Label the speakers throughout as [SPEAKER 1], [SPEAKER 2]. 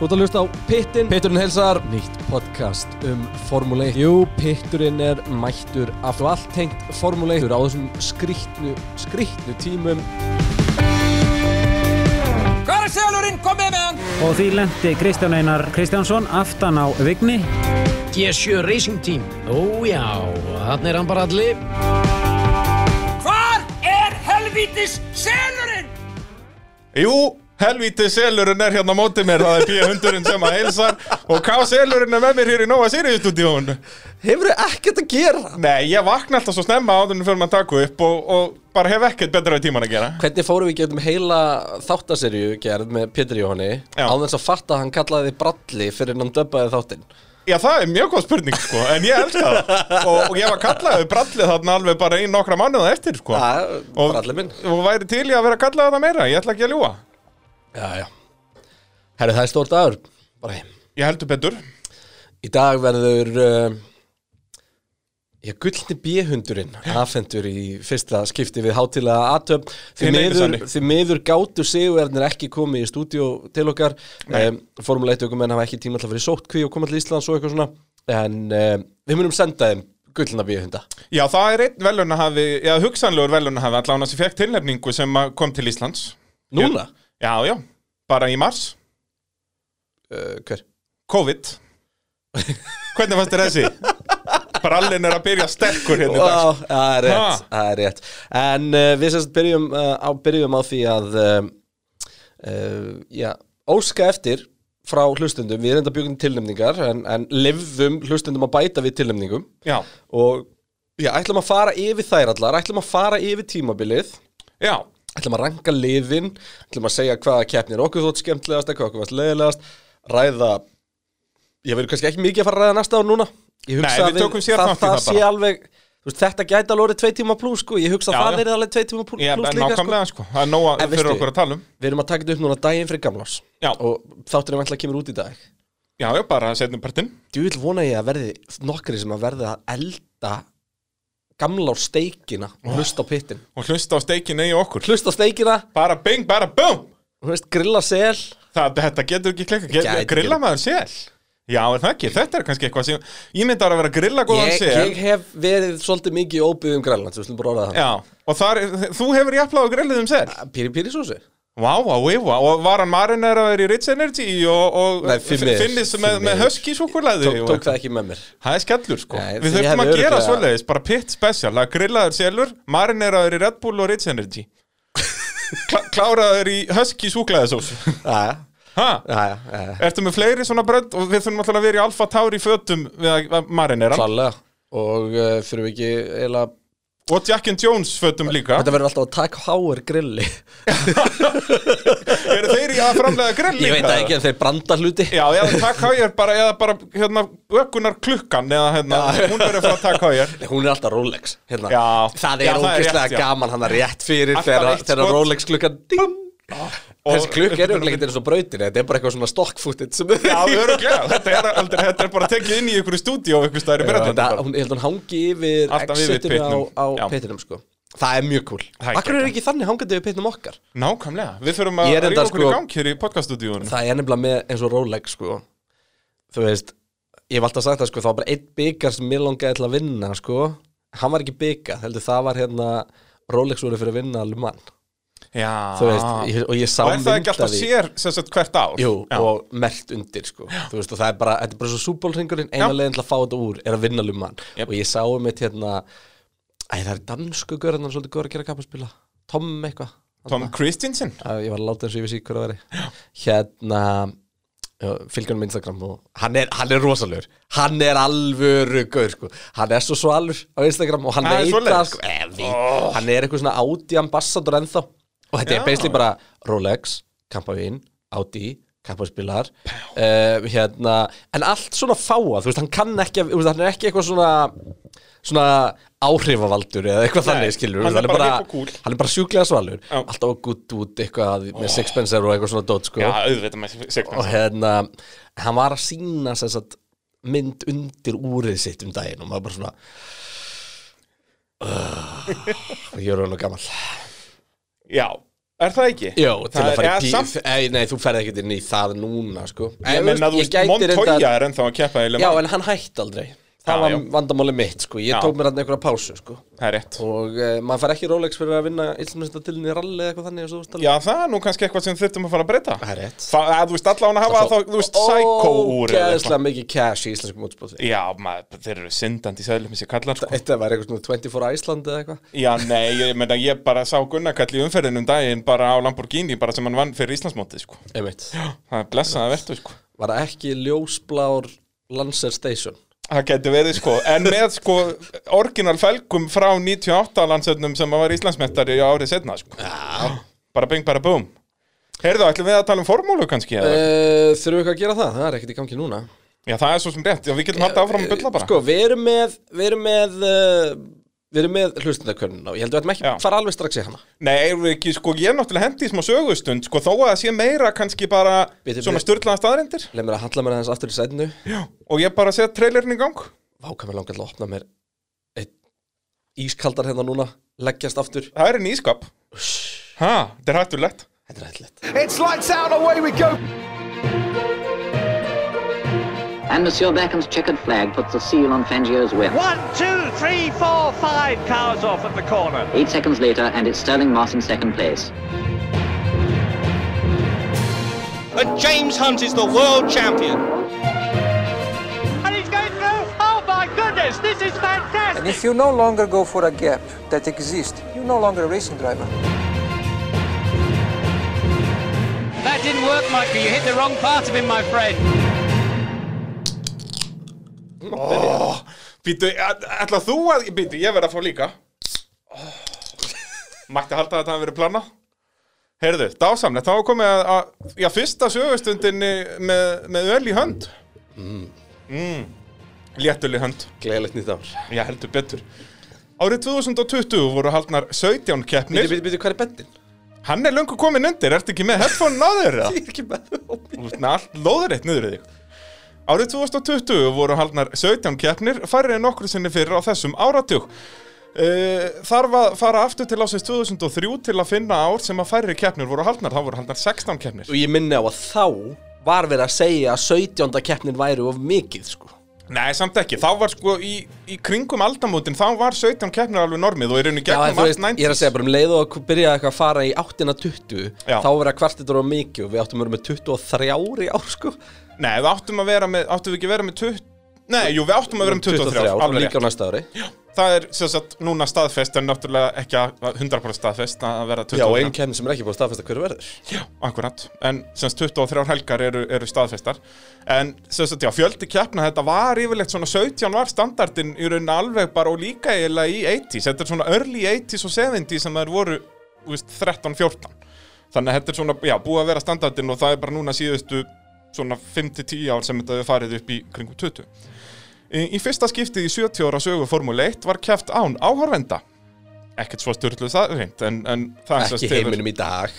[SPEAKER 1] Þú ert að hlusta á Pittin
[SPEAKER 2] Pitturinn heilsar
[SPEAKER 1] Nýtt podcast um
[SPEAKER 2] Formule 1
[SPEAKER 1] Jú, Pitturinn er mættur aftur og allt tengt Formule 1 á þessum skrýtnu, skrýtnu tímum
[SPEAKER 2] Hvað er selurinn? Komið með hann!
[SPEAKER 3] Og því lendi Kristján Einar Kristjánsson aftan á Vigni.
[SPEAKER 4] G7 Racing Team Ó já, hann er hann bara allir
[SPEAKER 2] Hvar er helvítis selurinn?
[SPEAKER 5] Jú, helvíti selurinn er hérna á móti mér, það er bíja hundurinn sem að heilsar og ká selurinn er með mér hér í Nóa Sirius-stúdíón.
[SPEAKER 1] Hefur þið ekkert að gera?
[SPEAKER 5] Nei, ég vakna alltaf svo snemma áðurinn fyrir maður að taka upp og, og bara hef ekkert betra við tíman að gera.
[SPEAKER 1] Hvernig fórum við getum heila þáttaserju gerð með Pétur Jóhanni
[SPEAKER 5] Já.
[SPEAKER 1] á þess að fatta að hann kallaði þið bralli fyrir hann döbbaði þáttinn
[SPEAKER 5] Já, það er mjög góð spurning, sko, en ég elska það og, og ég var kallaðið brallið þarna alveg bara í nokkra mánuða eftir, sko.
[SPEAKER 1] Já,
[SPEAKER 5] Og-
[SPEAKER 1] brallið minn
[SPEAKER 5] Og væri til í að vera kallaðið þarna meira, ég ætla ekki að ljúa.
[SPEAKER 1] Já, já Herru, það er stór dagur Bara heim
[SPEAKER 5] Ég heldur betur.
[SPEAKER 1] Í dag verður uh, Já, gullni bíhundurinn afhendur í fyrsta skipti við hátilega aðtöp því
[SPEAKER 5] Þið neitið
[SPEAKER 1] miður,
[SPEAKER 5] sannig.
[SPEAKER 1] því miður gátu sigurverðnir ekki komið í stúdíó til okkar um, formuleitt okkur menn hafa ekki tíma alltaf fyrir sótkví og koma til Íslands og eitthvað svona en um, við munum senda þeim gullna bíhunda
[SPEAKER 5] Já, það er einn velunahafi, já, hugsanlegur velunahafi allan að sem fekk tilnefningu sem að kom til Íslands.
[SPEAKER 1] Núna?
[SPEAKER 5] Já, já, bara í mars.
[SPEAKER 1] Uh, hver?
[SPEAKER 5] COVID Hvernig fannst þér þessi? Brallin er að byrja sterkur hérna í dag
[SPEAKER 1] Vá, Það er rétt,
[SPEAKER 5] Ha.
[SPEAKER 1] það er rétt En uh, við sérst byrjum, uh, á, byrjum á því að uh, uh, já, óska eftir frá hlustundum, við erum enda bjögum tilnefningar en, en lifum hlustundum að bæta við tilnefningum
[SPEAKER 5] Já,
[SPEAKER 1] og já, ætlum að fara yfir þær allar ætlum að fara yfir tímabilið
[SPEAKER 5] já,
[SPEAKER 1] ætlum að ranka liðin ætlum að segja hvaða keppnir okkur þótt skemmtilegast hvað okkur varst leiðilegast, ræða ég verður kannski ekki mikið að fara að ræða næsta ár núna Ég hugsa
[SPEAKER 5] Nei,
[SPEAKER 1] að
[SPEAKER 5] við tökum síðar
[SPEAKER 1] það,
[SPEAKER 5] þátt í
[SPEAKER 1] það
[SPEAKER 5] það
[SPEAKER 1] sé
[SPEAKER 5] bara.
[SPEAKER 1] alveg þú veist, þetta gæti alveg orðið tvei tíma pluss sko. ég hugsa
[SPEAKER 5] Já,
[SPEAKER 1] að það
[SPEAKER 5] já.
[SPEAKER 1] verði alveg tvei tíma pluss
[SPEAKER 5] já
[SPEAKER 1] líka
[SPEAKER 5] nákvæmlega sko Það er nóga
[SPEAKER 1] En
[SPEAKER 5] fyrir
[SPEAKER 1] veistu-
[SPEAKER 5] okkur að tala um
[SPEAKER 1] við erum að taka þetta upp núna daginn fyrir gamlás
[SPEAKER 5] Já.
[SPEAKER 1] og þátturinn vantilega kemur út í dag
[SPEAKER 5] Já, já, bara setnum partinn
[SPEAKER 1] djúvill vona ég að verði nokkri sem að verði að elda gamlás steikina og hlusta á pittin
[SPEAKER 5] og hlusta á steikinu í okkur
[SPEAKER 1] hlusta á steikina,
[SPEAKER 5] Bara bing, bara bum
[SPEAKER 1] þú veist, grilla sel
[SPEAKER 5] Það, þetta getur ekki klekka, get,
[SPEAKER 1] Gæti
[SPEAKER 5] grilla
[SPEAKER 1] ekki.
[SPEAKER 5] maður sér Já, er það ekki, þetta er kannski eitthvað sem Ég myndi að vera að grilla góðan
[SPEAKER 1] ég,
[SPEAKER 5] Sko, sér
[SPEAKER 1] ég hef verið svolítið mikið í um óbyggðum grænlands, við slum bara orða það
[SPEAKER 5] Já, og þar, þú hefur jafnlega á grillið um sér
[SPEAKER 1] Píri píri sósi
[SPEAKER 5] Vá, vá, vá, vá, og var hann marineraður í Ritz Energy og, og
[SPEAKER 1] Nei, því miður,
[SPEAKER 5] finnis
[SPEAKER 1] því
[SPEAKER 5] með, með
[SPEAKER 1] miður.
[SPEAKER 5] höski súkulaði
[SPEAKER 1] Tók, tók það ekki með mér
[SPEAKER 5] Það er skellur sko
[SPEAKER 1] Nei, ég
[SPEAKER 5] Við þurfum að
[SPEAKER 1] hefði
[SPEAKER 5] gera
[SPEAKER 1] örugglega-
[SPEAKER 5] svoleiðis, bara pitt special að grillaður selur, marineraður í Red Bull og Ritz Energy Klá, Kláraður í Husky súklaðisós
[SPEAKER 1] Jæja,
[SPEAKER 5] Ha?
[SPEAKER 1] jæja, jæja
[SPEAKER 5] Ertu með fleiri svona brönd og við þurfum alltaf að vera í Alfa Tauri fötum við að- að marinera
[SPEAKER 1] Klálega Og uh, þurfum við ekki eila
[SPEAKER 5] og Jack and Jones fötum líka
[SPEAKER 1] Þetta verður alltaf að taka háir grilli
[SPEAKER 5] Eru þeir í að framlega grill líka?
[SPEAKER 1] Ég veit það ekki en þeir branda hluti
[SPEAKER 5] Já, eða takk hájar bara, eða bara hérna, ökunar klukkan eða hérna, hún verður frá takk hájar
[SPEAKER 1] Nei, Hún er alltaf Rolex hérna.
[SPEAKER 5] Já.
[SPEAKER 1] Það er
[SPEAKER 5] Já, það er
[SPEAKER 1] ógeðslega
[SPEAKER 5] rétt, já.
[SPEAKER 1] gaman hann að rétt fyrir
[SPEAKER 5] Alltaf
[SPEAKER 1] þegar,
[SPEAKER 5] eitt
[SPEAKER 1] þegar
[SPEAKER 5] skot.
[SPEAKER 1] Rolex klukkan ding
[SPEAKER 5] Og-
[SPEAKER 1] Þessi klukka er umleikt eins og brautin Þetta er bara eitthvað svona stock footage sem
[SPEAKER 5] Já, öruglega, þetta er, aldrei, þetta er bara tekið inn í ykkur stúdíó ykkur staðar í Bretlandi
[SPEAKER 1] Þetta,
[SPEAKER 5] bara.
[SPEAKER 1] hún, ég held að hún hangi yfir
[SPEAKER 5] Alltaf yfir
[SPEAKER 1] exitinu á,
[SPEAKER 5] pitnum.
[SPEAKER 1] á
[SPEAKER 5] Já.
[SPEAKER 1] pitnum sko. Það er mjög cool
[SPEAKER 5] Það er
[SPEAKER 1] Akkur er ekki þannig hangandi yfir pitnum okkar
[SPEAKER 5] Nákvæmlega, við þurfum að
[SPEAKER 1] Ég er
[SPEAKER 5] ríða
[SPEAKER 1] enda,
[SPEAKER 5] okkur í
[SPEAKER 1] sko-
[SPEAKER 5] gang hér í podcaststúdíónu
[SPEAKER 1] Það er nefnilega með eins og Rolex sko. Þú veist Ég hef alltaf sagt það sko, það var bara einn byggar sem mér langaði til að vinna sko. Hann var ekki byggar, heldur það var hérna Rolex voru fyrir að vinna Le Mans
[SPEAKER 5] Já
[SPEAKER 1] Þú veist, ég, og ég sá
[SPEAKER 5] Ah. Og er það ekki
[SPEAKER 1] mynd af
[SPEAKER 5] alltaf
[SPEAKER 1] því.
[SPEAKER 5] sér sem sagt hvert ár?
[SPEAKER 1] Jú,
[SPEAKER 5] Já.
[SPEAKER 1] og mert undir sko. Þú veist, og það er bara, þetta er bara svo súbólringurinn eina
[SPEAKER 5] Já.
[SPEAKER 1] leiðin til að fá þetta úr er að vinna lumann
[SPEAKER 5] Jep.
[SPEAKER 1] og ég sá um eitt hérna Æ, það er dansku görðan hann er svolítið góður að gera kappaspila Tom eitthvað
[SPEAKER 5] Tom Christensen
[SPEAKER 1] Að Ég var að láta eins og ég vissi hver að veri Hérna fylgjanum Instagram og hann er, hann er rosalegur hann er alvöru gaur sko. hann er svo svalur á Instagram og hann
[SPEAKER 5] Það er
[SPEAKER 1] veit
[SPEAKER 5] svoleiðis. Oh.
[SPEAKER 1] það sko, eh, veit, hann er eitthvað svona Audi ambassador ennþá og þetta
[SPEAKER 5] Já.
[SPEAKER 1] er basically bara Rolex, Kampavín, Audi Kampavíspilar uh, hérna, en allt svona fáa þú veist, hann kann ekki, að- þú veist, hann er ekki eitthvað svona svona áhrifavaldur eða eitthvað
[SPEAKER 5] Nei,
[SPEAKER 1] þannig skilur
[SPEAKER 5] hann er bara hip og cool.
[SPEAKER 1] hann er bara sjúklega svalur
[SPEAKER 5] Já.
[SPEAKER 1] alltaf gutt út eitthvað með sixpencer og eitthvað svona dót sko
[SPEAKER 5] Já, auðvitað með
[SPEAKER 1] og
[SPEAKER 5] sekvensa
[SPEAKER 1] hérna, hann var að sína sagt, mynd undir úrið sitt um daginn og maður bara svona uh, ég er hann og gammal
[SPEAKER 5] Já, Er það ekki?
[SPEAKER 1] Jó, til
[SPEAKER 5] Það
[SPEAKER 1] að
[SPEAKER 5] er-
[SPEAKER 1] fara
[SPEAKER 5] eða
[SPEAKER 1] í
[SPEAKER 5] samt-
[SPEAKER 1] bíf Ei, Nei, þú ferð ekkert inn í það núna, sko
[SPEAKER 5] Ég menna, þú veist, Montoya er ennþá að keppa í Le
[SPEAKER 1] Já,
[SPEAKER 5] Mans.
[SPEAKER 1] en hann hætti aldrei
[SPEAKER 5] Já,
[SPEAKER 1] Það var
[SPEAKER 5] já.
[SPEAKER 1] vandamáli mitt, sko Ég
[SPEAKER 5] Já.
[SPEAKER 1] tók mér hann einhverja pásu, sko
[SPEAKER 5] Það er rétt
[SPEAKER 1] Og uh, maður fær ekki Rolex fyrir að vinna Íslumesta til í rally eða eitthvað þannig eins og þú veist alveg.
[SPEAKER 5] Já, það er nú kannski eitthvað sem þurftum að fara að breyta
[SPEAKER 1] Það er rétt.
[SPEAKER 5] Það, að, þú veist, allan að hafa þá, þú veist, psycho úr eða eitthvað.
[SPEAKER 1] Ógeðslega mikið cash í íslensku mótspóti
[SPEAKER 5] Já, maður, þeir eru syndandi í sæðlum þessi kallar, sko
[SPEAKER 1] Þetta var eitthvað svona 24 Iceland eða eitthvað
[SPEAKER 5] Já, nei, ég meina, ég bara sá Gunnar kall í umferðinum daginn bara á Lamborghini, bara sem hann vann fyrir Íslandsmótið, sko
[SPEAKER 1] Einmitt
[SPEAKER 5] Það er blessaða vertu, sko
[SPEAKER 1] Var það ekki ljósblár Lancer Station
[SPEAKER 5] Það getur verið, sko En með, sko, orginal felgum frá 98 landsöfnum sem að var Íslandsmettari árið setna, sko Já Bara bing, bara búm Heyrðu, ætlum við að tala um formúlu kannski, eða?
[SPEAKER 1] uh, Þurfum við eitthvað að gera það? Það er ekkert í gangi núna
[SPEAKER 5] Já, það er svo sem rétt, já, við getum haft áfram að bylla bara
[SPEAKER 1] Sko, við erum með Við erum með, uh, við erum með hlustendakörnuna og ég held að við ætlum ekki
[SPEAKER 5] Já.
[SPEAKER 1] að fara alveg strax í hana
[SPEAKER 5] Nei, erum við ekki, sko, ég er náttúrulega hendi í smá sögustund, sko, þó að það sé meira kannski bara
[SPEAKER 1] Bitu,
[SPEAKER 5] svona
[SPEAKER 1] bitu.
[SPEAKER 5] störlaðan staðrendir
[SPEAKER 1] Leif mér að halla mér aðeins aftur í sætinu
[SPEAKER 5] og ég bara set trailerin í gang.
[SPEAKER 1] Váka mér langar til að opna mér eitt ískaldar hérna núna leggjast aftur
[SPEAKER 5] Það er enn ískap. Ha, þetta er hættulegt.
[SPEAKER 1] Þetta er ætlilegt
[SPEAKER 6] And Monsieur Beckham's checkered flag puts a seal on Fangio's win.
[SPEAKER 7] One, two, three, four, five cars off at the corner.
[SPEAKER 6] Eight seconds later, and it's Sterling Moss in second place.
[SPEAKER 8] And James Hunt is the world champion.
[SPEAKER 7] And he's going through. Oh my goodness, this is fantastic.
[SPEAKER 9] And if you no longer go for a gap that exists, you're no longer a racing driver.
[SPEAKER 8] That didn't work, Michael. You hit the wrong part of him, my friend.
[SPEAKER 5] Býtu, ætla e, þú að, býtu, ég verð að fá líka. Oh. Mætti halda að þetta hafi verið planað. Heyrðu, dásamlegt, þá er komið að, að, já, fyrsta sögustundinni með, með öll í hönd. Mm. Mm. Léttul í hönd.
[SPEAKER 1] Gleðilegt nýtt ár
[SPEAKER 5] Já, heldur betur. Árið 2020 voru haldnar 17 keppnir.
[SPEAKER 1] Býtu, býtu, býtu, hvað er bendin?
[SPEAKER 5] Hann er löngu komin undir, ertu ekki með headphone náður það?
[SPEAKER 1] Ég er ekki með það
[SPEAKER 5] Þú veist, með allt lóður eitt niður í þig. Árið 2020 voru haldnar 17 keppnir, færri en nokkru sinni fyrir á þessum áratug. Uh, þarf að fara aftur til ásins 2003 til að finna ár sem að færri keppnir voru haldnar, þá voru haldnar 16 keppnir.
[SPEAKER 1] Og ég minni á að þá var verið að segja að 17. keppnin væri of mikið, sko
[SPEAKER 5] Nei, samt ekki, þá var sko í, í kringum aldamótin, þá var 17 keppnir alveg normið og er unni
[SPEAKER 1] Já, en
[SPEAKER 5] gegnum
[SPEAKER 1] þú
[SPEAKER 5] allt
[SPEAKER 1] veist, ég er að
[SPEAKER 5] 90s.
[SPEAKER 1] segja bara um leið og að byrja eitthvað að fara í 8.20
[SPEAKER 5] Já.
[SPEAKER 1] þá verið að kvartitur á mikið og við áttum að vera með 23 ár í ár sko
[SPEAKER 5] Nei, við áttum að vera með, áttum við ekki að vera með 20... Nei, jú, við áttum að vera með 23,
[SPEAKER 1] ár,
[SPEAKER 5] alveg rétt.
[SPEAKER 1] líka á næsta ári
[SPEAKER 5] Það er sem sagt núna staðfest en náttúrulega ekki að- 100% staðfest að vera
[SPEAKER 1] Já, og einn
[SPEAKER 5] 23
[SPEAKER 1] keppni sem er ekki búin að staðfesta hverju verður
[SPEAKER 5] Já, akkurat En sem sagt 23 helgar eru, eru staðfestar En sem sagt, já, fjöldi keppna þetta var yfirleitt svona 17 var standardin í raunin alveg bara og líka eiginlega í 80s Þetta er svona early 80s og 70s sem þær voru þú veist, 13-14 Þannig að þetta er svona, já, búið að vera standardin og það er bara núna síðustu svona 5-10 ár sem þetta hefur farið upp í kringum 20 Í í fyrsta skiptið í 70 ára sögu Formule 1 var keft án áhorvenda. Ekkert svo styrluð það reynd, en, en það sem sagt
[SPEAKER 1] Ekki
[SPEAKER 5] hefur-
[SPEAKER 1] heiminum í dag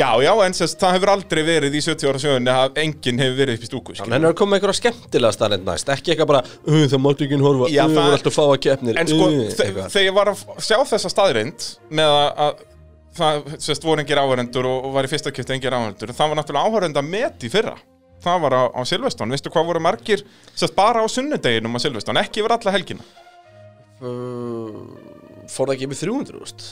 [SPEAKER 5] Já, já, en sem sagt, það hefur aldrei verið í 70 ára sögunni að enginn hefur verið upp í stúku. skilur.
[SPEAKER 1] Þannig er að koma með einhverja skemmtilega staðnend næst Ekki eitthvað bara, uh, það mátti ekki horfa Uh,
[SPEAKER 5] Já, það-
[SPEAKER 1] það er alltaf að fá að keppnir
[SPEAKER 5] En sko,
[SPEAKER 1] uh,
[SPEAKER 5] þe-
[SPEAKER 1] eitthvað.
[SPEAKER 5] þegar ég var að f- sjá þessa staðreind með að, að það sérst, voru engir áhörendur og, og var í fyrsta kipti engir áhörendur, það var náttúrulega áhörenda met í fyrra. Það var á, á Silveston, veistu hvað voru margir sérst, bara á sunnudeginum á Silveston, ekki yfir alla helgina.
[SPEAKER 1] Fór það ekki yfir 300, úrst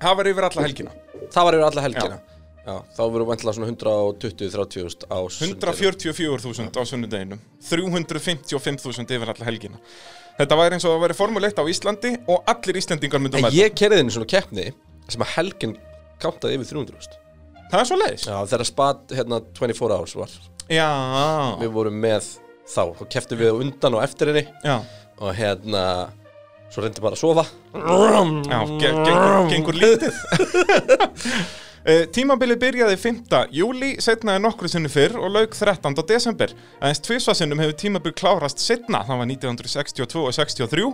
[SPEAKER 5] Það var yfir alla helgina.
[SPEAKER 1] Það var yfir alla helgina Já, þá voru vantilega svona 120-30 þúsund á sunnudegi.
[SPEAKER 5] 144.000 á sunnudeginum 355.000 yfir alla helgina Þetta væri eins og það væri formuleitt á Íslandi og allir Íslendingar myndum
[SPEAKER 1] En
[SPEAKER 5] með
[SPEAKER 1] ég kerði þinn svona keppni sem að helgin kantaði yfir 300, úrst
[SPEAKER 5] Það er svo leiðis
[SPEAKER 1] Já, þegar spat hérna 24 hours var
[SPEAKER 5] Já,
[SPEAKER 1] Við vorum með þá og keftum við á undan og eftir henni
[SPEAKER 5] já,
[SPEAKER 1] og hérna svo reyndi bara að sofa
[SPEAKER 5] já ge- gengur, gengur lítið Eh, Tímabilið byrjaði 5. júli, setna en nokkru sinni fyrr og lauk 13. desember. Aðeins tvisva sinnum hefur tímabilið klárast setna, það var 1962 og 63,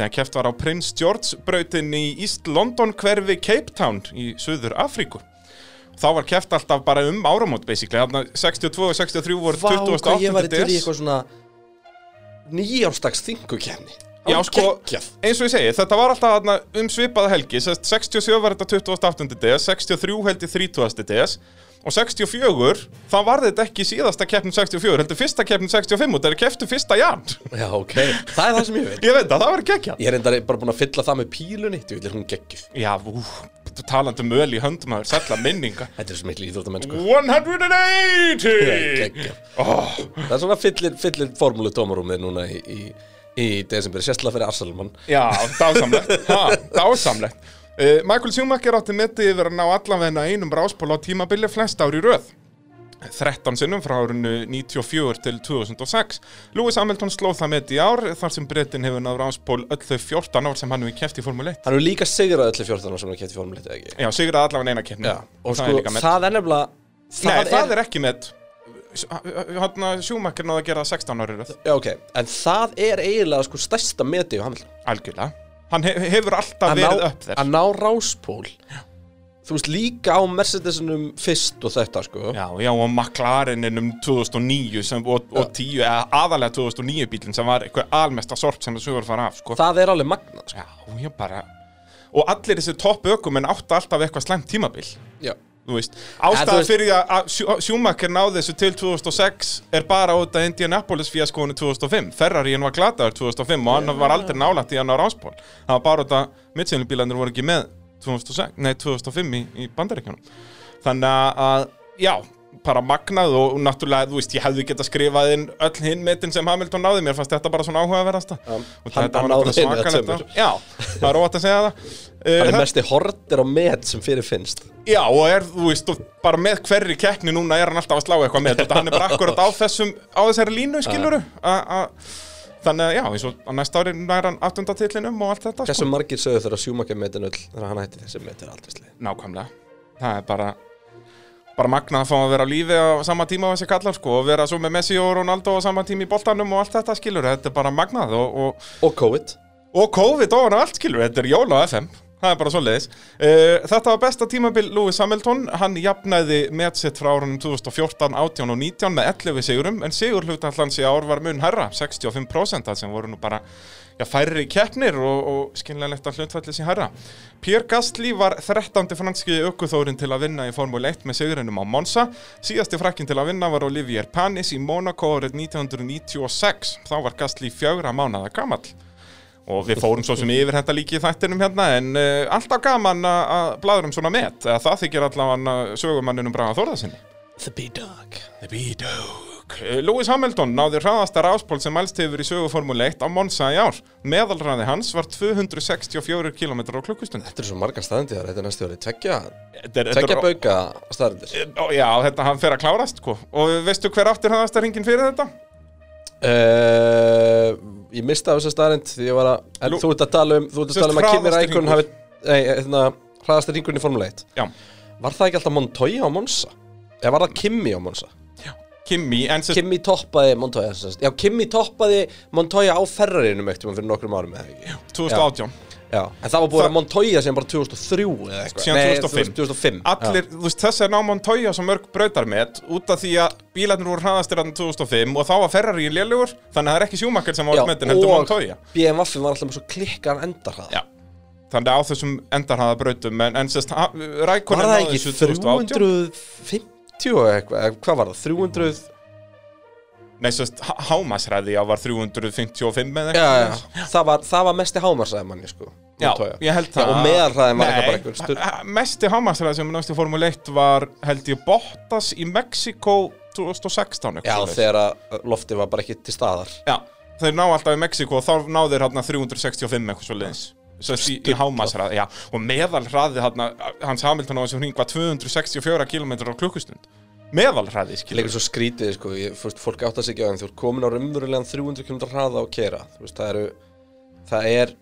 [SPEAKER 5] þegar keft var á Prince George brautin í East London hverfi Cape Town í Suður Afríku. Þá var keft alltaf bara um áramót, basically. Þarna 62 og 63 voru
[SPEAKER 1] Vá,
[SPEAKER 5] 28.
[SPEAKER 1] hvað ég var í
[SPEAKER 5] des.
[SPEAKER 1] til í eitthvað svona nýjárstags þingu kefni
[SPEAKER 5] Já, sko,
[SPEAKER 1] geggjað.
[SPEAKER 5] eins og ég segi, þetta var alltaf þarna um svipaða helgi sem sagt, 67 var þetta 28. DS 63 held ég 30. DS og 64, þá var þetta ekki síðasta keppnin 64, heldur fyrsta keppnin 65 og þetta er keftu fyrsta jan
[SPEAKER 1] Já, ok, það er það sem ég vil
[SPEAKER 5] Ég veit að það var ekki
[SPEAKER 1] Ég er enda bara búin að fylla það með pílunni Þú vil hún geggjuð
[SPEAKER 5] Já, ú, talandi um öl í höndum að sætla minninga
[SPEAKER 1] Þetta er svo miklu íþróttamenn sko
[SPEAKER 5] 180
[SPEAKER 1] Geggjað. Það er svona fyllir, fyllir formúlu tómarúmið núna í, í, í desember Sérslega fyrir Arsalmann
[SPEAKER 5] Já, dásamlegt ha, Dásamlegt uh, Michael Schumacher átti metið yfir að ná allavegna einum ráspól á tímabili flest ár í röð 13 sinnum frá árinu 94 til 2006 Lewis Hamilton slóð það metið í ár þar sem Bretin hefur náð ráspól öll þau 14 ár sem hann hefur keft í Formule 1
[SPEAKER 1] Hann er líka sigrað öllu 14 ára sem hann kætti formúlið ekki
[SPEAKER 5] Já, sigur að allavegna eina keppni
[SPEAKER 1] Já, og
[SPEAKER 5] það er
[SPEAKER 1] sko
[SPEAKER 5] líka met
[SPEAKER 1] það er nefnilega
[SPEAKER 5] Nei, það er ekki met Hann að Schumacher náði að gera það 16 ári röð
[SPEAKER 1] Já, ok, en það er eiginlega sko stærsta meti á Hamilton
[SPEAKER 5] Algjörlega Hann he- hefur alltaf
[SPEAKER 1] Að
[SPEAKER 5] verið
[SPEAKER 1] ná,
[SPEAKER 5] upp þér
[SPEAKER 1] að ná ráspól Þú veist líka á Mercedesunum fyrst og þetta sko
[SPEAKER 5] Já, já, og McLareninum 2009 sem, og, og 10, eða aðalega 2009 bílinn sem var eitthvað almesta sorp sem þessu var að fara af, sko.
[SPEAKER 1] Það er alveg magna sko.
[SPEAKER 5] Já, ég bara... Og allir þessi topp ökumenn áttu alltaf eitthvað slæmt tímabil,
[SPEAKER 1] Já.
[SPEAKER 5] þú veist.
[SPEAKER 1] þú
[SPEAKER 5] Ástæða
[SPEAKER 1] veist-
[SPEAKER 5] fyrir því að- að Schu- Schumacher náði þessu til 2006 er bara út af Indianapolis fíaskónu 2005. Ferrarín var glataður 2005 og hann var aldrei nálætt í hann á ráspól. Það var bara út af mittsynlubílandur voru ekki með 2006, nei, 2005 í, í bandaríkjunum. Þannig að, já, bara magnað og náttúrulega, þú veist, ég hefði getað skrifað inn öll hinn metin sem Hamilton náði, mér fannst þetta bara svona áhugaverðasta. og
[SPEAKER 1] hann-
[SPEAKER 5] þetta
[SPEAKER 1] hann
[SPEAKER 5] var náttúrulega
[SPEAKER 1] náði hinu að
[SPEAKER 5] svakalegt
[SPEAKER 1] tveimur.
[SPEAKER 5] ár. Já, það er óvægt að segja það. Uh,
[SPEAKER 1] Það er mesti hortir á met sem fyrir finnst
[SPEAKER 5] Já, og er, þú veist, og bara með hverri keppni núna er hann alltaf að slá eitthvað með þetta, hann er bara akkurat á þessum, á þessari línu, skiluru. Þannig að, já, eins og á næsta ári nær hann aftundatillinum og allt þetta, sko.
[SPEAKER 1] Hversu margir sögðu þegar Sjúmakja metin öll þegar hann hætti þessi metin aldrei slið
[SPEAKER 5] Nákvæmlega Það er bara bara magnað að fá að vera á lífi á sama tíma og þessi kallar sko og vera svo með Messi og Ronaldo á sama tíma í boltanum og allt þetta skilur þetta er bara magnað og, og,
[SPEAKER 1] Og COVID
[SPEAKER 5] og COVID ofan á allt skilur þetta er jól á FM það er bara svo leiðis Þetta var besta tímabil Lewis Hamilton hann jafnaði metsitt frá árunum 2014, 18 og 19 með 11 sigurum en sigur hlutallans í ár var mun herra 65% það sem voru nú bara já, færri keppnir og, og skynlega að hlutfalli sé herra Pierre Gasly var 13. franski aukúþórin til að vinna í Formule 1 með sigurinnum á Monza. Síðasti frakkin til að vinna var Olivier Panis í Monaco árið 1996. Þá var Gasly fjögra mánada gamall. Og við fórum svo sem yfir þetta líki í þættinum hérna, en uh, alltaf gaman að- að bláður um svona met. Eða það þykir allavega sögumanninum Braga Þórðarsinni.
[SPEAKER 1] The B-Dog
[SPEAKER 5] The B-Dog Lewis Hamilton náði hraðasta ráspól sem mælst hefur í söguformule 1 á Monza í ár meðalræði hans var 264 km á klukkustund
[SPEAKER 1] Þetta eru svo margar staðendíðar, þetta er næstu ári Tveggja,
[SPEAKER 5] Þetta er-
[SPEAKER 1] tveggja
[SPEAKER 5] þetta er-
[SPEAKER 1] bauka staðendir
[SPEAKER 5] Ó, Já, þetta hann fer að klárast sko. og veistu hver átti hraðasta ringin fyrir þetta?
[SPEAKER 1] uh, Ég mista af þessa staðend Því ég var að, en
[SPEAKER 5] Lú-
[SPEAKER 1] þú ert að tala um Þú ert
[SPEAKER 5] Sest
[SPEAKER 1] að tala um að Kimi
[SPEAKER 5] hraðasti
[SPEAKER 1] Rækun hafi
[SPEAKER 5] hringur.
[SPEAKER 1] Nei, hérna, hraðasti ringurinn í Formule 1
[SPEAKER 5] Já,
[SPEAKER 1] Var það ekki alltaf Montoya á Monza? Eða var það Kimi á Monza?
[SPEAKER 5] Kimi en sem,
[SPEAKER 1] Kimi toppaði Montoya sem sagt. Já, Kimi toppaði Montoya á Ferrariðinu meitt fyrir nokkrum árum eða ekki
[SPEAKER 5] 2018
[SPEAKER 1] Já, en það var búið að
[SPEAKER 5] Það-
[SPEAKER 1] vera Montoya sem bara 2003 eða eitthvað
[SPEAKER 5] Síðan
[SPEAKER 1] Nei,
[SPEAKER 5] 2005.
[SPEAKER 1] 2005
[SPEAKER 5] Allir, þú veist, þessi er náman tója svo mörg brautarmet út af því að bílarnir voru hraðastir hann 2005 og þá var Ferrarín lélugur þannig að það er ekki sjúmakar sem var
[SPEAKER 1] Já,
[SPEAKER 5] allt metin heldur mann
[SPEAKER 1] og
[SPEAKER 5] tója
[SPEAKER 1] BMW var alltaf með svo klikkan endarhraða
[SPEAKER 5] Já Þannig að á þessum endarhaða brautum en, en sérst,
[SPEAKER 1] Var
[SPEAKER 5] Rækonen
[SPEAKER 1] það ekki 350 og eitthvað, eða hvað var það, 300
[SPEAKER 5] Nei, sérst, hámasræði á var 355 eða
[SPEAKER 1] Já,
[SPEAKER 5] eitthvað
[SPEAKER 1] já, það var, það var mesti hámarsæði manni sko Montoya.
[SPEAKER 5] ég held
[SPEAKER 1] Já,
[SPEAKER 5] það
[SPEAKER 1] og meðalhraðin var eitthvað bara
[SPEAKER 5] Nei,
[SPEAKER 1] einhver stur-
[SPEAKER 5] a- mesti hámasræði sem náttúrulega Formule 1 var held ég Bottas í Mexiko 2016 eitthvað
[SPEAKER 1] Já,
[SPEAKER 5] svoleiðis.
[SPEAKER 1] þegar að loftið var bara ekki til staðar
[SPEAKER 5] Já, þeir ná alltaf í Mexiko og þá náður hérna 365 eitthvað svo leiðis Sérst í, í hámasræði, já Og meðalhraði hérna, hans Hamilton á þessum hring var 264 km á klukkustund Meðalhraði, skilur
[SPEAKER 1] Leikur svo skrítið sko, ég, fúst, fólk átt að sig ekki á þeim Þú ert komin á raunverulegan 300 km hraða og kera Þú veist, það eru Það er,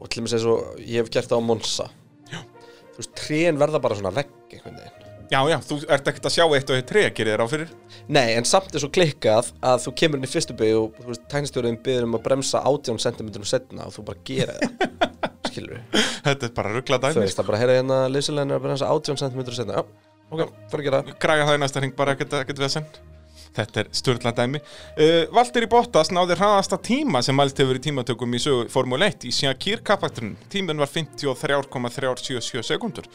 [SPEAKER 1] og til mér segja svo Ég hef gert það á Monsa Já Þú veist, trén verða bara svona vegg einhvern veginn
[SPEAKER 5] Já, já, þú ert ekkert að sjá eitt og eitt tré, gerir þér á fyrir
[SPEAKER 1] Nei, en samt er svo klikkað að þú kemur inn í fyrstu byggju og þú veist, tænstjóriðin byggður um að bremsa 18 cm setna og þú bara gera það Skilur við
[SPEAKER 5] Þetta er bara ruggla
[SPEAKER 1] Þú
[SPEAKER 5] dæmi
[SPEAKER 1] veist, það bara heyra hérna leysilegin er að bremsa 18 cm setna Já, ok, það er að gera það
[SPEAKER 5] Græja það í næsta hring bara ekkert, ekkert vesend Þetta er störla dæmi. Uh, Valtteri Bottas náði hraðasta tíma sem mælt hefur í tímatökum í sögu Formule 1 í Sjakir kapakturinn. Tíminn var 53,377 sekundur.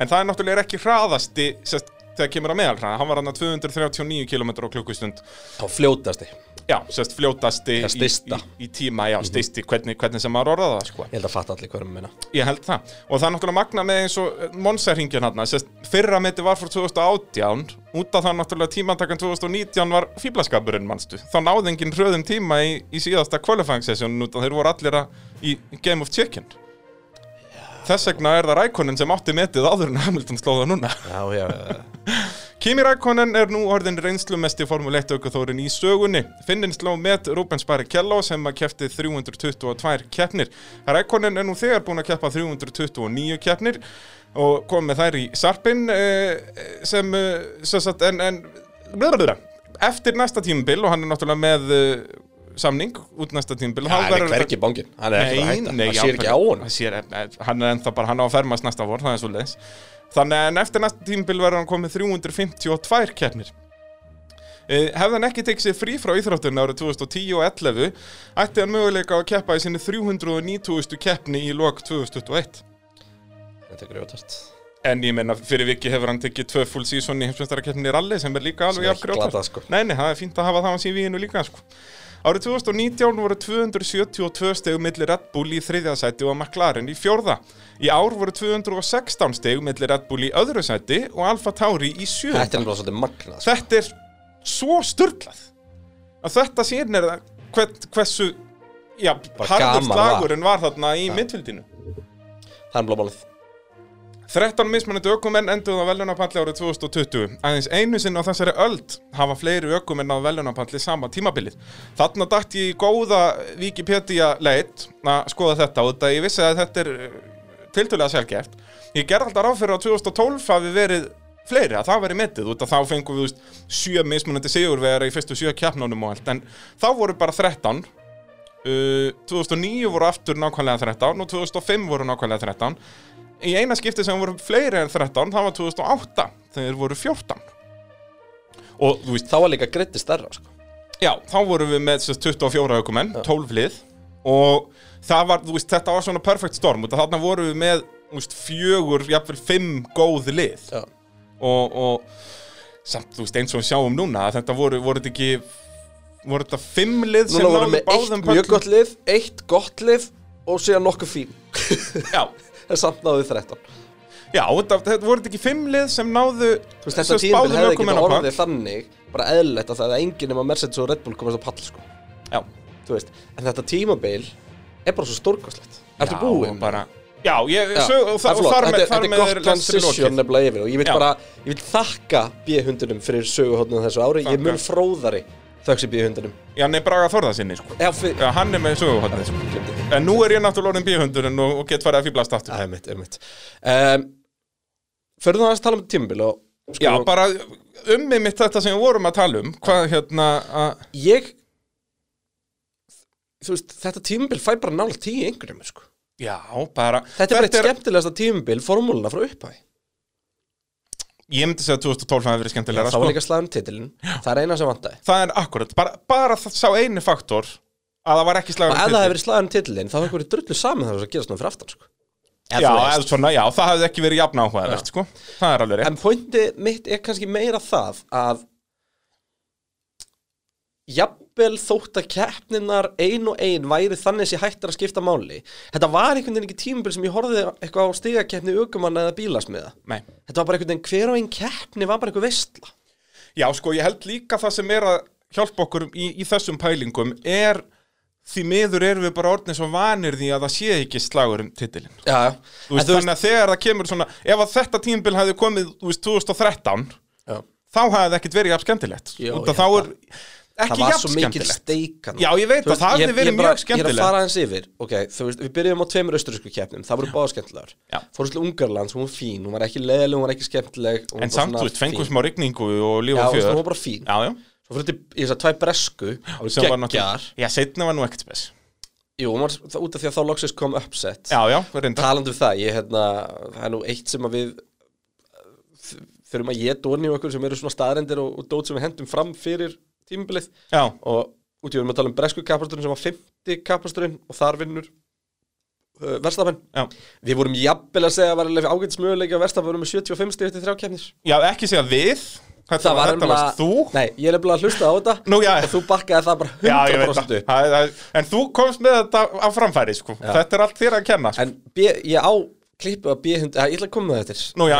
[SPEAKER 5] En það er náttúrulega ekki hraðasti sest, þegar kemur að meðalhraða. Hann var hann 239 km á klukkustund.
[SPEAKER 1] Þá fljótasti Ég
[SPEAKER 5] Já, sérst fljótasti
[SPEAKER 1] Það
[SPEAKER 5] í,
[SPEAKER 1] stysta.
[SPEAKER 5] í, í tíma, já, stysti, hvernig, hvernig sem maður orðaða það, sko.
[SPEAKER 1] held að fatta allir hverjum minna
[SPEAKER 5] Ég held það. Og það er náttúrulega magna með eins og eh, Monsa-ringin hann. Fyrra meti var frá 2018, út af það náttúrulega tímantakan 2019 var fýblaskapurinn, manstu. Þá náði engin röðum tíma í, í síðasta qualifying session, út af þeir voru allir að, í Game of Chicken. Þess vegna er það Rækonin sem átti metið áður en Hamilton slóða núna.
[SPEAKER 1] Já, já, já
[SPEAKER 5] Kimi Rækonen er nú orðin reynslumesti Formule 1 aukaþórin í sögunni. Finnin sló með Rubens Barrichello sem að kefti 322 keppnir. Rækonen er nú þegar búin að keppa 329 keppnir og kom með þær í sarpin eh, sem, eh, sem sagt, en, en blablabla. eftir næsta tímabil og hann er náttúrulega með eh, samning út næsta tímabil. þá
[SPEAKER 1] Hann er
[SPEAKER 5] verður
[SPEAKER 1] hvergi bangin Hann er ekki að
[SPEAKER 5] Nei,
[SPEAKER 1] hætta
[SPEAKER 5] nei,
[SPEAKER 1] Hann
[SPEAKER 5] já,
[SPEAKER 1] sér ekki á hún
[SPEAKER 5] hann sér, hann er ennþá bara, hann á að fermast næsta vor, það er svo leiðis Þannig en eftir næsta tímabil verður hann komið 352 keppnir Eh, Hefði hann ekki tekið sér frí frá íþrótturinn árið 2010 og 11 ætti hann möguleika á að keppa í sinni 390.000 keppni í lok 2021
[SPEAKER 1] Þetta er grjótast
[SPEAKER 5] En ég meina, fyrir viki hefur hann tekið tvö full season í heimsveistararkeppninni rally sem er líka
[SPEAKER 1] Sem er
[SPEAKER 5] alveg jafn grjótart.
[SPEAKER 1] glatað, sko.
[SPEAKER 5] Nei, nei, það er fínt að hafa það á CV-inu líka, sko. Árið 2019 voru 272 stegum milli Red Bull í þriðja sæti og McLaren í fjórða. Í ár voru 216 stegum milli Red Bull í öðru sæti og Alfa Tauri í sjöunda.
[SPEAKER 1] Þetta er náttúrulega svolítið magnað sko.
[SPEAKER 5] Þetta er svo sturglað að þetta sýnir það hvern, hversu já, harður
[SPEAKER 1] gaman var.
[SPEAKER 5] slagurinn var. þarna í mittfildinu.
[SPEAKER 1] Það er blómálið
[SPEAKER 5] 13 mismunandi ökumenn enduðu á velunapalli árið 2020. Aðeins einu sinn á þessari öld hafa fleiri ökumenn á velunapalli sama tímabilið. Þarna dætt ég í góða Wikipedia leit að skoða þetta og þetta ég vissi að þetta er tiltölega sjálfgeft. Ég gerði alltaf ráð fyrir að 2012 hafi verið fleiri, að það veri metið út að þá fengum við þú veist, sjö mismunandi sigurvegar í fyrstu sjö keppnunum og allt en þá voru bara 13 Uh, 2009 voru aftur nákvæmlega 13 og 2005 voru nákvæmlega 13 í eina skipti sem voru fleiri en 13 það var 2008 þegar þeir voru 14 og þú veist
[SPEAKER 1] Þá var líka greiti stærra sko.
[SPEAKER 5] já, þá vorum við með sérst, 24 aukumenn 12 lið og það var, þú veist, þetta var svona perfect storm og þarna vorum við með þú veist, fjögur, jafnvel fimm góð lið
[SPEAKER 1] Já.
[SPEAKER 5] og, og samt, þú veist, eins og við sjáum núna að þetta voru, voru þetta ekki voru þetta fimm lið sem
[SPEAKER 1] Núna vorum
[SPEAKER 5] náðu
[SPEAKER 1] við eitt
[SPEAKER 5] báðum
[SPEAKER 1] mjög gott lið Eitt gott lið Og síðan nokkuð fín
[SPEAKER 5] já,
[SPEAKER 1] En samt náðu við 13
[SPEAKER 5] Já, þetta, þetta voru þetta ekki fimm lið sem náðu
[SPEAKER 1] Þú veist, þetta tíðbyrð hefði ekki orðið þannig bara eðlilegt að það er enginn nema Mercedes og Red Bull komast á pall sko.
[SPEAKER 5] Já,
[SPEAKER 1] Þú veist, en þetta tímabil er bara svo stórkostlegt Ertu
[SPEAKER 5] Já,
[SPEAKER 1] búinn?
[SPEAKER 5] og bara, Já, ég,
[SPEAKER 1] Já,
[SPEAKER 5] sög, og,
[SPEAKER 1] það er
[SPEAKER 5] það, og
[SPEAKER 1] flott.
[SPEAKER 5] þar með,
[SPEAKER 1] þetta,
[SPEAKER 5] þar
[SPEAKER 1] þetta
[SPEAKER 5] með
[SPEAKER 1] er gott transition nefnilega yfir og ég vil
[SPEAKER 5] Já.
[SPEAKER 1] bara, ég vil þakka B-hundunum fyrir söguhóttnum þessu ári ég
[SPEAKER 5] Þakka.
[SPEAKER 1] er mun fróðari þöggs í B-hundunum
[SPEAKER 5] Já, nei, Braga Þorðarsinni, sko
[SPEAKER 1] Já, fyrir,
[SPEAKER 5] Já, hann er með söguhotnið, sko En nú er ég náttúrulega orðin bíhundurinn og, og get farið að fýblast aftur
[SPEAKER 1] það er mitt, er mitt um, Fyrir það að tala um tímabil og sko,
[SPEAKER 5] Já, bara ummið mitt þetta sem við vorum að tala um Hvað, hérna, að
[SPEAKER 1] ég þú veist, þetta tímabil fæ bara nála tíu einhverjum, sko
[SPEAKER 5] Já, bara
[SPEAKER 1] Þetta er bara eitt skemmtilegasta tímabil formúluna frá upphæði
[SPEAKER 5] Ég myndi segja að 2012 hafi verið skemmtilega
[SPEAKER 1] Það var líka slagum titilin, það er eina sem vantaði
[SPEAKER 5] Það er akkurat, bara, bara það sá eini faktor að það var ekki slagur
[SPEAKER 1] Og ef það hefði verið slagum titilin, þá hefði verið drullu saman þar sem gerast nú fyrir aftan, sko
[SPEAKER 5] Já, eða svona, já, það hefði ekki verið jafn áhugaðvert, sko Það er alveg rétt
[SPEAKER 1] En pointi mitt er kannski meira það að jafnvel þótt að keppninar ein og ein væri þannig sé hættar að skipta máli þetta var einhvern veginn ekki tímabil sem ég horfði eitthvað á stigakeppni aukumanna eða bílasmiða
[SPEAKER 5] Nei.
[SPEAKER 1] þetta var bara einhvern veginn hver og einn keppni var bara einhver veistla
[SPEAKER 5] Já, sko, ég held líka það sem er að hjálpa okkur í, í þessum pælingum er því miður erum við bara orðnið svo vanir því að það sé ekki slagur um titilin.
[SPEAKER 1] já,
[SPEAKER 5] Þú veist, þannig að þegar það kemur svona, ef að þetta tímabil hefði komið, þú veist, 2013,
[SPEAKER 1] já,
[SPEAKER 5] þá hefði það ekkert verið jafn skemmtilegt.
[SPEAKER 1] Já, ég
[SPEAKER 5] Út að þá er
[SPEAKER 1] það
[SPEAKER 5] ekki
[SPEAKER 1] var
[SPEAKER 5] jafn
[SPEAKER 1] svo mikil
[SPEAKER 5] skemmtilegt.
[SPEAKER 1] steikan
[SPEAKER 5] Já, ég veit það, það hefði verið mjög
[SPEAKER 1] Ég er að
[SPEAKER 5] skemmtilegt.
[SPEAKER 1] fara aðeins yfir, ok, þú veist, við byrjum á tveimur austurísku keppnum, það voru báða skemmtilegar
[SPEAKER 5] Já.
[SPEAKER 1] Fórst til Ungarland, hún var fín, hún var ekki leðileg, hún var ekki skemmtileg hún var bara
[SPEAKER 5] En samt,
[SPEAKER 1] svona
[SPEAKER 5] þú veist,
[SPEAKER 1] fín.
[SPEAKER 5] fengum smá rigningu og líf
[SPEAKER 1] Já,
[SPEAKER 5] og
[SPEAKER 1] þú veist,
[SPEAKER 5] fjör.
[SPEAKER 1] hún var bara fín.
[SPEAKER 5] Já, já.
[SPEAKER 1] Svo fyrir til í þessar tvær bresku Það
[SPEAKER 5] Sem var
[SPEAKER 1] voru
[SPEAKER 5] náttúrulega-
[SPEAKER 1] geggjar
[SPEAKER 5] Já, seinna var nú ekkert spes.
[SPEAKER 1] Jú, hún var það- út af því að þá loksist kom upset
[SPEAKER 5] Já, já, reyndar.
[SPEAKER 1] Talandi um það, ég hérna Það er nú eitt sem að við þurfum að geta onni okkur sem eru svona staðrendir og, og dót sem við hendum fram fyrir tímabilið
[SPEAKER 5] Já,
[SPEAKER 1] og út í við erum að tala um bresku kapasturinn sem var 50 kapasturinn og þar vinnur uh, verstafenn
[SPEAKER 5] já.
[SPEAKER 1] Við vorum jafnvel að segja að var alveg ágætis möguleika að verstafenn vorum með 75 stig eftir þrjá kefnis
[SPEAKER 5] já, ekki segja við Þetta, var, þetta varst þú
[SPEAKER 1] Nei, ég er nefnilega að hlusta á þetta
[SPEAKER 5] Nú, já.
[SPEAKER 1] og þú bakkaði það bara
[SPEAKER 5] Já, ég
[SPEAKER 1] 100%
[SPEAKER 5] veit það
[SPEAKER 1] upp
[SPEAKER 5] Það- það- En þú komst með þetta á framfæri sko. Þetta er allt þér að kenna sko.
[SPEAKER 1] En B, ég á klippu að B100 ja, Ég ætla að koma með þetta
[SPEAKER 5] Nú, já.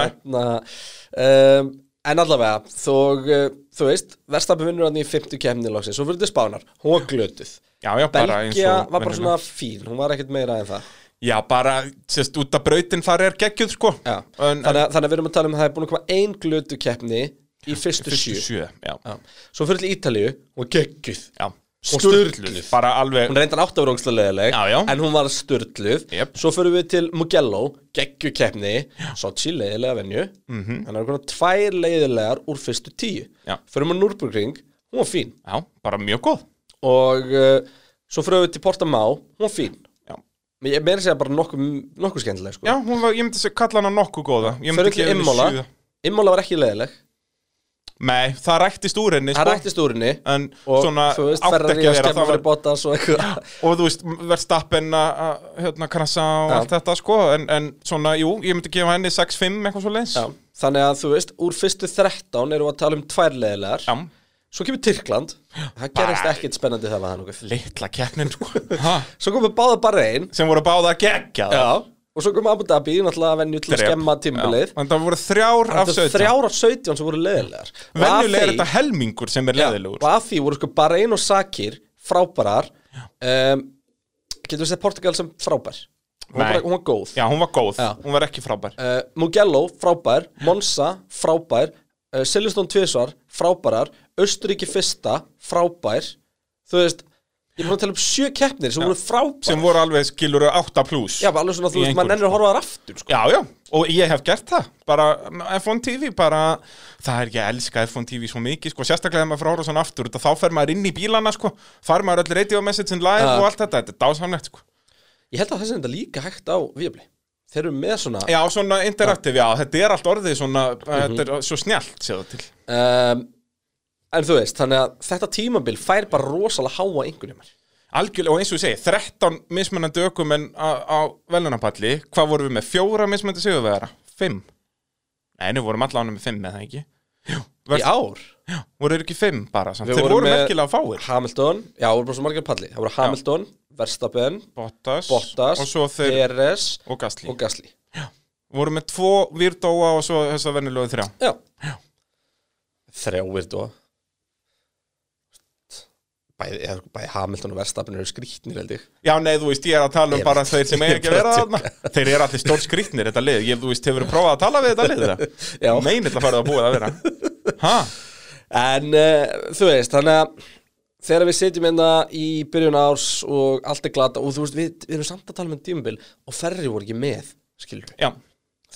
[SPEAKER 1] um, En allavega, þó, uh, þú veist Verstappen vinnur hann í 50 kemni loksins Svo fyrir til Spánar, hún var glötuð
[SPEAKER 5] Já, já, bara eins
[SPEAKER 1] Belgia
[SPEAKER 5] og
[SPEAKER 1] var bara
[SPEAKER 5] venjulega.
[SPEAKER 1] svona fín, hún var ekkert meira en það
[SPEAKER 5] Já, bara, sérst, út af brautin þar er geggjuð sko.
[SPEAKER 1] Já.
[SPEAKER 5] en,
[SPEAKER 1] þannig, að, þannig að við erum að tala um að það er búin að koma ein glötu keppni Í fyrstu,
[SPEAKER 5] Fyrstu
[SPEAKER 1] sjö
[SPEAKER 5] sjö já.
[SPEAKER 1] Já. Svo fyrir til Ítalíu, hún var geggjuð
[SPEAKER 5] Já.
[SPEAKER 1] Hún
[SPEAKER 5] Sturluð,
[SPEAKER 1] sturluð.
[SPEAKER 5] bara alveg
[SPEAKER 1] Hún reyndar átt af rókslega leðileg
[SPEAKER 5] Já, já.
[SPEAKER 1] En hún var störtluð
[SPEAKER 5] Jep.
[SPEAKER 1] Svo förum við til Mugello, geggju keppni Sochi leiðilega venju mm -hmm. Þannig að konar tvær leiðilegar úr fyrstu tíu
[SPEAKER 5] Mhm. Já.
[SPEAKER 1] Förum við Núrburgring, hún var fín
[SPEAKER 5] Já, bara mjög góð
[SPEAKER 1] Og uh, svo förum við til Portamá, hún var fín
[SPEAKER 5] Já.
[SPEAKER 1] Men ég meira að segja bara nokkuð nokku skemmtileg sko.
[SPEAKER 5] Já, hún var, ég myndi að kalla hana nokkuð góða Ég myndi
[SPEAKER 1] Förum
[SPEAKER 5] ekki
[SPEAKER 1] til Immola Immola var ekki leiðileg
[SPEAKER 5] Nei, það rættist úr henni
[SPEAKER 1] Það
[SPEAKER 5] sko.
[SPEAKER 1] rættist úr henni
[SPEAKER 5] En
[SPEAKER 1] Og
[SPEAKER 5] svona
[SPEAKER 1] þú veist,
[SPEAKER 5] átti
[SPEAKER 1] ferrar í
[SPEAKER 5] ekki að
[SPEAKER 1] að
[SPEAKER 5] vera
[SPEAKER 1] skemma
[SPEAKER 5] það
[SPEAKER 1] fyrir
[SPEAKER 5] var,
[SPEAKER 1] Bottas og eitthvað
[SPEAKER 5] Og þú veist, verðstappen að að, hérna, krasa og
[SPEAKER 1] Já.
[SPEAKER 5] allt þetta sko. en, en svona, jú, ég myndi gefa henni 6-5 eitthvað svo leins
[SPEAKER 1] Já. Þannig að þú veist, úr fyrstu 13 erum við að tala um tvær leiðilegar
[SPEAKER 5] Já,
[SPEAKER 1] Svo kemur Tyrkland Það gerist
[SPEAKER 5] Bara-
[SPEAKER 1] ekkert spennandi það var það nokkuð
[SPEAKER 5] litla keppnin sko. Ha,
[SPEAKER 1] Svo komum við báða bara einn
[SPEAKER 5] Sem voru báða að gegja
[SPEAKER 1] Og svo komum Abu Dhabi Náttúrulega að venju til að skemma tímbilið
[SPEAKER 5] En það voru þrjár af
[SPEAKER 1] Þetta er
[SPEAKER 5] 17
[SPEAKER 1] þrjár af 17 sem voru leðilegar
[SPEAKER 5] Venjulega er þetta helmingur sem er leðilegur
[SPEAKER 1] Og að því voru sko bara einn og sakir Frábærar um, Getur við sett Portugal sem frábær Hún var,
[SPEAKER 5] Nei.
[SPEAKER 1] bara, hún var góð
[SPEAKER 5] Já, hún var góð,
[SPEAKER 1] Já.
[SPEAKER 5] hún var ekki frábær
[SPEAKER 1] uh, Mugello, frábær, Monza, frábær uh, Silveston Tvisvar, frábærar Östuríki fyrsta, frábær Þú veist, ég er búin að tala um sjö keppnir sem voru frábær
[SPEAKER 5] Sem voru alveg skilur 8 pluss
[SPEAKER 1] Já, bara alveg svona,
[SPEAKER 5] Í
[SPEAKER 1] þú veist, maður
[SPEAKER 5] einhverju,
[SPEAKER 1] nennir að
[SPEAKER 5] sko.
[SPEAKER 1] horfa þar aftur sko.
[SPEAKER 5] Já, já, og ég hef gert það bara mm, F1 TV, bara það er ég elska F1 TV svo mikið sko, sérstaklega þegar maður frá ára svona aftur, þetta, þá fer maður inn í bílana sko, far maður öll radio messagein live
[SPEAKER 1] Já.
[SPEAKER 5] og allt þetta, þetta er dásamlegt sko.
[SPEAKER 1] Ég held að þessi er þetta líka hægt á Víabli Þeir eru með svona
[SPEAKER 5] Já, svona interaktiv, já, þetta er allt orðið svona, þetta
[SPEAKER 1] Mhm.
[SPEAKER 5] er svo snjallt séð það til.
[SPEAKER 1] um, En þú veist, þannig að þetta tímabil fær bara rosalega háa einhvernjum
[SPEAKER 5] Algjörlega, og eins og ég segi, 13 mismunandi ökumenn á, á velunapalli, hvað vorum við með? Fjóra mismunandi sigurvegara? Fimm? Nei, nú vorum allan með fimm, eða ekki? Jú,
[SPEAKER 1] Í ár
[SPEAKER 5] voru þeir ekki fimm bara, samt?
[SPEAKER 1] Við
[SPEAKER 5] Þeir
[SPEAKER 1] vorum
[SPEAKER 5] voru
[SPEAKER 1] með-
[SPEAKER 5] merkilega fáir.
[SPEAKER 1] Hamilton, já, það voru bara svo margar palli Það voru Hamilton, Verstappen,
[SPEAKER 5] Bottas,
[SPEAKER 1] Bottas,
[SPEAKER 5] og svo þeir
[SPEAKER 1] Perez
[SPEAKER 5] og Gasly
[SPEAKER 1] og Gasly
[SPEAKER 5] voru með tvo Virdóa og svo þess að venjulegu þrjá
[SPEAKER 1] Já, já. Þrjáir dó bæði, eða, bæði Hamilton og Verstappen eru skrýtnir held ég
[SPEAKER 5] Já, nei, þú veist, ég er að tala um
[SPEAKER 1] Ég
[SPEAKER 5] bara
[SPEAKER 1] veit.
[SPEAKER 5] þeir sem eiga ekki að vera
[SPEAKER 1] Ég er bara
[SPEAKER 5] þarna Þeir eru allir stór skrýtnir, þetta lið Ég, þú veist, hefur prófað að tala við þetta lið
[SPEAKER 1] Já.
[SPEAKER 5] það Meinill að fara það búið að vera Ha,
[SPEAKER 1] En uh, þú veist, þannig að þegar við sitjum hérna í byrjun árs og allt er glata og þú veist, við, við erum samt að tala með tímabil og ferri voru ekki með, skilur
[SPEAKER 5] já,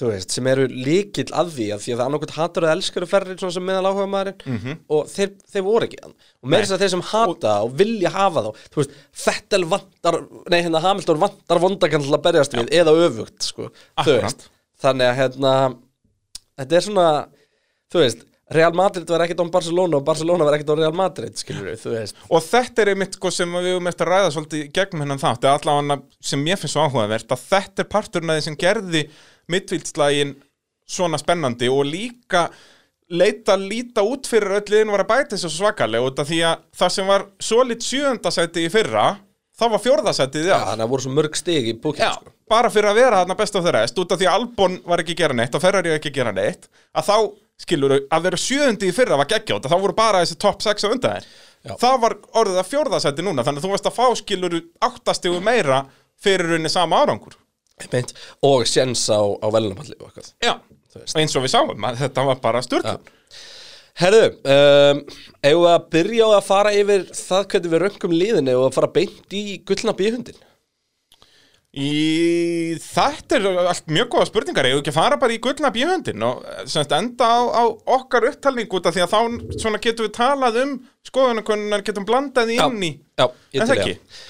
[SPEAKER 1] þú veist, sem eru líkil að því að því að það annarkvæmt hatar eða elskar að ferri svona sem meðal áhuga maðurinn
[SPEAKER 5] Mhm.
[SPEAKER 1] og þeir, þeir voru ekki þann og með þess að þeir sem hata og, vilja hafa þá þú veist, Fettel vantar nei, hérna Hamilton vantar vondakann til að berjast við eða öfugt, sko, þú
[SPEAKER 5] Akkurat.
[SPEAKER 1] veist þannig að hérna þetta er svona, þú veist Real Madrid var ekkert án Barcelona og Barcelona var ekkert án Real Madrid, skilur við, þú veist
[SPEAKER 5] og þetta er einmitt sko, sem við höfum eftir að ræða svolítið í gegnum hennan þátt eða allavega sem mér finnst svo áhugavert að þetta er parturinn að því sem gerði mittvíldslægin svona spennandi og líka leita líta út fyrir öll liðin var að bæta þessu svakalega út af því að það sem var solid sjöundasæti í fyrra þá var fjórðasætið í ár
[SPEAKER 1] þannig að voru svo mörg stig í búkinn,
[SPEAKER 5] Já,
[SPEAKER 1] sko
[SPEAKER 5] bara fyrir að vera þarna best af þeirra rest, út af því að Albon var ekki að gera neitt og Ferrari var ekki að gera neitt að þá, skilur að vera sjöundi í fyrra var geggjótt að þá voru bara þessi topp 6 á undan þér það var orðið að fjórðasæti núna þannig að þú varst að fá skilur áttastigu meira fyrir henni sama árangur
[SPEAKER 1] Beint. og sjens á, á velunapalli og eitthvað
[SPEAKER 5] Já, eins og við sáum að þetta var bara sturglun
[SPEAKER 1] Herðu, um, eigum við að byrja á að fara yfir það hvernig við röngum liðinu og að fara beint í gullna bíhundin?
[SPEAKER 5] Í þetta er allt mjög góða spurningar Ég ekki að fara bara í gullna bíhundin og semst enda á, á okkar upptalning út af því að þá svona getum við talað um skoðunarkunnar, getum blandað inn í
[SPEAKER 1] já, ég
[SPEAKER 5] Er það
[SPEAKER 1] til
[SPEAKER 5] ekki?
[SPEAKER 1] ég.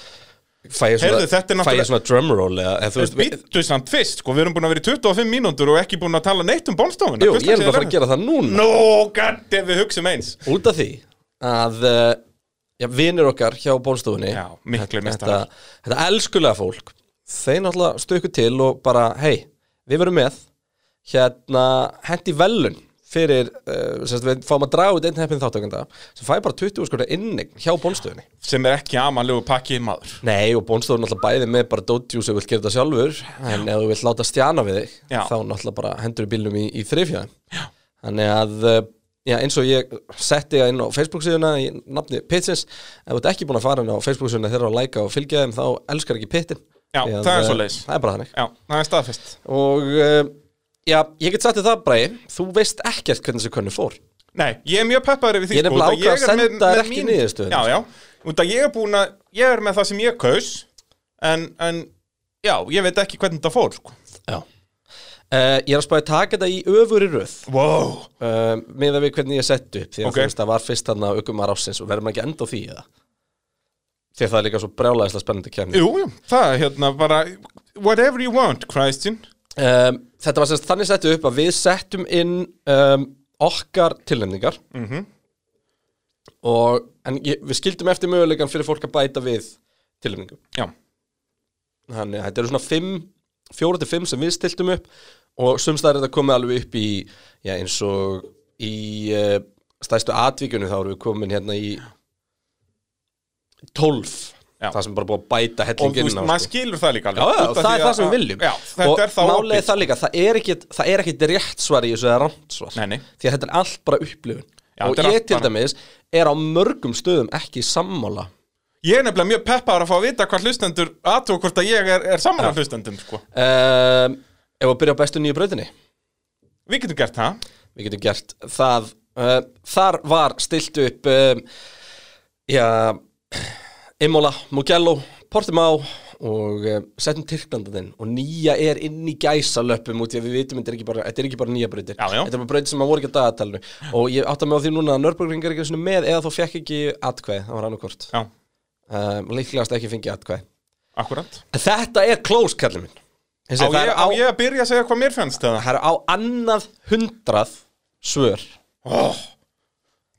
[SPEAKER 1] Fæ ég svona,
[SPEAKER 5] Heyrðu, þetta er
[SPEAKER 1] fæ
[SPEAKER 5] náttúrulega-
[SPEAKER 1] ég svona drumroll eða, eða, þú veist, við-
[SPEAKER 5] Býttu samt fyrst, sko, við erum búin að vera í 25 mínúndur og ekki búin að tala neitt um bónstofuna
[SPEAKER 1] Jú, ég er bara að fara að gera það núna
[SPEAKER 5] Nó, gæti, hérna. við hugsum eins
[SPEAKER 1] Út af því að uh, já, vinir okkar hjá bólstofunni
[SPEAKER 5] Já, miklu
[SPEAKER 1] þetta,
[SPEAKER 5] mestarar.
[SPEAKER 1] þetta elskulega fólk Þeir náttúrulega stöku til og bara Hei, við verum með Hérna, hendi velun fyrir, uh, sem sagt, við fáum að draga út einn heppin þáttökenda sem fæ bara 20 skurða innig hjá bólstofunni
[SPEAKER 5] Sem er ekki amanlegu pakki maður
[SPEAKER 1] Nei, og bónstofur náttúrulega bæði með bara dótjú sem vil gera þetta sjálfur en ef þú vilt láta stjana við þig
[SPEAKER 5] Já.
[SPEAKER 1] þá náttúrulega bara hendur við bílnum í, í þrifjæðin Þannig að, eh, já, eins og ég setti það inn á Facebook síðuna í nafni Pitsins ef þú ert ekki búin að fara inn á Facebook síðuna þeirra að læka og fylgja þeim þá elskar ekki Pittin
[SPEAKER 5] Já,
[SPEAKER 1] Því
[SPEAKER 5] það er
[SPEAKER 1] eh,
[SPEAKER 5] svoleiðis.
[SPEAKER 1] Það er bara þannig
[SPEAKER 5] Já, það er staðfest
[SPEAKER 1] Og, eh, já, ég get sagt þér það bara þú veist ekkert hvernig þessi könnu fór
[SPEAKER 5] Nei, ég er mjög peppaður yfir því
[SPEAKER 1] Ég er
[SPEAKER 5] sko,
[SPEAKER 1] nefnilega
[SPEAKER 5] út
[SPEAKER 1] ákvað að
[SPEAKER 5] er með-
[SPEAKER 1] senda
[SPEAKER 5] með
[SPEAKER 1] ekki
[SPEAKER 5] mín-
[SPEAKER 1] niðurstöðuna, sko.
[SPEAKER 5] Já, já, út að ég er búin að Ég er með það sem ég kaus En, en já, ég veit ekki hvernig það fór sko.
[SPEAKER 1] Já Eh, Ég er að spáði taka þetta í öfuri röð
[SPEAKER 5] Wow
[SPEAKER 1] uh, miða við hvernig ég sett upp því að
[SPEAKER 5] Ok.
[SPEAKER 1] þú veist það var fyrst hann að aukumar ásins og verður maður ekki enda á því eða því að það er líka svo brjálæðislega spennandi kemni
[SPEAKER 5] Jú, jú, það er hérna bara Whatever you want, Christian
[SPEAKER 1] um, þetta var semst þannig sett upp að við settum inn um, okkar tilnefningar
[SPEAKER 5] Mhm.
[SPEAKER 1] -hmm. og en ég, við skildum eftir möguleikan fyrir fólk að bæta við tilnefningum
[SPEAKER 5] Já,
[SPEAKER 1] þannig að þetta eru svona fimm, fjóra til fimm sem við stiltum upp og sumstæðar þetta komið alveg upp í já, eins og í uh, stæstu atvíkunum þá erum við komin hérna í tólf
[SPEAKER 5] Já.
[SPEAKER 1] það sem bara búið að bæta
[SPEAKER 5] og þú
[SPEAKER 1] hellingin
[SPEAKER 5] veist, maður skilur það líka
[SPEAKER 1] sko. Já, já,
[SPEAKER 5] alveg út
[SPEAKER 1] það
[SPEAKER 5] af því
[SPEAKER 1] er
[SPEAKER 5] að-
[SPEAKER 1] það sem við viljum
[SPEAKER 5] Já, þetta
[SPEAKER 1] og
[SPEAKER 5] er það
[SPEAKER 1] málið er
[SPEAKER 5] opið
[SPEAKER 1] það líka, það er ekkit, það er ekkit rétt svar í þessu eða rámt svar
[SPEAKER 5] Nei, nei.
[SPEAKER 1] því að þetta er allt bara upplifun
[SPEAKER 5] Já,
[SPEAKER 1] og
[SPEAKER 5] þetta er
[SPEAKER 1] ég
[SPEAKER 5] allt
[SPEAKER 1] til
[SPEAKER 5] bara-
[SPEAKER 1] dæmis er á mörgum stöðum ekki sammála
[SPEAKER 5] Ég er nefnilega mjög peppaður að fá að vita hvað hlustendur aðtúr hvort að ég er, er saman að hlustendum sko.
[SPEAKER 1] um, ef að byrja á bestu nýju brautinni
[SPEAKER 5] Við getum gert það
[SPEAKER 1] við getum gert það uh, þar var stilt upp um, já Imola, Mugello, Portimao og um, setjum Tyrklandin og nýja er inn í gæsalöpum út í að við vitum þetta er ekki bara, þetta er ekki bara nýja brautir
[SPEAKER 5] Já, já.
[SPEAKER 1] þetta er bara brautir sem að voru ekki á dagatalinu og ég átta mig á því núna að Nörbjörgring er ekki einu sinni með eða þá fekk ekki atkvæði, það var annarkort
[SPEAKER 5] Já,
[SPEAKER 1] um, líklegast ekki fengið atkvæði
[SPEAKER 5] akkurat
[SPEAKER 1] En Þetta er close, kallið minn Þessi,
[SPEAKER 5] Á
[SPEAKER 1] það
[SPEAKER 5] ég,
[SPEAKER 1] er
[SPEAKER 5] á ég að byrja að segja hvað mér fannst það?
[SPEAKER 1] það er á annað hundrað svör
[SPEAKER 5] Oh,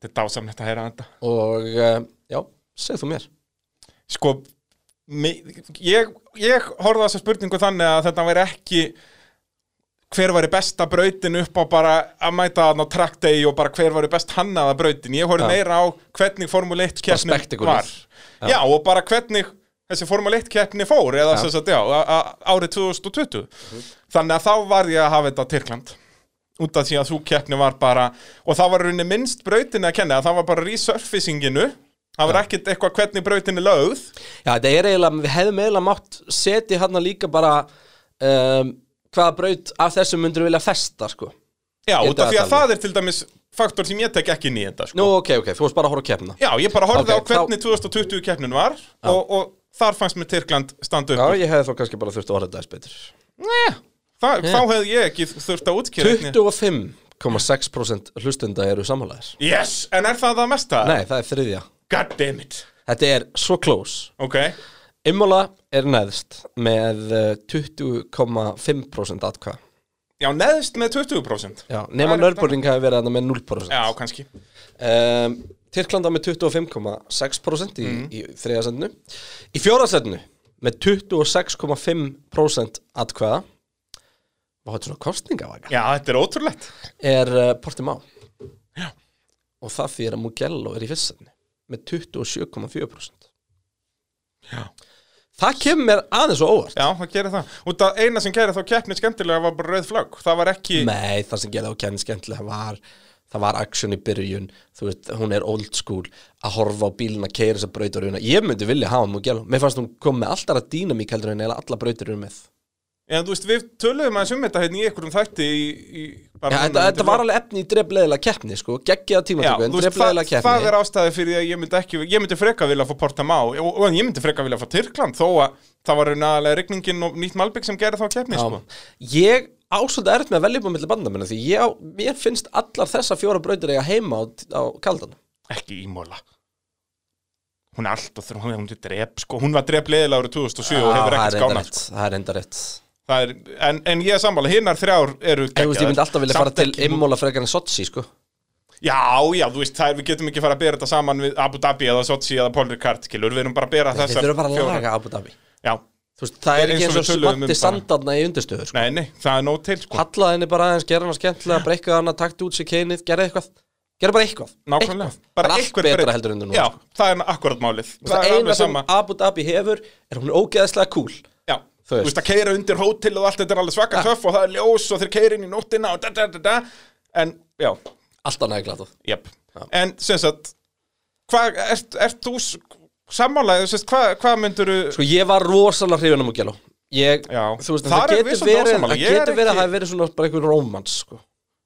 [SPEAKER 5] þetta er dásamnett að heyra þetta
[SPEAKER 1] og uh, já, segð þú mér
[SPEAKER 5] Sko, mi, ég, ég horfði á þessa spurningu þannig að þetta væri ekki hver væri besta brautin upp á bara að mæta þarna á track day og bara hver væri best hannaða brautin ég horfði
[SPEAKER 1] Já.
[SPEAKER 5] meira á hvernig Formule 1 keppnin
[SPEAKER 1] spektakulið.
[SPEAKER 5] var já. og bara hvernig þessi Formule 1 keppni fór eða sem sagt, já, a- a- árið 2020 þannig að þá var ég að hafa þetta á Tyrkland út af því að þú keppni var bara og það var í rauninni minnst brautin að kenna það var bara resurfacinginu það var ekkert eitthvað hvernig brautin er lögð
[SPEAKER 1] Já, þetta er eiginlega, við hefðum eiginlega mátt setja hann líka bara um, hvaða braut af þessum myndur vilja festa, sko
[SPEAKER 5] Já,
[SPEAKER 1] Í
[SPEAKER 5] út af því að
[SPEAKER 1] dagatalinu.
[SPEAKER 5] það er til dæmis faktor sem ég tek ekki inn í þetta sko.
[SPEAKER 1] Nú, ok, ok, þú varst bara að horfa að kemna
[SPEAKER 5] Já, ég bara horfði
[SPEAKER 1] Ok,
[SPEAKER 5] á hvernig 2020 keppnin var og, og þar fannst mér Tyrkland standa upp úr.
[SPEAKER 1] ég hefði þá kannski bara þurft að orða þetta betur
[SPEAKER 5] Þa, Þá hefði ég ekki þurft að útkýra
[SPEAKER 1] 25,6% hlustenda eru sammálaðir
[SPEAKER 5] Yes, en er það það mesta?
[SPEAKER 1] Nei, það er þriðja
[SPEAKER 5] God damn it
[SPEAKER 1] Þetta er svo close
[SPEAKER 5] Ok,
[SPEAKER 1] Immola er neðst með eh, 20,5% atkvað
[SPEAKER 5] já, neðst með 20%
[SPEAKER 1] Já, nema
[SPEAKER 5] Það er-
[SPEAKER 1] Nörbúring hafi verið hann með 0%
[SPEAKER 5] Já, kannski
[SPEAKER 1] um, Tyrkland var með 25,6% í, í þriðasendinu Í fjórasendinu með 26,5% atkvæða og þetta er svona kostningavaka
[SPEAKER 5] Já, þetta er ótrúlegt
[SPEAKER 1] er uh, Portimá Já. og það því er að Mugello er í fyrstsendinu með 27,4%
[SPEAKER 5] Já.
[SPEAKER 1] Það kemur mér aðeins og óvart
[SPEAKER 5] Já, það gerir það Út af eina sem gerir þá keppnin skemmtilega var bara rauð flagg Það var ekki
[SPEAKER 1] Nei, það sem gerði á kenni skemmtilega var það var action í byrjun þú veist, hún er old school að horfa á bílina, keira þess að brautaruna ég myndi vilja hafa Mugello, mér fannst hún kom með alltaf að dýna mig heldur en eða alla brautaruna með
[SPEAKER 5] En þú veist, við töluðum aðeins um þetta hérna í einhverjum þætti í, í bara
[SPEAKER 1] Já,
[SPEAKER 5] núna
[SPEAKER 1] þetta,
[SPEAKER 5] undir
[SPEAKER 1] þetta
[SPEAKER 5] lok.
[SPEAKER 1] var alveg efni í drefleðilega keppni sko, geggiða
[SPEAKER 5] Já,
[SPEAKER 1] tímatöku en
[SPEAKER 5] þú veist, það,
[SPEAKER 1] drefleðilega keppni
[SPEAKER 5] það er ástæði fyrir því að ég myndi ekki ég myndi freka vilja að fá Portamá og, og ég myndi freka vilja að fá Tyrkland þó að það var raunalega rigningin og nýtt Malbygg sem gerði þá keppni sko.
[SPEAKER 1] ég ásvölda erut með að velja upp á milli bandamennu því ég, á- mér finnst allar þessa fjóra brautur eiga heima á, á kaldan
[SPEAKER 5] ekki í móla hún er allt og þrjum, hún er hún er drep sko, hún var drep leiðilega árið 2007 og hefur
[SPEAKER 1] það
[SPEAKER 5] ekkert
[SPEAKER 1] er enda
[SPEAKER 5] skánað
[SPEAKER 1] rétt, það er enda rétt
[SPEAKER 5] Það er, en, en ég er sammála, hinnar þrjár eru
[SPEAKER 1] Ég, veist, ég myndi
[SPEAKER 5] geggjaðar.
[SPEAKER 1] alltaf vilja
[SPEAKER 5] Samt
[SPEAKER 1] fara til
[SPEAKER 5] ekki-
[SPEAKER 1] Immola frekar en Sochi sko.
[SPEAKER 5] Já, já, þú veist, það er, við getum ekki fara að bera þetta saman við Abu Dhabi eða Sochi eða Paul Ricard, skilur, við erum bara að bera
[SPEAKER 1] Þeir
[SPEAKER 5] þessar
[SPEAKER 1] þurfa bara að
[SPEAKER 5] fjórar.
[SPEAKER 1] laga Abu Dhabi
[SPEAKER 5] Já,
[SPEAKER 1] Þú veist, Það er
[SPEAKER 5] Eins
[SPEAKER 1] ekki
[SPEAKER 5] og
[SPEAKER 1] eins og
[SPEAKER 5] við töluðum um
[SPEAKER 1] smatti
[SPEAKER 5] bara.
[SPEAKER 1] sandarna í undirstöður sko.
[SPEAKER 5] nei, nei, það er nóg til, sko
[SPEAKER 1] Hallaði henni bara aðeins, gera hana skemmtilega Breikkaði hana, takti út sér keinið, gera eitthvað Gera bara eitthvað
[SPEAKER 5] Nákvæmlega,
[SPEAKER 1] Eitthvað.
[SPEAKER 5] bara
[SPEAKER 1] Það er allt
[SPEAKER 5] einhver
[SPEAKER 1] betra
[SPEAKER 5] breyting.
[SPEAKER 1] heldur en þú nú
[SPEAKER 5] Já,
[SPEAKER 1] sko.
[SPEAKER 5] það er akkurat málið
[SPEAKER 1] Það
[SPEAKER 5] er
[SPEAKER 1] eina
[SPEAKER 5] alveg
[SPEAKER 1] sem
[SPEAKER 5] sama
[SPEAKER 1] Abu Dhabi hefur er hún er ógeðslega cool
[SPEAKER 5] Já,
[SPEAKER 1] Þú
[SPEAKER 5] þú
[SPEAKER 1] veist.
[SPEAKER 5] veist að keira undir hótel og allt þetta er alveg svaka töff og það er ljós og þeir keira inn í nóttina og da da da da En, já,
[SPEAKER 1] Allt annað er glatað
[SPEAKER 5] jöp En, sem sagt, hvað, ert, ert þú s- sammála, sem sagt, hvað, hvað mynduru
[SPEAKER 1] Sko ég var rosalega hrifin um Mugello Ég,
[SPEAKER 5] Já.
[SPEAKER 1] þú veist, en það
[SPEAKER 5] Þar erum við
[SPEAKER 1] getur
[SPEAKER 5] svolítið
[SPEAKER 1] verið
[SPEAKER 5] ósammála.
[SPEAKER 1] Það
[SPEAKER 5] Ég er
[SPEAKER 1] getur verið að
[SPEAKER 5] ekki-
[SPEAKER 1] það hefur verið svona bara einhver rómans sko.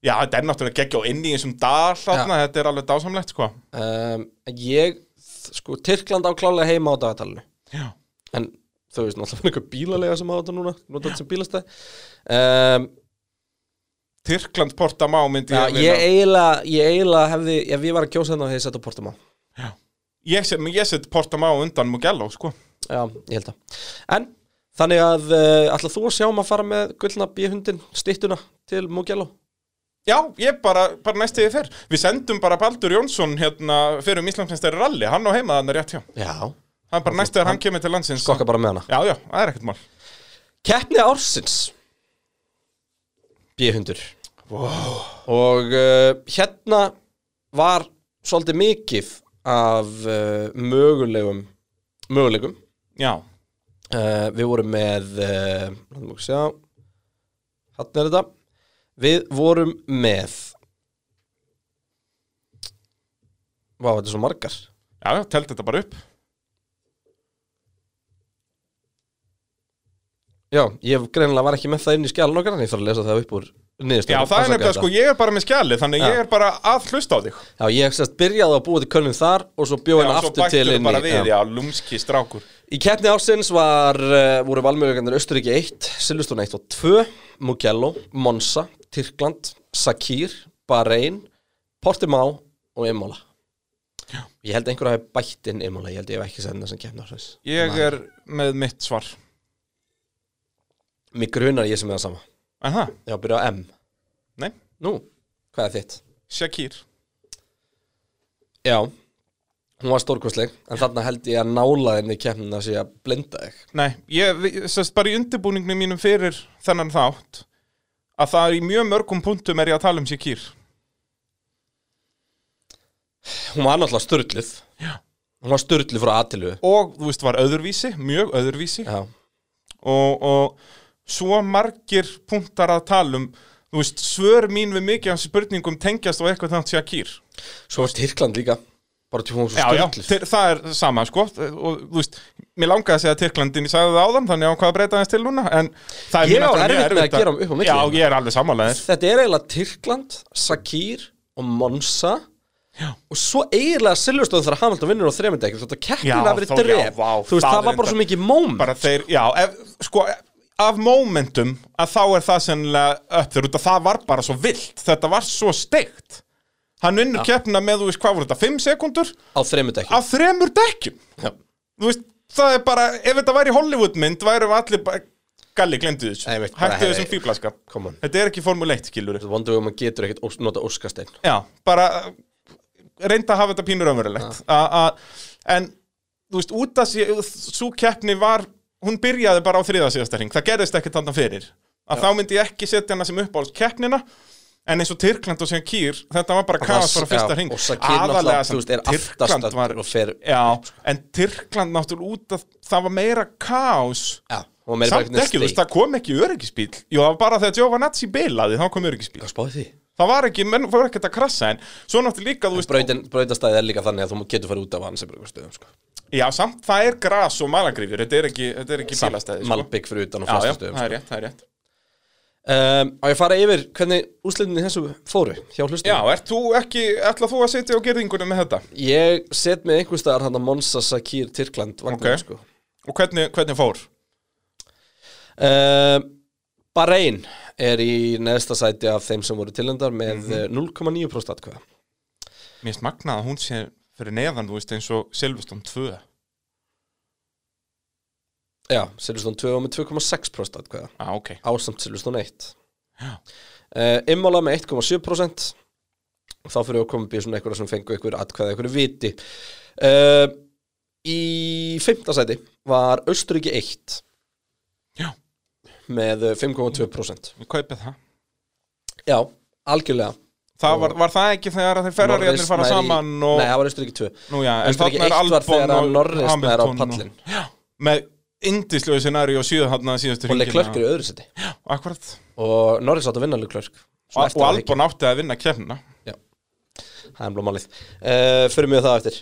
[SPEAKER 5] Já, þetta er náttúrulega geggja og inn í þessum dal þarna, þetta er alveg dásamlegt, sko
[SPEAKER 1] um, en Ég, þ- sko, Tyrkland á klálega heima á dagatalinu
[SPEAKER 5] Já.
[SPEAKER 1] En þú veist, náttúrulega einhver bílalega sem á þetta núna Nú þetta sem bílastæð um,
[SPEAKER 5] Tyrkland Portamá myndi
[SPEAKER 1] já,
[SPEAKER 5] ég
[SPEAKER 1] Ég
[SPEAKER 5] vinna.
[SPEAKER 1] eiginlega, ég eiginlega hefði Ef ég var að kjósa hérna hefði ég sett á Portamá
[SPEAKER 5] Ég, set- ég set Portamá undan Mugello, sko
[SPEAKER 1] Já, ég held að En, þannig að uh, Ætla þú að sjá um að fara með gullna bíhundin Stittuna til Mugello
[SPEAKER 5] Já, ég bara, bara næstu því fyrr Við sendum bara Baldur Jónsson hérna fyrir um Íslandsmeistari rally, hann á heima þannig rétt hjá
[SPEAKER 1] Já,
[SPEAKER 5] Hann bara næstu þegar hann kemur til landsins
[SPEAKER 1] skokka bara með hana
[SPEAKER 5] Já, já, það er ekkert mál
[SPEAKER 1] Keppni ársins B-hundur Og uh, hérna var svolítið mikið af uh, mögulegum mögulegum
[SPEAKER 5] Já,
[SPEAKER 1] uh, Við vorum með uh, hann sjá Hann er þetta Við vorum með Vá, þetta er svo margar
[SPEAKER 5] já, já, telt þetta bara upp
[SPEAKER 1] Já, ég greinilega var ekki með það inn í skjálun okkar en ég þarf að lesa það upp úr niðurstöðum
[SPEAKER 5] Já, það er nefnilega, sko, ég er bara með skjalið Þannig
[SPEAKER 1] Já.
[SPEAKER 5] ég er bara að hlusta á þig
[SPEAKER 1] Já, ég sérst byrjaði að búa til könnum þar og svo bjóði
[SPEAKER 5] Já,
[SPEAKER 1] henni
[SPEAKER 5] svo
[SPEAKER 1] aftur til
[SPEAKER 5] bættur
[SPEAKER 1] inn
[SPEAKER 5] bara
[SPEAKER 1] í
[SPEAKER 5] við, já, lúmski strákur
[SPEAKER 1] Í keppni ársins var, uh, voru valmögulegandir Östuríki 1, Silveston 1 og 2, Mugello, Monza, Tyrkland, Sakir, Bahrein, Portimao og Imola. Ég held einhver að hafa bætt inn Imola, ég held ég hef ekki sendið þessum keppni ársins.
[SPEAKER 5] Ég eh, er með mitt svar
[SPEAKER 1] Mig grunar ég sem er það sama.
[SPEAKER 5] En það,
[SPEAKER 1] Já, byrja á M.
[SPEAKER 5] nei,
[SPEAKER 1] Nú, hvað er þitt?
[SPEAKER 5] Shakir
[SPEAKER 1] Já, hún var stórkostleg, en þarna held ég að nálaðinni keppnin að sé að blinda þig.
[SPEAKER 5] Nei, ég, við- sest, bara í undirbúningnum mínum fyrir þennan þátt að það er í mjög mörgum punktum er ég að tala um Shakir
[SPEAKER 1] Hún var náttúrulega störluð.
[SPEAKER 5] Já.
[SPEAKER 1] Hún var störluð frá aðtilu.
[SPEAKER 5] og þú veist var öðurvísi, mjög öðurvísi
[SPEAKER 1] Já.
[SPEAKER 5] og, og svo margir punktar að tala um þú veist, svör mín við mikið af spurningum tengjast og eitthvað þannig Shakir
[SPEAKER 1] Svo var Tyrkland líka Bara til hún var svo
[SPEAKER 5] Já, já,
[SPEAKER 1] styrklist
[SPEAKER 5] þeir, það er sama sko og þú veist, mér langaði að segja Tyrklandin ég sagði það áðan, þannig á hvað að breyta aðeins til núna en það er
[SPEAKER 1] Ég
[SPEAKER 5] mér
[SPEAKER 1] á
[SPEAKER 5] náttúrulega
[SPEAKER 1] erfitt með
[SPEAKER 5] mjög
[SPEAKER 1] að gera
[SPEAKER 5] að-
[SPEAKER 1] um upp á milli
[SPEAKER 5] Já,
[SPEAKER 1] hérna.
[SPEAKER 5] ég er alveg samanlegaðir
[SPEAKER 1] Þetta er eiginlega Tyrkland, Sakir og Monza já. og svo eiginlega Silvestóð þar að Hamilton vinnur á þremindekjum þetta
[SPEAKER 5] Já,
[SPEAKER 1] keppin að verið
[SPEAKER 5] þá- já,
[SPEAKER 1] dref
[SPEAKER 5] vá,
[SPEAKER 1] þú veist,
[SPEAKER 5] það
[SPEAKER 1] það
[SPEAKER 5] er
[SPEAKER 1] var bara
[SPEAKER 5] enda-
[SPEAKER 1] svo mikið moment
[SPEAKER 5] bara þeir, já, ef, sko af momentum að þá er það sennilega upp þeir út að það var bara svo vilt þetta var svo steikt hann vinnur keppna með, þú veist, hvað voru þetta, 5 sekundur
[SPEAKER 1] á þremindekjum
[SPEAKER 5] af þremur dekkjum
[SPEAKER 1] Já.
[SPEAKER 5] þú veist, það er bara, ef þetta væri Hollywoodmynd værum allir bara, galli, glemdu þessu
[SPEAKER 1] Nei, ég veit, bara
[SPEAKER 5] hættu
[SPEAKER 1] hefði-
[SPEAKER 5] þessum fýblaskap
[SPEAKER 1] Come on.
[SPEAKER 5] þetta er ekki formuleitt, skilur
[SPEAKER 1] Wonder Woman um getur ekkert ós- nota Óskastein
[SPEAKER 5] já, bara uh, reynda að hafa þetta pínur ömurulegt en, þú veist, út að svo keppni var, hún byrjaði bara á þriða síðasta hring, það gerðist ekkert þannig fyrir að þá myndi ég ekki setja hana sem uppáhalds keppnina en eins og Tyrkland og sem Kýr, þetta var bara kaos bara fyrsta hring
[SPEAKER 1] og Sakir náttúrulega, þú veist, er aftast
[SPEAKER 5] var
[SPEAKER 1] og fer
[SPEAKER 5] Já, en Tyrkland náttúrulega út að það var meira kaos
[SPEAKER 1] Já, og meira bara
[SPEAKER 5] Samt
[SPEAKER 1] einhvern
[SPEAKER 5] ekki, þú
[SPEAKER 1] veginn
[SPEAKER 5] veist,
[SPEAKER 1] steik
[SPEAKER 5] það kom ekki öryggisbíl Jú, það var bara þegar Giovanazzi bilaði, þá kom öryggisbíl
[SPEAKER 1] Það spáði því
[SPEAKER 5] Það var ekki, menn fór ekkert að krassa En svo náttúrulega líka, þú veist
[SPEAKER 1] Brautin- Brautastæðið er líka þannig að þú getur farið út af hann sem bara stöðum sko.
[SPEAKER 5] Já, samt það er gras og malagrifjur Þetta er ekki, þetta er ekki bílastæði sko.
[SPEAKER 1] Malbygg fyrir utan og
[SPEAKER 5] Já, já,
[SPEAKER 1] flestu stöðum
[SPEAKER 5] það er rétt, það er rétt
[SPEAKER 1] Um, á ég að fara yfir hvernig úslitinni þessu fóru hjá hlustum?
[SPEAKER 5] Já, ert þú ekki, ætla þú að setja á gerðingunum með þetta?
[SPEAKER 1] Ég set með einhvers staðar hann að Monsa, Sakir, Tyrkland, Vagnar,
[SPEAKER 5] Ok.
[SPEAKER 1] sko.
[SPEAKER 5] Og hvernig, hvernig fór?
[SPEAKER 1] Um, Bahrein er í neðsta sæti eh, af þeim sem voru tilendar með mm 0,9% atkvæða.
[SPEAKER 5] Mér finnst magnað að hún sé fyrir neðan, þú veist, eins og Silveston 2
[SPEAKER 1] Já, Silveston 2 var með 2,6% atkvæða
[SPEAKER 5] ah, ok,
[SPEAKER 1] ásamt Silveston 1 uh, Immola með 1,7% og þá fyrir við að koma upp í svona einhverja sem fengu einhver atkvæða, einhverju viti uh, Í fimmta sæti var Östuríki 1
[SPEAKER 5] Já.
[SPEAKER 1] með eh, 5,2%
[SPEAKER 5] við kaupið það
[SPEAKER 1] Já, algjörlega
[SPEAKER 5] Það var, var það ekki þegar að þeir ferrariðanir fara
[SPEAKER 1] Norris nær í-
[SPEAKER 5] saman og,
[SPEAKER 1] Nei, það var Östuríki 2
[SPEAKER 5] nú já, en
[SPEAKER 1] Östuríki
[SPEAKER 5] þarna
[SPEAKER 1] 1
[SPEAKER 5] er
[SPEAKER 1] var þegar
[SPEAKER 5] Albon
[SPEAKER 1] að
[SPEAKER 5] og
[SPEAKER 1] Norris nær á
[SPEAKER 5] Hamilton og-
[SPEAKER 1] pallin
[SPEAKER 5] Já, með indislegu scenari og síðan hann að síðustu
[SPEAKER 1] og Leclerc er í öðru sæti
[SPEAKER 5] Akkurat,
[SPEAKER 1] og Norris átt að vinna Leclerc Svona
[SPEAKER 5] og,
[SPEAKER 1] eftir
[SPEAKER 5] og
[SPEAKER 1] á að hyggja.
[SPEAKER 5] Albon átti að vinna kemna
[SPEAKER 1] Það er blómálið. Uh, fyrir mjög það eftir.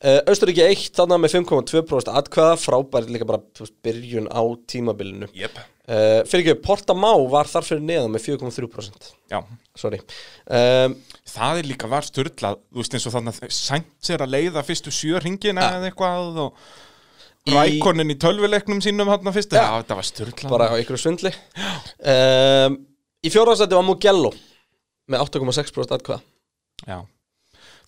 [SPEAKER 1] Uh, Östuríki 1, þannig með 5,2% atkvæða, frábæri líka bara þú veist, byrjun á tímabilinu.
[SPEAKER 5] Jep,
[SPEAKER 1] Uh, fyrir ekki, Portamá var þar fyrir neðan með 4,3%.
[SPEAKER 5] já
[SPEAKER 1] Sorry. Um,
[SPEAKER 5] Það er líka var styrlað, þú veist eins og þannig að sænt sér að leiða fyrstu sjö ringina
[SPEAKER 1] Ja.
[SPEAKER 5] eða eitthvað og
[SPEAKER 1] Í-
[SPEAKER 5] rækonin í tölvuleiknum sínum hann að fyrstu, já, þetta var styrlað
[SPEAKER 1] bara á ykkur svindli. Um, í fjórðarsæti var Mugello með 8,6% atkvæða.
[SPEAKER 5] Já.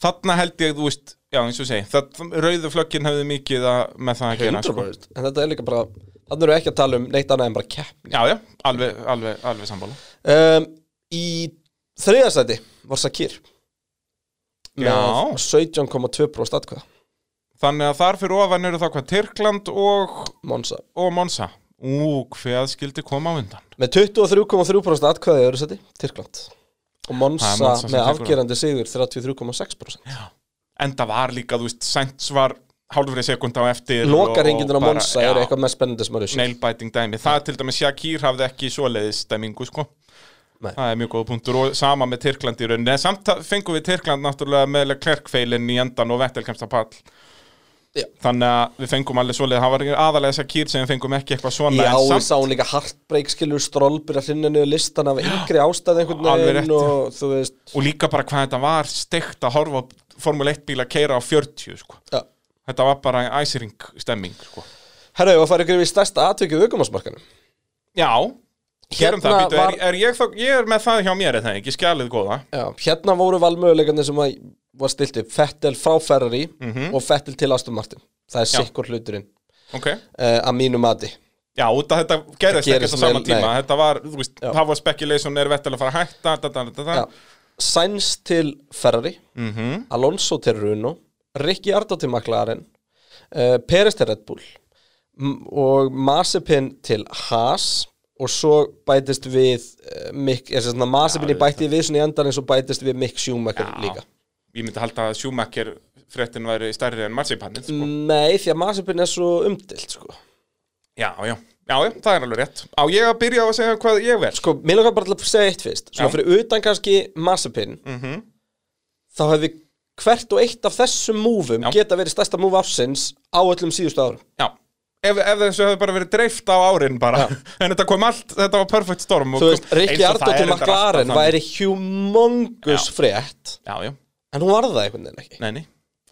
[SPEAKER 5] Þarna held ég, þú veist, já eins og ég segi, það, rauðu flöggin hefði mikið að, með það að gera sko.
[SPEAKER 1] 100%. En þetta er líka bara, þannig eru ekki að tala um neitt annað en bara kepp.
[SPEAKER 5] Já, já, alveg, alveg, alveg sammála
[SPEAKER 1] um, Í þriðasæti var Sakir
[SPEAKER 5] Já.
[SPEAKER 1] með 17,2% atkvæða
[SPEAKER 5] Þannig að þar fyrir ofan eru þá hvað Tyrkland og,
[SPEAKER 1] Monsa
[SPEAKER 5] og Monsa Ú, hvað skildi koma á undan
[SPEAKER 1] með 23,3% atkvæða í öðru sæti Tyrkland og Monsa,
[SPEAKER 5] Það er Monza sem
[SPEAKER 1] með
[SPEAKER 5] tekur það.
[SPEAKER 1] afgerandi sigur 33,6%
[SPEAKER 5] Enda var líka, þú veist, Sainz var hálfri sekund á eftir
[SPEAKER 1] Lokaringindin á
[SPEAKER 5] og bara-
[SPEAKER 1] Monsa
[SPEAKER 5] já.
[SPEAKER 1] eru eitthvað með spennandi sem að þessu
[SPEAKER 5] nailbiting dæmi það er til dæmis Shakir hafði ekki svoleiðis stemmingu sko
[SPEAKER 1] Nei.
[SPEAKER 5] það er mjög góð punktur og sama með Tyrkland í rauninni en samt ta- fengum við Tyrkland náttúrulega með klerkfeilin í endan og Vettel kemst að pall
[SPEAKER 1] Já.
[SPEAKER 5] þannig að við fengum alveg svoleiðis það var aðalega Shakir sem við fengum ekki eitthvað svona
[SPEAKER 1] Já,
[SPEAKER 5] en
[SPEAKER 1] við
[SPEAKER 5] samt
[SPEAKER 1] sáum líka heartbreak skilur strólbyrja hrinna niður listan af yngri ástæð einhvern
[SPEAKER 5] Alveg rétt,
[SPEAKER 1] veginn
[SPEAKER 5] já.
[SPEAKER 1] og þú veist
[SPEAKER 5] og líka bara hvað þetta var steikt að horfa á Formule 1 bíla keira á 40 sko.
[SPEAKER 1] ja.
[SPEAKER 5] þetta var bara æsiring stemming sko.
[SPEAKER 1] Herra, ég var að fara ykkur við stærsta atvikið aukumarsmarkanum
[SPEAKER 5] já
[SPEAKER 1] Hérna
[SPEAKER 5] Hérna það, býtu,
[SPEAKER 1] var-
[SPEAKER 5] er, er ég, þá, ég er með það hjá mér er það ekki, skjalið góða
[SPEAKER 1] Já, hérna voru valmöguleikarnir sem að var stilt upp Fettel frá Ferrari og Fettel til Aston Martin það er
[SPEAKER 5] Já.
[SPEAKER 1] sikkur hluturinn
[SPEAKER 5] okay.
[SPEAKER 1] uh, að mínu mati
[SPEAKER 5] Já, út að þetta gerðist
[SPEAKER 1] gerist
[SPEAKER 5] ekki á sama
[SPEAKER 1] vel,
[SPEAKER 5] tíma
[SPEAKER 1] nei.
[SPEAKER 5] Þetta var, þú veist,
[SPEAKER 1] Já.
[SPEAKER 5] það var speculation er vettilega að fara að hætta da, da, da, da.
[SPEAKER 1] Já. Sainz til Ferrari Alonso til Runo Rikki Arda til McLaren uh, Peres til Red Bull m- og Mazepin til Haas og svo bætist við uh, Mick, eða svona Mazepin í bætti við svona í endan eins og bætist við Mick Schumacher líka
[SPEAKER 5] Ég myndi halda að Schumacher fréttin væri stærri en Marzipanið
[SPEAKER 1] Mm.
[SPEAKER 5] sko.
[SPEAKER 1] Nei, því að Mazepin er svo umdilt sko
[SPEAKER 5] já, já, já, já, það er alveg rétt Á ég að byrja á að segja hvað ég verð
[SPEAKER 1] Sko, mér langar bara til að segja eitt fyrst Svona
[SPEAKER 5] Já. Mhm.
[SPEAKER 1] fyrir utan kannski Mazepin Þá hefði hvert og eitt af þessum múfum
[SPEAKER 5] Já.
[SPEAKER 1] Geta verið stærsta múf ársins Á öllum síðustu árum
[SPEAKER 5] Já, ef, ef þessu hefði bara verið dreift á árin bara
[SPEAKER 1] Já.
[SPEAKER 5] En þetta kom allt, þetta var perfect storm og
[SPEAKER 1] Þú veist,
[SPEAKER 5] kom-
[SPEAKER 1] Rikki
[SPEAKER 5] Eins og
[SPEAKER 1] Ardo
[SPEAKER 5] það er
[SPEAKER 1] til
[SPEAKER 5] reyndar
[SPEAKER 1] McLaren
[SPEAKER 5] alltaf þannig.
[SPEAKER 1] væri humongous
[SPEAKER 5] Já.
[SPEAKER 1] frétt
[SPEAKER 5] Já, já,
[SPEAKER 1] En hún varð það einhvern veginn ekki
[SPEAKER 5] nei, nei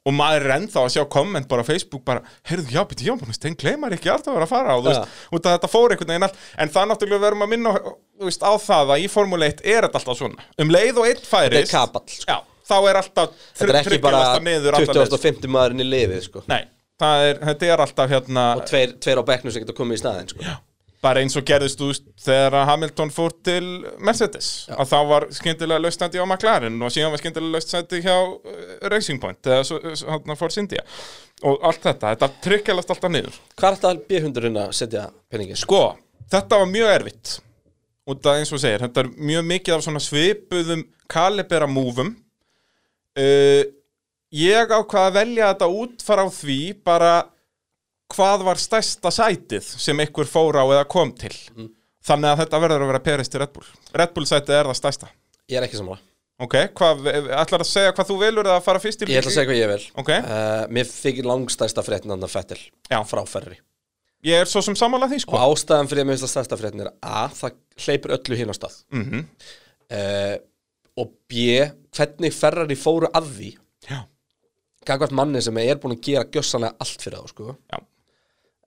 [SPEAKER 5] Og maður er ennþá að sjá komment bara á Facebook bara, heyrðu, já, beti, já, búin, þeim gleymar ekki alltaf að vera að fara á, þú
[SPEAKER 1] Ja.
[SPEAKER 5] veist, út að þetta fór einhvern veginn allt, en það náttúrulega verðum að minna, þú veist, á það að í Formule 1 er þetta alltaf svona, um leið og einn
[SPEAKER 1] Þetta er
[SPEAKER 5] færist,
[SPEAKER 1] kapall sko.
[SPEAKER 5] já, þá er alltaf
[SPEAKER 1] Þetta er ekki bara
[SPEAKER 5] tryggilegasta niður alla leið, sko.
[SPEAKER 1] 2050 maðurinn í liðið sko.
[SPEAKER 5] nei, það er, þetta er alltaf hérna,
[SPEAKER 1] Og tveir, tveir á bekknum sem geta komið í staðinn sko.
[SPEAKER 5] bara eins og gerðist, þú veist, þegar að Hamilton fór til Mercedes, að þá var skyndilega laustandi á McLaren og síðan var skyndilega laustandi hjá uh, Racing Point, eða svo, svo, hérna fór India, og allt þetta, þetta tryggjalast alltaf niður.
[SPEAKER 1] Hvað er þetta B100 að setja peningin? Sko,
[SPEAKER 5] Sko, þetta var mjög erfitt út af eins og þú segir, þetta er mjög mikið af svona svipuðum kalibera múfum uh, Ég ákvað að velja þetta út frá því bara hvað var stærsta sætið sem einhver fór á eða kom til
[SPEAKER 1] Mhm.
[SPEAKER 5] Þannig að þetta verður að vera perist til Red Bull Red Bull sætið er það stærsta
[SPEAKER 1] ég er ekki sammála
[SPEAKER 5] Ok, hvað, ætlar að segja hvað þú velur eða að fara fyrst í
[SPEAKER 1] Ég ætla að segja hvað ég vil
[SPEAKER 5] Ok.
[SPEAKER 1] uh, Mér þykir langstæsta fréttin andan Fettil
[SPEAKER 5] Já.
[SPEAKER 1] Frá Ferrari
[SPEAKER 5] Ég er svo sem sammála því
[SPEAKER 1] Og
[SPEAKER 5] sko
[SPEAKER 1] ástæðan fyrir að mér finnst það stærsta fréttin er A. Það hleypur öllu hinn á stað mm Og B. Hvernig Ferrari fóru að því
[SPEAKER 5] Já.
[SPEAKER 1] Gagvart manni sem er búin að gera gjössanlega allt fyrir þá sko.
[SPEAKER 5] Já.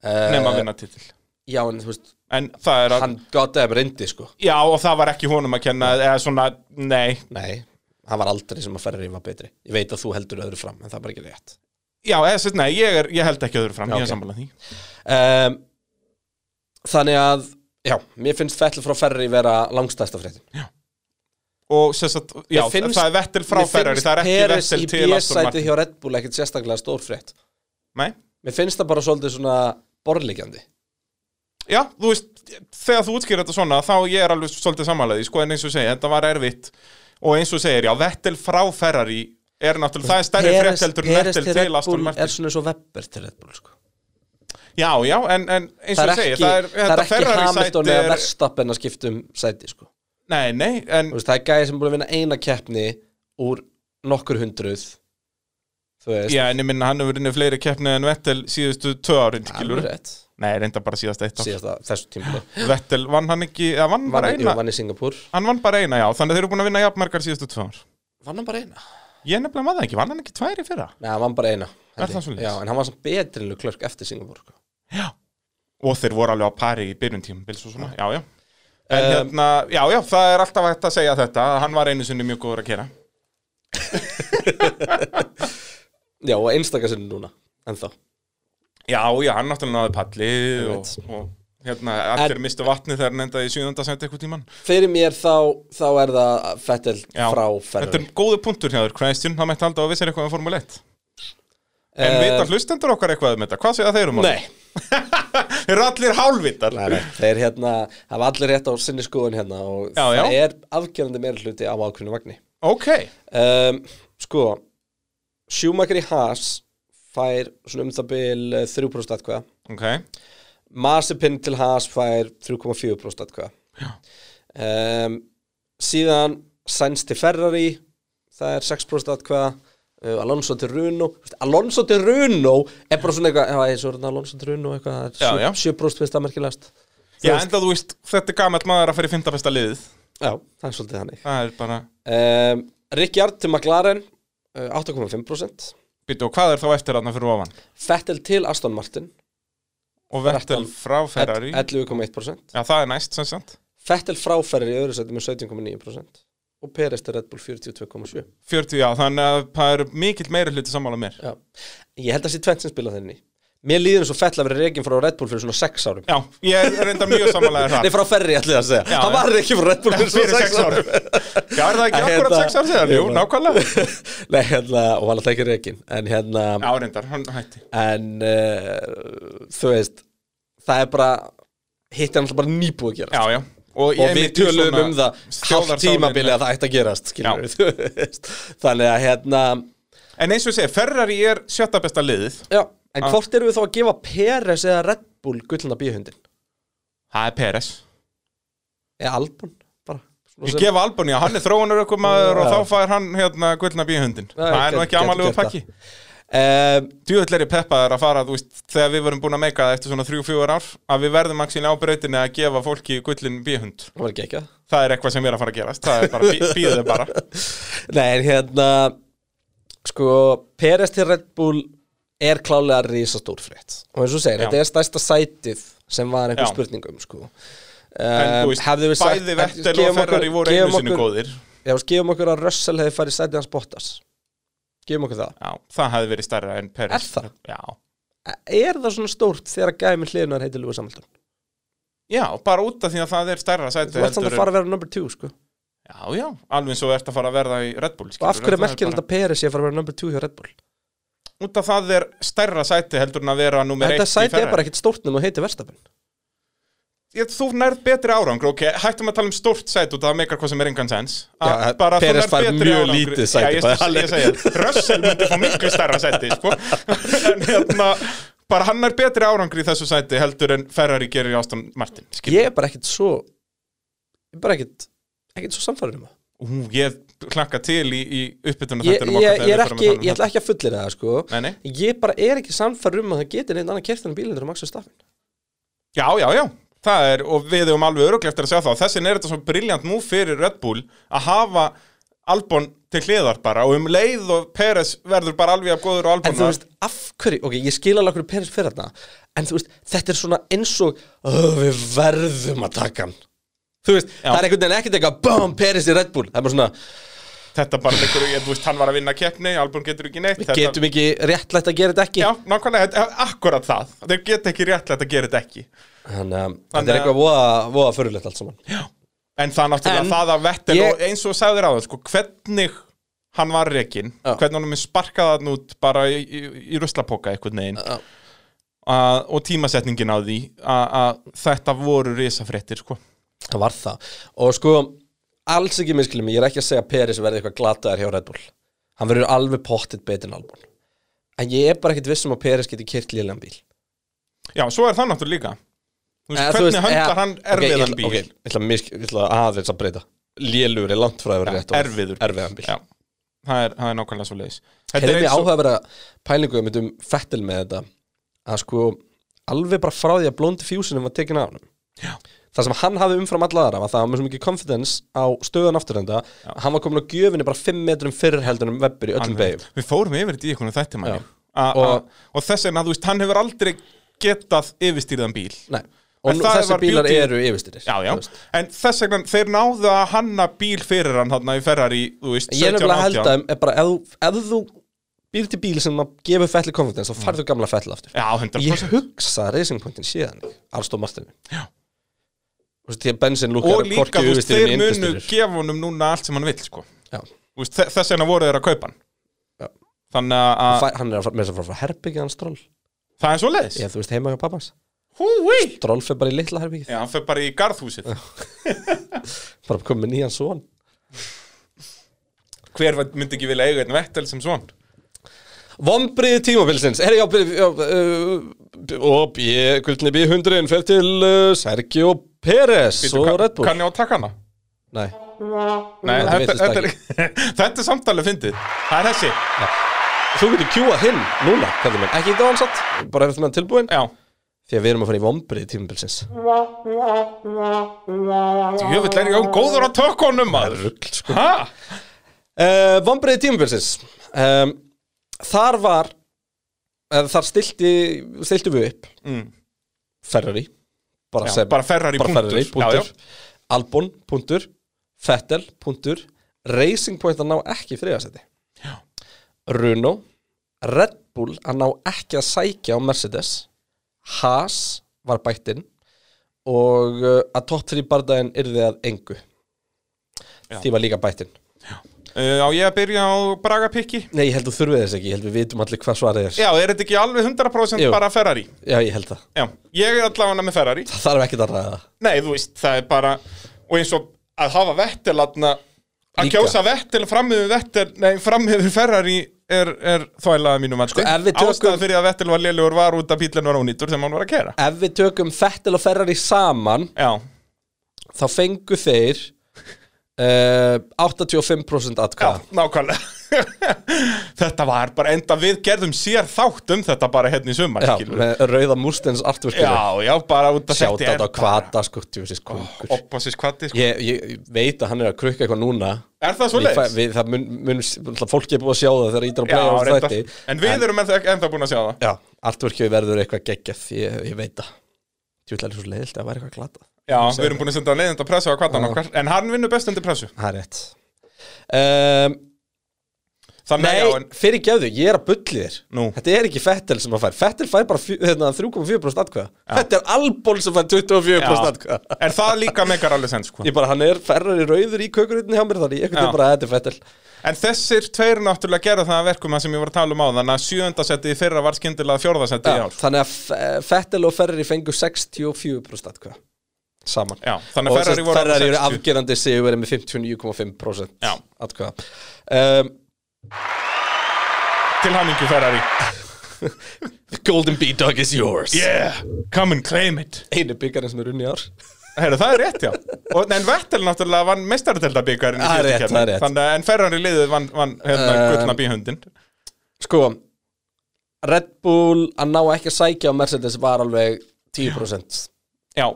[SPEAKER 5] Nefn
[SPEAKER 1] Eh,
[SPEAKER 5] að vinna titil
[SPEAKER 1] Já, en þú veist,
[SPEAKER 5] En það er að
[SPEAKER 1] hann goddamn reyndi sko.
[SPEAKER 5] Já, og það var ekki honum að kenna eða svona, nei,
[SPEAKER 1] Nei, hann var aldrei sem að Ferrari var betri ég veit að þú heldur öðru fram en það er bara ekki rétt
[SPEAKER 5] Já, eða, sem sagt, nei, ég, er, ég held ekki öðru fram,
[SPEAKER 1] Já,
[SPEAKER 5] ég
[SPEAKER 1] ok.
[SPEAKER 5] er sammála því
[SPEAKER 1] um, þannig að já, mér finnst Vettel frá Ferrari vera langstæsta fréttin
[SPEAKER 5] Og sem sagt, já,
[SPEAKER 1] Mér finnst-
[SPEAKER 5] það er vettil frá
[SPEAKER 1] Mér
[SPEAKER 5] Ferrari,
[SPEAKER 1] finnst
[SPEAKER 5] það er ekki
[SPEAKER 1] Perez
[SPEAKER 5] vettil til
[SPEAKER 1] í
[SPEAKER 5] Aston
[SPEAKER 1] B-sæti
[SPEAKER 5] Martin
[SPEAKER 1] hjá Red Bull ekkert sérstaklega stór frétt
[SPEAKER 5] Nei,
[SPEAKER 1] mér finnst það bara svolítið svona borðlíkjandi
[SPEAKER 5] já, þú veist, þegar þú útskýr þetta svona, þá ég er alveg svolítið sammálaði, sko, en eins og segja, þetta var erfitt Og eins og segir, já, vettil frá Ferrari er náttúrulega, það er stærri
[SPEAKER 1] Perez-
[SPEAKER 5] frétt heldur en
[SPEAKER 1] Perez
[SPEAKER 5] vettil
[SPEAKER 1] Red
[SPEAKER 5] til Aston
[SPEAKER 1] Bull
[SPEAKER 5] Martin
[SPEAKER 1] er svona eins og Webber til Red Bull sko.
[SPEAKER 5] Já, já, en, en eins
[SPEAKER 1] það
[SPEAKER 5] og
[SPEAKER 1] er
[SPEAKER 5] segir,
[SPEAKER 1] ekki,
[SPEAKER 5] það er,
[SPEAKER 1] það er
[SPEAKER 5] þetta
[SPEAKER 1] ekki Hamilton
[SPEAKER 5] Ferrari-sæti
[SPEAKER 1] eða
[SPEAKER 5] er
[SPEAKER 1] Verstappen að skipta um sæti sko.
[SPEAKER 5] Nei, nei, en
[SPEAKER 1] Þú veist, það er gæði sem er búin að vinna eina keppni úr nokkur hundruð þú veist
[SPEAKER 5] Já, en ég minna hann hefur verið fleiri keppni en Vettel síðustu tvö árin, skilur
[SPEAKER 1] alveg rétt
[SPEAKER 5] Nei, reynda bara síðast eitt ár.
[SPEAKER 1] síðast að þessu tímabili
[SPEAKER 5] Vettel vann hann ekki, eða vann
[SPEAKER 1] vann,
[SPEAKER 5] bara
[SPEAKER 1] jú,
[SPEAKER 5] eina
[SPEAKER 1] vann í Singapur
[SPEAKER 5] Hann vann bara eina, já, þannig að þeir eru búin að vinna jafnmargar síðustu tvö ár
[SPEAKER 1] vann hann bara eina?
[SPEAKER 5] Ég nefnilega maður ekki, vann hann ekki tvær í fyrra
[SPEAKER 1] Nei, hann vann bara eina held
[SPEAKER 5] Er það
[SPEAKER 1] ég.
[SPEAKER 5] svoleiðis?
[SPEAKER 1] Já, en hann var samt betri en klörk eftir Singapur sko.
[SPEAKER 5] Og þeir voru alveg á pari í byrjun tíma, bils og svona, já, já En
[SPEAKER 1] Um,
[SPEAKER 5] hérna, já, já, það er alltaf hægt að segja þetta að Hann var einu sinni mjög góður að kera
[SPEAKER 1] já, og einstakasinn núna ennþá
[SPEAKER 5] Já, já, hann náttúrulega náði palli og,
[SPEAKER 1] veit.
[SPEAKER 5] og hérna, allir mistu vatni þegar hann endaði í sjöðunda sent eitthvað tíman
[SPEAKER 1] fyrir mér þá, þá er það Fettel
[SPEAKER 5] Já.
[SPEAKER 1] frá
[SPEAKER 5] Þetta
[SPEAKER 1] Ferrari
[SPEAKER 5] er góðu punktur hjá þér, Christian, það mætti alltaf að vissir eitthvað um Formule 1 En
[SPEAKER 1] Eh,
[SPEAKER 5] vitar hlustendur okkar eitthvað um þetta? Hvað segja þeir um það?
[SPEAKER 1] Nei,
[SPEAKER 5] Þeir eru allir hálvitar
[SPEAKER 1] nei, nei, þeir hérna hafa allir rétt á sinni skoðun hérna og
[SPEAKER 5] Já,
[SPEAKER 1] það
[SPEAKER 5] já.
[SPEAKER 1] er afgerandi meira hluti á ákveðinu vagni
[SPEAKER 5] Ok,
[SPEAKER 1] um, Sko Schumacher í Haas fær svona um það bil eh, 3% atkvæða
[SPEAKER 5] ok
[SPEAKER 1] Masipin til Haas fær 3,4% atkvæða um, Síðan Sainz til Ferrari það er 6% atkvæða uh, Alonso til Runo Vist, Alonso til Runo er bara svona eitthvað já, ég, svo er þarna Alonso til Runo eitthvað
[SPEAKER 5] Já,
[SPEAKER 1] það
[SPEAKER 5] já.
[SPEAKER 1] er 7%, 7% finnst það merkilegast
[SPEAKER 5] Já, enda þú veist, þetta er gamall maður að fara í fymta besta liðið
[SPEAKER 1] Já, það er svolítið þannig
[SPEAKER 5] Það er bara,
[SPEAKER 1] um, Rikjard til McLaren uh, 8,5%
[SPEAKER 5] býttu, og hvað er þá eftir þarna fyrir ofan?
[SPEAKER 1] Fettel til Aston Martin
[SPEAKER 5] Og
[SPEAKER 1] 13.
[SPEAKER 5] Vettel frá Ferrari
[SPEAKER 1] 11,1%
[SPEAKER 5] Já, það er næst, sem sagt
[SPEAKER 1] Fettel fráferðir í öðru sæti með 17,9% og Perez til Red Bull 42,7
[SPEAKER 5] 40, já, þannig að það er mikill meira hluti sammála mér
[SPEAKER 1] Já. ég held að sé tvent sem spila þenni mér líður eins og Fettel að vera reikin frá Red Bull fyrir svona 6 árum
[SPEAKER 5] Já, ég er reynda mjög sammála þér
[SPEAKER 1] Nei,
[SPEAKER 5] það
[SPEAKER 1] frá Ferri ætli ég að segja
[SPEAKER 5] Já,
[SPEAKER 1] Hann
[SPEAKER 5] já.
[SPEAKER 1] var reikin frá Red Bull fyrir
[SPEAKER 5] Fyrir
[SPEAKER 1] svona
[SPEAKER 5] 6
[SPEAKER 1] 6
[SPEAKER 5] árum
[SPEAKER 1] árum
[SPEAKER 5] Já, er það ekki
[SPEAKER 1] En
[SPEAKER 5] akkurat
[SPEAKER 1] hérna-
[SPEAKER 5] 6 árum síðan? Jú,
[SPEAKER 1] Ég bara-
[SPEAKER 5] nákvæmlega
[SPEAKER 1] Nei, hérna, og hann alltaf ekki reikin En hérna,
[SPEAKER 5] Já, reyndar, hann hætti
[SPEAKER 1] en uh, þú veist Það er bara, hitt er alltaf bara nýbúið að gera
[SPEAKER 5] Já, já Og,
[SPEAKER 1] og við tölum um það hálf tímabili að það ætti að gerast skilur við, þú veist. þannig að hérna
[SPEAKER 5] En eins og ég segi, Ferrari er sjötta besta liðið
[SPEAKER 1] já, en hvort erum við þá að gefa Peres eða Red Bull gullna bíhundin
[SPEAKER 5] Það er Peres
[SPEAKER 1] eða Albon bara Svona
[SPEAKER 5] Ég
[SPEAKER 1] sem-
[SPEAKER 5] gefa Alboni að hann er þróunar ökkum og
[SPEAKER 1] Já.
[SPEAKER 5] þá fær hann hérna gullna bíhundin Það er nú
[SPEAKER 1] gæti-
[SPEAKER 5] ekki amalegu
[SPEAKER 1] gæti gert
[SPEAKER 5] pakki
[SPEAKER 1] Ehm,
[SPEAKER 5] Djúvill er ég peppaður að fara, þú veist, þegar við vorum búin að meika það eftir svona 3-4 ár að við verðum aksinni á brautinni að gefa fólki gullin bíhund
[SPEAKER 1] það var ekki ekki það
[SPEAKER 5] Það er eitthvað sem er að fara að gerast, það er bara, býðu þeim bara
[SPEAKER 1] nei, en hérna sko, Peres til Red Bull er klálega risastór frétt og eins og þú segir,
[SPEAKER 5] Já.
[SPEAKER 1] þetta er stærsta sætið sem var einhver
[SPEAKER 5] Já.
[SPEAKER 1] spurningum sko
[SPEAKER 5] En
[SPEAKER 1] Ehm,
[SPEAKER 5] þú veist,
[SPEAKER 1] hefðum við sagt-
[SPEAKER 5] bæði Vettel
[SPEAKER 1] gefum
[SPEAKER 5] og
[SPEAKER 1] okkur-
[SPEAKER 5] Ferrari voru
[SPEAKER 1] gefum
[SPEAKER 5] einu sinni
[SPEAKER 1] okkur-
[SPEAKER 5] góðir
[SPEAKER 1] Já, veist, gefum okkur að Russell hefði farið í sætið hans Bottas Gefum okkur það
[SPEAKER 5] Já, það hefði verið stærra en Peres
[SPEAKER 1] Er það?
[SPEAKER 5] Já,
[SPEAKER 1] Er það svona stórt þegar gæði með hliðunar heiti Lúi Samhaldun?
[SPEAKER 5] Já, bara út af því að það er stærra sæti
[SPEAKER 1] Þú ert samt
[SPEAKER 5] heldur
[SPEAKER 1] að
[SPEAKER 5] en-
[SPEAKER 1] fara að vera number 2 sko Og
[SPEAKER 5] Já, já, alveg eins og ert að fara að verða í Red Bull skilur,
[SPEAKER 1] af hverju
[SPEAKER 5] það
[SPEAKER 1] er merkir
[SPEAKER 5] bara-
[SPEAKER 1] þetta Peres ég að fara að vera number 2 hjá Red Bull?
[SPEAKER 5] út af það er stærra sæti heldur en að vera nummer
[SPEAKER 1] Þetta
[SPEAKER 5] eitt í
[SPEAKER 1] sæti er
[SPEAKER 5] ferra
[SPEAKER 1] bara ekkert stórt nema og heiti Verstafinn
[SPEAKER 5] ég, þú nærð betri árangur, ok, hættum að tala um stórt sæti og það meikar hvað sem er engan sens
[SPEAKER 1] Já,
[SPEAKER 5] Að bara þú
[SPEAKER 1] Perez
[SPEAKER 5] nærð
[SPEAKER 1] fær
[SPEAKER 5] betri
[SPEAKER 1] mjög
[SPEAKER 5] árangri.
[SPEAKER 1] lítið sæti,
[SPEAKER 5] já, ég,
[SPEAKER 1] bara
[SPEAKER 5] ég,
[SPEAKER 1] alveg.
[SPEAKER 5] ég segja, Russell myndi fá miklu stærra sæti sko. en hérna bara hann er betri árangur í þessu sæti heldur en Ferrari gerir í Aston Martin skilur.
[SPEAKER 1] Ég er bara ekkert svo Ég er bara ekkert ekkert svo samfærin um það
[SPEAKER 5] Ú, ég klakka til í, í uppbytunum
[SPEAKER 1] Ég,
[SPEAKER 5] þættinum
[SPEAKER 1] ég, ég, er
[SPEAKER 5] okkar þegar
[SPEAKER 1] ekki,
[SPEAKER 5] við förum að tala um
[SPEAKER 1] ég
[SPEAKER 5] þetta.
[SPEAKER 1] ætla ekki að fullir það sko
[SPEAKER 5] Nei, nei.
[SPEAKER 1] Ég bara er ekki samfærin um að það geti neitt annan kert en bílindur um Axel Staffin
[SPEAKER 5] Já, já, já Það er, og við höfum alveg öruglega eftir að segja það og þessin er þetta svo briljant nú fyrir Red Bull að hafa Albon til hliðar bara og um leið og Peres verður bara alveg að góður og
[SPEAKER 1] En þú
[SPEAKER 5] Albon
[SPEAKER 1] veist, af hverju, ok, ég skil alveg hverju Peres fyrir þarna En þú veist, þetta er svona eins og "Ö, Við verðum að taka hann Þú veist, það er einhvern veginn ekkert eitthvað Bum, Peres í Red Bull Það er bara svona
[SPEAKER 5] Þetta bara leikur, ég, þú veist, hann var að vinna keppni Albon getur ekki neitt
[SPEAKER 1] Við
[SPEAKER 5] þetta-
[SPEAKER 1] getum ekki réttlætt að gera þetta ekki
[SPEAKER 5] Já, nákvæmlega, þetta- akkurat það Þeir geta ekki réttlega að gera þetta ekki
[SPEAKER 1] Þannig að
[SPEAKER 5] Þannig
[SPEAKER 1] þetta er
[SPEAKER 5] að-
[SPEAKER 1] eitthvað voða, voða förulegt allt saman
[SPEAKER 5] En það náttúrulega
[SPEAKER 1] En-
[SPEAKER 5] það að Vettel
[SPEAKER 1] Ég-
[SPEAKER 5] og eins og sagðir á það, sko, hvernig hann var rekin,
[SPEAKER 1] Já.
[SPEAKER 5] hvernig hann er sparkað hann út bara í, í, í ruslapoka einhvern veginn
[SPEAKER 1] Já.
[SPEAKER 5] uh, og tímasetningin á því að að þetta voru risafréttir, sko.
[SPEAKER 1] Það var það Og sko, alls ekki miskilum Ég er ekki að segja að Peris verði eitthvað glataðar hjá Red Bull Hann verður alveg pottitt betur en Albon En ég er bara ekkit viss um að Peris geti kyrt lélegan bíl
[SPEAKER 5] Já, svo er það náttúrulega líka. Þú
[SPEAKER 1] Eh,
[SPEAKER 5] veist,
[SPEAKER 1] þú
[SPEAKER 5] hvernig
[SPEAKER 1] veist,
[SPEAKER 5] höndlar
[SPEAKER 1] eh,
[SPEAKER 5] hann
[SPEAKER 1] ok, ég
[SPEAKER 5] erfiðan
[SPEAKER 1] ætla-
[SPEAKER 5] bíl?
[SPEAKER 1] ok, Ég ætla að misk- ég ætla aðeins að breyta Lélugur er langt frá að vera
[SPEAKER 5] Já,
[SPEAKER 1] rétt orð.
[SPEAKER 5] erfiður.
[SPEAKER 1] Erfiðan bíl
[SPEAKER 5] Já, það er, það er nákvæmlega svo leiðis.
[SPEAKER 1] Hefði mér áhuga að vera pælingu um þetta um Fettel með þetta að sko alveg bara frá því að blóndi fjúsinum var tekin af hann það sem hann hafði umfram alla aðra var það að hann var með svo mikið confidence á stöðan afturhenda að hann var komin á gjöfinni bara 5 metrum fyrr heldur en Webber í öllum beigum
[SPEAKER 5] Við fórum yfir þetta í einhvern þetta manni.
[SPEAKER 1] Já. Og-
[SPEAKER 5] Og, og þess vegna, þú veist, hann hefur aldrei getað yfirstýrðan bíl.
[SPEAKER 1] Nei. og
[SPEAKER 5] En
[SPEAKER 1] nú-
[SPEAKER 5] það
[SPEAKER 1] þessir
[SPEAKER 5] var
[SPEAKER 1] bílar
[SPEAKER 5] beauty-
[SPEAKER 1] eru yfirstyrir
[SPEAKER 5] Já, já, en þess vegna þeir náðu að hanna bíl fyrir hann þarna í Ferrari, þú veist,
[SPEAKER 1] ég er
[SPEAKER 5] 17,
[SPEAKER 1] nefnilega að
[SPEAKER 5] 18
[SPEAKER 1] held að er bara, ef, þú- ef þú býr til bíl sem að gefur Fettel confidence þá farðu gamla Fettel aftur
[SPEAKER 5] Já, 100%
[SPEAKER 1] ég hugsa að Racing Pointin séðan Alstóð Martinu
[SPEAKER 5] Já.
[SPEAKER 1] Þú veist, því að bensin lúkar
[SPEAKER 5] Og líka,
[SPEAKER 1] hvorki
[SPEAKER 5] þú veist,
[SPEAKER 1] yfirstýrir né
[SPEAKER 5] þeir munu
[SPEAKER 1] undirstýrir.
[SPEAKER 5] gefa honum núna allt sem hann vill, sko
[SPEAKER 1] Já.
[SPEAKER 5] Þú veist, þe- Þess vegna voru þeir að kaupa hann
[SPEAKER 1] Já.
[SPEAKER 5] Þannig að
[SPEAKER 1] Fæ, hann er að fara- með þess að fara frá herbyggja hans dról
[SPEAKER 5] það er svo leiðis
[SPEAKER 1] Já, þú veist heima hjá pappans
[SPEAKER 5] Húi
[SPEAKER 1] Dról fyrir bara í litla herbyggið
[SPEAKER 5] Já, hann fer bara í garðhúsið
[SPEAKER 1] Bara komið nýjan son
[SPEAKER 5] Hver væ- myndi ekki vilja eiga einn vettel sem svon
[SPEAKER 1] Vombriði tímabilsins Er ég á uh, Og ég, guldni B100 Fer til uh, Sergio Pérez Svo Red Bull
[SPEAKER 5] Kann ég á að taka hana?
[SPEAKER 1] Nei, Þetta
[SPEAKER 5] Nei, þetta,
[SPEAKER 1] veitist
[SPEAKER 5] þetta, er, þetta er samtalið fyndið Það er þessi
[SPEAKER 1] þú getur kjúa hinn núna kallar minn. Ekki í dánsatt, bara eftir með tilbúin
[SPEAKER 5] Já,
[SPEAKER 1] Því að við erum að fara í vombriði tímabilsins
[SPEAKER 5] jöfull er ég án góður á tökunum maður
[SPEAKER 1] Rugl, sko
[SPEAKER 5] Hæ?
[SPEAKER 1] uh, Vombriði tímabilsins um, Þar var eða, Þar stilti, stilti við upp
[SPEAKER 5] Mm.
[SPEAKER 1] Ferrari bara,
[SPEAKER 5] Já,
[SPEAKER 1] sem-
[SPEAKER 5] bara Ferrari
[SPEAKER 1] bara
[SPEAKER 5] punktur.
[SPEAKER 1] Ferrari,
[SPEAKER 5] Já, já.
[SPEAKER 1] punktur. Albon, punktur Fettel, punktur Racing Point að ná ekki þriðasetti Runo Red Bull að ná ekki að sækja á Mercedes Haas var bættinn og uh, að topp 3 bardaginn yrði að engu því var líka bættinn
[SPEAKER 5] Uh, á ég að byrja á Braga Pikki?
[SPEAKER 1] Nei, ég held þú þurfið þess ekki, ég held við vitum allir hvað svarið er
[SPEAKER 5] Já, er þetta ekki alveg 100%
[SPEAKER 1] Jú.
[SPEAKER 5] bara Ferrari?
[SPEAKER 1] Já, ég held það
[SPEAKER 5] Já, ég er allavega með Ferrari
[SPEAKER 1] Það þarf ekki að ræða
[SPEAKER 5] Nei, þú veist, það er bara Og eins og að hafa Vettel atna, Að
[SPEAKER 1] Líka.
[SPEAKER 5] kjósa Vettel framöfum Vettel Nei, framöfum Ferrari er, er þvælaða mínum mati
[SPEAKER 1] Sko, ef við tökum-
[SPEAKER 5] Ástæðan fyrir að Vettel var lélugur var út að bílinn var ónýtur sem hann var að kera
[SPEAKER 1] Ef við tökum Fettel og Ferrari saman
[SPEAKER 5] Já,
[SPEAKER 1] þá fengu þeir uh, 85%
[SPEAKER 5] já,
[SPEAKER 1] atkvæða
[SPEAKER 5] nákvæmlega Þetta var bara enda við gerðum sér þátt um þetta bara hérna í sumar
[SPEAKER 1] Já,
[SPEAKER 5] skilurðu.
[SPEAKER 1] með rauða múrstens artverkinu
[SPEAKER 5] já, já, bara út að
[SPEAKER 1] Sjátt á
[SPEAKER 5] þetta
[SPEAKER 1] þetta kvata, sko, tjóðsins kongur
[SPEAKER 5] Oppasis kvati, sko
[SPEAKER 1] ég, ég ég veit að hann er að krukka eitthvað núna
[SPEAKER 5] Er það svo
[SPEAKER 1] Ég fæ- við, Það mun, mun, náttúrulega fólk er búið að sjá það þegar ítir að
[SPEAKER 5] Já,
[SPEAKER 1] blega á þessu
[SPEAKER 5] reyndar.
[SPEAKER 1] þætti
[SPEAKER 5] En við erum ennþá, ennþá búin að sjá það
[SPEAKER 1] Já, artverkið verður eitthvað geggjað ég, ég veit það Tjóðlega er svo leiðilt að vera eitthvað glata
[SPEAKER 5] Já, við erum búin að senda leiðind að pressa á kvartan okkar En hann vinnur best undir pressu
[SPEAKER 1] Það er rétt um,
[SPEAKER 5] Þannig
[SPEAKER 1] Nei,
[SPEAKER 5] að já, en
[SPEAKER 1] fyrir gefðu, ég er að bulli þér
[SPEAKER 5] Nú.
[SPEAKER 1] Þetta er ekki Fettel sem að fær Fettel fær bara fjö- hérna, 3,4% atkvæða Þetta er Albon sem fær 24%
[SPEAKER 5] Já.
[SPEAKER 1] atkvæða
[SPEAKER 5] Er það líka megar alveg sens sko
[SPEAKER 1] Ég bara, hann er ferrari rauður í kökurutinni hjá mér þannig Ég
[SPEAKER 5] Já.
[SPEAKER 1] veit bara að þetta er Fettel
[SPEAKER 5] En þessir tveir náttúrulega gera það að verkum það sem ég var að tala um á þannig að sjöundasetti í fyrra var skyndilega fjórðasetti í ár
[SPEAKER 1] Þannig að F- Fettel og Ferrari fengu 64% atkvæða Saman
[SPEAKER 5] Já, þannig að
[SPEAKER 1] Og
[SPEAKER 5] Ferrari
[SPEAKER 1] sem sagt,
[SPEAKER 5] voru
[SPEAKER 1] Ferrari eru
[SPEAKER 5] 60.
[SPEAKER 1] afgerandi sigur verið með 59,5%
[SPEAKER 5] Já.
[SPEAKER 1] atkvæða um,
[SPEAKER 5] Til hamingju Ferrari
[SPEAKER 1] The golden bee dog is yours
[SPEAKER 5] Yeah, come and claim it
[SPEAKER 1] Einu byggarinn sem er unni ár
[SPEAKER 5] Heru, það er rétt, já og, En Vettel náttúrulega vann meistaradeldabikarinn í
[SPEAKER 1] Það er
[SPEAKER 5] síðustu
[SPEAKER 1] rétt,
[SPEAKER 5] keppni.
[SPEAKER 1] það er rétt.
[SPEAKER 5] Þannig að en Ferrari liðið vann, vann hérna,
[SPEAKER 1] Um,
[SPEAKER 5] gullna bíhundin
[SPEAKER 1] Sko Red Bull að ná ekki að sækja á Mercedes var alveg 10%
[SPEAKER 5] Já,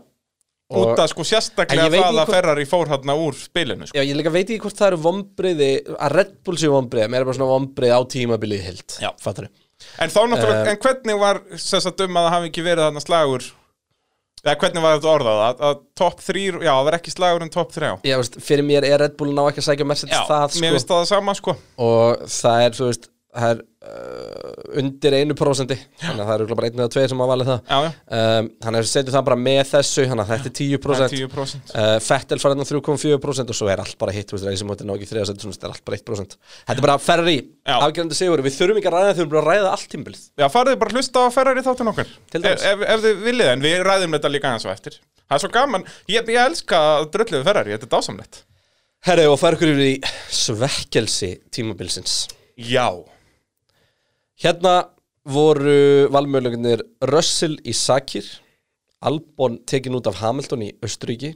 [SPEAKER 5] út að sko sérstaklega
[SPEAKER 1] En ég veit
[SPEAKER 5] það
[SPEAKER 1] ekki
[SPEAKER 5] að
[SPEAKER 1] hvort-
[SPEAKER 5] Ferrari fór hérna úr spilinu sko.
[SPEAKER 1] Já, ég líka veit ekki hvort það eru vombriði að Red Bull séu vombriði, mér er bara svona vombriði á tímabilið hild,
[SPEAKER 5] Já.
[SPEAKER 1] fattar
[SPEAKER 5] En þá náttúrulega,
[SPEAKER 1] Eh.
[SPEAKER 5] um en hvernig var þess að dum að það hafi ekki verið þarna slagur eða hvernig var þetta orðað að, að top 3, já, það var ekki slagur en top 3
[SPEAKER 1] Já, veist, fyrir mér er Red Bull ná ekki að sækja Mercedes
[SPEAKER 5] Já,
[SPEAKER 1] það sko
[SPEAKER 5] mér finnst það sama sko
[SPEAKER 1] og það er, þú veist, það er uh, undir einu prósendi þannig að það eru bara einu eða tveir sem að valið það
[SPEAKER 5] Já, já.
[SPEAKER 1] Um, þannig að við setjum það bara með þessu þannig að þetta er 10%,
[SPEAKER 5] Það er 10%.
[SPEAKER 1] Uh, Fettel farið á 3,4% og svo er allt bara hitt, þú veist, reisum hóttir ná ekki þriða sæti, svona þetta er allt bara 1% Þetta er bara Ferrari,
[SPEAKER 5] Já.
[SPEAKER 1] afgjörandi sigur við þurfum ekki að ræða þau, við þurfum bara að ræða allt tímbilið
[SPEAKER 5] Já, farið bara að hlusta á Ferrari þáttun okkar
[SPEAKER 1] Til
[SPEAKER 5] ef,
[SPEAKER 1] dæmis.
[SPEAKER 5] ef, ef þið viljið, en við ræðum þetta líka aðeins og eftir Það er svo gaman, ég, ég elska að drölluðu Ferrari, þetta er dásamlegt
[SPEAKER 1] Herri, og fær ykkur yfir í svekkelsi tímabilsins
[SPEAKER 5] Já,
[SPEAKER 1] Hérna voru valmöðlögnir Russell í Sakir, Albon tekin út af Hamilton í Östuríki,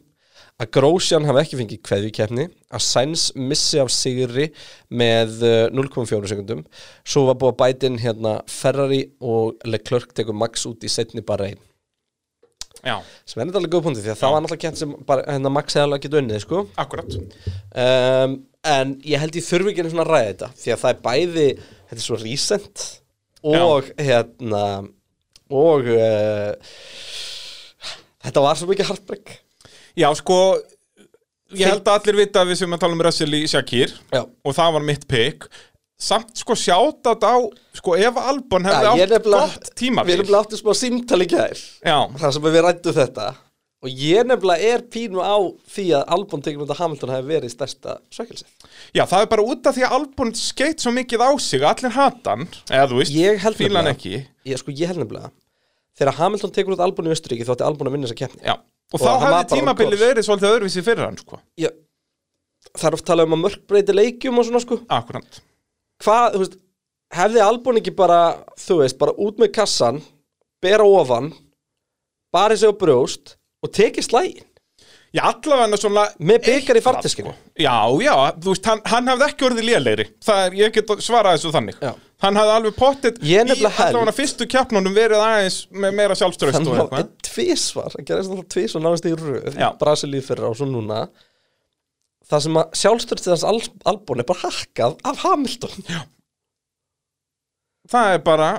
[SPEAKER 1] að Grósjan hafi ekki fengið kveðvíkeppni, að Sainz missi af sigri með eh, 0,4 sekundum, svo var búið að bæta inn hérna Ferrari og Leclerc tekur Max út í setni bara einn.
[SPEAKER 5] já,
[SPEAKER 1] Sem er þetta alveg góð punkti því að það var náttúrulega kent sem bara, hérna Max hefði alveg getið unnið, sko
[SPEAKER 5] akkurat
[SPEAKER 1] um, en ég held ég þurfi ekki einu svona að ræða þetta því að það er bæði, þetta er svo recent og hérna og uh, þetta var svo mikið heartbreak
[SPEAKER 5] Já, sko, ég held að allir vita að við sem að tala um Russell í Shakir
[SPEAKER 1] Já.
[SPEAKER 5] og það var mitt pick Samt sko sjátat á, sko ef Albon hefði
[SPEAKER 1] ég
[SPEAKER 5] átt
[SPEAKER 1] nefnilega-
[SPEAKER 5] gott tímabil
[SPEAKER 1] Við erum bláttu smá símtali gær
[SPEAKER 5] Já.
[SPEAKER 1] þar sem við rættum þetta og ég nefnilega er pínu á því að Albon tekur mynda Hamilton hafi verið stærsta svekkelsi
[SPEAKER 5] Já, það er bara út af því að Albon skeitt svo mikið á sig að allir hata hann, eða þú veist,
[SPEAKER 1] Ég held
[SPEAKER 5] fíla hann
[SPEAKER 1] nefnilega-
[SPEAKER 5] ekki
[SPEAKER 1] ég, sko, ég held nefnilega þegar Hamilton tekur út Albon í Östuríki þá ætti Albon að vinna þessa keppni
[SPEAKER 5] Já, og,
[SPEAKER 1] Og
[SPEAKER 5] þá
[SPEAKER 1] hann var
[SPEAKER 5] hefði
[SPEAKER 1] bara on
[SPEAKER 5] tímabili
[SPEAKER 1] course.
[SPEAKER 5] verið svolítið öðruvísi fyrir hann, sko
[SPEAKER 1] ég, það er oft talað um að mörk breyti leikjum og svona sko
[SPEAKER 5] Akkurant
[SPEAKER 1] hvað, þú veist, hefði Albon ekki bara, þú veist, bara út með kassan, bera ofan, barið sig á brjóst og tekið slægin
[SPEAKER 5] Já, allavega svona
[SPEAKER 1] með byggar í
[SPEAKER 5] eitthvað,
[SPEAKER 1] farteskinu.
[SPEAKER 5] sko. Já, já, þú veist, hann, hann hefði ekki orðið lélegri Það er, ég get svarað þessu þannig
[SPEAKER 1] Já.
[SPEAKER 5] Hann hefði alveg pottet
[SPEAKER 1] Ég nefnilega held-
[SPEAKER 5] allavega fyrstu keppnunum verið aðeins með meira sjálfströst og
[SPEAKER 1] Þannig að
[SPEAKER 5] eitthvað
[SPEAKER 1] einn tvísvar, það gerðist alltaf tvísvar náðist í röð,
[SPEAKER 5] Já.
[SPEAKER 1] Brasilíu fyrra og svo núna, það sem að sjálfstörtið hans Al- Albon er bara hakkað af Hamilton. Já.
[SPEAKER 5] Það er bara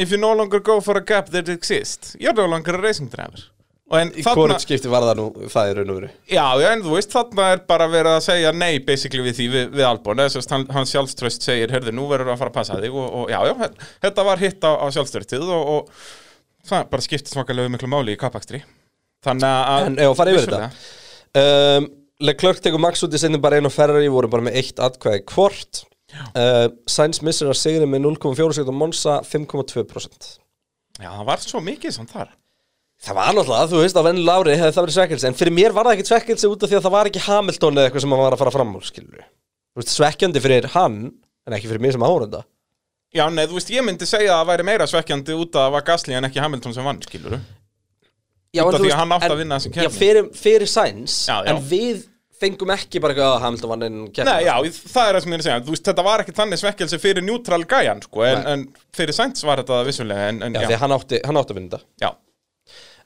[SPEAKER 5] If you no longer go for a gap that exists You're no longer a racing driver Og en
[SPEAKER 1] Í
[SPEAKER 5] þarna-
[SPEAKER 1] hvort skipti var það nú, það er raun og veru.
[SPEAKER 5] Já, já, en þú veist, þarna er bara verið að segja nei basically við því við, við Albon þess að hann, hann sjálfströst segir, herðu, nú verður að fara að passa þig og, og já, já, þe- þetta var hitt á, á sjálfströstið og, og það bara skipti smakalegu miklu máli í kappakstri Þannig að
[SPEAKER 1] En ef að fara yfir
[SPEAKER 5] Vissulega.
[SPEAKER 1] þetta um, Leclerc tekur Max út í sinni bara einu og Ferrari voru bara með eitt atkvæði hvort uh, Sainz missir að sigri með 0,4 sekund og Monza 5,2%
[SPEAKER 5] Já, það var svo mikið samt þar
[SPEAKER 1] Það var náttúrulega, þú veist, á venni lári hefði það verið svekkelsi en fyrir mér var það ekki svekkelsi út af því að það var ekki Hamilton eða eitthvað sem hann var að fara fram úr, skilur Þú veist, svekkjandi fyrir hann en ekki fyrir mér sem áhörunda
[SPEAKER 5] Já, nei, þú veist, ég myndi segja að það væri meira svekkjandi út að það var Gasly en ekki Hamilton sem vann, skilur
[SPEAKER 1] Já,
[SPEAKER 5] Út af
[SPEAKER 1] en þú
[SPEAKER 5] því
[SPEAKER 1] veist-
[SPEAKER 5] að hann átti að
[SPEAKER 1] en-
[SPEAKER 5] vinna þessi
[SPEAKER 1] Já,
[SPEAKER 5] keppni.
[SPEAKER 1] fyrir, fyrir Sainz,
[SPEAKER 5] Já, já.
[SPEAKER 1] en við fengum ekki bara eitthvað að Hamilton vann inn
[SPEAKER 5] Nei, já, það er það sem ég er að segja, þú veist, þetta var ekki þannig svekkelsi fyrir neutral gæjan, sko, en,
[SPEAKER 1] Nei.
[SPEAKER 5] en fyrir Sainz var þetta vissulega, en, en
[SPEAKER 1] Já, því að hann átti, hann átti að vinna þetta
[SPEAKER 5] já.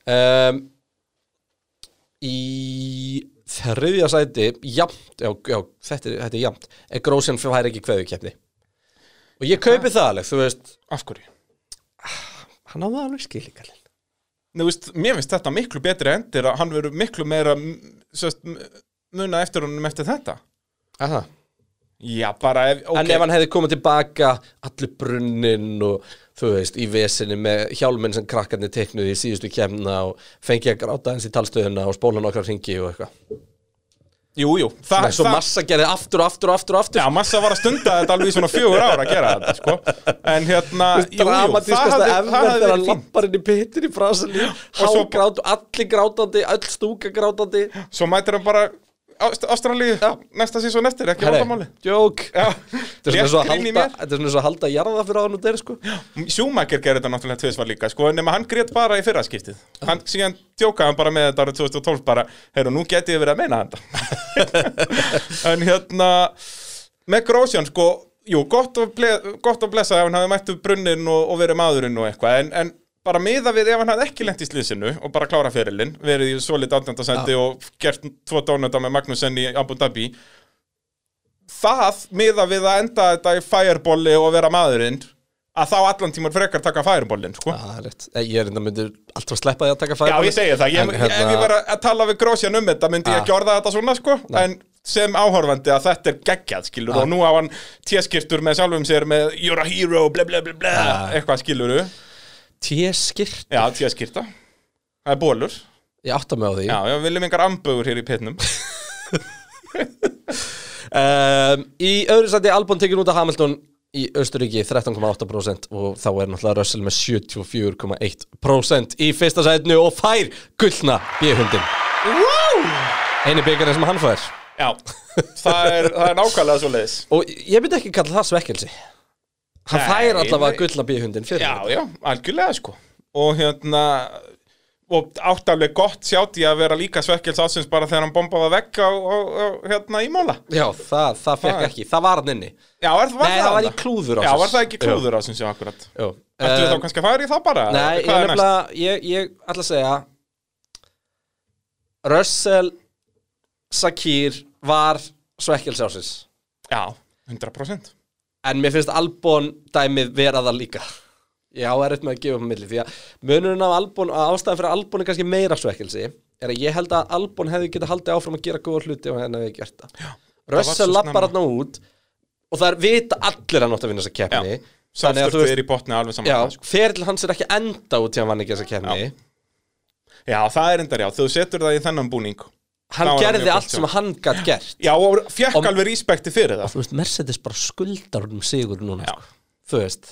[SPEAKER 1] um, Í þriðja sæti Jamt, já, já þetta, er, þetta er jamt Er Grósjan fær ekki kveðukeppni Og ég kaupi það alveg, þú veist
[SPEAKER 5] af hverju?
[SPEAKER 1] Hann á það alveg skilíkalinn
[SPEAKER 5] Nei, þú veist, mér finnst þetta miklu betri endir að hann verður miklu meira m- sest, m- muna eftir honum eftir þetta
[SPEAKER 1] Aha.
[SPEAKER 5] Já, bara ef, ok
[SPEAKER 1] En ef hann hefði komið tilbaka allur brunnin og þú veist, í vesinni með hjálminn sem krakkarnir teknuði í síðustu kemna og fengið að gráta hans í talstöðuna og spóla nokkra hringi og eitthvað.
[SPEAKER 5] Jú, jú, þa,
[SPEAKER 1] Nei, svo
[SPEAKER 5] þa-
[SPEAKER 1] massa gerði aftur og aftur og aftur og aftur.
[SPEAKER 5] Ah, Já, massa var að stunda þetta alveg í svona fjögur ára að gera þetta, sko En hérna, jú, jú,
[SPEAKER 1] dramatískasta
[SPEAKER 5] það
[SPEAKER 1] efver
[SPEAKER 5] hafði
[SPEAKER 1] þegar hann
[SPEAKER 5] verið fínt
[SPEAKER 1] lappar inn í pitin í Brasilíu
[SPEAKER 5] svo-
[SPEAKER 1] hágrát og allir grátandi, öll stúka grátandi
[SPEAKER 5] Svo mætir hann bara Ást- Ástralíu næsta síðan eftir, ekki vandamáli
[SPEAKER 1] jók
[SPEAKER 5] Já,
[SPEAKER 1] Þetta er svona svo að
[SPEAKER 5] Létt grín í
[SPEAKER 1] halda-
[SPEAKER 5] mér.
[SPEAKER 1] þetta er svona svo að halda jarða fyrir á hann og þeir sko
[SPEAKER 5] Sjúmakir gerir þetta náttúrulega tvisvar líka sko, nema hann grét bara í fyrra skiptið hann, síðan djókaði hann bara með þetta árið 2012 bara, heyrðu, nú geti ég verið að meina þetta en hérna með Grósjan sko jú, gott að, ble, gott að blessa ef hann hafi mættu brunnin og, og verið maðurinn og eitthvað en, en bara miða við ef hann hafði ekki lent í slísinu og bara klára fyrirlin, verið í solid átjöndasendi og gert tvo dónuta með Magnussen í Abu Dhabi það miða við að enda þetta í fireballi og vera maðurinn að þá allan tímar frekar taka færumbólinn sko.
[SPEAKER 1] Það er rétt. Eh, Ég er hérna, enda myndir alltaf sleppa því að taka hérna-
[SPEAKER 5] Já,
[SPEAKER 1] færi
[SPEAKER 5] ég segi það, ég, ef ég var að að tala við grósjan um þetta myndi ég
[SPEAKER 1] Ah.
[SPEAKER 5] ekki orða þetta svona sko en sem áhorfandi að þetta er geggjað
[SPEAKER 1] Ah.
[SPEAKER 5] skilur og nú á hann téskirtur með sjálfum sér með you're a hero, ble ble ble ble
[SPEAKER 1] Ah.
[SPEAKER 5] eitthvað skilur
[SPEAKER 1] T-skirt,
[SPEAKER 5] já téskirta, það er bólur
[SPEAKER 1] ég átta mig á því
[SPEAKER 5] já, já, við viljum engar ambögur hér í pitnum
[SPEAKER 1] um, Í öðru sæti Albon tekin út af Hamilton í Östuríki 13,8% og þá er náttúrulega Russell með 74,1% í fyrsta sætinu og fær gullna B-hundin Einu byggarinn sem hann fær
[SPEAKER 5] já, það er, það er nákvæmlega svo leiðis
[SPEAKER 1] og ég myndi ekki kalla það svekkelsi Hann
[SPEAKER 5] Nei,
[SPEAKER 1] fær allavega
[SPEAKER 5] nei.
[SPEAKER 1] gullna B-hundin fyrir
[SPEAKER 5] Já,
[SPEAKER 1] þetta.
[SPEAKER 5] já, algjörlega sko Og hérna Og átt alveg gott sjátt í að vera líka svekkels ásins bara þegar hann bombaði vekk á, á, á hérna í móla
[SPEAKER 1] Já, það, það fekk
[SPEAKER 5] Það-
[SPEAKER 1] ekki, það var hann inni
[SPEAKER 5] Já, er, var
[SPEAKER 1] Nei, það var í
[SPEAKER 5] þarna?
[SPEAKER 1] klúður
[SPEAKER 5] Já,
[SPEAKER 1] ársins.
[SPEAKER 5] var það ekki klúður ásins, já, akkurat
[SPEAKER 1] Jú.
[SPEAKER 5] Ættu
[SPEAKER 1] Um,
[SPEAKER 5] við þá kannski að fara í það bara?
[SPEAKER 1] Nei, ég,
[SPEAKER 5] Hvað er næst?
[SPEAKER 1] nefnilega, ég, ég ætla að segja Russell Sakir var svekkelsjásins
[SPEAKER 5] Já, 100%
[SPEAKER 1] en mér finnst Albon dæmið vera það líka Já, er eitthvað með að gefa um milli því að munurinn af Albon, að ástæðan fyrir Albon er kannski meira svekkelsi er að ég held að Albon hefði getað haldið áfram að gera góða hluti og henni hefði gert það Já,
[SPEAKER 5] það
[SPEAKER 1] Russell
[SPEAKER 5] var svo
[SPEAKER 1] lappar
[SPEAKER 5] snemma.
[SPEAKER 1] hann út og það er vita allir að nátt að vinna þessa keppni
[SPEAKER 5] Já. Samstört
[SPEAKER 1] veist-
[SPEAKER 5] er í botni alveg saman
[SPEAKER 1] Já,
[SPEAKER 5] það, sko.
[SPEAKER 1] ferill hans er ekki enda út til að hann vann ekki þessa keppni
[SPEAKER 5] já, það er endar, já, þú setur það í þennan búning
[SPEAKER 1] hann
[SPEAKER 5] Þá er það mjög
[SPEAKER 1] gerði
[SPEAKER 5] gott
[SPEAKER 1] allt
[SPEAKER 5] hjá
[SPEAKER 1] sem hann gætt gert
[SPEAKER 5] Já, og fekk
[SPEAKER 1] Og-
[SPEAKER 5] alveg respekti fyrir það
[SPEAKER 1] þú veist, Mercedes bara skuldar um sigur núna,
[SPEAKER 5] Já.
[SPEAKER 1] sko. þú veist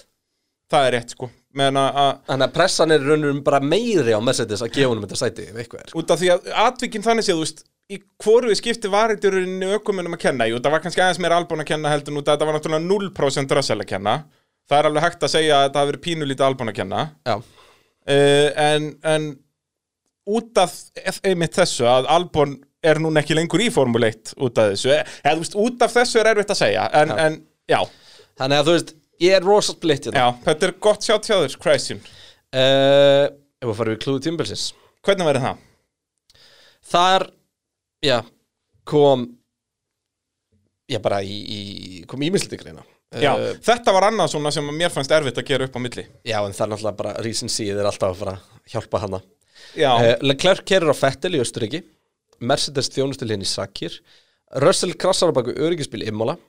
[SPEAKER 5] Það er rétt, sko Men að- að
[SPEAKER 1] þannig að pressan er raunurum bara meiri á Mercedes að gefa honum þetta sæti, ef eitthvað er sko.
[SPEAKER 5] út af því að atvikinn þannig séð, þú veist í hvoru skipti var þetta í rauninni ökumunum að kenna jú, það var kannski aðeins meira albúin að kenna heldur en út að þetta var náttúrulega 0% rössal að kenna það er alveg hægt að segja að það hafi verið pínulítið albúin að kenna
[SPEAKER 1] Já.
[SPEAKER 5] uh, en, en út af ef- einmitt þessu að albúin er núna ekki lengur í formuleitt út af þessu, eða þú veist, út af þessu er erfitt að segja, en já, en, já,
[SPEAKER 1] þannig að þú veist, ég er rosa blitt
[SPEAKER 5] já
[SPEAKER 1] hérna.
[SPEAKER 5] þetta er gott sjátt hjá þér, Christian
[SPEAKER 1] uh, ef við farum við klúðu tímbilsins
[SPEAKER 5] hvernig verður það?
[SPEAKER 1] þar, já kom já, bara í, í kom ímisliti greina
[SPEAKER 5] Já,
[SPEAKER 1] Eh,
[SPEAKER 5] þetta var annað svona sem mér fannst erfitt að gera upp á milli
[SPEAKER 1] já, en það er náttúrulega bara Rísin síð er alltaf að fara að hjálpa hana
[SPEAKER 5] Já,
[SPEAKER 1] Eh, Leclerc kerir á Fettel í Östuríki Mercedes þjónustil henni Sakir Russell krassar á baku öryggisbíl Imola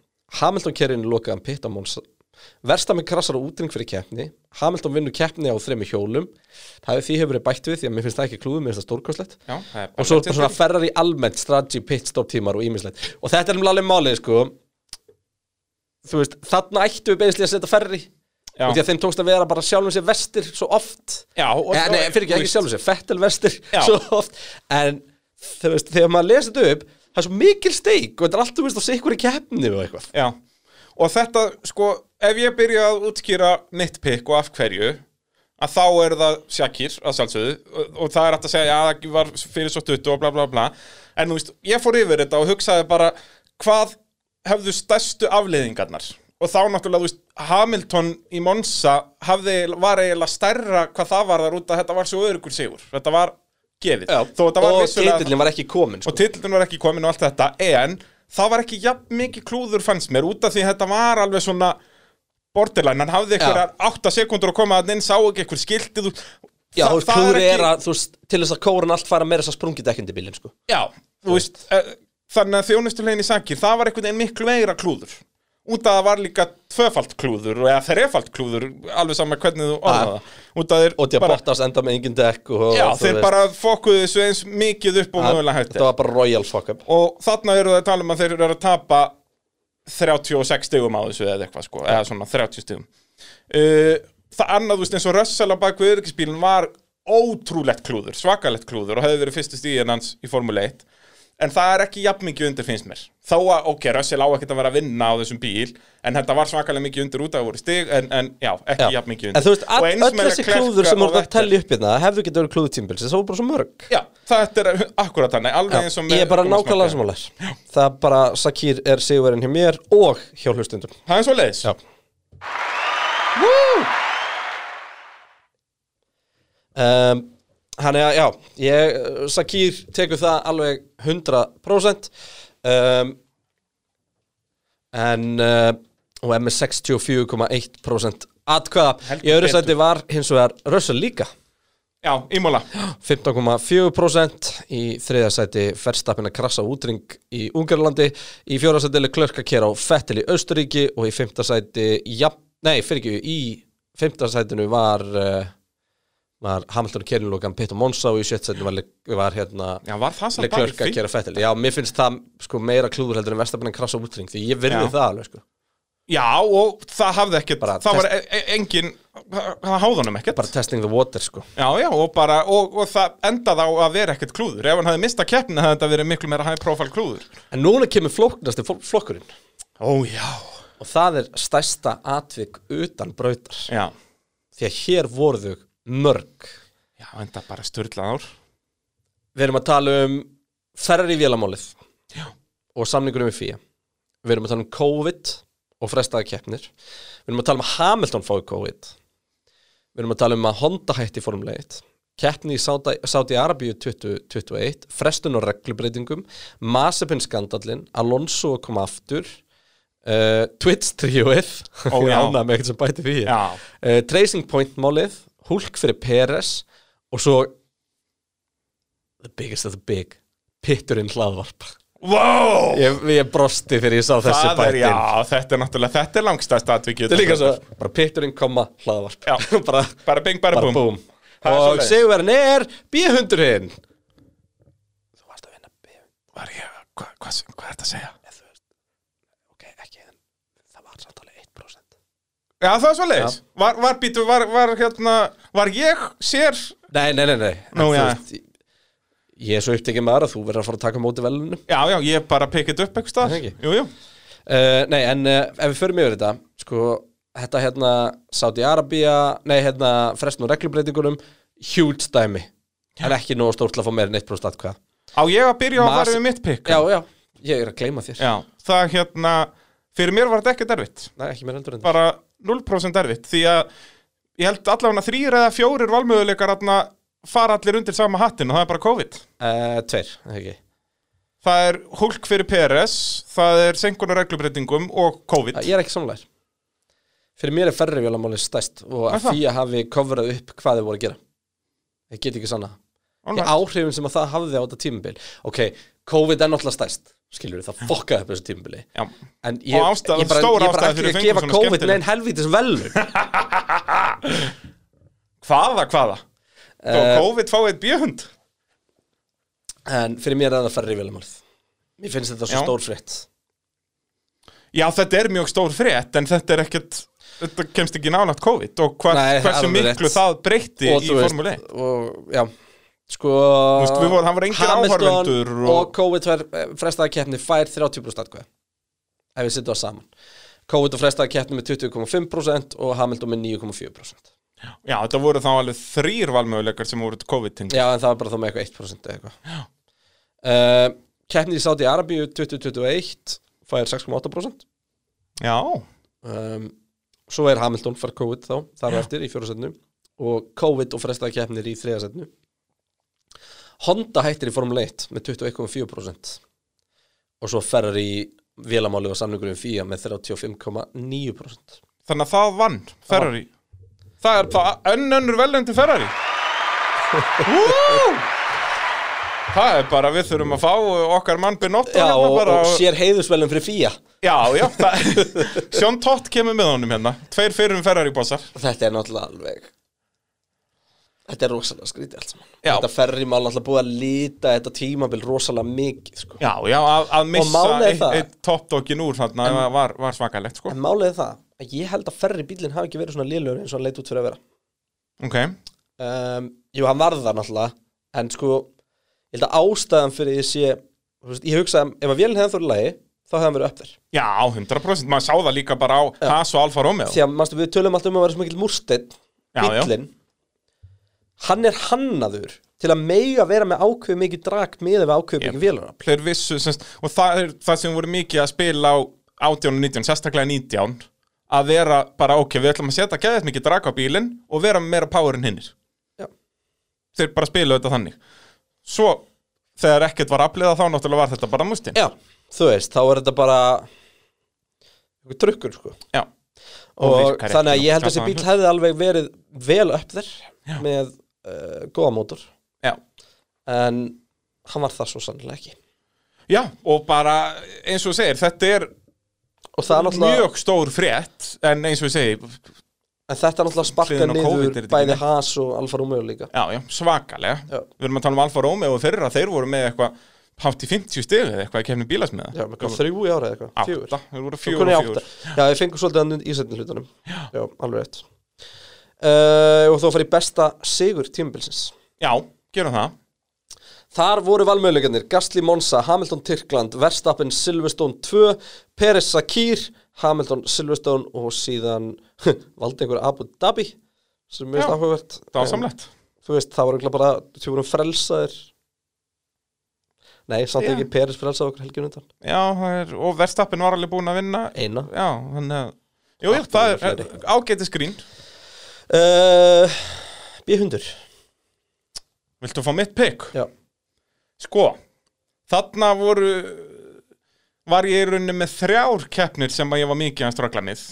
[SPEAKER 1] Hamilton kerir inn í lokaðan pitt á Monsa Verstamenn krassar á útring fyrir keppni Hamilton vinnur keppni á þremi hjólum það hefur því hefur verið bætt við því að mér finnst það ekki klúðu mér finnst það stórkostlegt
[SPEAKER 5] já, það er bara
[SPEAKER 1] og svo er
[SPEAKER 5] legend.
[SPEAKER 1] bara svona ferrar í almennt strategy, pit, stop tímar og ímislegt og þetta er um alveg málið sko þú veist, þarna ættu við beðislega að setja ferri
[SPEAKER 5] Já.
[SPEAKER 1] og því að þeim tókst að vera bara sjálfum sér vestir svo oft
[SPEAKER 5] Já, og-
[SPEAKER 1] Eh, nei, fyrir ekki,
[SPEAKER 5] þú
[SPEAKER 1] ekki
[SPEAKER 5] veist-
[SPEAKER 1] sjálfum sér, Fettel vestir
[SPEAKER 5] Já.
[SPEAKER 1] svo oft en þú veist, þegar maður lesi þetta upp það er svo mikil steik og þetta er allt þú veist á sikkur í keppni og eitthvað
[SPEAKER 5] Já, og þetta, sko, ef ég byrja að útskýra mitt pikk og af hverju að þá er það sjakir að sjálfsögðu og, og það er hægt að segja að það var fyrir svo tuttu og bla bla bla en þú veist, ég fór yfir þetta og hugsaði bara hvað hefðu stærstu afleiðingarnar og þá náttúrulega, þú veist, Hamilton í Monsa hafði, var eiginlega stærra hvað það var þar út að þetta var svo öðrugur sigur, þetta var gefið Þó þetta var
[SPEAKER 1] og
[SPEAKER 5] vissulega-
[SPEAKER 1] titillin var ekki komin sko.
[SPEAKER 5] og tillin var ekki komin og allt þetta en það var ekki jafn mikið klúður fannst mér út af því þetta var alveg svona borderline, hann hafði einhverjar 8 sekundur að koma að inn, sá ekki einhver skiltið út
[SPEAKER 1] Já, þú veist, klúður er að, þú veist, til þess að kóran allt fara meira þess að sprungið dekkindi bílinn, sko
[SPEAKER 5] já, þú veist, eh, þannig að þjónustulegin í sakir, það var einhvern veginn miklu meira klúður út af það var líka tvöfalt klúður eða þrefalt klúður, alveg sama hvernig þú orðaða út af þeir
[SPEAKER 1] og því að
[SPEAKER 5] bara,
[SPEAKER 1] Bottas enda með engin dekk og,
[SPEAKER 5] já,
[SPEAKER 1] og þú
[SPEAKER 5] þeir
[SPEAKER 1] veist,
[SPEAKER 5] bara fokkuðu þessu eins mikið upp og
[SPEAKER 1] að-
[SPEAKER 5] mögulega hætti
[SPEAKER 1] þetta var bara royal fuck up
[SPEAKER 5] og þarna eru það að tala um að þeir eru að tapa 36 stigum á þessu eða eitthvað sko, eða svona 30 stigum uh, það annað, þú veist, eins og Russell á baku öryggisbílinn var ótrúlegt klúður, svakalegt klúður og hefði verið fyrstu stíðin hans í Formule 1 en það er ekki jafn mikið undir finnst mér þá að, ok, Russell á ekkert að vera að vinna á þessum bíl en þetta var svakalega mikið undir út af voru stig en, en já, ekki
[SPEAKER 1] Já.
[SPEAKER 5] jafn mikið
[SPEAKER 1] En
[SPEAKER 5] undir
[SPEAKER 1] þú veist,
[SPEAKER 5] Og
[SPEAKER 1] all,
[SPEAKER 5] eins
[SPEAKER 1] öll
[SPEAKER 5] með
[SPEAKER 1] þessi
[SPEAKER 5] Leclerc
[SPEAKER 1] klúður sem
[SPEAKER 5] og
[SPEAKER 1] voru að
[SPEAKER 5] Vettel.
[SPEAKER 1] telja upp hérna hefðu getið verið klúður tímbils, þess að voru bara svo mörg
[SPEAKER 5] Já, þetta er akkurat þannig, alveg eins og með
[SPEAKER 1] Ég er bara
[SPEAKER 5] Thomas
[SPEAKER 1] nákvæmlega
[SPEAKER 5] Martin.
[SPEAKER 1] samanlegar Það er bara, Sakir er sigurinn hjá mér og hjá hlustundum
[SPEAKER 5] Það er svo leiðis
[SPEAKER 1] Já. um, Hann er, já, ég, Sakir tekur það alveg 100% um, eh, En, uh, og er með 64,1% atkvæða
[SPEAKER 5] Heldur
[SPEAKER 1] Í öðru
[SPEAKER 5] betur.
[SPEAKER 1] sæti var hins vegar Russell líka
[SPEAKER 5] Já, Ímola
[SPEAKER 1] 15,4% Í þriða sæti Verstappin að krassa útring í Ungarlandi Í fjóra sæti Leclerc að kera á Fettil í Austuríki Og í fymta sæti ja, Nei, fyrir ekki, í fymta sætinu var uh, var Hamilton Kerinlokan Pitt og Monsa og í sjött sætinu var, Le- var hérna
[SPEAKER 5] Já, var það samt
[SPEAKER 1] Leclerc að
[SPEAKER 5] fínt?
[SPEAKER 1] gera Fettil Já, mér finnst það sko meira klúður heldur en Verstappin að krassa útring því ég virði
[SPEAKER 5] Já.
[SPEAKER 1] það alveg sko
[SPEAKER 5] Já, og það hafði ekkert,
[SPEAKER 1] Bara
[SPEAKER 5] það var
[SPEAKER 1] test-
[SPEAKER 5] e- e- engin, það háðunum ekkert
[SPEAKER 1] bara testing the water sko
[SPEAKER 5] Já, já, og bara, og, og það endaði á að vera ekkert klúður Ef hann hafði mistað keppni hafði þetta verið miklu meira high profile klúður
[SPEAKER 1] en núna kemur flóknasti fl- flokkurinn
[SPEAKER 5] Ó, já
[SPEAKER 1] og það er stærsta atvik utan brautar
[SPEAKER 5] Já,
[SPEAKER 1] því að hér voru þau mörg
[SPEAKER 5] já, enda bara styrlað ár
[SPEAKER 1] við erum að tala um ferri vélamálið Já. og samningurum við fíja við erum að tala um COVID og frestaði keppnir við erum að tala um að Hamilton fái COVID við erum að tala um að Honda hætti formleitt keppni í Sáta- Sáti Arabíu 2021 frestun og reglubreitingum Masepin skandallin Alonso að koma aftur uh, Twitch tríuð
[SPEAKER 5] Ó,
[SPEAKER 1] Ég er
[SPEAKER 5] já.
[SPEAKER 1] ánægður með eitthvað sem bæti því
[SPEAKER 5] Já.
[SPEAKER 1] uh, Tracing Point málið Hulk fyrir Peres og svo The biggest of the big Pitturinn hlaðvarp
[SPEAKER 5] Vá,
[SPEAKER 1] ég, ég brosti þegar ég sá þessi
[SPEAKER 5] það er,
[SPEAKER 1] bætin
[SPEAKER 5] já, þetta er náttúrulega, þetta er langstæðst atvikið
[SPEAKER 1] Þetta er líka svo, bara pitturinn koma hlaðvarp
[SPEAKER 5] Já.
[SPEAKER 1] bara,
[SPEAKER 5] Bara bing, bara búm. Það er
[SPEAKER 1] Og
[SPEAKER 5] svoleiðis.
[SPEAKER 1] sigurverðin er B-hundurinn Þú varst að vinna B-hundurinn
[SPEAKER 5] Var ég, hva, hva, hvað er þetta að segja?
[SPEAKER 1] Ok, ekki, en það var samtalið 1%
[SPEAKER 5] Já, það er svo leiðis Var, var, býtu, var, var, hérna, var ég sér
[SPEAKER 1] Nei, nei, nei, nei
[SPEAKER 5] Nú,
[SPEAKER 1] En þú
[SPEAKER 5] já.
[SPEAKER 1] veist, ég- Ég er svo upptekið maður að þú verður að fara að taka á móti velunum
[SPEAKER 5] Já, já, ég bara pikkið upp eitthvað
[SPEAKER 1] Er það
[SPEAKER 5] staðar
[SPEAKER 1] ekki?
[SPEAKER 5] Jú, jú,
[SPEAKER 1] Uh, nei, en uh, ef við förum yfir þetta sko, þetta hérna Saudi Arabia, nei hérna frestun og reglubreitingunum, huge dæmi en ekki nóg stórt til að fá meira en 1% atkvæða.
[SPEAKER 5] á ég að byrja að
[SPEAKER 1] Mas-
[SPEAKER 5] fara við mitt pikk
[SPEAKER 1] Já, já, ég er að gleyma þér
[SPEAKER 5] Já, það hérna, fyrir mér var þetta ekkert erfitt
[SPEAKER 1] Nei, ekki meira heldur en
[SPEAKER 5] bara 0% erfitt því að ég held allavega þrýr eða fjórir valmöðuleikar aðna fara allir undir sama hattin og það er bara COVID
[SPEAKER 1] uh, Tveir, eða ekki
[SPEAKER 5] það er hólk fyrir PRS það er senkunar reglubreitingum og COVID
[SPEAKER 1] Æ, Eh, Ég er ekki samlægir Fyrir mér er ferri vélamáli stæst og
[SPEAKER 5] Er
[SPEAKER 1] að
[SPEAKER 5] það?
[SPEAKER 1] því að hafi coverað upp hvað þau voru að gera Ég get ekki sanna
[SPEAKER 5] All
[SPEAKER 1] Í
[SPEAKER 5] right.
[SPEAKER 1] áhrifin sem að það hafði á þetta tímabil Ok, COVID er náttúrulega stæst Skilur það fokkaði upp þessu tímabili
[SPEAKER 5] Já.
[SPEAKER 1] En ég,
[SPEAKER 5] Og ástæða-
[SPEAKER 1] ég bara,
[SPEAKER 5] stór
[SPEAKER 1] ég bara
[SPEAKER 5] ástæða
[SPEAKER 1] ekki
[SPEAKER 5] fyrir
[SPEAKER 1] að
[SPEAKER 5] fengum
[SPEAKER 1] gefa
[SPEAKER 5] svona
[SPEAKER 1] COVID
[SPEAKER 5] skemmtileg.
[SPEAKER 1] neinn helvítis velun
[SPEAKER 5] hvaða, hvaða og
[SPEAKER 1] Eh,
[SPEAKER 5] COVID fáið bjöhund
[SPEAKER 1] En fyrir mér er það ferri viljumálið Mér finnst þetta svo
[SPEAKER 5] Já.
[SPEAKER 1] stór frétt
[SPEAKER 5] já þetta er mjög stór frétt en þetta er ekkert þetta kemst ekki nálægt COVID og hva,
[SPEAKER 1] Nei, það er
[SPEAKER 5] hversu
[SPEAKER 1] alveg
[SPEAKER 5] miklu
[SPEAKER 1] rétt.
[SPEAKER 5] það breytti
[SPEAKER 1] Og
[SPEAKER 5] í
[SPEAKER 1] þú veist,
[SPEAKER 5] formule 1
[SPEAKER 1] Og já Sko
[SPEAKER 5] veist, við vorum- það voru engir áhorfendur
[SPEAKER 1] og...
[SPEAKER 5] og-
[SPEAKER 1] og COVID var frestaða keppni fær 30% atkvæða Ef við sittum það saman COVID og frestaða keppni með 20,5% og Hamilton með 9,4%
[SPEAKER 5] já þetta voru þá alveg þrýr valmöðuleikar sem voru COVID-tengt
[SPEAKER 1] Já, en það var bara þá með eitthvað 1% eða eitthvað uh, Keppni í Saudi Arabíu 2021 fær 6,8%
[SPEAKER 5] já,
[SPEAKER 1] um, Svo er Hamilton fær COVID þá, þar á eftir í fjórasetnu og COVID og frestaða keppnir í þriðasetnu Honda hættir í Formule 1 með 21,4% og svo ferrar í vélamáli og samningurum FIA með 35,9%
[SPEAKER 5] þannig að það vann Ferrari það er það önnönnur velöndi Ferrari Woo! það er bara við þurfum að fá okkar mann Benotto
[SPEAKER 1] Já,
[SPEAKER 5] hérna
[SPEAKER 1] og,
[SPEAKER 5] bara
[SPEAKER 1] og sér heiðusvelum fyrir FIA
[SPEAKER 5] já, já það... Sjón Tott kemur með honum hérna tveir fyrir um Ferrari bossar
[SPEAKER 1] Þetta er náttúrulega alveg Þetta er rosalega skrítið allt saman
[SPEAKER 5] Já.
[SPEAKER 1] Þetta ferri mál alltaf búið að lita þetta tímabil rosalega mikið sko.
[SPEAKER 5] já, já, að, að missa
[SPEAKER 1] málið er
[SPEAKER 5] eitt
[SPEAKER 1] það-
[SPEAKER 5] eitt toppdokkin úr þarna var, var svakalegt sko
[SPEAKER 1] En málið er það að ég held að ferri bílinn hafi ekki verið svona liðlegur eins og hann leit út fyrir að
[SPEAKER 5] ok,
[SPEAKER 1] vera um, Jú, hann varð það náttúrulega En sko, ég held að ástæðan fyrir ég sé þú veist, Ég hugsaði, um, ef að vélinn hefði þóri lagi þá hefði hann verið uppverð
[SPEAKER 5] já, 100% maður sá það líka bara á Haas og Alfa Romeo
[SPEAKER 1] Því að manstu, við tölum alltaf um að vera svo mikill múrsteinn
[SPEAKER 5] Já, já.
[SPEAKER 1] Bíllinn Hann er hannaður til að mega vera með ákveð mikið drak miðað við ákveð mikið vélarafl
[SPEAKER 5] þeir vissu semst, og það er það sem voru mikið að spila á 18 og 19, sérstaklega 19 að vera bara ok, við ætlum að setja keðið mikið draka á bílinn og vera með meira power en hinnir
[SPEAKER 1] Já.
[SPEAKER 5] þeir bara spila þetta þannig svo þegar ekkert var afliða þá náttúrulega var þetta bara mústinn
[SPEAKER 1] Já, þú veist, þá er þetta bara eitthvað trukkur, sko
[SPEAKER 5] Já.
[SPEAKER 1] og
[SPEAKER 5] virkar
[SPEAKER 1] þannig að
[SPEAKER 5] ekki,
[SPEAKER 1] ég held að þessi
[SPEAKER 5] skapa-
[SPEAKER 1] bíl hefði alveg verið vel upp þér með uh, góða mótor
[SPEAKER 5] Já.
[SPEAKER 1] en hann var það svo sannlega ekki
[SPEAKER 5] Já, og bara eins og þú segir, þetta er
[SPEAKER 1] og það er náttúrulega,
[SPEAKER 5] mjög stór frétt en eins og ég segi,
[SPEAKER 1] en þetta er náttúrulega sparka
[SPEAKER 5] Hliðin á COVID er þetta
[SPEAKER 1] niður
[SPEAKER 5] ekki
[SPEAKER 1] bæði
[SPEAKER 5] neitt?
[SPEAKER 1] Haas og Alfa Romeo líka
[SPEAKER 5] já, já, svakalega
[SPEAKER 1] Já.
[SPEAKER 5] Við erum að tala um Alfa Romeo og þeirra, þeir voru með eitthvað hátt í 50 stig eða eitthvað í kemni bílasmiða
[SPEAKER 1] já, með hvað þrjú í ára eða eitthvað, fjögur
[SPEAKER 5] Átta, þeir voru
[SPEAKER 1] Þeir
[SPEAKER 5] fjögur
[SPEAKER 1] komin í
[SPEAKER 5] og
[SPEAKER 1] átta.
[SPEAKER 5] fjögur
[SPEAKER 1] já, ég fengur svolítið hann í setni hlutunum já, alveg rétt uh, og þó að fara í besta sigur tímabilsins
[SPEAKER 5] Já, gerum það
[SPEAKER 1] Þar voru valmöðleikarnir Gasly Monza, Hamilton Tyrkland, Verstappen Silverstone 2, Peres Sakir, Hamilton Silverstone og síðan valdi einhver Abu Dhabi sem er
[SPEAKER 5] Já,
[SPEAKER 1] áhugavert.
[SPEAKER 5] Það var
[SPEAKER 1] En,
[SPEAKER 5] samlegt
[SPEAKER 1] Þú veist, það var eiginlega bara, þú vorum frelsaðir. Nei, samt
[SPEAKER 5] Já.
[SPEAKER 1] ekki Peres frelsaði okkur helgjum undan.
[SPEAKER 5] Já, það er, og verðstappin var alveg búin að vinna
[SPEAKER 1] Eina.
[SPEAKER 5] Já, þannig að Jú, jú,
[SPEAKER 1] Áttu
[SPEAKER 5] það er
[SPEAKER 1] fleiri.
[SPEAKER 5] ágæti skrín
[SPEAKER 1] Uh, B100.
[SPEAKER 5] Viltu fá mitt pick?
[SPEAKER 1] Já.
[SPEAKER 5] Sko, þarna voru var ég í rauninni með þrjár keppnir sem að ég var mikið að ströggla með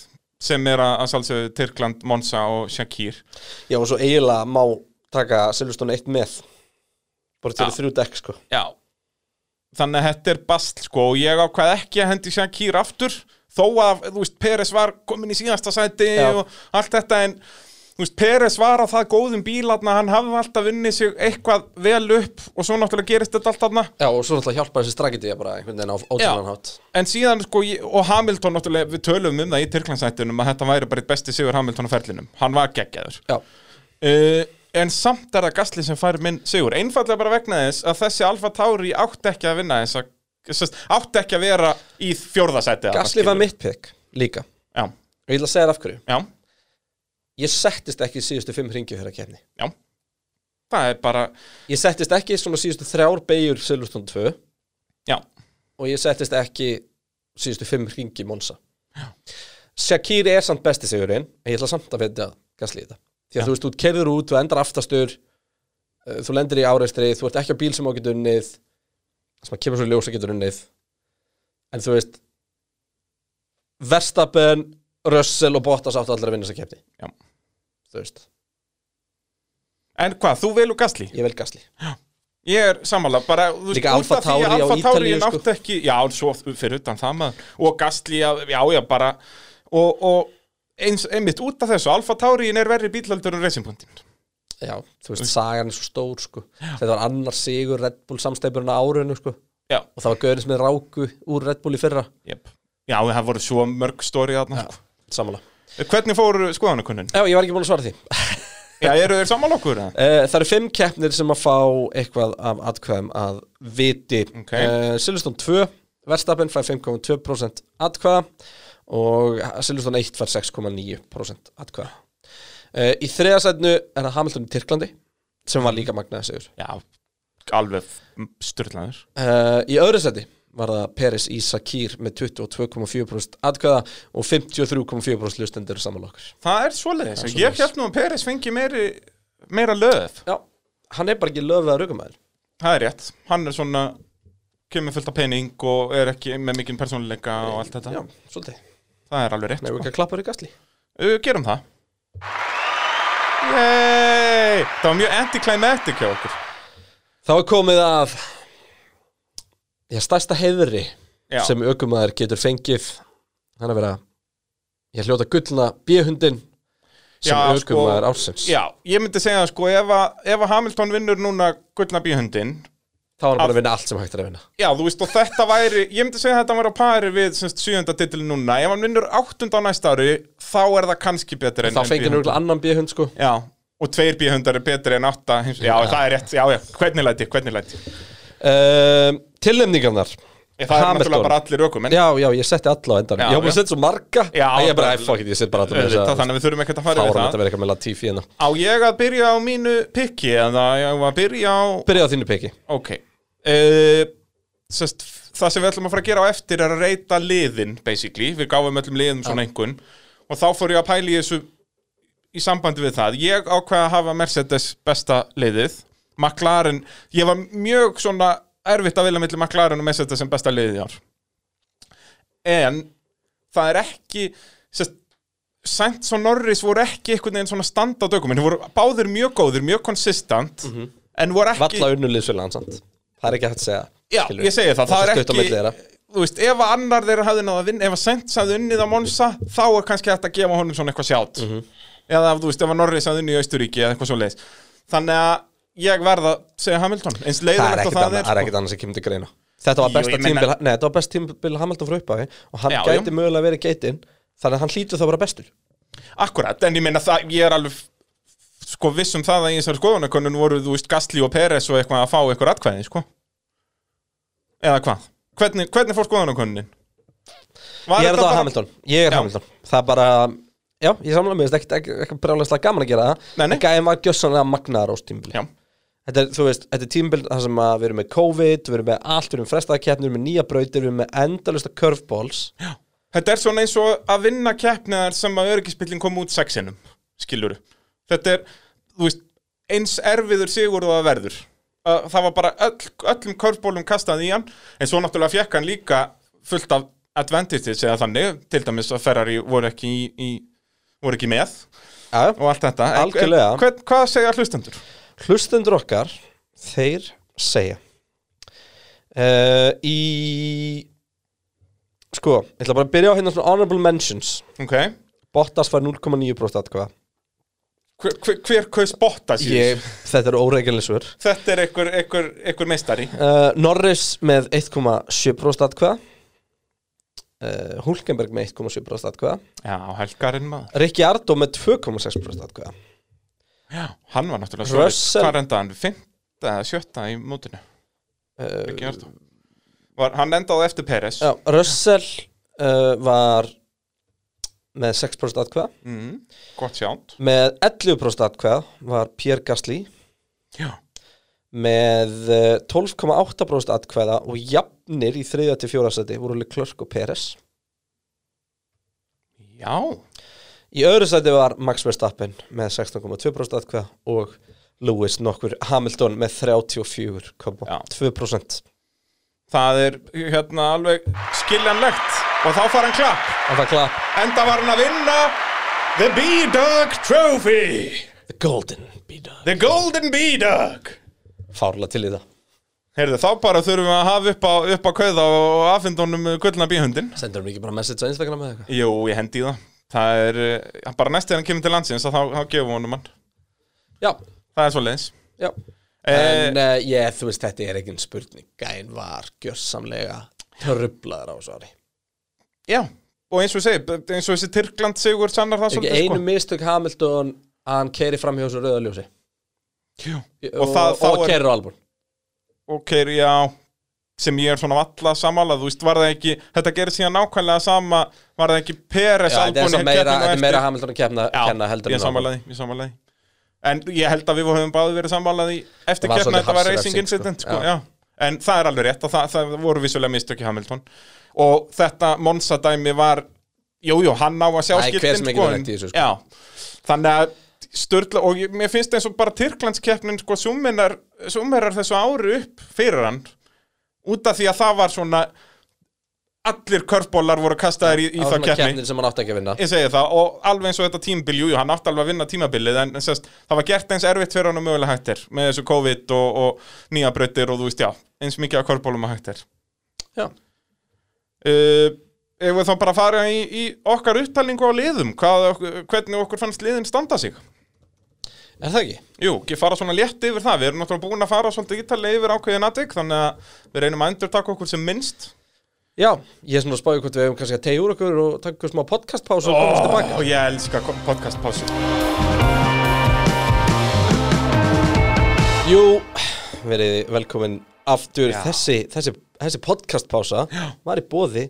[SPEAKER 5] sem er að, að sálsögðu Tyrkland, Monsa og Shakir
[SPEAKER 1] Já, og svo eiginlega má taka Silverstone 1 með. Bara til
[SPEAKER 5] Já.
[SPEAKER 1] ja. þrjú dekk, sko.
[SPEAKER 5] Já Þannig að þetta er bast sko og ég ákvað ekki að hendi Shakir aftur þó að, þú veist, Peres var komin í síðasta sæti
[SPEAKER 1] Já.
[SPEAKER 5] og allt þetta en þú veist, Peres var á það góðum bílarna hann hafði alltaf vunnið sig eitthvað vel upp og svo náttúrulega gerist þetta allt þarna
[SPEAKER 1] Já, og svo náttúrulega hjálpa þessi strakkiti bara einhvern veginn á ótrúlanhátt.
[SPEAKER 5] En síðan sko, ég- og Hamilton náttúrulega, við tölum um það í Tyrklandsættunum að þetta væri bara eitt besti sigur Hamilton á ferlinum. Hann var geggjaður.
[SPEAKER 1] Já.
[SPEAKER 5] Uh, en samt er það Gasly sem fær minn sigur. Einfallega bara vegna þess að þessi Alfa Tauri átti ekki að vinna þess að, sest, átti ekki að vera í fjórðasætti.
[SPEAKER 1] Gasly var mitt pick líka
[SPEAKER 5] Já,
[SPEAKER 1] og ég ætla að segja þér af hverju
[SPEAKER 5] já,
[SPEAKER 1] ég settist ekki í síðustu fimm ringi þegar að kefni
[SPEAKER 5] já. Það er bara,
[SPEAKER 1] ég settist ekki svona síðustu þrjár beigur Silverstone 2
[SPEAKER 5] já,
[SPEAKER 1] og ég settist ekki síðustu fimm ringi Monsa Shakir er samt besti sigurinn en ég ætla samt að veitja Gasly í þetta því að þú veist, þú kerður út, þú endar aftastur uh, þú lendir í áreistri þú ert ekki á bíl sem á getur unnið sem að kemur svo í ljós að getur unnið en þú veist Verstappen, Russell og Bottas áttu allir að vinna þess að kefni
[SPEAKER 5] Já.
[SPEAKER 1] þú veist
[SPEAKER 5] en hvað, þú velur Gasly?
[SPEAKER 1] Ég vel Gasly
[SPEAKER 5] Ég er samanlega bara þú veist,
[SPEAKER 1] Líka
[SPEAKER 5] út af
[SPEAKER 1] Alfa
[SPEAKER 5] því að
[SPEAKER 1] Tauri á
[SPEAKER 5] Alfa Tauri
[SPEAKER 1] Ítalíu, sko.
[SPEAKER 5] nátt ekki, já, svo fyrir utan það maður og Gastli, já, já, já, bara og, og eins, einmitt út af þessu Alfa Tauri er verri bílaldur en racingpuntin
[SPEAKER 1] Já, þú veist, sagan er svo stór sko. Þetta var annar sigur Red Bull samstæpurinn á árinu sko.
[SPEAKER 5] Já,
[SPEAKER 1] og það var Görins með ráku úr Red Bull í fyrra
[SPEAKER 5] jep Já, það voru svo mörg stóri þarna sko.
[SPEAKER 1] Samanlega
[SPEAKER 5] Hvernig fóru skoðanakunnin?
[SPEAKER 1] Já, ég var ekki búin að svara því
[SPEAKER 5] Já, eru þeir samanlega okkur? eða?
[SPEAKER 1] uh, Það eru fimm keppnir sem að fá eitthvað af atkvæðum að viti
[SPEAKER 5] Ok.
[SPEAKER 1] uh, Silveston 2 Verstappen fær 5,2% atkvæða og Silveston 1 fær 6,9% atkvæða uh, Í þriðasætnu er það Hamilton í Tyrklandi sem var líka magnaði sigur
[SPEAKER 5] Já, alveg styrlaður
[SPEAKER 1] Uh, í öðru seti var það Peris í Sakir með 22,4% atkvæða og 53,4% lustendur samanlokkur.
[SPEAKER 5] Það er svoleiðis,
[SPEAKER 1] er
[SPEAKER 5] ég
[SPEAKER 1] svoleiðis.
[SPEAKER 5] held nú að Peres fengi meiri, meira löf
[SPEAKER 1] Já, hann er bara ekki löfið að raukumæður.
[SPEAKER 5] Það er rétt, hann er svona kemur fullt af pening og er ekki með mikinn persónuleika og allt þetta
[SPEAKER 1] Já, svolítið.
[SPEAKER 5] Það er alveg rétt
[SPEAKER 1] Nei, við
[SPEAKER 5] sko.
[SPEAKER 1] ekki að klappa þér í gasli.
[SPEAKER 5] uh, Gerum það Yay! Það var mjög anticlimactic hjá okkur
[SPEAKER 1] Þá er komið að já, stærsta heiðri
[SPEAKER 5] Já,
[SPEAKER 1] sem aukumæður getur fengið hann að vera ég hljóta gullna bíhundin sem
[SPEAKER 5] Já, sko,
[SPEAKER 1] aukumæður ársins.
[SPEAKER 5] já ég myndi segja sko ef að, ef að Hamilton vinnur núna gullna bíhundin
[SPEAKER 1] Þá var hann bara að vinna allt sem hægt er að vinna.
[SPEAKER 5] Já, þú veist, og þetta væri, ég myndi segja að þetta væri á pari við semst sjöunda titil núna Ef hann vinnur áttunda á næsta ári, þá er það kannski betur en
[SPEAKER 1] Þá fengið hann
[SPEAKER 5] B100.
[SPEAKER 1] auðvitað annan bíhund sko.
[SPEAKER 5] Já, og tveir bíhundar er betur en átta heims... Já,
[SPEAKER 1] Já.
[SPEAKER 5] það er rétt, já, já, hvernig læti, hvernig læti
[SPEAKER 1] Uh, tilnefningarnar.
[SPEAKER 5] Það er náttúrulega
[SPEAKER 1] Hamilton.
[SPEAKER 5] bara allir ökum en...
[SPEAKER 1] Já, já, ég setti alla á endan
[SPEAKER 5] Já,
[SPEAKER 1] Ég var búin
[SPEAKER 5] já.
[SPEAKER 1] að setja svo marga
[SPEAKER 5] Já,
[SPEAKER 1] Æ, ég bara,
[SPEAKER 5] bara-
[SPEAKER 1] æ, fuck it, ég set bara alla með
[SPEAKER 5] Auðvitað,
[SPEAKER 1] þessa-
[SPEAKER 5] Þannig að við þurfum ekkert að fara
[SPEAKER 1] Fárum
[SPEAKER 5] við
[SPEAKER 1] þetta
[SPEAKER 5] það
[SPEAKER 1] að vera eitthvað með Latifi hérna
[SPEAKER 5] Á ég að byrja á mínu pikki eða á ég að byrja á...
[SPEAKER 1] Byrjaði á þínu peki
[SPEAKER 5] Ok. Uh, sest, það sem við ætlum að fara að gera á eftir er að reyta liðin, basically. Við gáfum öllum liðum svona einhvern. Og þá fór ég að pæla í þessu í sambandi við það. Ég ákveða að hafa Mercedes besta liðið. McLaren, ég var mjög svona erfitt að vilja milli McLaren og Mercedes sem besta liðið í ár. En það er ekki, sest, Sainz og Norris voru ekki einhvern veginn svona standa á dögum en þeir voru báðir mjög góðir, mjög konsistant en voru ekki
[SPEAKER 1] Valla unnuliðsfélagann samt Það er ekki hægt að segja
[SPEAKER 5] Já,
[SPEAKER 1] skilurðu.
[SPEAKER 5] ég segi það, það
[SPEAKER 1] er
[SPEAKER 5] er
[SPEAKER 1] svo stutt á milli
[SPEAKER 5] ekki
[SPEAKER 1] þeirra.
[SPEAKER 5] Þú veist, ef að annar þeirra hafði náða að vinna Ef að Sainz hafði unnið á Monsa Þá er kannski hægt að gefa honum svona eitthvað sjátt
[SPEAKER 1] Mhm.
[SPEAKER 5] Eða, þú veist, ef að Norris hafði unnið í Austuríki Eða eitthvað svo leiðis Þannig að ég verða að segja Hamilton Eins
[SPEAKER 1] Það er
[SPEAKER 5] leiðilegt og
[SPEAKER 1] ekkit
[SPEAKER 5] það
[SPEAKER 1] annað-
[SPEAKER 5] er
[SPEAKER 1] það er
[SPEAKER 5] sko.
[SPEAKER 1] ekkit annað sem kemur til greina Þetta var
[SPEAKER 5] Jú,
[SPEAKER 1] besta
[SPEAKER 5] ég meina-
[SPEAKER 1] tímbil Nei, þetta var best tímbil Hamilton frá uppafi og hann
[SPEAKER 5] Já,
[SPEAKER 1] gæti
[SPEAKER 5] já.
[SPEAKER 1] mögulega verið geitin þannig að hann hlýtur þá bara bestur
[SPEAKER 5] Akkurat, en ég meina það, ég er alveg Sko viss um það að í þessari skoðanakönnun voru, þú veist, Gastli og Peres og eitthvað að fá eitthvað atkvæði, sko Eða hvað? Hvernig, hvernig fór skoðanakönnunin?
[SPEAKER 1] Ég er það Hamilton, ég er Hamilton Það er bara, já, ég samlega með ekkit ekki, ekki brjálæslega gaman að gera
[SPEAKER 5] Nei,
[SPEAKER 1] það
[SPEAKER 5] nei.
[SPEAKER 1] en gæði var gjössanlega magnaðar ás tímbil
[SPEAKER 5] Já,
[SPEAKER 1] Þetta er, þú veist, þetta er tímbil þar sem að við erum með COVID, við erum með allt, við erum með frestaðakeppnir, við erum með nýja brautir, við erum með endalusta curveballs
[SPEAKER 5] Þetta er svona eins og að vinna keppniðar sem að öryggisbylling kom út sexinum, skilur Þetta er, þú veist, eins erfiður sigur og það verður Að Það var bara öll, öllum körfbólum kastað í hann En svo náttúrulega fekk hann líka fullt af advantages eða þannig Til dæmis að Ferrari voru ekki, í, í, voru ekki með
[SPEAKER 1] Já,
[SPEAKER 5] og allt þetta En- en
[SPEAKER 1] Algjörlega.
[SPEAKER 5] hvern- Hvað segja hlustendur?
[SPEAKER 1] hlustendur okkar þeir segja uh, í sko, ég ætla bara að byrja á hérna svona honorable mentions
[SPEAKER 5] Ok
[SPEAKER 1] Bottas var 0,9% atkvæða
[SPEAKER 5] Hver, hver, hver kaus botta síðan?
[SPEAKER 1] ég, þetta eru óreikjalisur
[SPEAKER 5] Þetta er einhver, einhver, einhver meistari
[SPEAKER 1] uh, Norris með 1,7% atkvæða uh, Hulkenberg með 1,7% atkvæða
[SPEAKER 5] Já, helgarinn maður
[SPEAKER 1] Rikki Ardó með 2,6% atkvæða
[SPEAKER 5] Hann var náttúrulega
[SPEAKER 1] Russell-
[SPEAKER 5] Hvað rendaði hann? Fynda eða sjötta í mótinu?
[SPEAKER 1] uh,
[SPEAKER 5] Ekki hjarta var, Hann endaði eftir Peres
[SPEAKER 1] já, Russell uh, var með 6% atkvæða
[SPEAKER 5] mm, Gott sjátt
[SPEAKER 1] Með 11% atkvæða var Pierre Gasly
[SPEAKER 5] Já.
[SPEAKER 1] Með eh, 12,8% atkvæða og jafnir í þriðja til fjóra seti voru Leclerc og Peres
[SPEAKER 5] Já,
[SPEAKER 1] Í öðru seti var Max Verstappen með 16,2% atkvæða og Lewis nokkur Hamilton með 34,2%
[SPEAKER 5] það er hérna alveg skiljanlegt Og þá fara hann klapp
[SPEAKER 1] En það klapp
[SPEAKER 5] Enda var hann að vinna The B-Dog Trophy
[SPEAKER 1] The Golden Beater
[SPEAKER 5] The Golden B-Dog
[SPEAKER 1] Fárlega til í það
[SPEAKER 5] Heyrðu, þá bara þurfum við að hafa upp á, upp á kauða og affinda honum gullna bíhundin
[SPEAKER 1] Sendur hann ekki bara message á Instagram eða eitthvað
[SPEAKER 5] Jú, ég hendi í það Það er eh, bara næst þegar hann kemur til landsins að þá, þá gefum við honum hann
[SPEAKER 1] Já,
[SPEAKER 5] Það er svo leiðis
[SPEAKER 1] já En
[SPEAKER 5] eh,
[SPEAKER 1] uh, ég, þú veist, þetta er ekki en spurning Gæn var gjörsamlega törrublaður á svo ári
[SPEAKER 5] Já, og eins og ég segi, eins og þessi Tyrkland sigur sannar það
[SPEAKER 1] ekki
[SPEAKER 5] svolítið sko.
[SPEAKER 1] einu mistök Hamilton að hann keiri fram hjá þessu rauða ljósi
[SPEAKER 5] sko
[SPEAKER 1] og,
[SPEAKER 5] Og það-
[SPEAKER 1] og,
[SPEAKER 5] þá
[SPEAKER 1] og
[SPEAKER 5] er-
[SPEAKER 1] keiri á albún
[SPEAKER 5] Ok, já, sem ég er svona valla samála, þú veist, var það ekki, þetta gerir síðan nákvæmlega sama, var það ekki Peres
[SPEAKER 1] þetta er
[SPEAKER 5] Albon
[SPEAKER 1] svo meira,
[SPEAKER 5] hér keppnina
[SPEAKER 1] þetta er
[SPEAKER 5] eftir?
[SPEAKER 1] meira Hamilton að kemna, kenna
[SPEAKER 5] Já,
[SPEAKER 1] heldur
[SPEAKER 5] ég
[SPEAKER 1] Albon.
[SPEAKER 5] samálaði, ég samálaði En ég held að við höfum báði verið samálaði eftir
[SPEAKER 1] var
[SPEAKER 5] keppna,
[SPEAKER 1] svolítið
[SPEAKER 5] þetta var
[SPEAKER 1] harsh
[SPEAKER 5] racing
[SPEAKER 1] refsing, sko.
[SPEAKER 5] incident, sko,
[SPEAKER 1] Já.
[SPEAKER 5] já. En það er alveg rétt að það, það voru vissulega mistök í Hamilton Og þetta Monsa dæmi var, jú, jú, hann á að
[SPEAKER 1] Æ,
[SPEAKER 5] sjá
[SPEAKER 1] hver
[SPEAKER 5] skiltin,
[SPEAKER 1] sem er
[SPEAKER 5] sko,
[SPEAKER 1] getur
[SPEAKER 5] en-
[SPEAKER 1] lent í þessu, sko.
[SPEAKER 5] Já, þannig að störla, og ég, mér finnst eins og bara Tyrklandskeppnin, sko, summerar, summerar þessu ári upp fyrir hann Út af því að það var svona, allir körfbólar voru kastaðir í, í
[SPEAKER 1] Það var
[SPEAKER 5] það
[SPEAKER 1] svona
[SPEAKER 5] keppni
[SPEAKER 1] keppnin sem hann átti ekki að vinna
[SPEAKER 5] ég segi það og alveg eins og þetta tímabil jú, jú, hann átti alveg að vinna tímabilið en en sest, það var gert eins erfitt fyrir hann og mögulega hægt er með þessu COVID og, og nýja brautir og þú veist já, eins mikið af korfbólum að hægt er
[SPEAKER 1] Já.
[SPEAKER 5] uh, Ef við þá bara að fara í, í okkar upptalningu á liðum hvað, ok- hvernig okkur fannst liðin standa
[SPEAKER 1] er
[SPEAKER 5] sig
[SPEAKER 1] það ekki?
[SPEAKER 5] Jú, ekki fara svona létt yfir það, við erum náttúrulega búin að fara svolítið ítalið yfir ákveðin atvik þannig að við reynum að endurtaka okkur sem minnst
[SPEAKER 1] Já, ég er svona að spáði hvort við hefum kannski að tegja úr okkur og taka okkur smá podcastpásu og komast tilbaka
[SPEAKER 5] og ég elska podcastpásu
[SPEAKER 1] Jú, verið velkomin aftur
[SPEAKER 5] Já.
[SPEAKER 1] þessi, þessi, þessi podcastpása var í bóði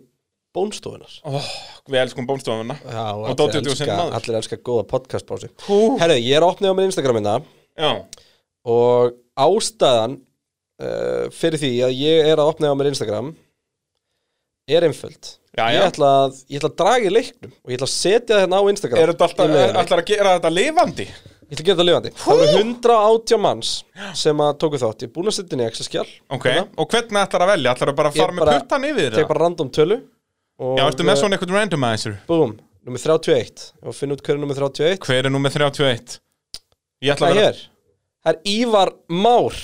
[SPEAKER 1] bónstofunar
[SPEAKER 5] oh, Við elskum bónstofuna
[SPEAKER 1] Já, og
[SPEAKER 5] og
[SPEAKER 1] allir
[SPEAKER 5] Dóti og Djósin
[SPEAKER 1] elska,
[SPEAKER 5] maður
[SPEAKER 1] allir elska góða podcastpásu
[SPEAKER 5] Hú.
[SPEAKER 1] Herðu, ég er opnið á minn Instagramina
[SPEAKER 5] Já
[SPEAKER 1] og ástæðan uh, fyrir því að ég er að opna á mér Instagram er einföld
[SPEAKER 5] Já,
[SPEAKER 1] ég,
[SPEAKER 5] já.
[SPEAKER 1] ætla að, ég ætla að draga í leiknum og ég ætla að setja þetta á Instagram
[SPEAKER 5] Er
[SPEAKER 1] í
[SPEAKER 5] þetta alltaf,
[SPEAKER 1] leiðinni.
[SPEAKER 5] ætlar að gera þetta lifandi?
[SPEAKER 1] Ég ætla að gera þetta lifandi Það voru 180 manns sem að tóku þátt Ég er búin að setja inn í Excel-skjál
[SPEAKER 5] Ok, Hérna. og hvernig ætlar að velja? Ætlar að bara fara með puttan yfir
[SPEAKER 1] Tek
[SPEAKER 5] það?
[SPEAKER 1] bara random tölu og,
[SPEAKER 5] Já, ertu með svona einhvern randomizer?
[SPEAKER 1] Búm, Númer 31 Og finn út hver er númer 31
[SPEAKER 5] Hver er númer 31? Ég
[SPEAKER 1] Það
[SPEAKER 5] ætla að
[SPEAKER 1] er
[SPEAKER 5] vera
[SPEAKER 1] hér Það er Ívar Már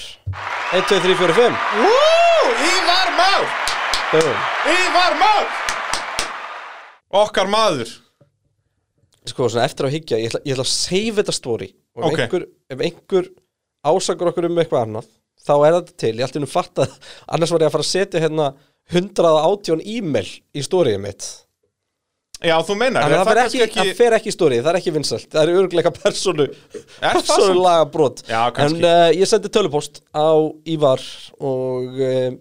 [SPEAKER 1] 1, 2, 3, 4, 5
[SPEAKER 5] Woo! Ívar Már!
[SPEAKER 1] Bum.
[SPEAKER 5] Ívar Már! Okkar maður
[SPEAKER 1] Sko, svona eftir á higgja Ég ætla, ég ætla að save þetta story Og ef
[SPEAKER 5] Ok.
[SPEAKER 1] einhver, ef einhver ásakar okkur um eitthvað annað Þá er þetta til Ég ætti nú fatt að Annars var ég að fara að setja hérna 118 e-mail í storyið mitt
[SPEAKER 5] Já, þú meinar
[SPEAKER 1] Þannig að það, fer
[SPEAKER 5] kannski
[SPEAKER 1] ekki, það fer ekki í stórið, það er ekki vinsalt Það er örgleika persónu
[SPEAKER 5] það
[SPEAKER 1] Persónulaga brot
[SPEAKER 5] Já, kannski.
[SPEAKER 1] En uh, ég sendi tölupost á Ívar Og uh,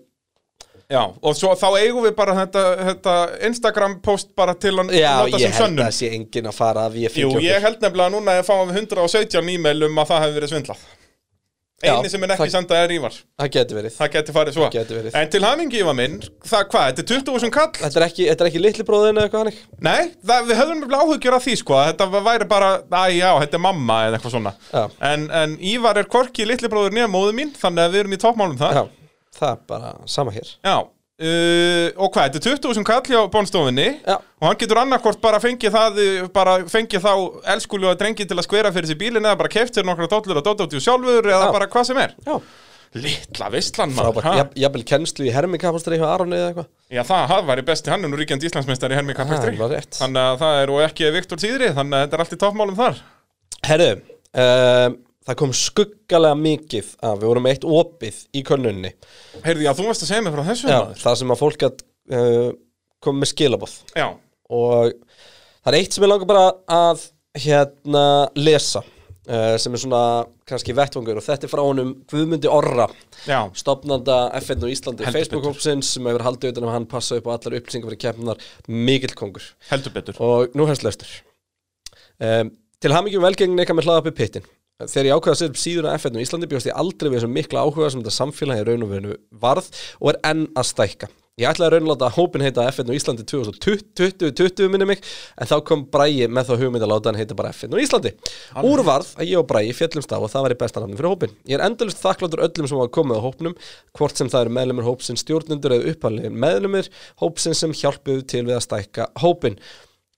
[SPEAKER 5] Já, og svo, þá eigum við bara þetta, þetta Instagram post bara til að
[SPEAKER 1] já,
[SPEAKER 5] nota sem
[SPEAKER 1] ég held að
[SPEAKER 5] sönnum
[SPEAKER 1] það sé engin að fara að ég
[SPEAKER 5] Jú,
[SPEAKER 1] fylgja
[SPEAKER 5] ég held nefnilega núna að ég fáum við 117 e-mail um að það hefur verið svindlað
[SPEAKER 1] Já,
[SPEAKER 5] Eini sem er ekki
[SPEAKER 1] það-
[SPEAKER 5] sendað er Ívar
[SPEAKER 1] Það geti verið
[SPEAKER 5] Það geti farið svo
[SPEAKER 1] gæti verið.
[SPEAKER 5] En til hamingi Ívar minn, það hvað, þetta er 20.000 kall?
[SPEAKER 1] Þetta er ekki, þetta er ekki litli bróðin eða eitthvað hannig
[SPEAKER 5] Nei, það, við höfum nefnilega áhugjur af því sko að Þetta væri bara, að já, þetta er mamma eða eitthvað svona
[SPEAKER 1] Já.
[SPEAKER 5] en, en Ívar er korki litli bróður nýja móðu mín Þannig að við erum í toppmálum það
[SPEAKER 1] Já, það er bara sama hér
[SPEAKER 5] Já, uh, og hvað, þetta er 20.000 kall hjá bónstofinni
[SPEAKER 1] Já.
[SPEAKER 5] og hann getur annarkvort bara fengið það uh, bara fengið þá elskulega drengi til að skvera fyrir sér bílinn eða bara keftir nokkra dollur og dottatíu sjálfur eða
[SPEAKER 1] Já.
[SPEAKER 5] bara hvað sem er
[SPEAKER 1] Já,
[SPEAKER 5] Litla veistlan maður,
[SPEAKER 1] frábært
[SPEAKER 5] ha?
[SPEAKER 1] Jafn- Jafnvel kennslu í hermikapastri hjá Aroni eða eitthvað
[SPEAKER 5] Já, það, það væri besti hann er nú ríkjandi Íslandsmeistari í Helmi Kapistri
[SPEAKER 1] það var rétt.
[SPEAKER 5] Þannig að það er og ekki Viktor Týðri þannig að þetta er allt í toppmálum þar
[SPEAKER 1] Herru, um, það kom skuggalega mikið af Við vorum með eitt opið í könnunni
[SPEAKER 5] Heyrðu, já, þú varst að segja mér frá þessu
[SPEAKER 1] Já,
[SPEAKER 5] maður
[SPEAKER 1] það sem að fólk að uh, koma með skilabóð
[SPEAKER 5] Já,
[SPEAKER 1] og það er eitt sem ég langar bara að hérna lesa uh, sem er svona kannski vettvangur og þetta er frá honum Guðmundi Orra
[SPEAKER 5] já,
[SPEAKER 1] stopnanda FN og Íslandi
[SPEAKER 5] Heldur
[SPEAKER 1] Facebook-hópsins sem hefur haldið utan um að hann passa upp á allar upplýsingar fyrir keppnar mikill kongur
[SPEAKER 5] heldur betur
[SPEAKER 1] og nú hefst löstur um, Til hamingjum velgengni kann mér hlaða upp í pittin Þegar ég ákveða að setja upp síðuna FN og Íslandi bjóst ég aldrei við þessum mikla áhuga sem þetta samfélagi raun og veru varð og er enn að stækka Ég ætlaði að raun og láta hópin heita FN og Íslandi 2020, 20 minni mig en þá kom Bræi með þá hugmynd að láta hann heita bara FN og Íslandi Úr varð að ég og Bræi fjallumst á og það væri besta nafni fyrir hópin Ég er endalust þakkláttur öllum sem hafa komið á hópnum hvort sem það eru meðlumir hópsins stjórnendur eða uppalegin meðlumir hópsins sem hjálpuðu til við að stækka hópin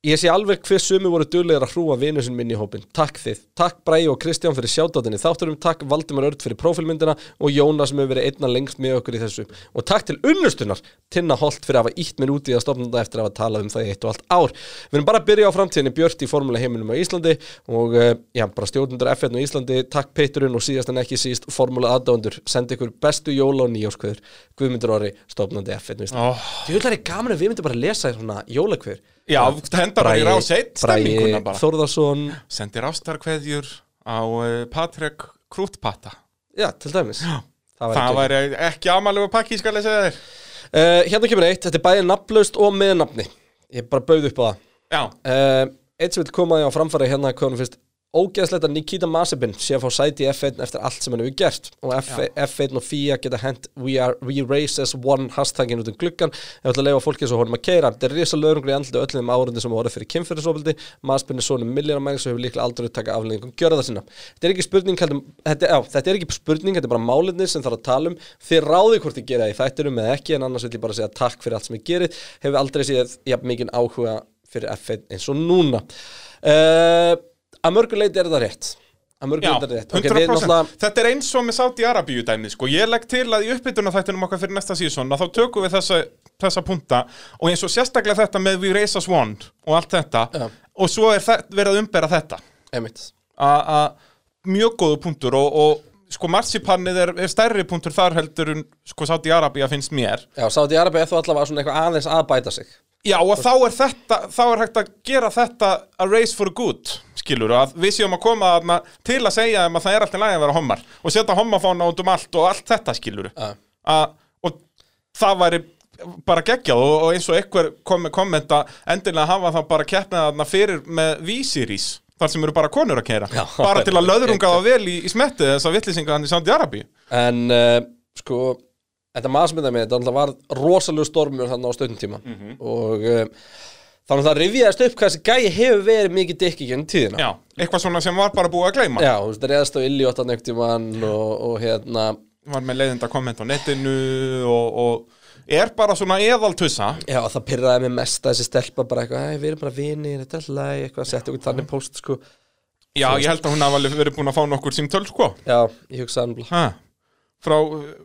[SPEAKER 1] Ég sé alveg hver sumi voru duglegir að hrúa vinu sinn minni í hópin. Takk þið. Takk Bræi og Kristján fyrir sjátátinni þátturum. Takk Valdimar Örd fyrir prófilmyndina og Jóna sem hefur verið einna lengst með okkur í þessu. Og takk til unnustunar Tinna Holt fyrir að hafa ítt mér út í að stopna þetta eftir að hafa talað um það í eitt og allt ár. Við erum bara að byrja á framtíðinni Björt í formule heiminum á Íslandi og eh, já, bara stjórnundur F1 á Íslandi. Takk Peturinn og síðast en ekki síst formule aðdándur. Sendi ykkur bestu jóla og nýjáskveður. Guðmundur Orri, stofnandi F1 á Íslandi.
[SPEAKER 5] oh.
[SPEAKER 1] Djúlar er gaman ef við myndum bara að lesa svona jólakvör
[SPEAKER 5] Já, henda bara í Rás 1 stemminguna bara.
[SPEAKER 1] Þórðarsson
[SPEAKER 5] Sendir ástarkveðjur á uh, Patrek Krútpata
[SPEAKER 1] Já, til dæmis Það
[SPEAKER 5] Það
[SPEAKER 1] var...
[SPEAKER 5] væri ekki amalegu pakki, skal ég segja þér
[SPEAKER 1] uh, Hérna kemur eitt, þetta er bæði nafnlaust og með nafni Ég bara bauð upp á það
[SPEAKER 5] Já,
[SPEAKER 1] uh, Eitt sem vil koma því á framfæri hérna hvað hann finnst ógeðslegt að Nikita Mazepin sé að fá sæti í F1 eftir allt sem hann hefur gert og F, F1 og FIA geta hent We, are, we race as one hashtagin út um gluggan ef ætla að leifa fólki eins og honum að keira þetta er risa lögrungri andliti öllum þeim árundi sem hafa orðið fyrir kynferðisofildi Mazepin er sonum milljónamæring sem hefur líklega aldrei taka afleggingum gjörða sinna þetta er ekki spurning heldur, þetta, á, þetta er ekki spurning, þetta er bara málinni sem þarf að tala um þið ráði hvort þið gera í þættinum eða ekki en annars vil ég bara segja takk fyrir allt sem þið gerir hefur aldrei séð jafn mikinn áhuga fyrir F1 eins og núna uh, að mörgu leiti er það rétt að mörgu
[SPEAKER 5] já,
[SPEAKER 1] leiti er það rétt
[SPEAKER 5] 100%
[SPEAKER 1] Ok, við náttúrulega
[SPEAKER 5] Þetta er eins og með Saudi Arabíu dæmið sko. Ég legg til að í uppbytuna þættinum okkar fyrir næsta sísón að þá tökum við þessa, þessa punta og eins og sérstaklega þetta með We Race As One og allt þetta
[SPEAKER 1] Já.
[SPEAKER 5] og svo er það, verið að umbera þetta
[SPEAKER 1] einmitt,
[SPEAKER 5] A- að mjög góðu punktur og, og sko marsipannið er, er stærri punktur þar heldur en sko Saudi Arabíu finnst mér
[SPEAKER 1] já, Saudi Arabia er þó allavega svona eitthvað aðeins að bæta sig
[SPEAKER 5] Já og þá er þetta, þá er hægt að gera þetta a race for good, skilur að við séum að koma þarna til að segja þeim að það er alltaf lægi að vera hommar og setja hommafána út um allt og allt þetta skilur
[SPEAKER 1] Já.
[SPEAKER 5] og það væri bara geggjað og, og eins og einhver kom með komment að endilega hafa það bara keppnað þarna fyrir með vísirís þar sem eru bara konur að keira
[SPEAKER 1] Já.
[SPEAKER 5] bara til að löðrunga það vel í, í smetti þess að vittlýsinga hann í Saudi Arabi
[SPEAKER 1] en uh, sko þetta maður sem þetta með þetta var rosalegu stormur þannig á stöðnum tíma
[SPEAKER 5] Mhm.
[SPEAKER 1] og uh, þá er það rifjaðist upp hvað þessi gæi hefur verið mikið dykki genn tíðina
[SPEAKER 5] Já, eitthvað svona sem var bara búið að gleyma
[SPEAKER 1] já þú veist, reyðast á illjóttan einhvern tímann og, og hérna
[SPEAKER 5] var með leiðinda komment á netinu og, og er bara svona eðaltussa
[SPEAKER 1] Já, það pyrraði mig mest að þessi stelpa bara eitthvað, "Æ, við erum bara vinir, þetta er alltaf læg, eitthvað, setja okkur þannig post, sko.
[SPEAKER 5] Já, ég held að hún hafa alveg verið búin að fá nokkur símtöl, sko
[SPEAKER 1] Já, ég um hugsaði hann,
[SPEAKER 5] ha. Frá uh,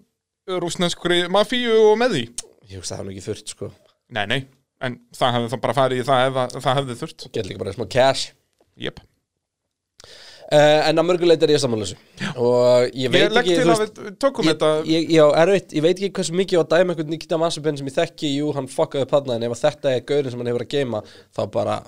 [SPEAKER 5] rúsnenskri mafíu og með því
[SPEAKER 1] ég hugsaði hann ekki fyrst, sko.
[SPEAKER 5] Nei, nei, en það hefði það bara farið í það ef að, það hefði þurft
[SPEAKER 1] Get líka bara smá cash.
[SPEAKER 5] Jep
[SPEAKER 1] Uh, en að mörguleit er ég sammálusu. Og ég veit
[SPEAKER 5] Ég legg
[SPEAKER 1] ekki,
[SPEAKER 5] til
[SPEAKER 1] þú
[SPEAKER 5] að
[SPEAKER 1] veist,
[SPEAKER 5] við tökum
[SPEAKER 1] ég,
[SPEAKER 5] þetta
[SPEAKER 1] ég, já, erfitt, ég veit ekki hversu mikið á að dæma einhvern Nikita Masabin sem ég þekki, jú, hann fuckaði upp hann, en ef að þetta er gaurin sem hann hefur að geima, þá bara,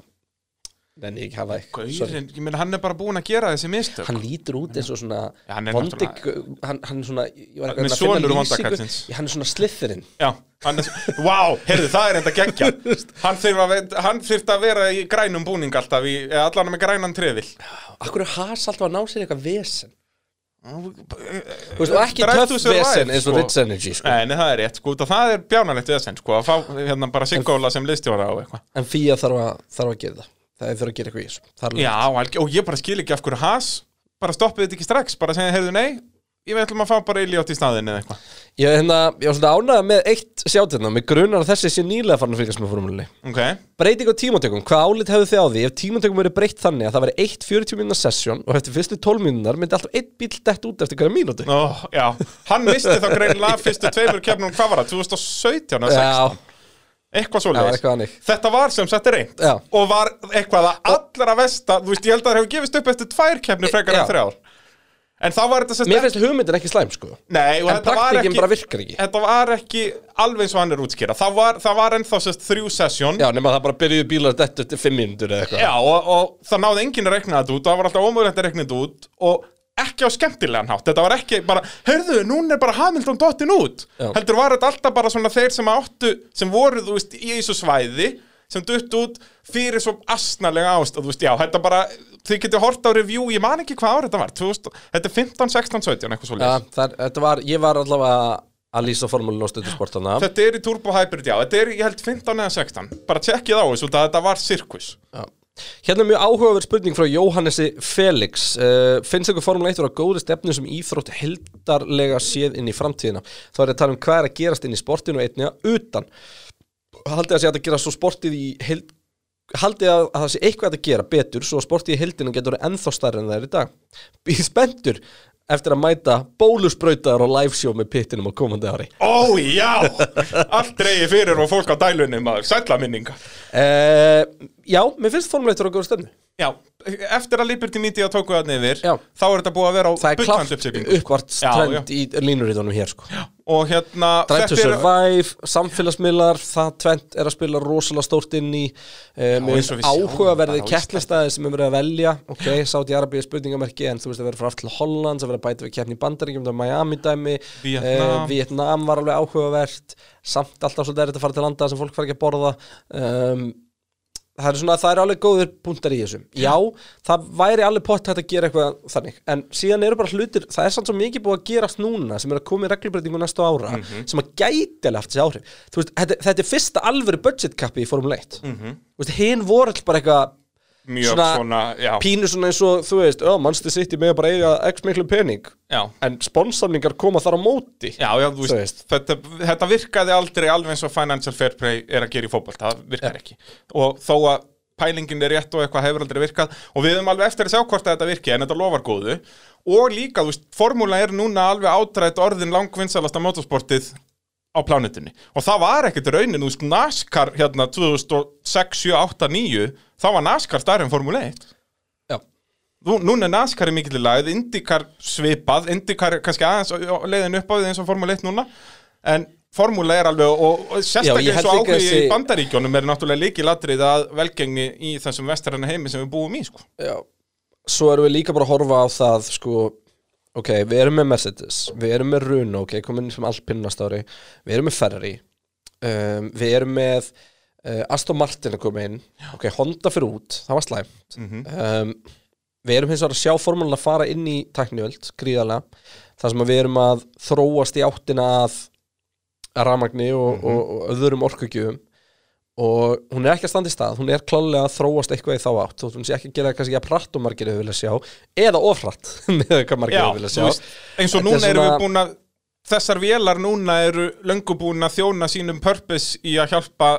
[SPEAKER 1] nenni ég ekki hafa eitthvað. sorry.
[SPEAKER 5] Gaurin, ég meina hann er bara búin að gera þessi mistök
[SPEAKER 1] Hann lítur út eins og svona
[SPEAKER 5] Já, hann er
[SPEAKER 1] vondi,
[SPEAKER 5] náttúrulega-
[SPEAKER 1] hann, hann er svona, ég var
[SPEAKER 5] Hann er
[SPEAKER 1] eitthvað að finna
[SPEAKER 5] sonur vonda
[SPEAKER 1] lýsingu-
[SPEAKER 5] kallsins.
[SPEAKER 1] Já, Hann er svona slithirinn.
[SPEAKER 5] Já, hann er, wow, heyrðu, það er enda geggja Hann þyrfti að, ve- hann þyrfti að vera í grænum búning alltaf í, eða allan með grænan trefil
[SPEAKER 1] Akkur er has alltaf að ná sér í eitthvað vesen
[SPEAKER 5] Þú
[SPEAKER 1] Þú eh, veist, og ekki töff vesen eins og Rich Energy sko.
[SPEAKER 5] Nei, nei, það er rétt, sko, út af það er bjánalegt vesen, sko, að fá hérna bara Sigóla sem liðstjóra og eitthvað
[SPEAKER 1] En Fía þarf að, þarf að gera það Það er fyrir að gera eitthvað í þessu Það er
[SPEAKER 5] Já,
[SPEAKER 1] alveg-
[SPEAKER 5] alg- og ég bara skil ekki af hverju has bara stoppið þetta ekki strax, bara segja, heyrðu, nei ég veitlum að fá bara Eliott í staðinni eða eitthvað
[SPEAKER 1] Ég, hérna, ég var svona ánægða með eitt sjátirna Mér grunar að þessi sé nýlega farin að fylgjast með formúlinni
[SPEAKER 5] Ok,
[SPEAKER 1] Breyting á tímatökum, hvað álit hefðu þið á því ef tímatökum verið breytt þannig að það veri eitt 40 mínúna sesjón og eftir fyrstu 12 mínúnar myndi alltaf einn bíl dett út eftir hverja mínútu
[SPEAKER 5] Ó, já, hann misti þá greinlega fyrstu tveimur keppnum, hvað var það, 2017 eða 16?
[SPEAKER 1] Já,
[SPEAKER 5] eitthvað
[SPEAKER 1] Já,
[SPEAKER 5] svoleiðis
[SPEAKER 1] eitthvað þannig.
[SPEAKER 5] þetta var sem sett reynd
[SPEAKER 1] Já.
[SPEAKER 5] og var eitthvað að allra vesta þú veist ég held að það hefur gefist upp eftir tvær kefni frekar
[SPEAKER 1] Já.
[SPEAKER 5] en þrjár en þá var þetta sem
[SPEAKER 1] mér finnst hugmyndin ekki slæm sko
[SPEAKER 5] Nei, og
[SPEAKER 1] En
[SPEAKER 5] þetta var
[SPEAKER 1] praktikin
[SPEAKER 5] ekki,
[SPEAKER 1] bara virkar ekki.
[SPEAKER 5] þetta var ekki alveg eins og hann er útskýra það var, það var ennþá sérst þrjú sesjón
[SPEAKER 1] Já, nema það bara byrjuðu bílar að detta eftir 5 mínútur eða eitthvað
[SPEAKER 5] Já, og, og það náði enginn að rekna þetta út og það var alltaf ómögulegt að rekna þetta út og ekki á skemmtilegan hátt, þetta var ekki bara heyrðu, núna er bara Hamilton dottin út
[SPEAKER 1] Já.
[SPEAKER 5] heldur var þetta alltaf bara svona þeir sem áttu sem voru, þú veist, í þessu svæði sem dutt út fyrir svo asnalega ást og þú veist, já, þetta bara þið getur hort á review, ég man ekki hvað ár þetta var 2000, þetta er 15, 16, 17, eitthvað svo
[SPEAKER 1] Já, það, er- þetta var, ég var allavega að lýsa formúlinu á stöðusportana
[SPEAKER 5] þetta er í Turbo Hybrid, já, þetta er, í, ég held 15 eða 16, bara tjekkið á þessu, út af að þetta var sirkus
[SPEAKER 1] Já. Hérna er mjög áhugaverð spurning frá Jóhannesi Felix uh, Finnst ykkur Formule 1 vera á góðu stefnu sem íþrótt heldarlega séð inn í framtíðina? Þá er ég að tala um hvað er að gerast inn í sportinu og einnig að utan Haldið að sé hægt að gera svo sportið í held Haldið að, að það sé eitthvað hægt að gera betur svo að sportið í heldinu getur verið ennþá starri en það er í dag Býð spenntur eftir að mæta bólusbrautar og liveshow með pittinum á komandi ári
[SPEAKER 5] Ó, já, allt reyði fyrir og fólk á dælunni maður, sætla minninga
[SPEAKER 1] uh, Já, mér finnst Formule 1 vera á góðu stefnu
[SPEAKER 5] Já, eftir að Liberty Media tóku það niður
[SPEAKER 1] Já.
[SPEAKER 5] þá er þetta búið að vera á
[SPEAKER 1] Það er
[SPEAKER 5] bullandi
[SPEAKER 1] klart
[SPEAKER 5] uppsiglingu, sko.
[SPEAKER 1] uppvart
[SPEAKER 5] Já,
[SPEAKER 1] trend í línurítunum hér sko.
[SPEAKER 5] já. og hérna
[SPEAKER 1] Try to
[SPEAKER 5] þetta er-
[SPEAKER 1] survive, samfélagsmiðlar það tvent er að spila rosalega stórt inn í um,
[SPEAKER 5] eins og við sjáum
[SPEAKER 1] áhugaverði
[SPEAKER 5] bara á
[SPEAKER 1] kettlistæði sem er verið að velja ok, Saudi Arabia er spurningamerki en þú veist að vera frá aftur til Holland, það verið að bæta við keppni í Bandaríkjum, það er Miami dæmi
[SPEAKER 5] Víetnam.
[SPEAKER 1] eh, Vietnam var alveg áhugavert samt alltaf svolítið er þetta að fara til landa sem fólk fara ekki að borða um, það er svona, það er alveg góðir punktar í þessum já, það væri alveg pott hægt að gera eitthvað þannig, en síðan eru bara hlutir það er samt svo mikið búið að gerast núna sem er að koma í reglubreitingu næstu ára
[SPEAKER 5] Mhm.
[SPEAKER 1] sem að gæti alveg haft þessi áhrif Þú veist, þetta, þetta er fyrsta alvöru budget kappi í Formule 1 mm -hmm. hinn voru alls bara eitthvað
[SPEAKER 5] Mhm. mjög svona, já,
[SPEAKER 1] pínu svona eins og þú veist, oh, mannstu sitt í mig að bara eiga x miklu pening
[SPEAKER 5] já,
[SPEAKER 1] en sponsamlingar koma þar á móti
[SPEAKER 5] já, já, þú veist,
[SPEAKER 1] Þú veist.
[SPEAKER 5] Þetta, þetta virkaði aldrei alveg eins og Financial Fair Play er að gera í fótbolt, það virkar ekki og þó að pælingin er rétt og eitthvað hefur aldrei virkað og við höfum alveg eftir að sjá hvort að þetta virki en þetta lofar góðu og líka, þú veist, formúla er núna alveg átrætt orðin langvinnsalasta motorsportið á plánetinni og það var ekkert raunin, þú veist, NASCAR hérna 2006, 7, 8, 9 þá var NASCAR starri en Formule 1
[SPEAKER 1] Já.
[SPEAKER 5] Nú, núna er NASCAR í mikill í lagið, IndyCar svipað, IndyCar er kannski aðeins á- á leiðin upp á því eins og Formule 1 núna en Formúla er alveg og, og
[SPEAKER 1] Já, ég
[SPEAKER 5] sérstaklega eins
[SPEAKER 1] held
[SPEAKER 5] og
[SPEAKER 1] líka
[SPEAKER 5] áhugi í
[SPEAKER 1] þessi-
[SPEAKER 5] bandaríkjónum er náttúrulega líkilatrið að velgengni í þessum vestaranna heimi sem við búum í sko.
[SPEAKER 1] Já. Svo erum við líka bara að horfa á það sko, ok, við erum með Mercedes við erum með Runo, ok, komin sem Alpine næsta ári, við erum með Ferrari um, við erum með uh, Aston Martin að koma inn ok, Honda fyrir út, það var slæmt um, við erum hins vegar að sjá formúlan að fara inn í tækniöld gríðarlega, þar sem að við erum að þróast í áttina að ramagni og, og, og öðrum orkugjöfum og hún er ekki að standa í stað, hún er klálega að þróast eitthvað í þá átt, þótt hún sé ekki að gera kannski að pratt og margir hefur vilja sjá, eða ofratt með hvað margir hefur vilja sjá
[SPEAKER 5] eins og
[SPEAKER 1] Þetta er
[SPEAKER 5] núna erum við
[SPEAKER 1] svona-
[SPEAKER 5] búin að þessar vélar núna eru löngu búin að þjóna sínum purpose í að hjálpa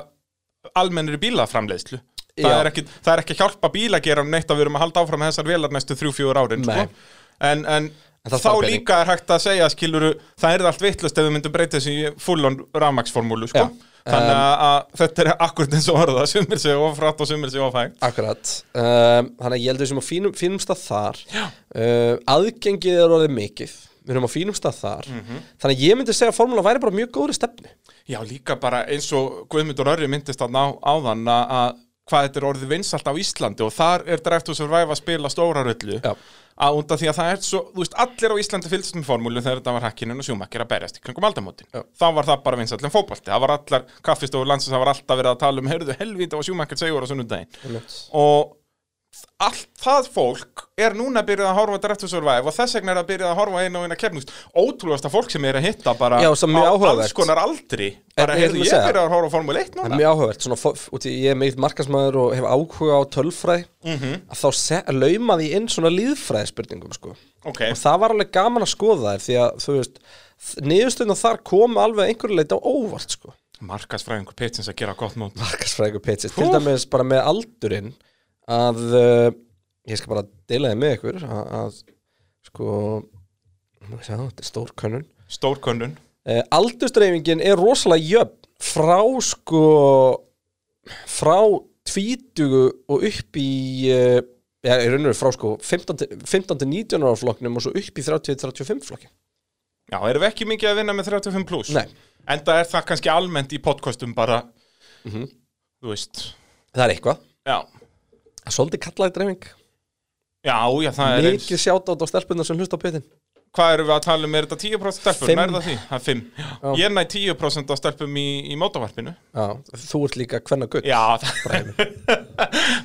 [SPEAKER 5] almennri bílaframleiðslu það
[SPEAKER 1] Já.
[SPEAKER 5] er, ekki, það er ekki að hjálpa bílagerum neitt að við erum að halda áfram með þessar vélar næstu 3-4 árin sko.
[SPEAKER 1] Nei.
[SPEAKER 5] en, en
[SPEAKER 1] En það
[SPEAKER 5] þá
[SPEAKER 1] þarf pening.
[SPEAKER 5] líka er hægt að segja skiluru, það er allt vittlust ef við myndum breyta þessu í full-on rafmaksformúlu sko.
[SPEAKER 1] Já.
[SPEAKER 5] þannig að, að þetta er akkurat eins og orða sumir sig ofrætt og sumir sig ofhægt
[SPEAKER 1] Akkurat um, Þannig að ég heldur við sem á fínum, fínum stað þar uh, Aðgengið er orðið mikið Við erum á fínum stað þar Þannig að ég myndi segja að formúla væri bara mjög góðri stefnu
[SPEAKER 5] Já, líka bara eins og Guðmundur Örri myndist þarna á, áðan að- að hvað þetta er orðið vinsalt á Íslandi og þar er Drive to Survive að spila stóra röllu
[SPEAKER 1] Já.
[SPEAKER 5] að undan því að það er svo, þú veist, allir á Íslandi fylgst með formúlu þegar þetta var hakkinin og sjúmakkir að berjast í kringum aldamótin.
[SPEAKER 1] Já.
[SPEAKER 5] Þá var það bara vinsallin fótbolti, það var allar kaffistofur landsins, það var alltaf verið að tala um, heyrðu, helvíti og sjúmakkir segjur á sunnudaginn. Og allt það fólk er núna byrjað að horfa á Drive to Survive og þess vegna er að byrjað að horfa inn á eina kefnust ótrúlegasta fólk sem er að hitta bara
[SPEAKER 1] Já, sem er mjög
[SPEAKER 5] á
[SPEAKER 1] áhugavert.
[SPEAKER 5] alls konar aldri bara
[SPEAKER 1] En- ég ætla
[SPEAKER 5] heyrðu
[SPEAKER 1] að
[SPEAKER 5] ég
[SPEAKER 1] segja.
[SPEAKER 5] byrjað að horfa á Formule 1
[SPEAKER 1] Það
[SPEAKER 5] núna
[SPEAKER 1] er mjög áhugavert, svona, fó- út í ég er meitt markasmaður og hef áhuga á tölfræði að þá se- að lauma því inn svona líðfræði spurningum sko.
[SPEAKER 5] ok,
[SPEAKER 1] og það var alveg gaman að skoða þær því að þú veist, niðurstöðna þar kom alveg að einhverju leita á óvart sko.
[SPEAKER 5] markasfræðingur pitsins að gera gott mót
[SPEAKER 1] markasfræðingur pitches, til dæmis bara með aldurinn að uh, ég skal bara deila þið með ykkur að, að sko nú sjá, þetta er stór könnun
[SPEAKER 5] stórkönnun
[SPEAKER 1] uh, aldurstreifingin er rosalega jöfn frá sko frá tvítugu og upp í uh, já, í raun og veru frá sko 15 til 15 til 19 ára flokknum og svo upp í 30-35 flokkin
[SPEAKER 5] já, erum við ekki mikið að vinna með 35 plus
[SPEAKER 1] Nei.
[SPEAKER 5] enda er það kannski almennt í podcastum bara
[SPEAKER 1] Mhm.
[SPEAKER 5] þú veist,
[SPEAKER 1] það er eitthvað,
[SPEAKER 5] já
[SPEAKER 1] Það er svolítið kallaði dreifing
[SPEAKER 5] já, já, það er eins
[SPEAKER 1] mikið sjátt á stelpunna sem hlusta á pittin
[SPEAKER 5] hvað erum við að tala um, er þetta 10% stelpur
[SPEAKER 1] Fimm.
[SPEAKER 5] er það því, það er 5 ég næ 10% af stelpum í, í mótavarpinu
[SPEAKER 1] Já, þú ert líka hvenna gutt
[SPEAKER 5] Já, það,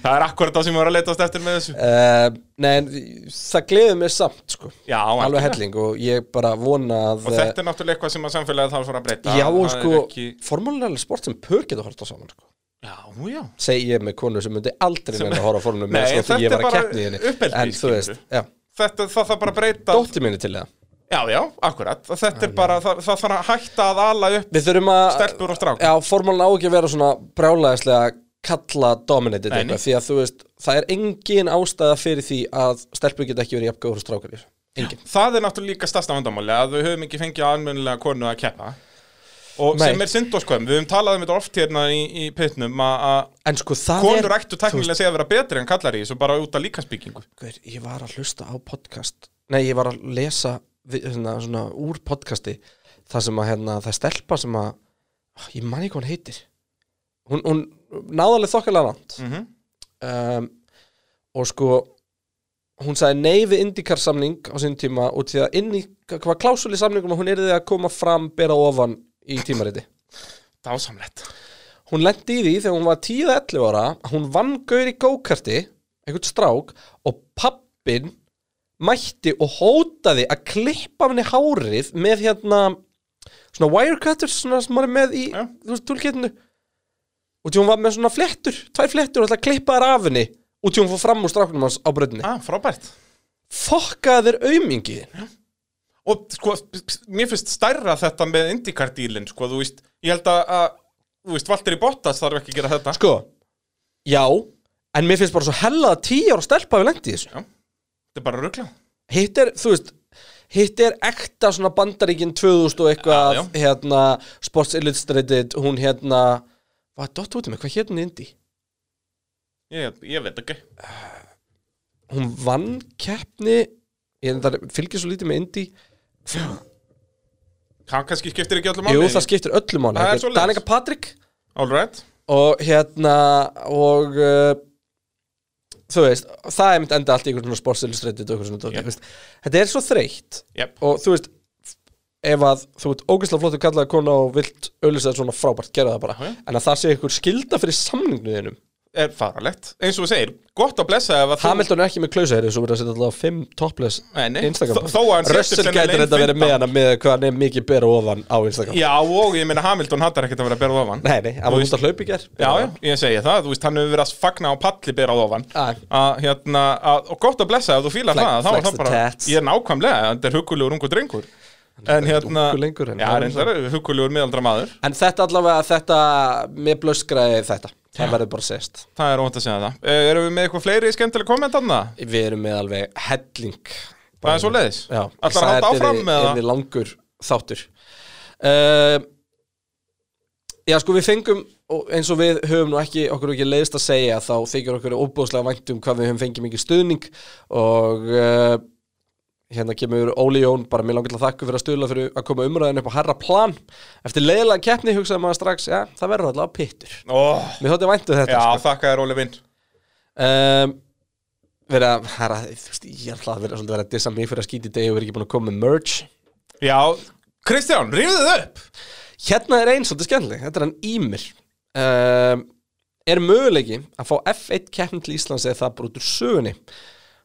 [SPEAKER 5] það er akkurat það sem við erum að leitast eftir með þessu
[SPEAKER 1] Uh, nei, en það gleður mér samt sko.
[SPEAKER 5] Já,
[SPEAKER 1] alveg
[SPEAKER 5] algjörlega.
[SPEAKER 1] helling og ég bara vona að eh,
[SPEAKER 5] Og þetta er náttúrulega eitthvað sem að samfélagið þarf að fara að breyta
[SPEAKER 1] Já, og
[SPEAKER 5] Það er
[SPEAKER 1] sko,
[SPEAKER 5] ekki...
[SPEAKER 1] formúlan er alveg sport sem pör getur horft á saman sko.
[SPEAKER 5] Já, já
[SPEAKER 1] segi ég með konu sem myndi aldrei sem... að horfa á formúlan
[SPEAKER 5] Nei,
[SPEAKER 1] með sko, því
[SPEAKER 5] þetta
[SPEAKER 1] ég var
[SPEAKER 5] er
[SPEAKER 1] að
[SPEAKER 5] bara
[SPEAKER 1] keppni í henni
[SPEAKER 5] uppeldi,
[SPEAKER 1] en þú
[SPEAKER 5] skilurðu.
[SPEAKER 1] veist, já,
[SPEAKER 5] Þetta, það þarf bara að breyta
[SPEAKER 1] dóttir minni til það
[SPEAKER 5] Já, já, akkurat Þetta er bara, það, það þarf að hætta að ala upp
[SPEAKER 1] við þurfum að
[SPEAKER 5] Stelpur og strákar.
[SPEAKER 1] já, formúlan á ekki að vera svona brjálæðislega kalla dominated
[SPEAKER 5] Nei, nei.
[SPEAKER 1] eitthvað, því að þú veist, það er engin ástæða fyrir því að stelpur geta ekki verið jafngóður og strákar í þessu. engin
[SPEAKER 5] Það er náttúrulega líka stasta vandamáli Að við höfum ekki fengið almennilega konu að keppa Og
[SPEAKER 1] Nei.
[SPEAKER 5] sem er syndoskömm Við höfum talað um þetta oft hérna í, í pitnum að- Að
[SPEAKER 1] en sko það er
[SPEAKER 5] konur ættu
[SPEAKER 1] þú veist,
[SPEAKER 5] teknilega segja að vera betri en kallar í þessu Bara út af líkansbyggingu
[SPEAKER 1] Guður, ég var að hlusta á podcast Nei, ég var að lesa við, hérna, svona, úr podcasti þar sem að hérna, það er stelpa sem að Ah, ég man ekki hvað hún heitir hún, hún náðarlega þokkalega langt
[SPEAKER 5] Mhm.
[SPEAKER 1] um, og sko hún sagði nei við Indikar samning á sinn tíma og til að inn í hvað klásul í samningum að hún yrði að koma fram bera ofan í tímariti
[SPEAKER 5] Dásamlegt
[SPEAKER 1] hún lendi í því þegar hún var 10-11 ára að hún vann gaur í gókarti einhvern strák og pappin mætti og hótaði að klippa af henni hárið með hérna svona wirecutters svona sem maður er með í
[SPEAKER 5] Já.
[SPEAKER 1] þú veist tólketinu og því hún var með svona flettur, tvær flettur og ætlaði að klippa þær af henni og því hún fór fram úr stráknum hans á bröðinni
[SPEAKER 5] Ah, frábært
[SPEAKER 1] fokkaði þér aumingi
[SPEAKER 5] og sko, mér finnst stærra þetta með IndyCar-dílinn, sko, þú veist ég held að, að þú veist, Valtteri Bottas þarf ekki að gera þetta
[SPEAKER 1] sko, já en mér finnst bara svo hella að 10 ára stelpa við lendi í þessu
[SPEAKER 5] þetta er bara rugla
[SPEAKER 1] hitt er, þú veist hitt er ekta svona bandaríkin 2000 og eitthvað,
[SPEAKER 5] Já, já.
[SPEAKER 1] hérna Sports Illustrated, hún hérna hvað er dott út um mig, hvað hérna indi
[SPEAKER 5] ég, ég veit ekki
[SPEAKER 1] hún vann keppni ég endar, fylgir svo lítið með indi
[SPEAKER 5] hann kannski skiptir ekki öllum
[SPEAKER 1] jú, það skiptir öllu máli
[SPEAKER 5] Það er
[SPEAKER 1] Þetta
[SPEAKER 5] svoleiðis.
[SPEAKER 1] Danica Patrick
[SPEAKER 5] all right
[SPEAKER 1] og hérna og uh, þú veist, það er mynd enda allt í einhvern svona Sports Illustrated og einhvern svona dóti,
[SPEAKER 5] Jep.
[SPEAKER 1] þú veist. þetta er svo þreytt
[SPEAKER 5] yep.
[SPEAKER 1] og þú veist ef að þú ert ógeðslega flottur kallaði kona og vilt auðvitað svona frábært, gera það bara
[SPEAKER 5] Já, já.
[SPEAKER 1] en að það sé ykkur skilda fyrir samningnuðinum
[SPEAKER 5] er faralegt, eins og þú segir, gott að blessa ef að
[SPEAKER 1] Hamilton er ekki með klausaherri svo verður að setja alltaf fimm topless
[SPEAKER 5] Nei, nei.
[SPEAKER 1] Instagram
[SPEAKER 5] Þó- þó að hann setji
[SPEAKER 1] Russell
[SPEAKER 5] sennilega
[SPEAKER 1] gætir
[SPEAKER 5] inn
[SPEAKER 1] þetta verið
[SPEAKER 5] 15.
[SPEAKER 1] með hana með hvað hann er mikið bera ofan á Instagram
[SPEAKER 5] já, og ég meina Hamilton hattar ekkert að vera að berða ofan
[SPEAKER 1] Nei, nei, hann
[SPEAKER 5] Þú
[SPEAKER 1] var
[SPEAKER 5] veist-
[SPEAKER 1] út að hlaupi ger
[SPEAKER 5] já, já, ég segi það, þú veist, hann hefur verið að fagna á palli berað ofan
[SPEAKER 1] Æ.
[SPEAKER 5] að, hérna, að, og gott að blessa ef þú fílar
[SPEAKER 1] Flex-
[SPEAKER 5] það, þá er
[SPEAKER 1] flex
[SPEAKER 5] það
[SPEAKER 1] the
[SPEAKER 5] bara
[SPEAKER 1] tats.
[SPEAKER 5] ég er nákvæmlega, þetta er hugulegur ungu drengur En hérna,
[SPEAKER 1] ungur lengur en
[SPEAKER 5] já,
[SPEAKER 1] hann er
[SPEAKER 5] reyndar, hugulegur miðaldra maður
[SPEAKER 1] En þetta allavega, þetta, mér blöskraði þetta Það verður bara sést
[SPEAKER 5] Það er óvænt að segja það uh, Erum við með eitthvað fleiri skemmtileg komment hann?
[SPEAKER 1] Við erum með alveg helling
[SPEAKER 5] Það er svo leiðis
[SPEAKER 1] Já
[SPEAKER 5] Ætlar að halda áfram með
[SPEAKER 1] Er
[SPEAKER 5] það?
[SPEAKER 1] þið langur þáttur uh, Já, sko, við fengum og eins og við höfum nú ekki, okkur hefur ekki leiðist að segja þá þykir okkur óbúðslega vænt um hvað við höfum fengið mikið stuðning og uh, hérna kemur Óli Jón bara mér langar til að þakka fyrir að stuðla fyrir að koma umræðin upp á herra plan eftir leiðilega keppni hugsaði maður strax, já, það verður allavega pittur
[SPEAKER 5] Oh,
[SPEAKER 1] Mér þótti væntu þetta
[SPEAKER 5] já,
[SPEAKER 1] sko.
[SPEAKER 5] þakka þér Óli Vinn
[SPEAKER 1] um, vera, herra, þú veist, ég ætla að vera svolítið að vera að dissa mig fyrir að skýti í degi og vera ekki búin að koma með merch
[SPEAKER 5] Já, Kristján, rífðu þið upp
[SPEAKER 1] hérna er einn svolítið skemmtileg, þetta er hann Ímir um, er möguleiki að fá F1 keppn til Íslands eða það brútur sögunni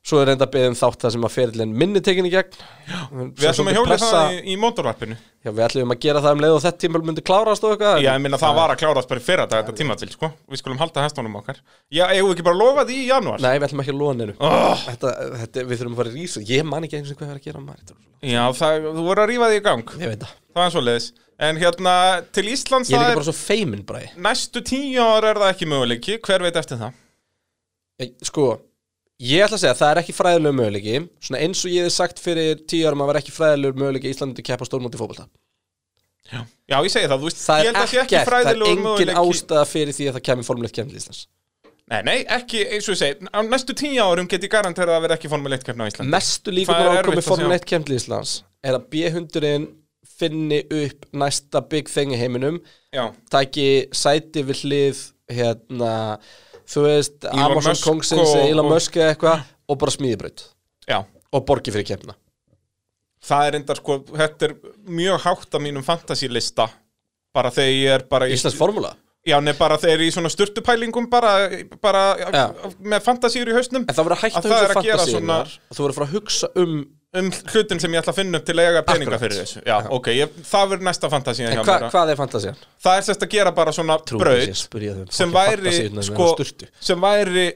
[SPEAKER 1] svo er reynda að beðum þátt það sem að ferillin minni tekin í gegn Já,
[SPEAKER 5] Við ætlum að hjóla það í, í mótorvarpinu
[SPEAKER 1] Já, við ætlum að gera það um leið og þetta tímul myndi klárast og eitthvað en-
[SPEAKER 5] Já, ég minna það var að klárast bara í fyrra dag þetta tíma til, sko Við skulum halda hestunum okkar Já, eigum við ekki bara að lofa því í janúar?
[SPEAKER 1] Nei, við ætlum ekki að lóna hennu
[SPEAKER 5] Oh,
[SPEAKER 1] þetta, þetta, Við þurfum að fara í rísu Ég man ekki eins og hvað er að gera maður þetta er-
[SPEAKER 5] já, það, þú voru að rífa því í gang
[SPEAKER 1] Ég veit það
[SPEAKER 5] Það er svo En hérna, til Íslands
[SPEAKER 1] Ég er
[SPEAKER 5] það
[SPEAKER 1] líka
[SPEAKER 5] er
[SPEAKER 1] bara svo feimin bræði
[SPEAKER 5] Næstu tíu ára er það ekki möguleiki Hver veit eftir það?
[SPEAKER 1] Ég- Sko, ég ætla að segja að það er ekki fræðilegur möguleiki Svona eins og ég hef sagt fyrir tíu árum að það var ekki fræðilegur möguleiki í Íslandi að keppa á stórmóti í fótbolta
[SPEAKER 5] Já, ég segi það, þú veist,
[SPEAKER 1] Það er
[SPEAKER 5] ég held að sé
[SPEAKER 1] ekkert,
[SPEAKER 5] ekki
[SPEAKER 1] það er
[SPEAKER 5] fræðilegur
[SPEAKER 1] engin
[SPEAKER 5] möguleiki
[SPEAKER 1] ástæða fyrir því að það kemur formulegt kemur til Íslands
[SPEAKER 5] Nei, nei, ekki, eins og ég segi, á næstu tíu árum get ég garantera að vera ekki Formule 1 keppni á Íslandi
[SPEAKER 1] Mestu líkunar á
[SPEAKER 5] Það er
[SPEAKER 1] að koma
[SPEAKER 5] erfitt að
[SPEAKER 1] formulegt
[SPEAKER 5] segja.
[SPEAKER 1] kemur til Íslands er að B100-in finni upp næsta big thing í heiminum
[SPEAKER 5] Já,
[SPEAKER 1] tæki sæti við hlið hérna, þú veist
[SPEAKER 5] Elon
[SPEAKER 1] Amazon
[SPEAKER 5] Musk
[SPEAKER 1] Kongsins,
[SPEAKER 5] og-
[SPEAKER 1] Elon
[SPEAKER 5] og-
[SPEAKER 1] Musk eða eitthvað og bara smíðibraut
[SPEAKER 5] já,
[SPEAKER 1] og borgi fyrir kemna
[SPEAKER 5] það er enda sko, þetta er mjög hátt af mínum fantasílista Bara þegar ég er bara í
[SPEAKER 1] Íslands formúla
[SPEAKER 5] Já, nei, bara þegar ég er í svona sturtupælingum bara, bara
[SPEAKER 1] Já.
[SPEAKER 5] með fantasíur í hausnum
[SPEAKER 1] En það verður að hætta
[SPEAKER 5] Að
[SPEAKER 1] að
[SPEAKER 5] það er
[SPEAKER 1] hugsa
[SPEAKER 5] að gera
[SPEAKER 1] fantasíunar og þú verður að fara að hugsa um
[SPEAKER 5] um hlutin sem ég ætla að finna upp til að eiga peninga
[SPEAKER 1] Akkurat.
[SPEAKER 5] fyrir þessu Já, ok, ég, það verður næsta fantasían
[SPEAKER 1] en
[SPEAKER 5] hjá
[SPEAKER 1] hva,
[SPEAKER 5] mér
[SPEAKER 1] hvað er fantasían?
[SPEAKER 5] Það er sérst að gera bara svona
[SPEAKER 1] Trúi
[SPEAKER 5] braut
[SPEAKER 1] þessi að spyrja þau um
[SPEAKER 5] sem
[SPEAKER 1] fucking
[SPEAKER 5] væri,
[SPEAKER 1] fantasíurnar
[SPEAKER 5] sko,
[SPEAKER 1] með sturtu.
[SPEAKER 5] sem væri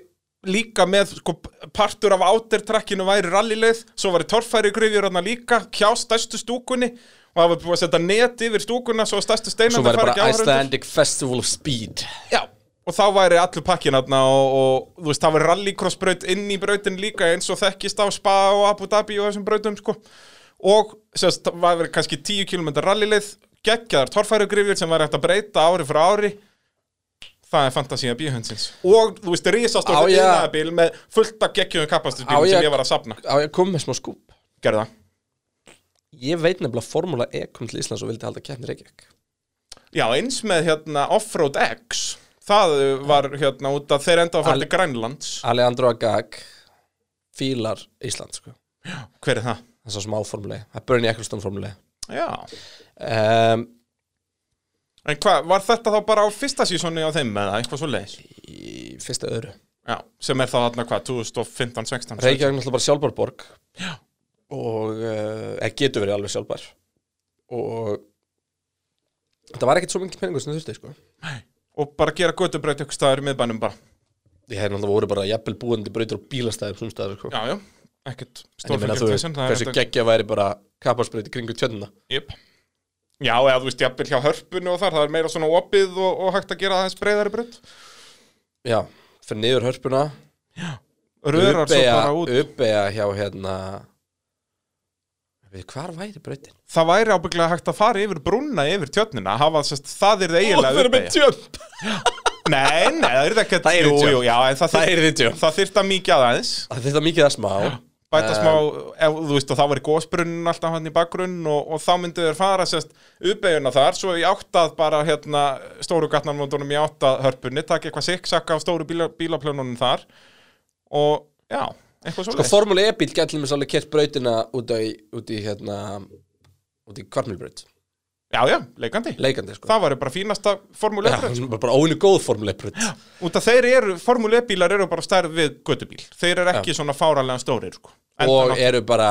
[SPEAKER 5] líka með sko, partur af átertrakkinu væri rallileið svo væri torfæri grifjur hann líka hjá stærstu stúkunni og það var búið að setja net yfir stúkunna svo að stærstu
[SPEAKER 1] Svo
[SPEAKER 5] steinandi
[SPEAKER 1] væri
[SPEAKER 5] fara ekki
[SPEAKER 1] bara
[SPEAKER 5] áhörundur
[SPEAKER 1] Icelandic Festival of Speed
[SPEAKER 5] Já, og þá væri allur pakkin hann og, og þú veist, það væri rallycrossbraut inn í brautin líka eins og þekkist á Spa og Abu Dhabi og þessum brautum sko. og sérst, það væri kannski 10 km rallileið geggjaðar torfæri grifjur sem væri hægt að breyta ári frá ári Það er fantasía bíhundsins Og, þú veist,
[SPEAKER 1] Á,
[SPEAKER 5] risastórt
[SPEAKER 1] já.
[SPEAKER 5] innabíl með fullt af geggjum
[SPEAKER 1] Á,
[SPEAKER 5] kapastusbílum
[SPEAKER 1] já.
[SPEAKER 5] sem ég var að sapna
[SPEAKER 1] á ég kom með smá skúp
[SPEAKER 5] Gerðu það
[SPEAKER 1] Ég veit nefnilega að Formula E kom til Íslands og vildi halda keppni í Reykjavík
[SPEAKER 5] Já, eins með hérna Offroad X Það uh, var hérna út að þeir enda að
[SPEAKER 1] Al-
[SPEAKER 5] fara til Grænlands
[SPEAKER 1] Alejandro Agag fílar Ísland sko
[SPEAKER 5] Hver er það?
[SPEAKER 1] þess að smá Formula E, að Bernie Ecclestone Formula
[SPEAKER 5] Já
[SPEAKER 1] E um,
[SPEAKER 5] En hvað, var þetta þá bara á fyrsta sísoni á þeim eða eitthvað svo leiðis?
[SPEAKER 1] í fyrsta öðru
[SPEAKER 5] Já, sem er þá þarna hvað, 2015, 16
[SPEAKER 1] Reykjavík er náttúrulega bara sjálfbær borg og uh, eða getur verið alveg sjálfbær og þetta var ekkert svo mikið peningur sem þurfti sko.
[SPEAKER 5] Og bara gera götubraut ykkur staðar í miðbænum bara
[SPEAKER 1] ég hef náttúrulega voru bara jafnvel búandi brautur og bílastæðum sumstæðar sko.
[SPEAKER 5] Já, já, ekkert
[SPEAKER 1] en ég meina
[SPEAKER 5] stórfengilegt
[SPEAKER 1] þú veist
[SPEAKER 5] vesen, það er
[SPEAKER 1] hversu
[SPEAKER 5] þetta-
[SPEAKER 1] geggja væri bara kapparsbreyti kringu tjönnuna
[SPEAKER 5] Jep. Já, eða þú veist, jafnvel hjá hörpunni og þar, það er meira svona opið og, og hægt að gera aðeins breyðari breytt.
[SPEAKER 1] já, fyrir niður hörpuna
[SPEAKER 5] Rörar svo bara út.
[SPEAKER 1] uppeja hjá hérna við hvar væri brautin?
[SPEAKER 5] Það væri ábygglega hægt að fara yfir brúnna yfir tjörnina, hafa sest, það er það eiginlega uppeigja.
[SPEAKER 1] tjömp
[SPEAKER 5] Nei, nei, það er ekki að
[SPEAKER 1] Það yrði
[SPEAKER 5] jú,
[SPEAKER 1] tjöld.
[SPEAKER 5] jú, já, en það,
[SPEAKER 1] Það
[SPEAKER 5] þyr-
[SPEAKER 1] yrði tjöld.
[SPEAKER 5] Það þyrft að mikið aðeins.
[SPEAKER 1] þetta er mikið að smá
[SPEAKER 5] Bæta smá, ef, þú veist, og þá væri gósbrunnin alltaf hann í bakgrunn og, og þá myndu þeir fara sérst uppeiguna þar, svo í áttað bara hérna stóru gatnarmóndunum í áttað hörpunni, takk eitthvað siksaka af stóru bíla, bílaplönunum þar og já, eitthvað svo
[SPEAKER 1] Sko Formule E-bíl gæti mér svolítið kert brautina út, á, í- út í hérna út í kvarmilbraut,
[SPEAKER 5] Já, já, leikandi.
[SPEAKER 1] leikandi sko
[SPEAKER 5] Það væri bara fínasta
[SPEAKER 1] Já,
[SPEAKER 5] formule 1
[SPEAKER 1] bara, bara óinu góð Formule E-braut
[SPEAKER 5] Út að þeir eru, formule 1 bílar eru bara stærð við göttubíl. Þeir eru ekki svona fáralega stórir, sko.
[SPEAKER 1] og
[SPEAKER 5] Enda nátt-
[SPEAKER 1] eru bara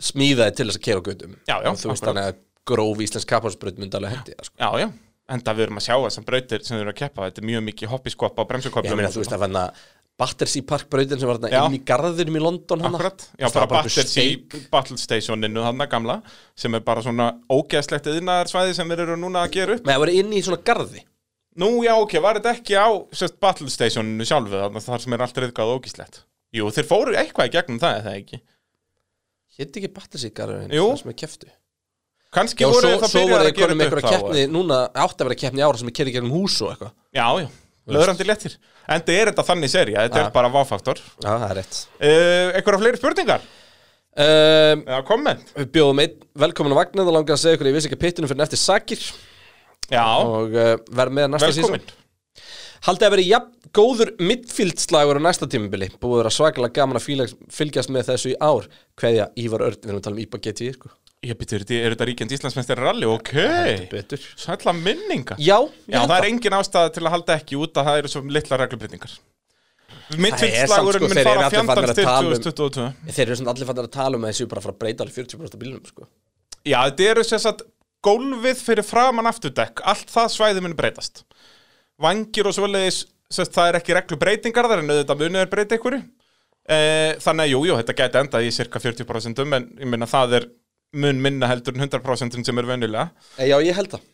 [SPEAKER 1] smíðaði til þess að kera á gödum
[SPEAKER 5] Já, já,
[SPEAKER 1] og þú veist
[SPEAKER 5] akkurat.
[SPEAKER 1] þannig að gróf íslensk kapparsbraut myndi alveg hendi það sko
[SPEAKER 5] Já, já. Enda við erum að sjá þessum brautir sem þeir eru að keppa. Þetta er mjög mikið hoppiskopp á
[SPEAKER 1] Ég
[SPEAKER 5] bremsukoppum.
[SPEAKER 1] meina þú veist að fann að Battersea Park brautin sem var þarna
[SPEAKER 5] Já.
[SPEAKER 1] inn í garðinum í London hana.
[SPEAKER 5] Akkurat, já
[SPEAKER 1] Það
[SPEAKER 5] bara
[SPEAKER 1] var bara
[SPEAKER 5] Battersea Battle Stationinu hann gamla sem er bara svona ógeðslegt yðnaðarsvæði sem þeir eru núna að gera upp
[SPEAKER 1] Nei, það var inn í svona garði
[SPEAKER 5] Nú já ok, var þetta ekki á sérst, Battle Stationinu sjálfu þarna þar sem er allt reyðgað og ógeðslegt Jú, þeir fóru eitthvað í gegnum það eða ekki
[SPEAKER 1] Hétt ekki Battersea garðin
[SPEAKER 5] Jú.
[SPEAKER 1] sem er keftu
[SPEAKER 5] Kannski
[SPEAKER 1] Já, og
[SPEAKER 5] voru
[SPEAKER 1] svo,
[SPEAKER 5] þeir það
[SPEAKER 1] svo
[SPEAKER 5] byrjað
[SPEAKER 1] voru
[SPEAKER 5] að
[SPEAKER 1] þið
[SPEAKER 5] gera
[SPEAKER 1] konum
[SPEAKER 5] þetta
[SPEAKER 1] einhverja
[SPEAKER 5] upp þá
[SPEAKER 1] keppni núna átti að vera keppni í ára sem er kerið gegnum hús og eitthvað
[SPEAKER 5] Já, já, löðrandi lettir En þetta er þetta þannig serja, þetta
[SPEAKER 1] Ja.
[SPEAKER 5] er bara váfaktor uh,
[SPEAKER 1] Já, það er rétt
[SPEAKER 5] Einhverja fleiri spurningar?
[SPEAKER 1] um,
[SPEAKER 5] Eða komment?
[SPEAKER 1] Við bjóðum einn velkomin á vagnin og langar að segja ykkur að ég vissi ekki pittunum fyrir eftir sakir
[SPEAKER 5] Já,
[SPEAKER 1] og uh, verð með næsta
[SPEAKER 5] velkomin
[SPEAKER 1] sísón Haldið að vera jafn góður midfieldslagur á næsta tímubili Búið að vera svakalega gaman að fíla- fylgjast með þessu í ár Kveðja Ívar Örn, við erum að tala um Íba GT sko.
[SPEAKER 5] Ég byrju, er þetta ríkjandi Íslandsmennstari rally? Ok,
[SPEAKER 1] Betur
[SPEAKER 5] sætla minninga
[SPEAKER 1] Já,
[SPEAKER 5] Já, það er engin ástæða til að halda ekki út að það eru svo litla reglubrytningar Midtfylgslagurinn
[SPEAKER 1] Það er samt, sko,
[SPEAKER 5] mun
[SPEAKER 1] þeir eru allir
[SPEAKER 5] fara
[SPEAKER 1] farnir
[SPEAKER 5] fjandans
[SPEAKER 1] að
[SPEAKER 5] til
[SPEAKER 1] tala um-
[SPEAKER 5] 2022
[SPEAKER 1] Þeir eru svona allir fannar að tala um að þessu bara að fara að breyta alveg 40% af bílunum sko.
[SPEAKER 5] Já, þetta eru sem sagt gólfið fyrir framan afturdekk allt það svæði mun breytast Vangir og svoleiðis sem sagt, það er ekki reglubreitingar þar en auðvitað munið er breyta einhverju Eh, Þannig að jú, jú, þetta gæti endað í cirka 40% en ég minna það er mun minna heldur en 100% sem er venjulega
[SPEAKER 1] Eh, Já, ég held það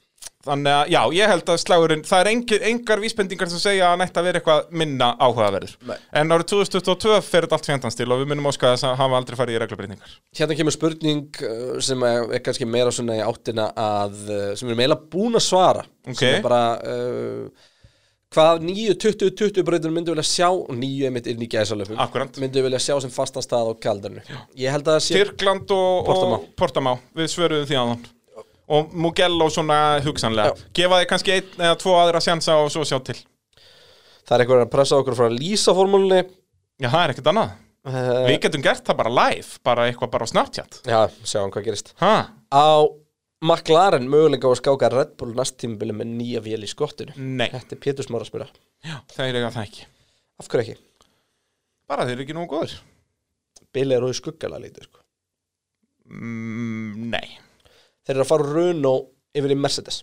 [SPEAKER 5] Þannig að, já, ég held að slagurinn, það er engir, engar vísbendingar sem segja að nætti að vera eitthvað minna áhugaverður.
[SPEAKER 1] Nei.
[SPEAKER 5] En árið 2022 fer þetta allt fjandans til og við munum óska þess að hafa aldrei farið í reglubreitingar.
[SPEAKER 1] Hérna kemur spurning uh, sem er kannski meira svona í áttina að, uh, sem við erum eiginlega búin að svara
[SPEAKER 5] Ok.
[SPEAKER 1] sem er bara uh, hvað 9, 20, 20 breytunum myndu vilja sjá og 9 einmitt inn í gæsalöfum
[SPEAKER 5] Akkúrat.
[SPEAKER 1] myndu vilja sjá sem fastan stað á kaldarnu ég held að það sé
[SPEAKER 5] Tyrkland og
[SPEAKER 1] Portamá.
[SPEAKER 5] og Portamá, við svöruðum því aðan. Og Mugello svona hugsanlega.
[SPEAKER 1] Já.
[SPEAKER 5] Gefa þið kannski einn eða tvo aðra sjansa og svo sjá til.
[SPEAKER 1] það er eitthvað að pressa okkur frá lýsaformúlunni
[SPEAKER 5] Já, það er ekkert annað.
[SPEAKER 1] uh,
[SPEAKER 5] Við getum gert það bara live, bara eitthvað bara á Snapchat.
[SPEAKER 1] já, sjáum hvað gerist
[SPEAKER 5] Ha?
[SPEAKER 1] á McLaren möguleika á að skáka Red Bull næst tímbili með nýja vél í skottinu
[SPEAKER 5] Nei,
[SPEAKER 1] þetta er Pétur Smára að spyrja
[SPEAKER 5] það er eitthvað það ekki.
[SPEAKER 1] af hverju ekki?
[SPEAKER 5] Bara þeir eru ekki nógu góður.
[SPEAKER 1] Bilið er úr skuggala lítið sko.
[SPEAKER 5] Mm, nei.
[SPEAKER 1] þeir eru að fara úr Renault yfir í Mercedes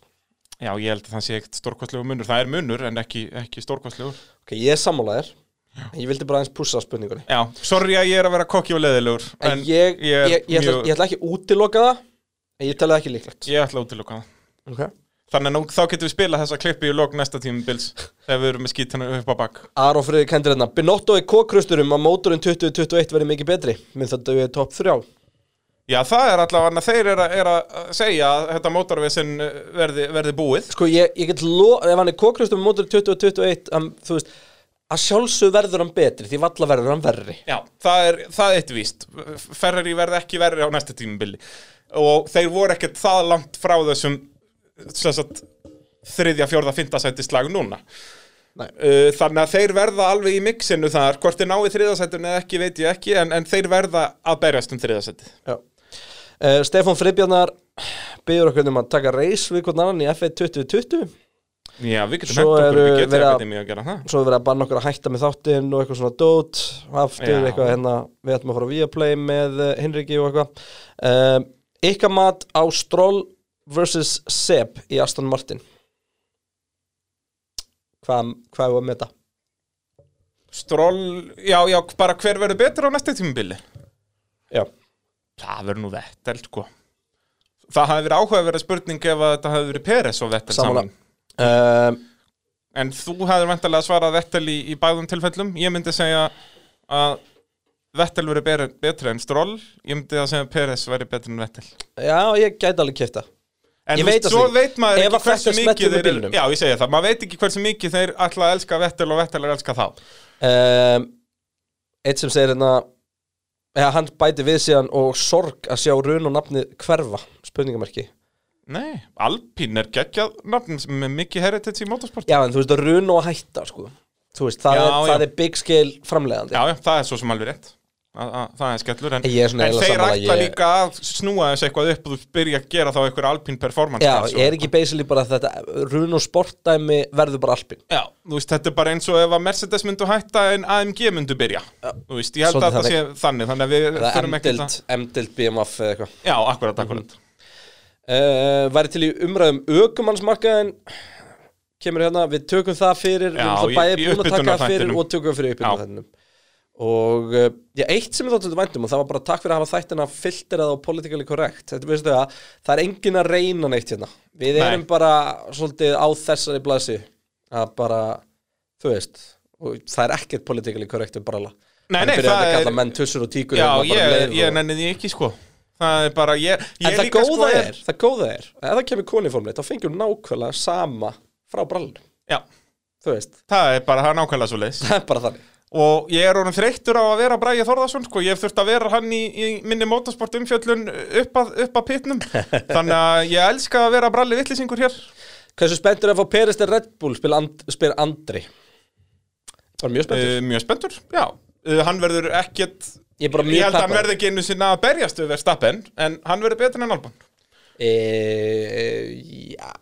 [SPEAKER 5] Já, ég held að það sé ekkert stórkostlegur munur. Það er munur en ekki, ekki stórkostlegur.
[SPEAKER 1] Ok, ég er sammálaðir Ég vildi bara aðeins pússa spurningunni
[SPEAKER 5] Já, sorry að ég er að vera kokki og leðilegur.
[SPEAKER 1] En, ég, ég, ég, ætla, ég ætla ekki að útiloka það En ég talaði ekki líklegt
[SPEAKER 5] ég ætla að útiloka það.
[SPEAKER 1] okay.
[SPEAKER 5] Þannig að nú, þá getum við spilað þessa klippi í lok næsta tímubils þegar við erum með skítana upp á bakk.
[SPEAKER 1] Aron Friðrik hendur hérna Binotto er kókrusturum að mótorinn 2021 verði mikið betri Minn það dögði topp 3
[SPEAKER 5] Já, það er allavega, þeir eru að, er að segja að þetta mótorvesen verði, verði búið.
[SPEAKER 1] Sko ég, ég get lo Ef hann er kókrustur með mótorinn 2021 um, Þú veist Að sjálfsög verður hann betri Því valla verður hann verri
[SPEAKER 5] Já, það er, það er eitt víst. Ferrari verði ekki verri á næsta tímubili. Og þeir voru ekkert það langt frá þessum sem sagt, þriðja, fjórða, fynda sæti slag núna.
[SPEAKER 1] Nei.
[SPEAKER 5] Uh, Þannig að þeir verða alveg í mixinu þar, hvort þeir náu þriðasætun eða ekki veit ég ekki, en, en þeir verða að berjast um þriðasætið.
[SPEAKER 1] Já uh, Stefán Friðbjarnar Byggur okkur um að taka reis við hvern annan í F1 2020
[SPEAKER 5] Já, við getum
[SPEAKER 1] Svo
[SPEAKER 5] hendt okkur,
[SPEAKER 1] eru
[SPEAKER 5] við getum
[SPEAKER 1] verið að-
[SPEAKER 5] akademi að gera það.
[SPEAKER 1] svo er verið að banna okkur að hætta með þáttinn og eitthvað svona dót aftur,
[SPEAKER 5] Já.
[SPEAKER 1] eitthvað hérna við ætlum að fara á Viaplay með eh, Hinriki og eitthvað um, ykkar mat á Stroll vs. Seb í Aston Martin hvað hva er að meta?
[SPEAKER 5] Stroll, já, já, bara hver verður betur á næsta tímubili?
[SPEAKER 1] Já.
[SPEAKER 5] Það verður nú Vettel, sko. Það hafi verið áhugaverið spurning ef að þetta hafi verið Peres og Vettel
[SPEAKER 1] Sammála.
[SPEAKER 5] saman.
[SPEAKER 1] Um,
[SPEAKER 5] En þú hefur vantarlega svarað Vettel í, í bæðum tilfellum. Ég myndi segja að Vettel verið ber- betri en Stroll. Ég myndi að segja að Peres verið betri en Vettel.
[SPEAKER 1] já, ég gæti alveg kæfta
[SPEAKER 5] En
[SPEAKER 1] Ég
[SPEAKER 5] þú
[SPEAKER 1] veit
[SPEAKER 5] veist,
[SPEAKER 1] það
[SPEAKER 5] svo
[SPEAKER 1] því.
[SPEAKER 5] veit maður
[SPEAKER 1] Ef
[SPEAKER 5] ekki
[SPEAKER 1] að
[SPEAKER 5] hversu
[SPEAKER 1] Vettel smellur
[SPEAKER 5] mikið þeir
[SPEAKER 1] með
[SPEAKER 5] eru
[SPEAKER 1] bílnum.
[SPEAKER 5] Já, ég segja það, maður veit ekki hversu mikið þeir ætla að elska Vettel og Vettel er að elska þá
[SPEAKER 1] um, eitt sem segir hérna eða hann bæti við síðan og sorg að sjá run og nafni hverfa spurningamarki
[SPEAKER 5] Nei, Alpín er geggjað nafn sem er mikið heritage í motorsport
[SPEAKER 1] Já, en þú veist að run og hætta, sko Þú veist, það,
[SPEAKER 5] Já,
[SPEAKER 1] er,
[SPEAKER 5] já.
[SPEAKER 1] það er big scale framlegandi
[SPEAKER 5] Já, já, það er svo sem alveg rétt að, að, Það er skellur En,
[SPEAKER 1] Ég er svona
[SPEAKER 5] en
[SPEAKER 1] eiginlega
[SPEAKER 5] þeir
[SPEAKER 1] sammála,
[SPEAKER 5] ætla
[SPEAKER 1] ég-
[SPEAKER 5] líka að snúa þessu eitthvað upp og þú byrja að gera þá eitthvað Alpín performance
[SPEAKER 1] Já,
[SPEAKER 5] stats og-
[SPEAKER 1] ég er ekki basically bara að þetta run og sportdæmi verður bara alpin
[SPEAKER 5] Já, þú veist, þetta er bara eins og ef að Mercedes myndu hætta en AMG myndu byrja Þú veist, ég held
[SPEAKER 1] Svolítið
[SPEAKER 5] að það sé þannig Þannig að við
[SPEAKER 1] Það er
[SPEAKER 5] þurfum ekki
[SPEAKER 1] M-dild,
[SPEAKER 5] það
[SPEAKER 1] M-dild BMF eða eitthvað
[SPEAKER 5] Já,
[SPEAKER 1] Mm,
[SPEAKER 5] akkurat, akkurat
[SPEAKER 1] Eh, uh, Væri til í umræðum ökumannsmarkaðin um kemur hérna, við tökum það fyrir
[SPEAKER 5] Já,
[SPEAKER 1] við erum það
[SPEAKER 5] í-
[SPEAKER 1] bæði
[SPEAKER 5] í
[SPEAKER 1] búin að taka það fyrir
[SPEAKER 5] upphitunar-þættinum.
[SPEAKER 1] og tökum það fyrir uppbyrna
[SPEAKER 5] Já.
[SPEAKER 1] þennum og uh, já, eitt sem ég þáttu væntum og það var bara takk fyrir að hafa þættina filterað og politically correct þetta veistu það, það er engin að reyna neitt hérna við
[SPEAKER 5] Nei.
[SPEAKER 1] erum bara svolítið á þessari blasi að bara, þú veist og það er ekkert politically correct um brala
[SPEAKER 5] Nei, nei,
[SPEAKER 1] það
[SPEAKER 5] það
[SPEAKER 1] er
[SPEAKER 5] er-
[SPEAKER 1] kalla menn tussur og tíkur
[SPEAKER 5] Já,
[SPEAKER 1] hérna, bara um leið
[SPEAKER 5] ég,
[SPEAKER 1] og-
[SPEAKER 5] ég nenni því ekki, sko Það er bara, ég,
[SPEAKER 1] En
[SPEAKER 5] ég
[SPEAKER 1] það góða
[SPEAKER 5] sko,
[SPEAKER 1] er, það góða er að ef það kemur koniformleitt, þá fengjum við nákvæmlega sama frá brallinu,
[SPEAKER 5] Já,
[SPEAKER 1] þú veist
[SPEAKER 5] það er bara, það er nákvæmlega svo leis
[SPEAKER 1] það er bara þannig
[SPEAKER 5] Og ég er orðin þreyttur á að vera Bræði Þorðarsson, sko Ég hef þurft að vera hann í, í minni motorsport umfjöllun upp að, upp að pitnum Þannig að ég elska að vera Bralli vittlisingur hér
[SPEAKER 1] Hversu spenntur er að fá Peres til Red Bull spyr, and, spyr Andri Bara mjög spenntur
[SPEAKER 5] uh, Mjög spenntur, já uh, Hann verður ekkert
[SPEAKER 1] Ég er bara
[SPEAKER 5] Ég
[SPEAKER 1] mjög
[SPEAKER 5] held að hann
[SPEAKER 1] peppaður.
[SPEAKER 5] verði ekki einu sinna að berjast við Verstappen En hann verður betur en Alban
[SPEAKER 1] e, Eh, Já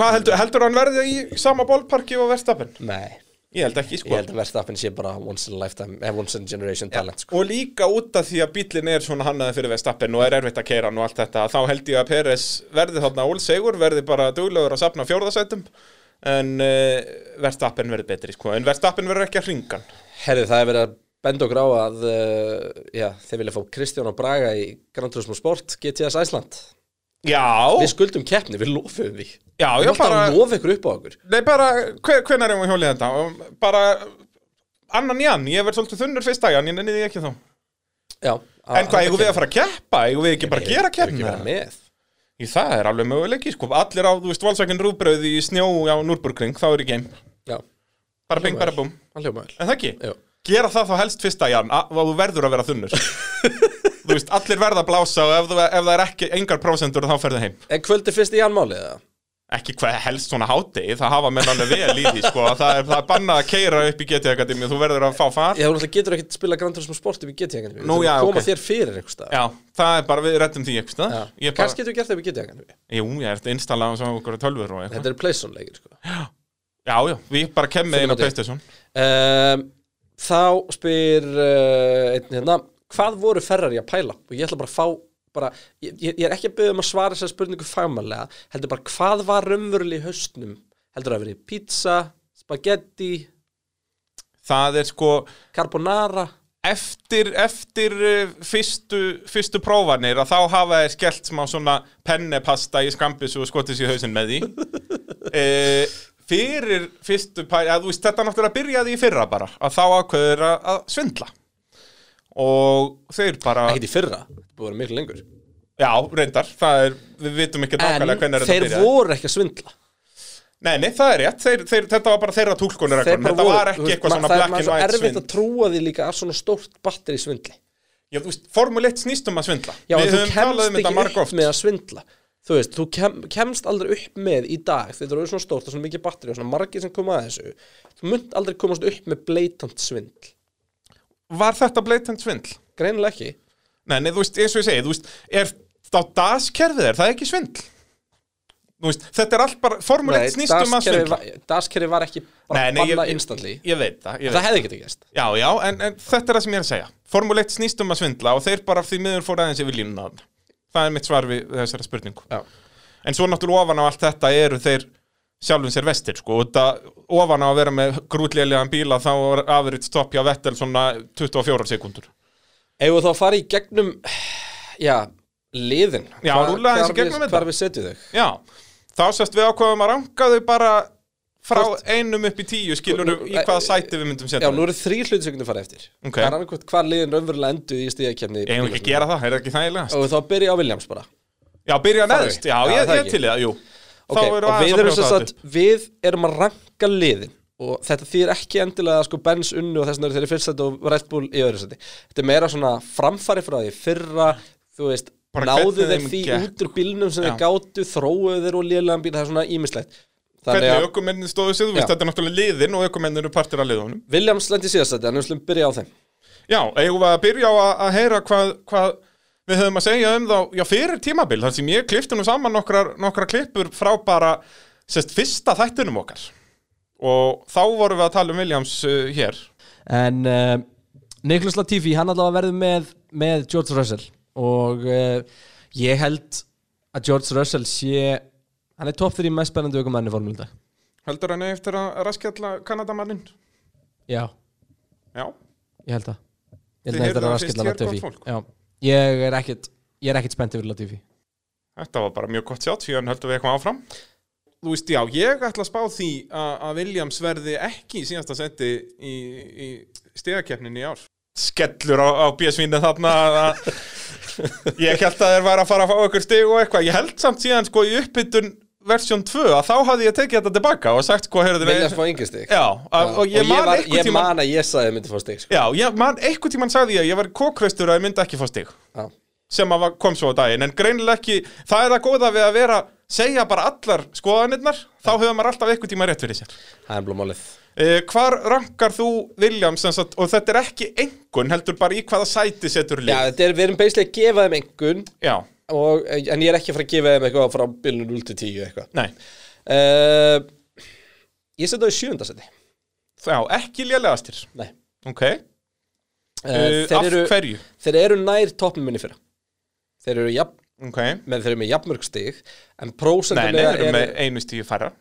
[SPEAKER 5] Hvað heldur, heldur hann verði í sama bólparki og Verstappen?
[SPEAKER 1] Nei,
[SPEAKER 5] Ég held ekki, sko
[SPEAKER 1] ég held að Verstappen sé bara once in a lifetime, eh, once in a generation talent sko.
[SPEAKER 5] Og líka út af því að bílinn er svona hannaði fyrir Vestappen og er erfitt að keira hann og allt þetta þá held ég að Peres verði þarna ólsegur verði bara duglegur að sapna fjórðasætum en uh, Vestappen verði betri sko, en Vestappen verður ekki að hringan
[SPEAKER 1] Herði, það er verið að benda okkur á að uh, já, þeir vilja fá Kristján og Braga í Grand Turismo Sport GTS Æsland Við
[SPEAKER 5] Já,
[SPEAKER 1] skuldum keppni, við lofum því
[SPEAKER 5] já,
[SPEAKER 1] Við
[SPEAKER 5] já
[SPEAKER 1] erum alltaf
[SPEAKER 5] bara,
[SPEAKER 1] að lofa ykkur upp á okkur
[SPEAKER 5] nei bara hver, hvenær erum við hjólið þetta? Um, Bara annan í ann, ég verð svolítið þunnur fyrst dagjan, ég nenni því ekki þá
[SPEAKER 1] Já,
[SPEAKER 5] En hvað, eigum við að fara að keppa? Eigum við ekki bara að gera
[SPEAKER 1] Ekki
[SPEAKER 5] keppna?
[SPEAKER 1] vera með
[SPEAKER 5] Í það er alveg möguleiki sko, allir á, þú veist, valsækinn rúbröð í snjó á Núrburgring, þá er í game
[SPEAKER 1] Já,
[SPEAKER 5] Bara bing, bara búm
[SPEAKER 1] hann hljóma vel
[SPEAKER 5] En það ekki?
[SPEAKER 1] Jú.
[SPEAKER 5] Gera það þá helst fyrsta í hann að að þú verður að vera þunnur Þú veist, allir verða að blása og ef, þú, ef það er ekki engar prósendur þá ferðu heim
[SPEAKER 1] En kvöldi fyrst í Janmáli eða?
[SPEAKER 5] Ekki hvað helst svona hátegi, það hafa menn alveg vel í því sko að það er, það er bannað að keira upp í GT Akademi þú verður að fá far
[SPEAKER 1] Já, þú náttúrulega getur ekkert spila Grand Turismo Sport upp í GT Akademi
[SPEAKER 5] Nú, já,
[SPEAKER 1] Koma
[SPEAKER 5] ok.
[SPEAKER 1] þér fyrir einhvers stað
[SPEAKER 5] Já, það er bara, við rettum því einhvers
[SPEAKER 1] Já.
[SPEAKER 5] staðar. Ég
[SPEAKER 1] Kannski getur
[SPEAKER 5] bara,
[SPEAKER 1] við gert það upp í GT Akademi
[SPEAKER 5] jú, ég ert installað á svona okkur tölfur og eitthvað
[SPEAKER 1] Þetta eru Playzone leikir sko.
[SPEAKER 5] Já, já, við bara kem með
[SPEAKER 1] Fimm
[SPEAKER 5] einu
[SPEAKER 1] á
[SPEAKER 5] á Playstation
[SPEAKER 1] um, Þá spyr uh, einn hérna Hvað voru Ferrari að pæla? Og ég ætla bara að fá bara, ég, ég ég er ekki að byggja um að svara þessar spurningu fagmannlega heldur bara hvað var raunverulega í haustnum heldur að verið pizza, spagetti
[SPEAKER 5] Það er sko,
[SPEAKER 1] carbonara
[SPEAKER 5] eftir, eftir uh, fyrstu, fyrstu prófanir að þá hafa þeir skellt smá svona pennepasta í skambis og skotis í hausinn með því e, fyrir fyrstu pæri, að þú veist þetta náttúrulega byrjaði í fyrra bara að þá ákveður að, að svindla og þeir bara
[SPEAKER 1] ekkert í fyrra, þetta búið að vera miklu lengur
[SPEAKER 5] já, reyndar, það er, við vitum ekki nákvæmlega
[SPEAKER 1] en
[SPEAKER 5] hvernig
[SPEAKER 1] þeir
[SPEAKER 5] þetta byrjaði
[SPEAKER 1] voru ekki að svindla
[SPEAKER 5] nei, nei, það er rétt, þeir, þeir, þetta var bara þeirra túlkunur
[SPEAKER 1] Þeir bara
[SPEAKER 5] þetta
[SPEAKER 1] voru-
[SPEAKER 5] var
[SPEAKER 1] þú
[SPEAKER 5] ekki
[SPEAKER 1] veist,
[SPEAKER 5] eitthvað
[SPEAKER 1] ma-
[SPEAKER 5] svona
[SPEAKER 1] það er
[SPEAKER 5] black
[SPEAKER 1] maður
[SPEAKER 5] and
[SPEAKER 1] svo
[SPEAKER 5] white
[SPEAKER 1] erfitt
[SPEAKER 5] svindl
[SPEAKER 1] að trúa því líka að svona stórt batteri svindli
[SPEAKER 5] já, þú veist, Formule 1 snýst um að svindla
[SPEAKER 1] já, en
[SPEAKER 5] við
[SPEAKER 1] þú
[SPEAKER 5] höfum talað um
[SPEAKER 1] kemst
[SPEAKER 5] þetta
[SPEAKER 1] ekki upp
[SPEAKER 5] margóft
[SPEAKER 1] með að svindla þú veist, þú kem, kemst aldrei upp með í dag þetta eru svona stórt og svona mikið batteri og svona margir sem koma að þessu þú munt aldrei komast upp með bleitant svindl
[SPEAKER 5] var þetta blatant svindl?
[SPEAKER 1] greinilega ekki
[SPEAKER 5] Nei, nei, þú veist, eins og ég segi, þú veist, er þá daskerfið er, það er ekki svindl. Þú veist, þetta er allt bara,
[SPEAKER 1] Nei,
[SPEAKER 5] formulegt snýst um að
[SPEAKER 1] daskerfið
[SPEAKER 5] svindla.
[SPEAKER 1] var, daskerfið var ekki bara
[SPEAKER 5] Nei, nei, ég-
[SPEAKER 1] banna
[SPEAKER 5] ég-
[SPEAKER 1] instantly
[SPEAKER 5] Ég veit það, ég veit
[SPEAKER 1] það hefði ekki gæst
[SPEAKER 5] Já, já, en, en þetta er það sem ég er að segja. Formulegt snýst um að svindla og þeir bara því miður fór aðeins yfir línuna. þarna. Það er mitt svar við þessara spurningu.
[SPEAKER 1] Já.
[SPEAKER 5] En svo náttúrulega ofan á allt þetta eru þeir sjálfum sér vestir, sko. Og það, ofan á að vera með grútlélegan bíla þá er afriðt stopp hjá Vettel svona 24 sekundur.
[SPEAKER 1] Eigum við þá að fara í gegnum já, liðin
[SPEAKER 5] Já,
[SPEAKER 1] Hvar-
[SPEAKER 5] rúlla aðeins í
[SPEAKER 1] hvar
[SPEAKER 5] gegnum
[SPEAKER 1] við-
[SPEAKER 5] þetta.
[SPEAKER 1] hvar við setjum þau
[SPEAKER 5] Já, þá sérst við ákvaðum að ranga þau bara frá
[SPEAKER 1] Hvort-
[SPEAKER 5] einum upp í tíu skilur
[SPEAKER 1] Nú- eh,
[SPEAKER 5] í hvaða sæti við myndum
[SPEAKER 1] Já,
[SPEAKER 5] setja
[SPEAKER 1] nú
[SPEAKER 5] þau.
[SPEAKER 1] eru þrý hluti sem getum farið eftir
[SPEAKER 5] Ok.
[SPEAKER 1] Það er annað hvað liðin raunverulega enduð í stíðakefni
[SPEAKER 5] Eigum við ekki að gera það, er það ekki þægilegast?
[SPEAKER 1] Og þá byrja á Williams bara
[SPEAKER 5] Já, byrja
[SPEAKER 1] Farðu.
[SPEAKER 5] neðst, já,
[SPEAKER 1] Já,
[SPEAKER 5] ég,
[SPEAKER 1] það
[SPEAKER 5] ég
[SPEAKER 1] ekki.
[SPEAKER 5] til í það, jú Þá
[SPEAKER 1] okay,
[SPEAKER 5] erum
[SPEAKER 1] og
[SPEAKER 5] aðeins
[SPEAKER 1] við
[SPEAKER 5] að
[SPEAKER 1] erum,
[SPEAKER 5] brjóta
[SPEAKER 1] sem
[SPEAKER 5] þetta
[SPEAKER 1] sagt, við erum að ranka liðin og þetta þýr ekki endilega sko Benz unnu og þess vegna eru þeirri fyrst seti og Red Bull í öðru seti þetta er meira svona framfari frá því fyrra, þú veist,
[SPEAKER 5] Bara
[SPEAKER 1] náðu
[SPEAKER 5] hvernig
[SPEAKER 1] þeir
[SPEAKER 5] þeim
[SPEAKER 1] því
[SPEAKER 5] gekk. sko.
[SPEAKER 1] út úr bílnum sem
[SPEAKER 5] Já.
[SPEAKER 1] þeir gátu, þróuðu þeir og lélega bíl, það er svona ímislegt
[SPEAKER 5] Hvernig aukumennin stóðu sig, þú veist,
[SPEAKER 1] Já.
[SPEAKER 5] þetta er náttúrulega liðin og aukumennin eru partir af liðunum
[SPEAKER 1] Williams lendi síðastætti, en við slum byrja á þeim
[SPEAKER 5] Já, eigum við að byrja á að, að heyra hvað, hvað við höfum að segja um þá Já, fyrir tímabil, þar sem ég klifti nú saman nokkrar, nokkrar klippur frá bara sérst, fyrsta þættunum okkar Og þá vorum við að tala um Williams uh, hér
[SPEAKER 10] En uh, Nicholas Latifi, hann allavega verður með, með George Russell og uh, ég held að George Russell sé hann er topp 3 mest spennandi aukumenn í formúlu í dag
[SPEAKER 5] Heldur hann eigi eftir að raskjalla Kanadamannin?
[SPEAKER 10] Já,
[SPEAKER 5] Já,
[SPEAKER 10] ég held það Ég
[SPEAKER 5] Þið
[SPEAKER 10] held að þetta
[SPEAKER 5] heyrðuð
[SPEAKER 10] er
[SPEAKER 5] það
[SPEAKER 10] raskill
[SPEAKER 5] fyrst
[SPEAKER 10] að
[SPEAKER 5] hér,
[SPEAKER 10] Latifi
[SPEAKER 5] gott fólk.
[SPEAKER 10] Já, ég er ekkit Ég er ekkit spennt yfir Latifi
[SPEAKER 5] þetta var bara mjög gott sjátt síðan höldum við eitthvað áfram Þú veist, já, ég ætla að spá því að að Williams verði ekki í síðasta seti í, í stegakeppninni í ár Skellur á, á bjösvinni þarna að- að ég held að þeir væri að fara að fá okkur stig og eitthvað Ég held samt síðan sko í uppbytun versjón 2 að þá hafði ég tekið þetta tilbaka og sagt sko, heyrðu
[SPEAKER 1] Vilja fá yngir stig
[SPEAKER 5] Já, að, og ég man
[SPEAKER 1] var,
[SPEAKER 5] einhvern
[SPEAKER 1] ég
[SPEAKER 5] tímann
[SPEAKER 1] man að ég sagði að ég myndi fá stig sko.
[SPEAKER 5] Já, ég man einhvern tímann sagði ég að ég var kókraustur að ég myndi ekki fá stig
[SPEAKER 1] Já.
[SPEAKER 5] sem að var- kom svo á daginn, en greinilega ekki það er það góða við að vera segja bara allar skoðanirnar, þá hefur maður alltaf einhvern tímann rétt fyrir sér.
[SPEAKER 1] Það er blómálið
[SPEAKER 5] Uh, hvar rankar þú William sem sagt, og þetta er ekki engun heldur bara í hvaða sæti setur
[SPEAKER 1] Já,
[SPEAKER 5] lið
[SPEAKER 1] þetta er, við erum beislega að gefa þeim engun
[SPEAKER 5] Já,
[SPEAKER 1] og, eh, en ég er ekki að fara að gefa þeim eitthvað frá bylnu 0 til 10 eitthvað
[SPEAKER 5] nei,
[SPEAKER 1] uh, Ég setja það í sjöndasæti
[SPEAKER 5] já, ekki lélegastir
[SPEAKER 1] Nei
[SPEAKER 5] Ok, uh,
[SPEAKER 1] uh, Eh, þeir,
[SPEAKER 5] Eh, af
[SPEAKER 1] eru,
[SPEAKER 5] hverju
[SPEAKER 1] þeir eru nær toppnum minni fyrra Þeir eru jafn,
[SPEAKER 5] Ok,
[SPEAKER 1] með, þeir eru með jafnmörg stig en
[SPEAKER 5] nei, nei,
[SPEAKER 1] prósentulega
[SPEAKER 5] þeir eru
[SPEAKER 1] eru
[SPEAKER 5] með einu stíu færra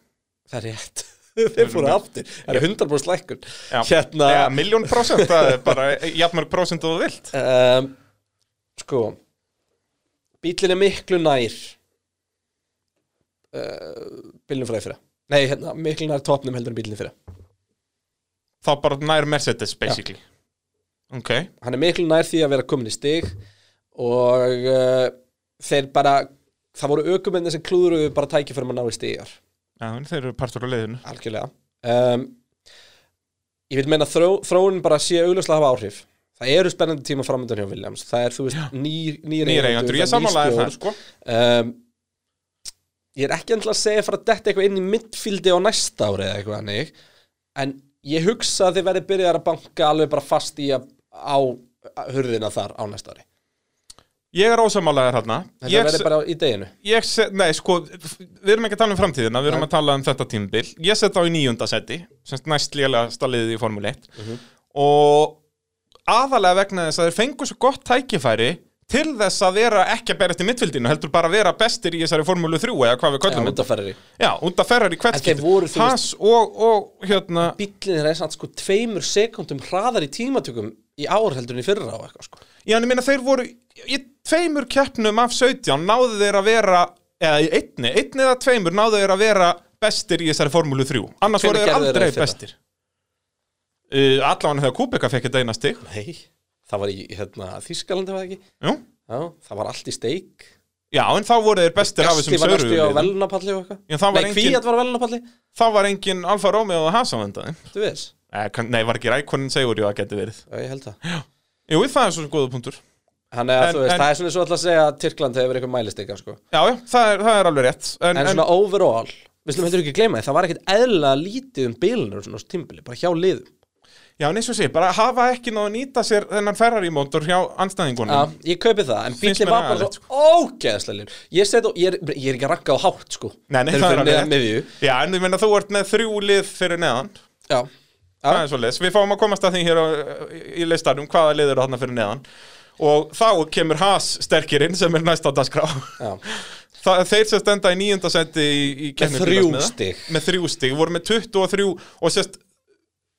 [SPEAKER 1] Það er rétt Þeir fóru aftur, það eru 100% lækkun
[SPEAKER 5] Já,
[SPEAKER 1] Hérna
[SPEAKER 5] já miljón prósent, það er bara jafnmörg prósent og þú vilt
[SPEAKER 1] um, Sko Bíllinn er miklu nær uh, Bílnum fræði fyrra Nei, hérna, miklu nær topnum heldur en bílnum fyrra
[SPEAKER 5] þá bara nær Mercedes basically ok,
[SPEAKER 1] Hann er miklu nær því að vera komin í stig Og uh, Þeir bara Það voru aukumenni sem klúðruðu bara tæki fyrir að ná í stigar
[SPEAKER 5] já, en þeir eru partur á leiðinu
[SPEAKER 1] Algjörlega um, Ég vil meina að þró, þróun bara sé augljóslega hafa áhrif Það eru spennandi tíma framöndan hjá Williams Það er, þú veist, nýr, nýr,
[SPEAKER 5] nýr eigendur, ég samanlega það sko.
[SPEAKER 1] um, Ég er ekki endilega að segja fyrir að detta eitthvað inn í midfíldi á næsta ári eða eitthvað hannig En ég hugsa að þið verði byrjaðar að banka alveg bara fast í að á að hurðina þar á næsta ári
[SPEAKER 5] ég er ósamanlega þarna
[SPEAKER 1] Þetta
[SPEAKER 5] ég,
[SPEAKER 1] verði bara í deginu
[SPEAKER 5] ég se, nei, sko, við erum ekki að tala um framtíðina við erum að tala um þetta tímbil ég set á í níunda seti, semst næst lélega staliðið í Formule 1
[SPEAKER 1] Mhm.
[SPEAKER 5] og aðalega vegna þess að þeir fengu svo gott tækifæri til þess að vera ekki að berjast í mittfildinu heldur bara að vera bestir í þessari Formule 3 eða hvað við
[SPEAKER 1] Já,
[SPEAKER 5] köllum þetta.
[SPEAKER 1] undanferðir
[SPEAKER 5] Já, út að ferrar í hvert
[SPEAKER 1] En þeir voru, þú veist-
[SPEAKER 5] Haas og, og hérna
[SPEAKER 1] Bíllinn er samt sko tveimur sekundum hraðar í tímatökum í ár heldur en í fyrra á eitthvað sko
[SPEAKER 5] Já, en ég meina þeir voru í tveimur keppnum af 17 náðu þeir að vera eða í einni, einni eða tveimur náðu þeir að vera bestir í þessari formúlu 3 annars
[SPEAKER 1] Hvenær
[SPEAKER 5] voru þeir
[SPEAKER 1] gerðu þeir
[SPEAKER 5] aldrei
[SPEAKER 1] það í fyrra?
[SPEAKER 5] bestir uh, Allan þegar Kubika fekk þetta eina stig
[SPEAKER 1] Nei, það var í hérna, Þískalandi var það ekki
[SPEAKER 5] Jú.
[SPEAKER 1] Já, það var allt í steik
[SPEAKER 5] Já, en þá voru þeir bestir af
[SPEAKER 1] Gasti
[SPEAKER 5] þessum
[SPEAKER 1] var næstu
[SPEAKER 5] söru
[SPEAKER 1] á velunapalli og
[SPEAKER 5] Já,
[SPEAKER 1] eitthvað
[SPEAKER 5] það var
[SPEAKER 1] Nei,
[SPEAKER 5] engin-
[SPEAKER 1] kvíat var á velunapalli
[SPEAKER 5] Þá var engin Alfa Romeo og Haas á vendaði
[SPEAKER 1] Þú veist,
[SPEAKER 5] eh, kann- Nei, var ekki rækonin segur, jú, það geti verið
[SPEAKER 1] Já, ég held það
[SPEAKER 5] Jú, það er svo góða punktur
[SPEAKER 1] Þannig að
[SPEAKER 5] En-
[SPEAKER 1] þú veist,
[SPEAKER 5] en-
[SPEAKER 1] það er svona svo alltaf að segja að Tyrkland hefur verið eitthvað mælistika sko.
[SPEAKER 5] Já, já, það er, það er alveg rétt
[SPEAKER 1] en, svona overall, við slum heldur ekki gleyma því það var ekkit eðla lítið um bílunar svona á þessu tímbili, bara hjá liðum
[SPEAKER 5] Já, en eins og sé, bara hafa ekki náðu að nýta sér þennan Ferrari-mótor hjá anstæðingunum
[SPEAKER 1] Já, ég kaupi það, en
[SPEAKER 5] Mm. Finnst
[SPEAKER 1] bílinn
[SPEAKER 5] mér
[SPEAKER 1] var bara
[SPEAKER 5] agalegt, sko.
[SPEAKER 1] svo ógeðslega lýr ég, set og- ég, er- ég er ekki að ranka á hátt sko
[SPEAKER 5] Nei, nei,
[SPEAKER 1] Þeir
[SPEAKER 5] það er
[SPEAKER 1] fyrir
[SPEAKER 5] alveg
[SPEAKER 1] neðan
[SPEAKER 5] rétt.
[SPEAKER 1] miðju.
[SPEAKER 5] Já, en ég meina þú ert með þrjú lið fyrir neðan
[SPEAKER 1] Já,
[SPEAKER 5] Það er svolítið, við fáum að komast að því hér á, í listanum hvaða lið eru þarna fyrir neðan og þá kemur Haas sterkirinn sem er næst á dagskrá
[SPEAKER 1] já,
[SPEAKER 5] Þa, þeir sem stenda í níunda sendi í, í keppni
[SPEAKER 1] Með þrjú
[SPEAKER 5] bílasmiða.
[SPEAKER 1] stig.
[SPEAKER 5] með þrjú stig, voru með 23 og sérst,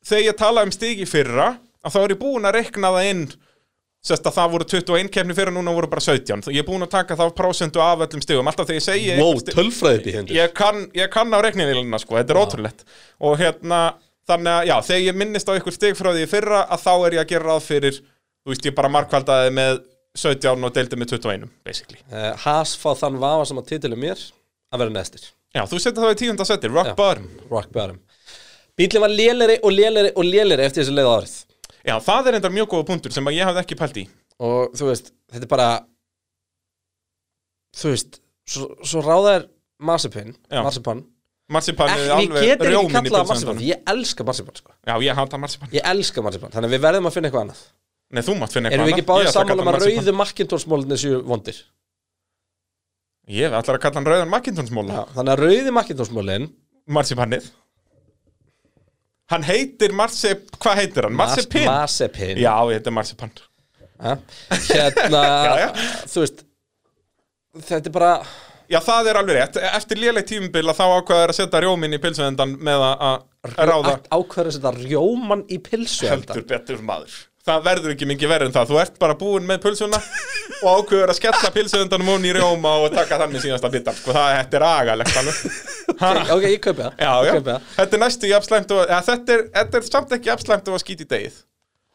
[SPEAKER 5] þegar ég tala um stig í fyrra að þá er ég búin að rekna það inn sérst að það voru 21 keppni fyrra núna voru bara 17, ég er búin að taka þá prósentu af öllum stigum, alltaf þegar ég segi eitthvað stig-
[SPEAKER 1] tölfræðið í hendur
[SPEAKER 5] ég kann, ég kann á reiknivélina sko, þetta er ótrúlegt og hérna, þannig að já, þegar ég minnist á ykkur stig frá því í fyrra að þá er ég að gera ráð fyrir, þú veist, ég bara markvaldaði með 17 og deildi með 21 basically.
[SPEAKER 1] uh, Haas fá þann vafa sem að titilu mér að vera næstir
[SPEAKER 5] Já, þú setja það í tíunda seti, rock
[SPEAKER 1] Já.
[SPEAKER 5] bottom
[SPEAKER 1] Rock Bottom Bílinn var léleri og léleri og léleri eftir þessi leið á árið
[SPEAKER 5] Já, það er endar mjög góða punktur sem að ég hafði ekki pælt í
[SPEAKER 1] og þú veist, þetta er bara þú veist svo, svo ráðaðir Marsipin
[SPEAKER 5] Já.
[SPEAKER 1] Marsipan
[SPEAKER 5] Marsipan er
[SPEAKER 1] Ekki,
[SPEAKER 5] alveg
[SPEAKER 1] ég getur ekki
[SPEAKER 5] rjóminn í
[SPEAKER 1] kallað það Marsipan
[SPEAKER 5] pilsendunum
[SPEAKER 1] Ég elska Marsipan, sko
[SPEAKER 5] Já, ég hata Marsipan
[SPEAKER 1] Ég elska Marsipan, þannig að við verðum að finna eitthvað annað
[SPEAKER 5] Nei, þú mátt finna
[SPEAKER 1] Erum
[SPEAKER 5] eitthvað
[SPEAKER 1] við ekki
[SPEAKER 5] annað. Ég
[SPEAKER 1] báðið
[SPEAKER 5] ætla
[SPEAKER 1] sammála um
[SPEAKER 5] kalla
[SPEAKER 1] að
[SPEAKER 5] hann Marzipan.
[SPEAKER 1] rauðu Macintosh-mólinu séu vondir?
[SPEAKER 5] Ég ætlar að kalla hann rauðan Mackintonsmóla
[SPEAKER 1] Já, þannig að rauðu Macintosh-mólin
[SPEAKER 5] Marsipannið Hann heitir Marsip, hvað heitir hann? Marsipin?
[SPEAKER 1] Marsipin
[SPEAKER 5] Já, þetta er Marsipan
[SPEAKER 1] Ha? Hérna,
[SPEAKER 5] já.
[SPEAKER 1] þú veist Þetta er bara
[SPEAKER 5] Já, það er alveg rétt. Eftir léleg tímubila þá ákvaður að setja rjóminn í pilsuðendan með að- að ráða
[SPEAKER 1] ákveður að setja rjóman í pilsu
[SPEAKER 5] heldur betur maður. Það verður ekki mikið verður en það. Þú ert bara búinn með pilsuna og ákveður að skella pilsuðendanum hún í rjóma og taka þannig síðasta bitar. Sko, það þetta er agalegt alveg. Ha.
[SPEAKER 1] Ok, ég kaupi það
[SPEAKER 5] Já,
[SPEAKER 1] Ég
[SPEAKER 5] já.
[SPEAKER 1] kaupi það.
[SPEAKER 5] Þetta er næstu jafnslæmt og ja, þetta, er, þetta er samt ekki jafnslæmt og að skýta í degið.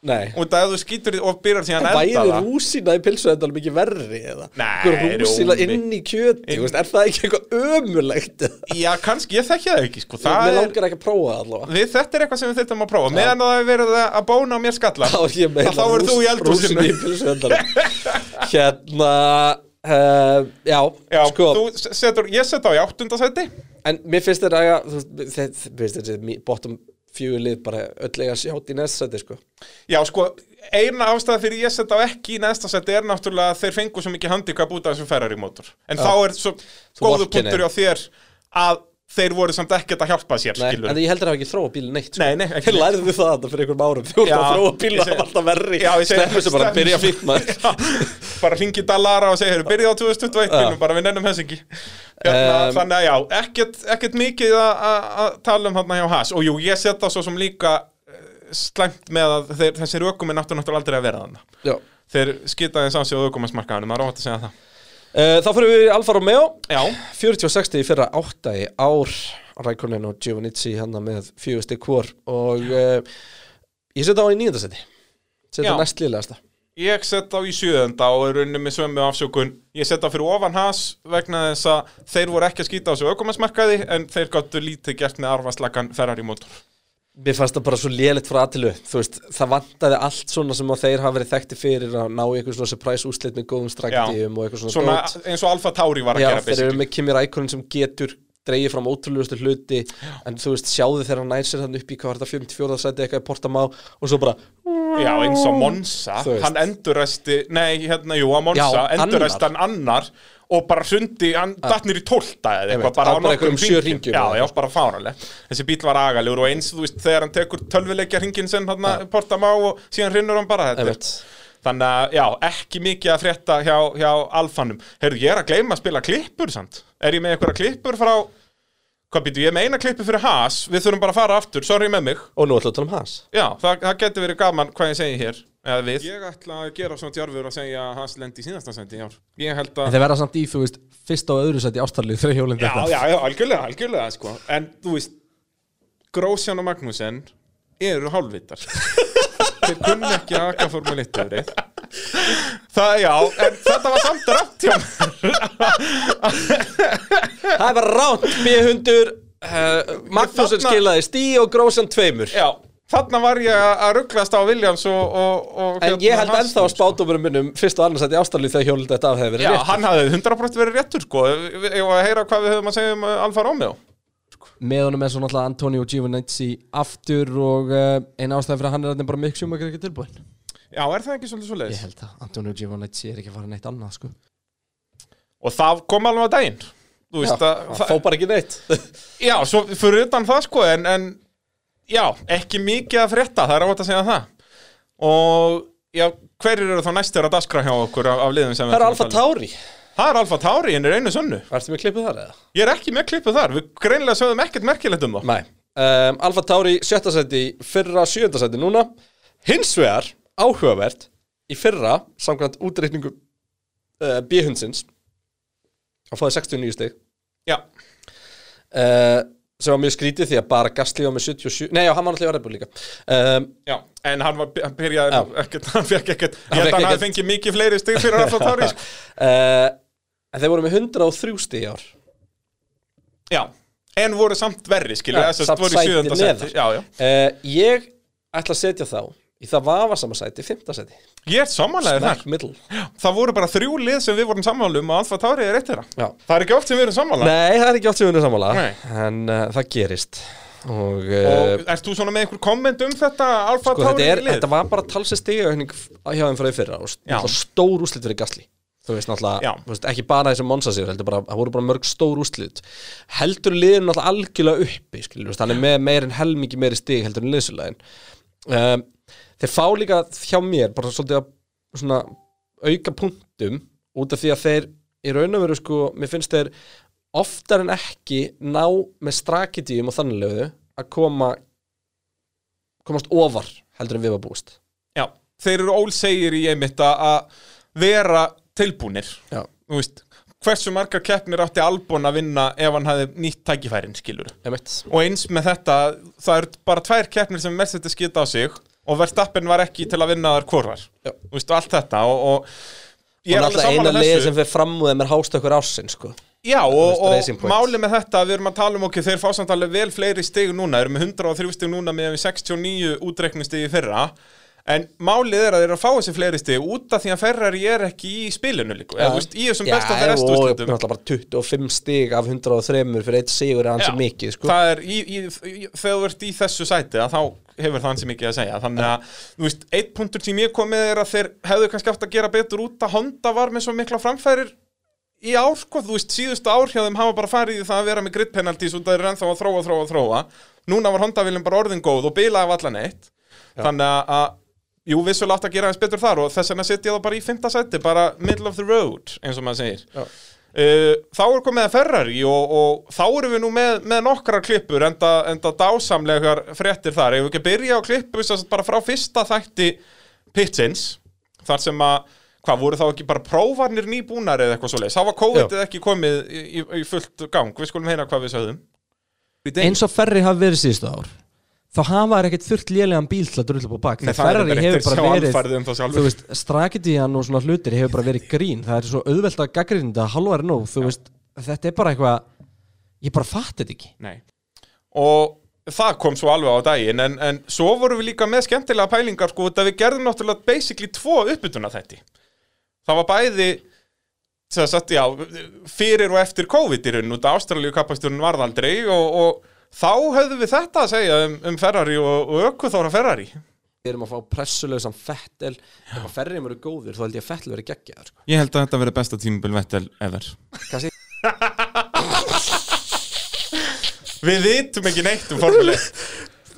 [SPEAKER 1] Nei
[SPEAKER 5] Og það að þú skýtur í- og byrjar síðan að elda
[SPEAKER 1] Væri
[SPEAKER 5] það.
[SPEAKER 1] rúsina í pilsu þetta alveg mikið verri eða?
[SPEAKER 5] Nei,
[SPEAKER 1] Einhver Rúsina
[SPEAKER 5] rjómi.
[SPEAKER 1] inn í kjöti,
[SPEAKER 5] Inn-
[SPEAKER 1] inn... Veist, er það ekki eitthvað ömulegt?
[SPEAKER 5] Já, kannski, ég þekki það ekki, sko. Það
[SPEAKER 1] Mér
[SPEAKER 5] er-
[SPEAKER 1] langar ekki að prófa það allavega
[SPEAKER 5] Við, þetta er eitthvað sem við þurftum að prófa Meðan það hefur verið að bóna á mér skalla
[SPEAKER 1] Þá er ég meina
[SPEAKER 5] Þá verður þú í eldhúsinu
[SPEAKER 1] Rúsina í pilsu þetta Hérna uh, já,
[SPEAKER 5] Já,
[SPEAKER 1] sko
[SPEAKER 5] þú s- setur, ég set á í áttundasæti
[SPEAKER 1] En mér finnst þetta að þú veist, þe- þe- mér finnst þetta mi- bottom fjögur lið bara öll eiga að sjátt í næst sæti sko
[SPEAKER 5] Já, sko, eina ástæða fyrir ég set á ekki í næsta sæti er náttúrulega að þeir fengu svo mikið handikap út af þessum Ferrari mótor En þá er svo góðu
[SPEAKER 1] vorkennir.
[SPEAKER 5] punktur á þér að þeir voru samt ekkert að hjálpa sér,
[SPEAKER 1] Nei,
[SPEAKER 5] skilur
[SPEAKER 1] en ég heldur að hafa ekki þróa bílinn neitt sko.
[SPEAKER 5] Nei, nei, ekki
[SPEAKER 1] Þeir lærðu þið það þetta fyrir einhverjum árum Þú ert
[SPEAKER 5] Já,
[SPEAKER 1] að þróa bíla,
[SPEAKER 5] ég
[SPEAKER 1] það
[SPEAKER 5] segi-
[SPEAKER 1] var alltaf verri
[SPEAKER 5] Já, ég segi-
[SPEAKER 1] Sleppu þessu bara að byrja fínt maður
[SPEAKER 5] Já, bara hringi Dallara og segja, heyrðu, byrjið á 2021 og bara við nennum þess ekki hérna,
[SPEAKER 1] Um,
[SPEAKER 5] þannig að já, ekkert, ekkert mikið að- að að tala um þarna hjá Haas og jú, ég set það svo sem líka eh, slæmt með að þeir, þessi rökuminn áttu náttúrulega aldrei að vera þarna
[SPEAKER 1] Já.
[SPEAKER 5] þeir skitaði eins á sig á rökuminsmarkaðanum, það er óvægt að segja það
[SPEAKER 1] Eh, Þá fyrir við í Alfa Romeo
[SPEAKER 5] já,
[SPEAKER 1] 40-60 fyrir áttægi ár Rækonin og Giovannizzi hann með fjögusti kvor og uh, ég seti á í nýjöndasetti seti
[SPEAKER 5] Já.
[SPEAKER 1] næst liðlegasta
[SPEAKER 5] Ég set á í sjöðenda og er unni með sömu afsökun. Ég set á fyrir ofan has vegna þess að þeir voru ekki að skýta á þessu aukumannsmarkaði en þeir gáttu lítið gert með arfaslagan Ferrari mótor.
[SPEAKER 1] Mér fannst það bara svo lélitt frá aðtilu Þú veist, það vantaði allt svona sem að þeir hafa verið þekkti fyrir að ná í eitthvað svona surprise úslit með góðum strakkdíum og eitthvað svona,
[SPEAKER 5] Svona
[SPEAKER 1] dót.
[SPEAKER 5] eins og Alfa Tauri var að
[SPEAKER 1] Já,
[SPEAKER 5] gera
[SPEAKER 1] þeir eru
[SPEAKER 5] basically.
[SPEAKER 1] með Kimi Rækonin sem getur dreigið fram ótrúlegustu hluti en þú veist, sjáðu þegar hann nær sér þannig upp í hvað var þetta 54. sæti eitthvað í Portamá og svo bara,
[SPEAKER 5] Já, eins og Monza,
[SPEAKER 1] Þú veist.
[SPEAKER 5] hann enduræsti, nei, hérna, jú, að Monza,
[SPEAKER 1] Já, Ah.
[SPEAKER 5] enduræsti hann annar og bara hrundi, hann datt nýr í tólta eða
[SPEAKER 1] Einmitt,
[SPEAKER 5] eitthvað, bara
[SPEAKER 1] á
[SPEAKER 5] á
[SPEAKER 1] bara einhverjum
[SPEAKER 5] nokkrum
[SPEAKER 1] sjö
[SPEAKER 5] hringjum.
[SPEAKER 1] hringjum
[SPEAKER 5] Já,
[SPEAKER 1] eða
[SPEAKER 5] já, bara fáraleg. Þessi bíl var agalegur og eins, þú veist, þegar hann tekur tölvileikja hringin sem hann ja. portamá og síðan rinnur hann bara
[SPEAKER 1] Ah.
[SPEAKER 5] þetta. er-
[SPEAKER 1] Einmitt.
[SPEAKER 5] Þannig að, já, ekki mikið að frétta hjá, hjá alfanum. Herru, ég er að gleyma að spila klippur, samt. Er ég með einhverja klippur frá, hvað býtu, ég er með eina klippu fyrir Haas, við þurfum bara að fara aftur, sorry með mig.
[SPEAKER 1] og nú ætlaðu að tala um hans
[SPEAKER 5] Já, það, það getur verið gaman hvað ég segi hér eða við. Ég ætla að gera svona djárfur og segja að hans lendi í síðasta sendi í ár. Ég held
[SPEAKER 10] En
[SPEAKER 5] að...
[SPEAKER 10] þeir verða samt í, þú veist, fyrst og öðru sæti ástarlið þegar hjólinn
[SPEAKER 5] Já,
[SPEAKER 10] þetta.
[SPEAKER 5] já, já, algjörlega, algjörlega, sko. En, þú veist, Grósjan og Magnúsen eru hálfvittar. Þeir kunni ekki að akka formule 1 yfirið. Það, já, en þetta var samt rátt hjá mér.
[SPEAKER 1] Það er bara ránt, B-hundur uh, Magnússon
[SPEAKER 5] Þarna-
[SPEAKER 1] skilaði stí og Grósan tveimur
[SPEAKER 5] Já, þarna var ég að rugglast á Williams og... og, og
[SPEAKER 1] En ég held ennþá að
[SPEAKER 5] sko.
[SPEAKER 1] spátumurum minnum fyrst og annars að ég ástæðlu þegar hjólið þetta af hefði verið
[SPEAKER 5] Já,
[SPEAKER 1] rétt.
[SPEAKER 5] hann hafði 100% verið réttur, sko. Ég var að heyra hvað við höfum að segja um uh, Alfa Romeo.
[SPEAKER 10] Með honum er svo náttúrulega Antonio Giovinazzi aftur og uh, eina ástæði fyrir að hann er þarna bara mikk sjúma ekki tilbúin.
[SPEAKER 5] Já, er það ekki svolítið svo leiðis?
[SPEAKER 10] Ég held það, Antonio Giovinazzi er ekki að fara neitt annað, sko.
[SPEAKER 5] og það kom alveg á daginn þú veist að
[SPEAKER 1] Það fó bara ekki neitt
[SPEAKER 5] já, svo fyrir utan það sko en, en já, ekki mikið að frétta það er átt að segja það og já, hverjir eru þá næstir að daskra hjá okkur af, af liðum sem við
[SPEAKER 1] Það er
[SPEAKER 5] ætlum
[SPEAKER 1] Alfa
[SPEAKER 5] að tala um?
[SPEAKER 1] Tauri
[SPEAKER 5] það er Alfa Tauri, hinn er einu sunnu
[SPEAKER 1] Ertu með klippið þar eða?
[SPEAKER 5] ég er ekki með klippu þar, við greinlega sögðum ekkert merkilegt um það
[SPEAKER 1] Nei um, Alfa Tauri sjötta sæti í fyrra sjönda sæti núna Hins vegar áhugavert í fyrra samkvæmt útreikningu uh, B-hundsins að fóði 69 stig
[SPEAKER 5] já,
[SPEAKER 1] uh, sem var mjög skrítið því að bara Gastli var með 77 Nei, já, hann var náttúrulega í Red Bull líka um,
[SPEAKER 5] já, en hann var hann byrjaði,
[SPEAKER 1] Já.
[SPEAKER 5] ekkert, hann fekk ekkert
[SPEAKER 1] Hann fékk
[SPEAKER 5] ég held að hann hafi
[SPEAKER 1] ekkert-
[SPEAKER 5] fengið mikið fleiri stig fyrir Alfa Tauri sko.
[SPEAKER 1] uh, En þeir voru með 103 stig í ár
[SPEAKER 5] já, en voru samt verri skilja,
[SPEAKER 1] Já,
[SPEAKER 5] þess
[SPEAKER 1] samt
[SPEAKER 5] að voru í
[SPEAKER 1] sæti
[SPEAKER 5] sjöðunda
[SPEAKER 1] neðar.
[SPEAKER 5] seti já, já.
[SPEAKER 1] uh, Ég ætla að setja þá í það vafasama sæti, fimmta sæti
[SPEAKER 5] ég er samanlega þar
[SPEAKER 1] Smack middle
[SPEAKER 5] Það voru bara þrjú lið sem við vorum sammála um og Alfa Tauri er eitt þeirra.
[SPEAKER 1] Já.
[SPEAKER 5] Það er ekki oft sem við erum sammála.
[SPEAKER 1] Nei, það er ekki oft sem við erum sammála
[SPEAKER 5] Nei.
[SPEAKER 1] En uh, það gerist Og, uh,
[SPEAKER 5] Og ert þú svona með einhver komment um þetta Alfa
[SPEAKER 1] sko,
[SPEAKER 5] Tauri
[SPEAKER 1] þetta, er,
[SPEAKER 5] lið?
[SPEAKER 1] þetta var bara talsið stigaukning hjá þeim frá því fyrra og
[SPEAKER 5] Já.
[SPEAKER 1] náttúrulega stór úslit fyrir gasli þú veist
[SPEAKER 5] Já.
[SPEAKER 1] náttúrulega, þú veist, ekki bara þessum Monsa sigur heldur bara, það voru bara mörg stór úslit heldur liðin náttúrulega algjörlega uppi skilur, hann er með meir en helmingi meiri stig heldur en liðsulegin um, þeir fá líka hjá mér bara svolítið að svona auka punktum út af því að þeir í raun og veru sko, mér finnst þeir oftar en ekki ná með strakitíum og þannilegu að koma komast ofar heldur en við var búist
[SPEAKER 5] Já, þeir eru ólsegir í einmitt að- að vera tilbúnir
[SPEAKER 1] Já.
[SPEAKER 5] Þú veist, hversu margar keppnir átti Albon að vinna ef hann hafði nýtt tækifærin skilur
[SPEAKER 1] Emitt.
[SPEAKER 5] og eins með þetta, það eru bara tvær keppnir sem Mercedes geta á sig og Verstappen var ekki til að vinna þar hvorvar
[SPEAKER 1] Já.
[SPEAKER 5] Þú veist, og allt þetta og, og ég
[SPEAKER 1] og
[SPEAKER 5] er alveg
[SPEAKER 1] náttúrulega eina
[SPEAKER 5] sammála
[SPEAKER 1] liðið
[SPEAKER 5] þessu
[SPEAKER 1] sem fer fram úr þeim er hástökkur ásinn sko.
[SPEAKER 5] Já,
[SPEAKER 1] veist,
[SPEAKER 5] og,
[SPEAKER 1] Racing
[SPEAKER 5] og
[SPEAKER 1] Point.
[SPEAKER 5] máli með þetta að við erum að tala um okkur, þeir fá samt alveg vel fleiri stig núna, þeir eru með 103 stig núna með við 69 útreiknustig í fyrra en málið er að þeir eru að fá þessi fleiri stig út af því að Ferrari er ekki í spilinu líka, eða þú veist, í þessum besta
[SPEAKER 1] Já,
[SPEAKER 5] fyrir
[SPEAKER 1] og
[SPEAKER 5] restúrslutum
[SPEAKER 1] náttúrulega bara 25 stig af 103 fyrir eitt sigur er hans
[SPEAKER 5] Já.
[SPEAKER 1] mikið sko.
[SPEAKER 5] það er í, í, í, þegar þú ert í þessu sæti að þá hefur það hansi mikið að segja þannig að, þú veist, eitt punktur sem ég kom með er að þeir hefðu kannski átt að gera betur út að Honda var með svo mikla framfærir í ár, sko, þú veist, síðustu ár hjá þeim hafa bara farið í það að vera með grid penalties út að þeir eru ennþá að þróa, þróa, þróa núna var Honda viljum bara orðin góð og bilaði af allan eitt þannig að, að Jú, vissulega átt að gera eins betur þar og þess vegna setja ég það bara í fymta sæti, bara middle of the road, eins og maður segir. Uh, þá er komið að Ferrari og, og þá erum við nú með, með nokkrar klippur enda, enda dásamlegar fréttir þar. Ef við ekki byrja á klippu sem sagt bara frá fyrsta þætti pitsins, þar sem að, hvað, voru þá ekki bara prófarnir nýbúnar eða eitthvað svoleiðis? Þá var COVID eða ekki komið í, í, í fullt gang, við skulum heyra hvað við sögðum.
[SPEAKER 10] eins og Ferri hafi verið síðustu ár þá hafa þær ekkert þurft lélegan bíl til að drulla upp á bak
[SPEAKER 5] Nei,
[SPEAKER 10] því
[SPEAKER 5] það er
[SPEAKER 10] Ferrari
[SPEAKER 5] reyndar
[SPEAKER 10] hefur
[SPEAKER 5] rétt,
[SPEAKER 10] bara
[SPEAKER 5] sjá
[SPEAKER 10] verið
[SPEAKER 5] alfarið um það sjálfur.
[SPEAKER 10] þú veist, strakitían og svona hlutir hefur bara verið grín það er svo auðvelt að gaggrinda halvar nú þú veist, þetta er bara eitthvað ég bara fatt þetta ekki
[SPEAKER 5] Nei. Og það kom svo alveg á daginn, en, en svo vorum við líka með skemmtilega pælingar, sko, þetta við gerðum náttúrulega basically tvo uppbytuna þætti. Það var bæði, sem sagt, já, fyrir og eftir COVID í raun, út af Ástralíu kapasturinn varð aldrei og, og þá höfðum við þetta að segja um, um Ferrari og, og ökkuþóra Ferrari.
[SPEAKER 1] við erum að fá pressulausan fettel ef að ferrið eru góðir þá held ég að fettel verið geggjaður sko.
[SPEAKER 5] Ég held að þetta verði besta tímubil Vettel ever.
[SPEAKER 1] Kannski-
[SPEAKER 5] Við vitum ekki neitt um formuleið.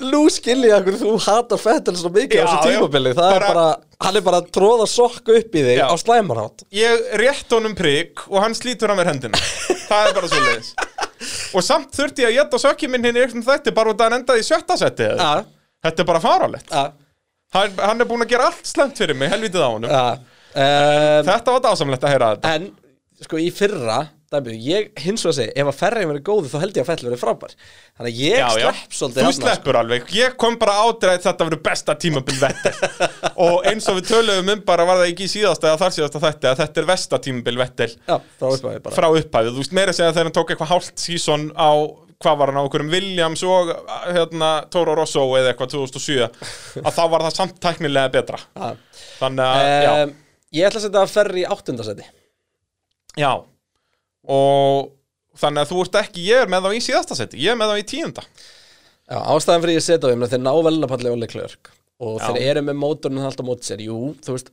[SPEAKER 1] Lú skiljiði okkur, þú hatar fettel svo mikið
[SPEAKER 5] Já,
[SPEAKER 1] á þessu
[SPEAKER 5] já.
[SPEAKER 1] tímabili það
[SPEAKER 5] Bara-
[SPEAKER 1] er bara, hann er bara að tróða sokku upp í þig
[SPEAKER 5] Já.
[SPEAKER 1] á slæmarhátt
[SPEAKER 5] ég rétt honum prigg og hann slítur að mér hendina það er bara svo leiðis og samt þurfti ég að geta sökki minn hinn í einhvern þætti bara út að hann endaði í sjötta setti eða
[SPEAKER 1] Já.
[SPEAKER 5] þetta er bara faralegt
[SPEAKER 1] Já.
[SPEAKER 5] hann, hann er búin að gera allt slemt fyrir mig, helvitið á honum
[SPEAKER 1] uh,
[SPEAKER 5] þetta var dásamlegt að heyra þetta
[SPEAKER 1] ah. en sko í fyrra dæmi, ég hins vegar segi, ef að ferrið verið góðir þá held ég að fettel verið frábær þannig að ég slepp svolítið
[SPEAKER 5] þú
[SPEAKER 1] þarna, sko.
[SPEAKER 5] sleppur alveg, ég kom bara ádreið þetta verður besta tímabil vettel og eins og við töluðum um bara var það ekki í síðasta eða þar síðasta þetta að þetta er versta tímabil vettel
[SPEAKER 1] sko. já, frá upphæði bara
[SPEAKER 5] frá upphæfið, þú veist meira að segja þegar hann tók eitthvað hálft sísón á, hvað var hann á okkurum Williams og hérna Toro Rosso eða eitthvað 2007 að þá var það samt tæknilega betra
[SPEAKER 1] Já.
[SPEAKER 5] þannig að,
[SPEAKER 1] um, ég ætla að setja að ferri í áttundasæti
[SPEAKER 5] já, já og þannig að þú ert ekki, ég er með þá í síðasta seti ég er með þá í tíunda
[SPEAKER 1] Já, ástæðan fyrir ég setja á þeim er að þeir ná velnapalli og leikleurk og
[SPEAKER 5] Já.
[SPEAKER 1] þeir eru með mótorinn alltaf mót sér, jú, þú veist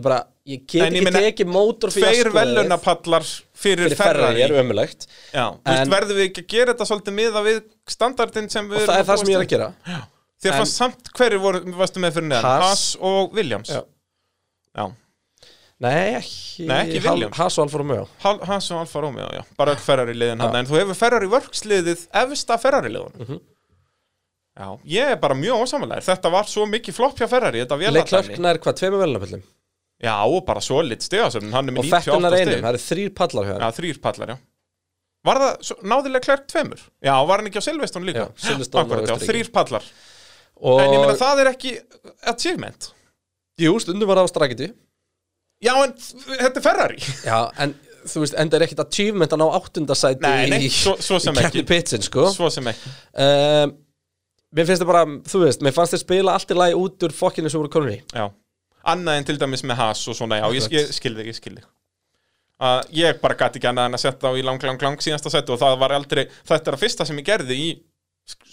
[SPEAKER 1] ég bara, ég get
[SPEAKER 5] En ég
[SPEAKER 1] ekki
[SPEAKER 5] meina,
[SPEAKER 1] tekið mótor fyrir
[SPEAKER 5] tveir
[SPEAKER 1] jaskóðið
[SPEAKER 5] velunapallar fyrir,
[SPEAKER 1] fyrir ferrari er ömulegt
[SPEAKER 5] já, þú veist
[SPEAKER 1] En-
[SPEAKER 5] verðum við ekki að gera þetta svolítið miða við standardin sem við
[SPEAKER 1] og það er það sem ég er að gera
[SPEAKER 5] þér
[SPEAKER 1] En-
[SPEAKER 5] fannst samt hverju voru, varstu með fyrir neðan
[SPEAKER 1] Haas.
[SPEAKER 5] Haas og Williams
[SPEAKER 1] Já.
[SPEAKER 5] já.
[SPEAKER 1] Nei, ekki,
[SPEAKER 5] Nei, ekki
[SPEAKER 1] Hal-
[SPEAKER 5] Williams.
[SPEAKER 1] Haas og Alfa Romeo
[SPEAKER 5] Hal- Haas og Alfa Romeo, já, bara öll Ferrari liðin hann, en þú hefur Ferrari vörksliðið efsta Ferrari liðunum
[SPEAKER 1] Mhm.
[SPEAKER 5] Já, ég er bara mjög ósamanlegar þetta var svo mikið flopp hjá Ferrari, þetta
[SPEAKER 1] Leikleurk
[SPEAKER 5] vélarni
[SPEAKER 1] nær hvað, tveimur velnapallum
[SPEAKER 5] Já, og bara svo lit stegasöfn, hann er
[SPEAKER 1] og
[SPEAKER 5] með
[SPEAKER 1] fettunar
[SPEAKER 5] 98
[SPEAKER 1] einum,
[SPEAKER 5] steg
[SPEAKER 1] það eru þrýr pallar hjá
[SPEAKER 5] Já,
[SPEAKER 1] hann
[SPEAKER 5] þrýr pallar, já Var það, svo- náði Leclerc tveimur? Já, var hann ekki á Silveston líka?
[SPEAKER 1] Já, Silverstone og
[SPEAKER 5] Akkurat, já,
[SPEAKER 1] Austurríki.
[SPEAKER 5] þrýr pallar En ég meina,
[SPEAKER 1] og
[SPEAKER 5] það er ekki achievement
[SPEAKER 1] jú, stundum var það á strakiti
[SPEAKER 5] Já, en þetta er Ferrari
[SPEAKER 1] Já, en þú veist, enda er ekkit achievement að ná áttundasæti
[SPEAKER 5] Nei, nei,
[SPEAKER 1] í-
[SPEAKER 5] svo- svo sem
[SPEAKER 1] í keppni
[SPEAKER 5] ekki.
[SPEAKER 1] pitsin, sko
[SPEAKER 5] Svo sem ekki
[SPEAKER 1] um, Mér finnst það bara, þú veist, mér fannst þið spila allt í lagi út úr fokkinu sem voru konunni
[SPEAKER 5] Já, annað en til dæmis með Haas og svona, já, ég, ég skilði, ég skilði uh, Ég bara gæti ekki annað en að setja á í lang, lang, lang síðasta setu og það var aldrei, þetta er að fyrsta sem ég gerði í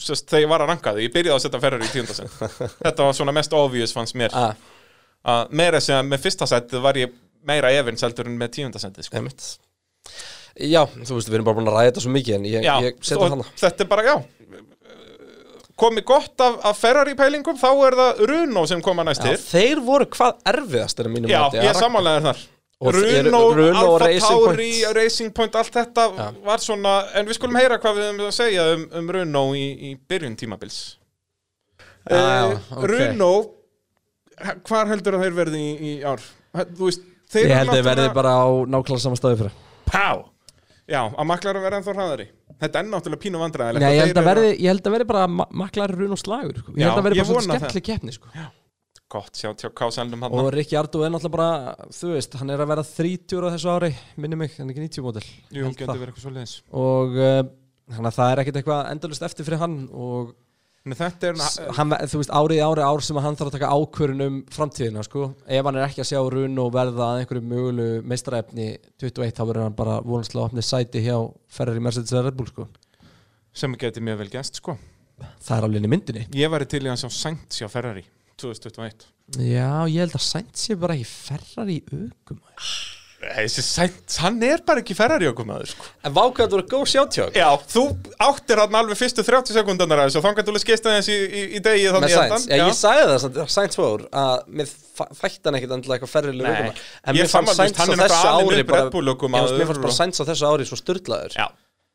[SPEAKER 5] sest, þegar ég var að ranka því, ég byrjaði að setja ferrar í tíundasinn Þetta var svona mest obvious fannst mér
[SPEAKER 1] Ah.
[SPEAKER 5] uh, Meira sem að með fyrsta setið var ég meira efins heldur en með tíundasendið sko.
[SPEAKER 1] Einmitt. Já, þú veist, við erum bara búin að ræða þetta svo mikið en ég,
[SPEAKER 5] Já,
[SPEAKER 1] ég setja
[SPEAKER 5] og
[SPEAKER 1] hana
[SPEAKER 5] þetta er bara, já komið gott af, af Ferrari pælingum þá er það Runo sem koma
[SPEAKER 1] Já,
[SPEAKER 5] næstir
[SPEAKER 1] Þeir voru hvað erfiðast er að mínum
[SPEAKER 5] Já,
[SPEAKER 1] mati að
[SPEAKER 5] ég
[SPEAKER 1] rak-
[SPEAKER 5] samanlega þar
[SPEAKER 1] Og eru-
[SPEAKER 5] Runo,
[SPEAKER 1] Runo og
[SPEAKER 5] Alfa
[SPEAKER 1] Racing
[SPEAKER 5] Tauri,
[SPEAKER 1] Point.
[SPEAKER 5] Racing Point, allt þetta
[SPEAKER 1] Já.
[SPEAKER 5] var svona En við skulum heyra hvað við höfum að segja um, um Runo í, í byrjun tímabils
[SPEAKER 10] Já, já,
[SPEAKER 5] Eh,
[SPEAKER 10] ok.
[SPEAKER 5] Runo, hvar heldur að þeir verði í, í ár? Þú veist, þeir
[SPEAKER 10] Ég
[SPEAKER 5] eru
[SPEAKER 10] held að verði
[SPEAKER 5] náttúrulega-
[SPEAKER 10] bara á nákvæmlega sama staði fyrir
[SPEAKER 5] Pá! Já, að maklar að vera ennþá hraðari Þetta er náttúrulega pínu vandræðilegt
[SPEAKER 10] Nei,
[SPEAKER 5] og
[SPEAKER 10] ég held
[SPEAKER 5] þeir
[SPEAKER 10] að
[SPEAKER 5] eru-
[SPEAKER 10] verði, ég held að verði bara ma maklar run og slagur sko. Ég held
[SPEAKER 5] Já,
[SPEAKER 10] að verði
[SPEAKER 5] ég
[SPEAKER 10] bara svona
[SPEAKER 5] vona það.
[SPEAKER 10] skemmtileg keppni sko.
[SPEAKER 5] Gott, sjá, sjá kásalnum hann
[SPEAKER 10] Og Rikki Ardú er náttúrulega bara, þú veist, hann er að vera 30 á þessu ári, minni mig, hann er ekki 90 mótil
[SPEAKER 5] Jú, getur verið eitthvað svo leiðis
[SPEAKER 10] Og uh, þannig að það er ekkit eitthvað endalust eftir fyrir hann Og
[SPEAKER 5] Þetta er,
[SPEAKER 10] s- hann, þú veist, árið í ári ár sem að hann þarf að taka ákvörun um framtíðina sko. Ef hann er ekki að sjá run og verða að einhverju mögulegu meistaraefni 21 þá verður hann bara vonanslega opnið sæti hjá Ferrari Mercedes eða Red Bull sko.
[SPEAKER 5] sem getur mjög vel gæst, sko
[SPEAKER 10] Það er alveg inn í myndinni
[SPEAKER 5] Ég væri til í að sjá Sainz hjá Ferrari 2021
[SPEAKER 10] Já, ég held að Sainz sé bara ekki ferrar í aukum
[SPEAKER 5] Nei, Þessi Sainz, hann er bara ekki Ferrari okkur maður sko.
[SPEAKER 1] En vákvæmt voru góð sjátjók
[SPEAKER 5] Já, þú áttir hann alveg fyrstu 30 sekundanar aðeins og þangar þú leist geist aðeins í, í, í degi
[SPEAKER 1] Með
[SPEAKER 5] þannig
[SPEAKER 1] Sainz, ég, ég sagði það samt, Sainz fór að mér fa- þætti hann ekkit endilega eitthvað ferrileg
[SPEAKER 5] Nei.
[SPEAKER 1] aukumann En
[SPEAKER 5] Ég
[SPEAKER 1] mér fannst
[SPEAKER 5] sammála,
[SPEAKER 1] Sainz á
[SPEAKER 5] hann er
[SPEAKER 1] þessu
[SPEAKER 5] náttúrulega alinn
[SPEAKER 1] ári
[SPEAKER 5] upp
[SPEAKER 1] bara
[SPEAKER 5] Red Bull
[SPEAKER 1] Ég
[SPEAKER 5] ökumaður
[SPEAKER 1] veist, Mér fannst
[SPEAKER 5] og-
[SPEAKER 1] bara Sainz á þessu ári svo sturdlaður
[SPEAKER 5] Já,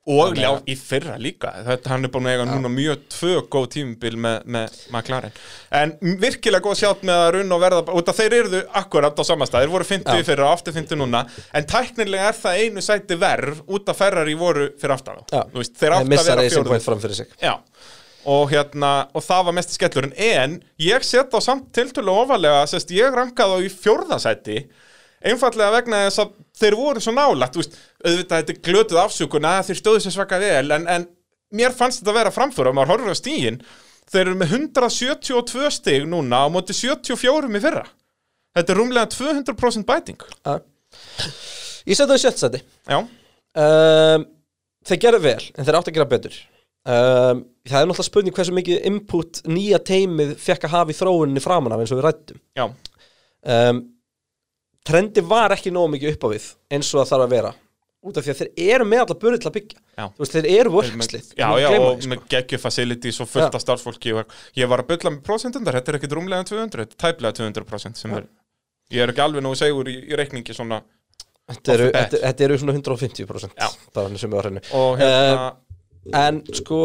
[SPEAKER 5] og já, í fyrra líka Þetta hann er búin að eiga núna mjög tvö góð tímubil með, með McLaren En virkilega góð sjátt með að runna og verða út að þeir eruðu akkurat á samasta Þeir voru 50 í fyrra, aftur 50 núna En tæknilega er það einu sæti verð út að Ferrari voru fyrir aftan þá.
[SPEAKER 1] Já.
[SPEAKER 5] Þú veist, Þeir
[SPEAKER 1] Þeir
[SPEAKER 5] átt að
[SPEAKER 1] missa
[SPEAKER 5] vera
[SPEAKER 1] racing
[SPEAKER 5] fjóruð
[SPEAKER 1] point fram fyrir sig
[SPEAKER 5] Já Og, hérna, og það var mest skellurinn en ég set á samt tiltölu ofalega sest, ég rankaði á í fjórðasæti einfallega vegna þess að þeir voru svo nálægt, þú veist, auðvitað þetta er glötuð afsökun að þeir stóðu sér svaka vel en, en mér fannst þetta að vera framför og maður horfður á stígin, þeir eru með 172 stig núna á móti 74 í fyrra þetta er rúmlega 200% bæting
[SPEAKER 1] Já. Ég seti það í sjöttsæti
[SPEAKER 5] Já,
[SPEAKER 1] um, Þeir gerðu vel, en þeir áttu að gera betur um, Það er náttúrulega spurning hversu mikið input nýja teimið fekk að hafa í þróuninni framan af eins og við rættum
[SPEAKER 5] já,
[SPEAKER 1] um, Trendi var ekki nógu mikið upp á við eins og það þarf að vera út af því að þeir eru með alla burið til að byggja
[SPEAKER 5] Já.
[SPEAKER 1] Þú veist, þeir eru
[SPEAKER 5] Þeir með-
[SPEAKER 1] vörkslið
[SPEAKER 5] Já, já, og með geggju facilities og fullt
[SPEAKER 1] sko. Já.
[SPEAKER 5] af starfsfólki og- Ég var að bylla með prosentundar, þetta er ekki rúmlega 200 Þetta er tæplega 200% sem er Ég er ekki alveg nógu segur í, í reikningi svona
[SPEAKER 1] Þetta eru,
[SPEAKER 5] off the bat.
[SPEAKER 1] þetta, þetta eru svona 150%
[SPEAKER 5] Já.
[SPEAKER 1] bara hann sem við var henni
[SPEAKER 5] og, hérna,
[SPEAKER 1] Eh. En sko,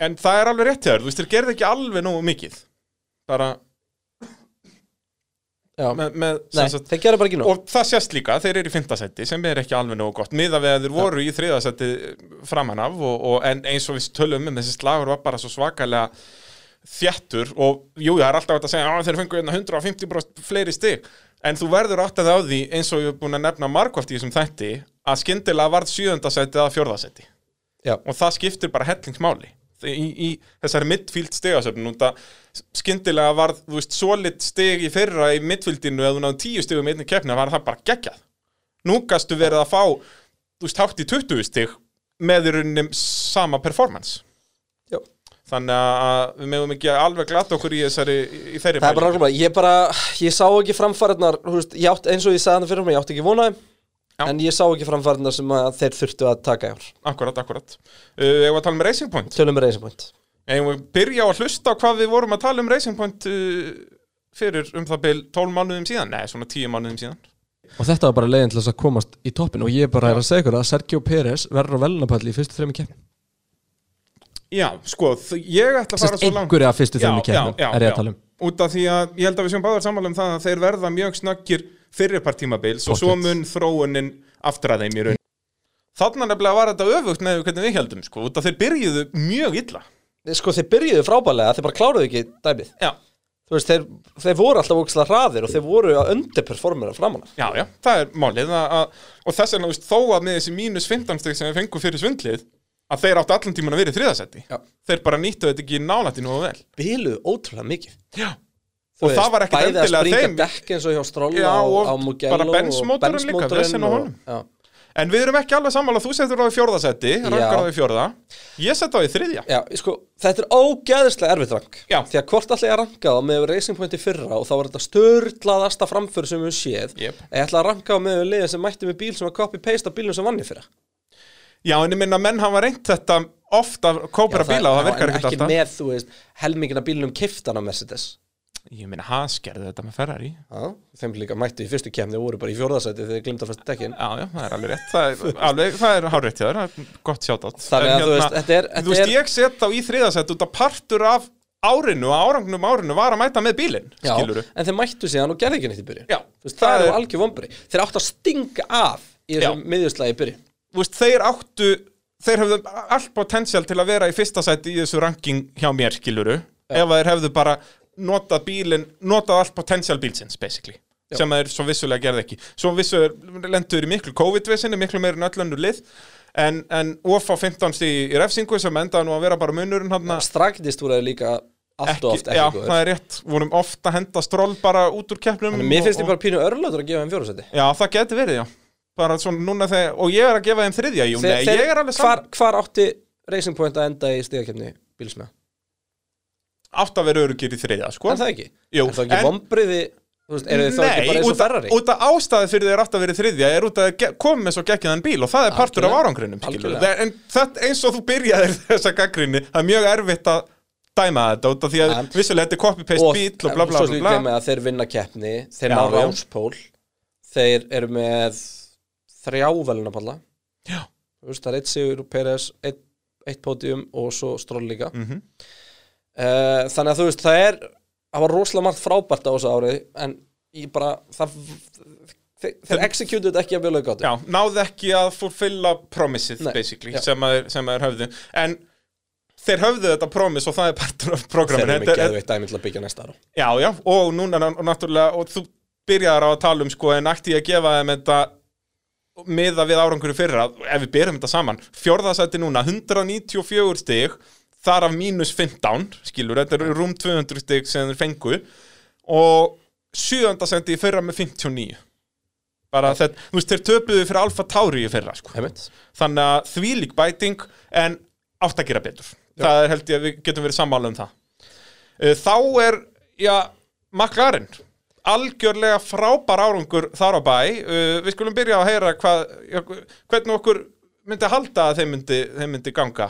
[SPEAKER 5] En það er alveg rétt hjá þér, þú veist, þér gerði ekki alveg nógu mikið Bara
[SPEAKER 1] já, nei,
[SPEAKER 5] með, með sem sagt-
[SPEAKER 1] þeir gerðu bara ekki nóg
[SPEAKER 5] Og það sést líka, þeir eru í fintasætti sem er ekki alveg nógu gott miða við að þeir voru í þriðasætti framan af og, og en eins og við tölum um þessi slagur var bara svo svakalega þjættur og jú, það er alltaf hægt að segja að þeir fengu hérna 150 fleiri stig en þú verður átt að á því eins og ég er búin að nefna margvalt í þessum þætti að skyndilega varð sjöðundasætti eða fjórðasætti
[SPEAKER 1] Já.
[SPEAKER 5] og það skiptir bara hellingsmáli Þe- í, í þessari midfield stegasöfn út að skyndilega varð þú veist, solid steg í fyrra í midfieldinu eða þú náðu tíu stegum einni keppni var það bara geggjað nú gastu verið að fá þú veist, hátt í 20 steg með í rauninni sama performance
[SPEAKER 1] Já.
[SPEAKER 5] þannig að við meðum ekki alveg glata okkur í þessari í
[SPEAKER 1] Það
[SPEAKER 5] þeirri
[SPEAKER 1] er bara
[SPEAKER 5] pælingu.
[SPEAKER 1] nákvæmlega, ég bara, ég sá ekki framfæriðnar, þú veist, ég átt, eins og ég sagði hann fyrir mig, ég átti ekki vonaði,
[SPEAKER 5] Já.
[SPEAKER 1] en ég sá ekki framfæriðnar sem að þeir þurftu að taka í ár.
[SPEAKER 5] akkurat, akkurat uh, ég var að tala um Racing Point
[SPEAKER 1] Tölum við reynsumvænt.
[SPEAKER 5] Eigum við byrja á að hlusta á hvað við vorum að tala um Racing Point uh, fyrir um það bil 12 mánuðum síðan, nei svona 10 mánuðum síðan
[SPEAKER 10] Og þetta var bara leiðin til þess að komast í toppin Og ég bara er að segja ykkur að Sergio Pérez verður á velunapalli í fyrstu þremi keppni
[SPEAKER 5] Já, sko, þ- ég ætla að fara
[SPEAKER 10] Sérst
[SPEAKER 5] svo langt
[SPEAKER 10] einhverja af fyrstu þremi keppni
[SPEAKER 5] já,
[SPEAKER 10] er ég
[SPEAKER 5] já.
[SPEAKER 10] að tala um
[SPEAKER 5] Út af því að ég held að við séum báðar sammála um það að þeir verða mjög snakkir fyrir par tímabils og svo
[SPEAKER 10] Pottet.
[SPEAKER 5] mun þróunin aftur að þeim í raun Þannig nefnilega var þetta öfugt með hvernig við heldum sko, út af þeir byrjuðu mjög illa
[SPEAKER 1] Sko, þeir byrjuðu frábælega, þeir bara kláruðu ekki dæmið.
[SPEAKER 5] Já,
[SPEAKER 1] Þú veist, þeir, þeir voru alltaf ógislega hraðir og þeir voru að underperformera framan af.
[SPEAKER 5] já, já, það er málið að, að, og þess vegna, þú veist, þó að með þessi mínus 15 steg sem við fengum fyrir svindlið að þeir áttu allan tíman að vera í þriðasetti
[SPEAKER 1] Já.
[SPEAKER 5] þeir bara nýttu þetta ekki nálætti nú vel
[SPEAKER 1] Biluðu ótrúlega mikið.
[SPEAKER 5] Já,
[SPEAKER 1] Þú
[SPEAKER 5] Og það var ekkert
[SPEAKER 1] bæði
[SPEAKER 5] endilega
[SPEAKER 1] að springa
[SPEAKER 5] þeim-
[SPEAKER 1] dekk eins og hjá Stroll
[SPEAKER 5] Já,
[SPEAKER 1] á,
[SPEAKER 5] og
[SPEAKER 1] á Mugello
[SPEAKER 5] bara Benz-mótorinn líka, vesen á
[SPEAKER 1] og-
[SPEAKER 5] honum.
[SPEAKER 1] Já.
[SPEAKER 5] en við erum ekki alveg sammála þú setur á í fjórðasetti, rakkar á
[SPEAKER 1] Já.
[SPEAKER 5] í fjórða ég set á í þriðja
[SPEAKER 1] Já, sko, þetta er ógeðislega erfitt rank
[SPEAKER 5] Já.
[SPEAKER 1] Því að hvort alltaf ég að ranka það með Racing Point í fyrra og þá var þetta störlaðasta framför sem við séð
[SPEAKER 5] Jep.
[SPEAKER 1] En Ég ætla að ranka það með liðið sem mætti með bíl sem að copy-paste af bílum sem vann í fyrra
[SPEAKER 5] Já, en ég minna menn hafa reynt þetta oft að kópera
[SPEAKER 1] Já,
[SPEAKER 5] bíla og það
[SPEAKER 1] já, en
[SPEAKER 5] virkar ekkert
[SPEAKER 1] ekki
[SPEAKER 5] alltaf
[SPEAKER 1] með, þú veist, helmingina bílunum kiftana Mercedes
[SPEAKER 5] Ég meina, Haas gerði þetta með Ferrari
[SPEAKER 1] Já, þeim líka mættu í fyrstu kemni og voru bara í fjórðasæti þegar glimta fyrstu dekkin
[SPEAKER 5] Já, já, það er alveg rétt Það er, alveg, það er hárrétt hjá þér, það er gott sjátátt
[SPEAKER 1] Þannig að þú veist, þetta er,
[SPEAKER 5] Þú
[SPEAKER 1] þetta
[SPEAKER 5] veist,
[SPEAKER 1] er
[SPEAKER 5] ég set þá í þriðasett út að partur af árinu og árangnum árinu var að mæta með bílinn, skiluru
[SPEAKER 1] já, en þeir mættu síðan og gerði ekki neitt í byrjun
[SPEAKER 5] Já,
[SPEAKER 1] Þú veist, það, það er algjör vombri Þeir áttu að stinga af í þessum
[SPEAKER 5] Já.
[SPEAKER 1] miðjuslægi í byrjun
[SPEAKER 5] þú veist, þeir áttu þeir hefðu allt potensial til að vera í fyrsta sæti í þessu ranking hjá mér, skiluru ef að þeir hefðu bara notað bílinn, notað allt potensial bílsins basically, sem að þeir svo vissulega gerði ekki svo vissulega lendur í miklu COVID-vissinni, miklu meira en öll önnur lið en, en of á 15 stig í, í refsingu sem endaði nú að vera bara munurinn hann
[SPEAKER 1] Straknist voru þeir líka allt og oft
[SPEAKER 5] já,
[SPEAKER 1] ekki
[SPEAKER 5] það
[SPEAKER 1] góður
[SPEAKER 5] er rétt, vorum ofta að henda stról bara út úr keppnum
[SPEAKER 1] En Mér
[SPEAKER 5] og-
[SPEAKER 1] finnst
[SPEAKER 5] og-
[SPEAKER 1] ég bara pínu örlöður að gefa þeim fjórðasæti
[SPEAKER 5] Já, það geti verið, já bara svona núna þegar, og ég er að gefa þeim þriðja jú, nei, ég er alveg
[SPEAKER 1] hvar,
[SPEAKER 5] saman,
[SPEAKER 1] hvar átti Racing Point að enda í stigakefni bílsmeða?
[SPEAKER 5] átt að vera örugir í þriðja, sko
[SPEAKER 1] En það ekki?
[SPEAKER 5] Jú,
[SPEAKER 1] en það ekki
[SPEAKER 5] en-
[SPEAKER 1] vombriði Þú veist, eru þið þá ekki
[SPEAKER 5] Nei,
[SPEAKER 1] bara eins og
[SPEAKER 5] út, að,
[SPEAKER 1] Ferrari?
[SPEAKER 5] út að ástæði fyrir þeir átt að vera í þriðja er út að þeir ge- komu með svo geggjðan bíl og það er partur af
[SPEAKER 1] Algjörlega.
[SPEAKER 5] árangrinum skilur.
[SPEAKER 1] Algjörlega.
[SPEAKER 5] en það, eins og þú byrjaðir þessa gaggrinni, það er mjög erfitt að dæma þetta út af því að
[SPEAKER 1] En-
[SPEAKER 5] vissulega þetta er copy-paste bíl og bla bla
[SPEAKER 1] svo slíkt
[SPEAKER 5] bla,
[SPEAKER 1] er
[SPEAKER 5] bla.
[SPEAKER 1] með að þeir vinna keppni þeir
[SPEAKER 5] Já,
[SPEAKER 1] ná
[SPEAKER 5] já.
[SPEAKER 1] ránspól þeir eru með þrjá velunapalla
[SPEAKER 5] Já.
[SPEAKER 1] Þú veist, það er eitt sigur og Peres eitt, eitt pódium og svo stról líka mm
[SPEAKER 5] Mhm.
[SPEAKER 1] þannig að þú veist það er það var rosalega margt frábært á þessu árið en ég bara það, þeir, þeir executed þetta ekki að vilja gáttu
[SPEAKER 5] Já, náði ekki að fulfilla promisið
[SPEAKER 1] Nei,
[SPEAKER 5] basically,
[SPEAKER 1] já.
[SPEAKER 5] sem að, þeir- sem að þeir höfðu en þeir höfðu þetta promise og það er partur af
[SPEAKER 1] þeir
[SPEAKER 5] programmin
[SPEAKER 1] eru með geðveitt dæmi til að byggja næsta ára
[SPEAKER 5] Já, já, og núna ná- og náttúrulega, og þú byrjaðar á að tala um sko, en ætti ég að gefa þeim þetta miða við árangur í fyrra, ef við byrjum þetta saman, fjórðasætti núna 194 stig, þar af mínus 15, skilur, þetta eru rúm 200 stig sem þeir fengu og sjöðandasætti í fyrra með 59 bara þetta, þú veist, þeir töpuðu fyrir Alfa Tauri í fyrra, sko
[SPEAKER 1] Heimitt.
[SPEAKER 5] þannig að þvílík bæting en átt að gera betur það er held ég að við getum verið sammála um það Eh, þá er, já, McLaren algjörlega frábær árangur þar á bæ Eh, við skulum byrja að heyra hvað, já, hvernig okkur myndi halda að þeim myndi, þeim myndi ganga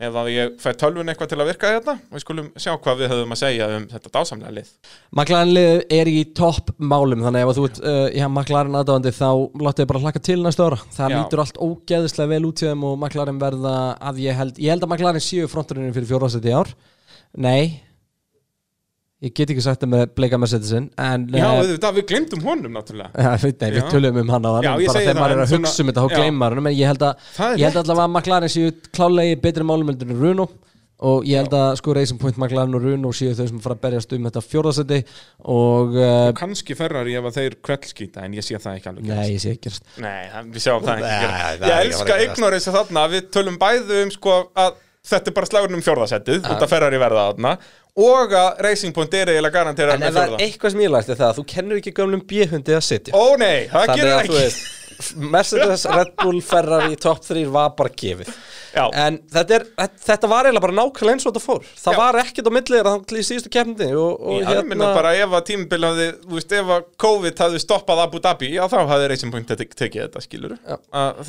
[SPEAKER 5] ef að ég fæ tölvun eitthvað til að virka hérna við skulum sjá hvað við höfum að segja um þetta dásamlega lið
[SPEAKER 10] McLaren liðið er í topp málum þannig ef að þú ert uh, já, McLaren aðdáðandi þá láttu þið bara hlakka til næsta ára það
[SPEAKER 5] Já.
[SPEAKER 10] lítur allt ógeðislega vel út í þeim og McLaren verða að ég held ég held að McLaren séu fronturinn fyrir fjórðarsæti í ár nei ég get ekki sagt það með bleika Mercedesin en
[SPEAKER 5] já,
[SPEAKER 10] eh,
[SPEAKER 5] auðvitað, við glemdum honum náttúrulega
[SPEAKER 10] Já, við- Nei, við
[SPEAKER 5] Já.
[SPEAKER 10] tölum um hann á það
[SPEAKER 5] Já,
[SPEAKER 10] en
[SPEAKER 5] ég
[SPEAKER 10] bara
[SPEAKER 5] segi
[SPEAKER 10] þegar
[SPEAKER 5] það,
[SPEAKER 10] maður er
[SPEAKER 5] en
[SPEAKER 10] að
[SPEAKER 5] svona-
[SPEAKER 10] hugsa um þetta þá
[SPEAKER 5] já.
[SPEAKER 10] gleymar hann en ég held að,
[SPEAKER 5] Það er
[SPEAKER 10] ég held allavega að McLaren séu klálega í betri málum heldur en Runo og ég held að sko Racing Point McLaren og Runo séu þau sem fara að berjast um þetta fjórðasendi og uh,
[SPEAKER 5] kannski ferrar ég ef að þeir kveldskýta en ég sé það ekki alveg gerast.
[SPEAKER 10] nei, ég sé ekki
[SPEAKER 5] Nei, það- við sjáum það
[SPEAKER 1] Nei,
[SPEAKER 5] ekki gera.
[SPEAKER 1] það er
[SPEAKER 5] Ég
[SPEAKER 1] ekki að
[SPEAKER 5] elska
[SPEAKER 1] fara að
[SPEAKER 5] ignoransi þarna Við tölum bæðu um sko að Þetta er bara slagurinn um fjórðasettið Út að Ferrari verða þarna Og að Racing Point er eiginlega garantera
[SPEAKER 1] en ef
[SPEAKER 5] með
[SPEAKER 1] það er
[SPEAKER 5] fjórða
[SPEAKER 1] eitthvað sem ég lært er það að þú kennur ekki gömlum bjöhundi að sitja
[SPEAKER 5] Ó nei, það
[SPEAKER 1] Þannig
[SPEAKER 5] gerir
[SPEAKER 1] að
[SPEAKER 5] það
[SPEAKER 1] þú
[SPEAKER 5] ekki
[SPEAKER 1] veist Mercedes, Red Bull, Ferrari, top 3 var bara gefið
[SPEAKER 5] Já.
[SPEAKER 1] En þetta, er, þetta- þetta var eiginlega bara nákvæmlega eins og þetta fór Það
[SPEAKER 5] Já.
[SPEAKER 1] var ekkert á millir að það í síðustu kemni og, og hérna-
[SPEAKER 5] Já, ég minna bara ef að tímabil hafði, þú veist, ef að COVID hafði stoppað Abu Dhabi, já þá hafði Racing Point tek- tekið þetta, skilur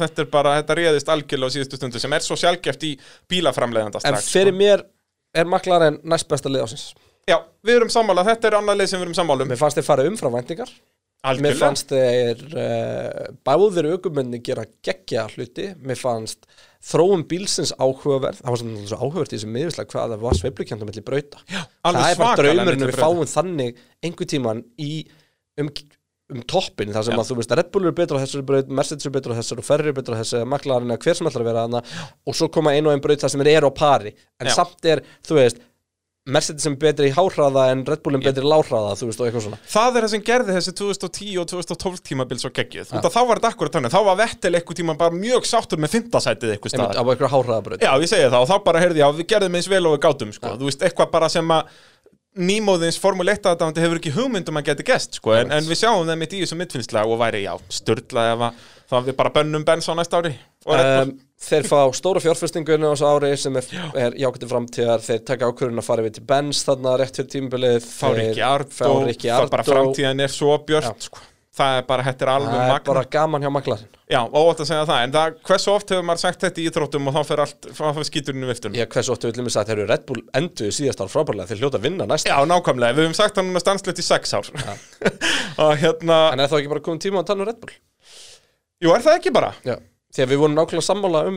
[SPEAKER 5] Þetta er bara, þetta réðist algjörlega á síðustu stundu sem er svo sjálfgeft í bílaframleiðanda
[SPEAKER 1] En
[SPEAKER 5] strax sko.
[SPEAKER 1] fyrir mér er McLaren næst besta lið ásins
[SPEAKER 5] Já, við erum sammála, þetta er annað leið sem við erum sammála um
[SPEAKER 1] Mér fannst þeir fara umfram væntingar Mér
[SPEAKER 5] Algjörlega,
[SPEAKER 1] fannst þeir uh, báðir aukumenni gera geggja hluti Mér fannst þróum bílsins áhugaverð Það var sem náttúrulega svo áhugavert í þessum miðurslega hvað það var sveiflukjöndum milli brauta Já, Það
[SPEAKER 5] alveg
[SPEAKER 1] er bara
[SPEAKER 5] svakalega
[SPEAKER 1] draumurinn að
[SPEAKER 5] milli
[SPEAKER 1] við fáum þannig einhver tíman í um, um toppin þar sem að þú veist Red Bull eru betra á þessari braut, Mercedes eru betra á þessari og Ferrari eru betra á þessari, McLaren eða hver sem ætlar að vera þarna og svo koma einu og einn braut þar sem þeir eru á pari en
[SPEAKER 5] Já.
[SPEAKER 1] samt er, þú veist Mercedes sem betri í háhraða en Red Bull sem betri í láhraða, þú veist, og eitthvað svona
[SPEAKER 5] Það er það sem gerði þessi 2010 og 2012 tímabil svo geggjuð. Ja. Þá var þetta akkurat þannig. Þá var Vettel eitthvað tíma bara mjög sáttur með fymtasætið eitthvað
[SPEAKER 1] einmitt á
[SPEAKER 5] staðar.
[SPEAKER 1] einhverja háhraðabraut
[SPEAKER 5] Já, ég segi það og þá bara heyrði ég að við gerðum eins vel og við gátum, sko. Þú veist, eitthvað bara sem að nýmóðins formuleitt að þetta hefur ekki hugmynd um að geta gest, sko. En, en við sjáum það mitt í þessu mittfinnslega og væri, já, störla ef að það við bara bönnum Benz á næsta ári. Og Red
[SPEAKER 1] um,
[SPEAKER 5] Bull.
[SPEAKER 1] þeir fá stóra fjárfestingunni á þessu ári sem er, er jákvæmdi framtíðar þeir taka ákvörðun að fara við til Benz þarna rétt fyrir tímabilið
[SPEAKER 5] Fá Ríkki Ardó,
[SPEAKER 1] fá Ríkki
[SPEAKER 5] það bara
[SPEAKER 1] Ardó
[SPEAKER 5] framtíðan er svo björt, sko. það er bara, þetta er alveg
[SPEAKER 1] það er
[SPEAKER 5] magna
[SPEAKER 1] bara gaman hjá maklarinn
[SPEAKER 5] Já, óvægt að segja það, en það, hversu oft hefur maður sagt þetta í íþróttum og þá fer allt, þá fer skíturinn í viftun
[SPEAKER 1] Já, hversu óttu viljum við sagt, þeir eru Red Bull enduðu síðast ár frábærlega, þeir hljóta að vinna næst
[SPEAKER 5] Já, nákvæmlega, við höfum sagt það núna stanslegt í sex ár Og hérna,
[SPEAKER 1] En er þá ekki bara komin tíma að tala um Red Bull?
[SPEAKER 5] jú, er það ekki bara?
[SPEAKER 1] Já, því að við vorum nákvæmlega sammála um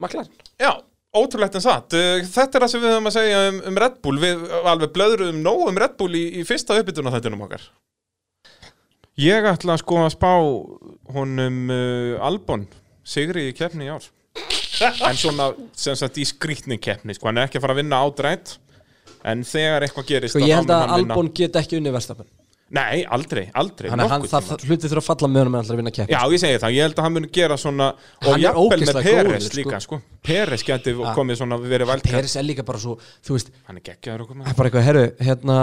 [SPEAKER 1] maklarinn
[SPEAKER 10] Sko,
[SPEAKER 5] Já, ótrúlegt en satt Uh, Þetta er það sem við höfum að segja um, um Red Bull Við alveg blöðruðum nóg um Red Bull í, í fyrsta uppbytun á þettinum okkar Ég ætla sko að spá honum uh, Albon Sigri í keppni í ár En svona, sem sagt, í skrýtni keppni sko, Hann er ekki að fara að vinna ádrætt En þegar eitthvað gerist
[SPEAKER 10] Sko
[SPEAKER 5] að
[SPEAKER 10] ég
[SPEAKER 5] þá
[SPEAKER 10] held
[SPEAKER 5] mun
[SPEAKER 10] að
[SPEAKER 5] hann vinna.
[SPEAKER 10] Albon get ekki unni verstafn
[SPEAKER 5] Nei, aldrei, aldrei
[SPEAKER 10] Þannig að hann,
[SPEAKER 5] nokkuð
[SPEAKER 10] það
[SPEAKER 5] tímann.
[SPEAKER 10] hluti þurfa að falla með honum en alltaf vinna kepp
[SPEAKER 5] Já, ég segi það, ég held að hann muni gera svona Og
[SPEAKER 10] Hann er
[SPEAKER 5] jafnvel með
[SPEAKER 10] ógeðslega góður,
[SPEAKER 5] Peres
[SPEAKER 10] sko. Ah.
[SPEAKER 5] líka sko. Peres geti komið svona, verið vælt
[SPEAKER 10] Peris er líka bara svo, þú veist
[SPEAKER 5] Hann er geggjaður okkur
[SPEAKER 10] það
[SPEAKER 5] maður
[SPEAKER 10] er bara eitthvað, herru, hérna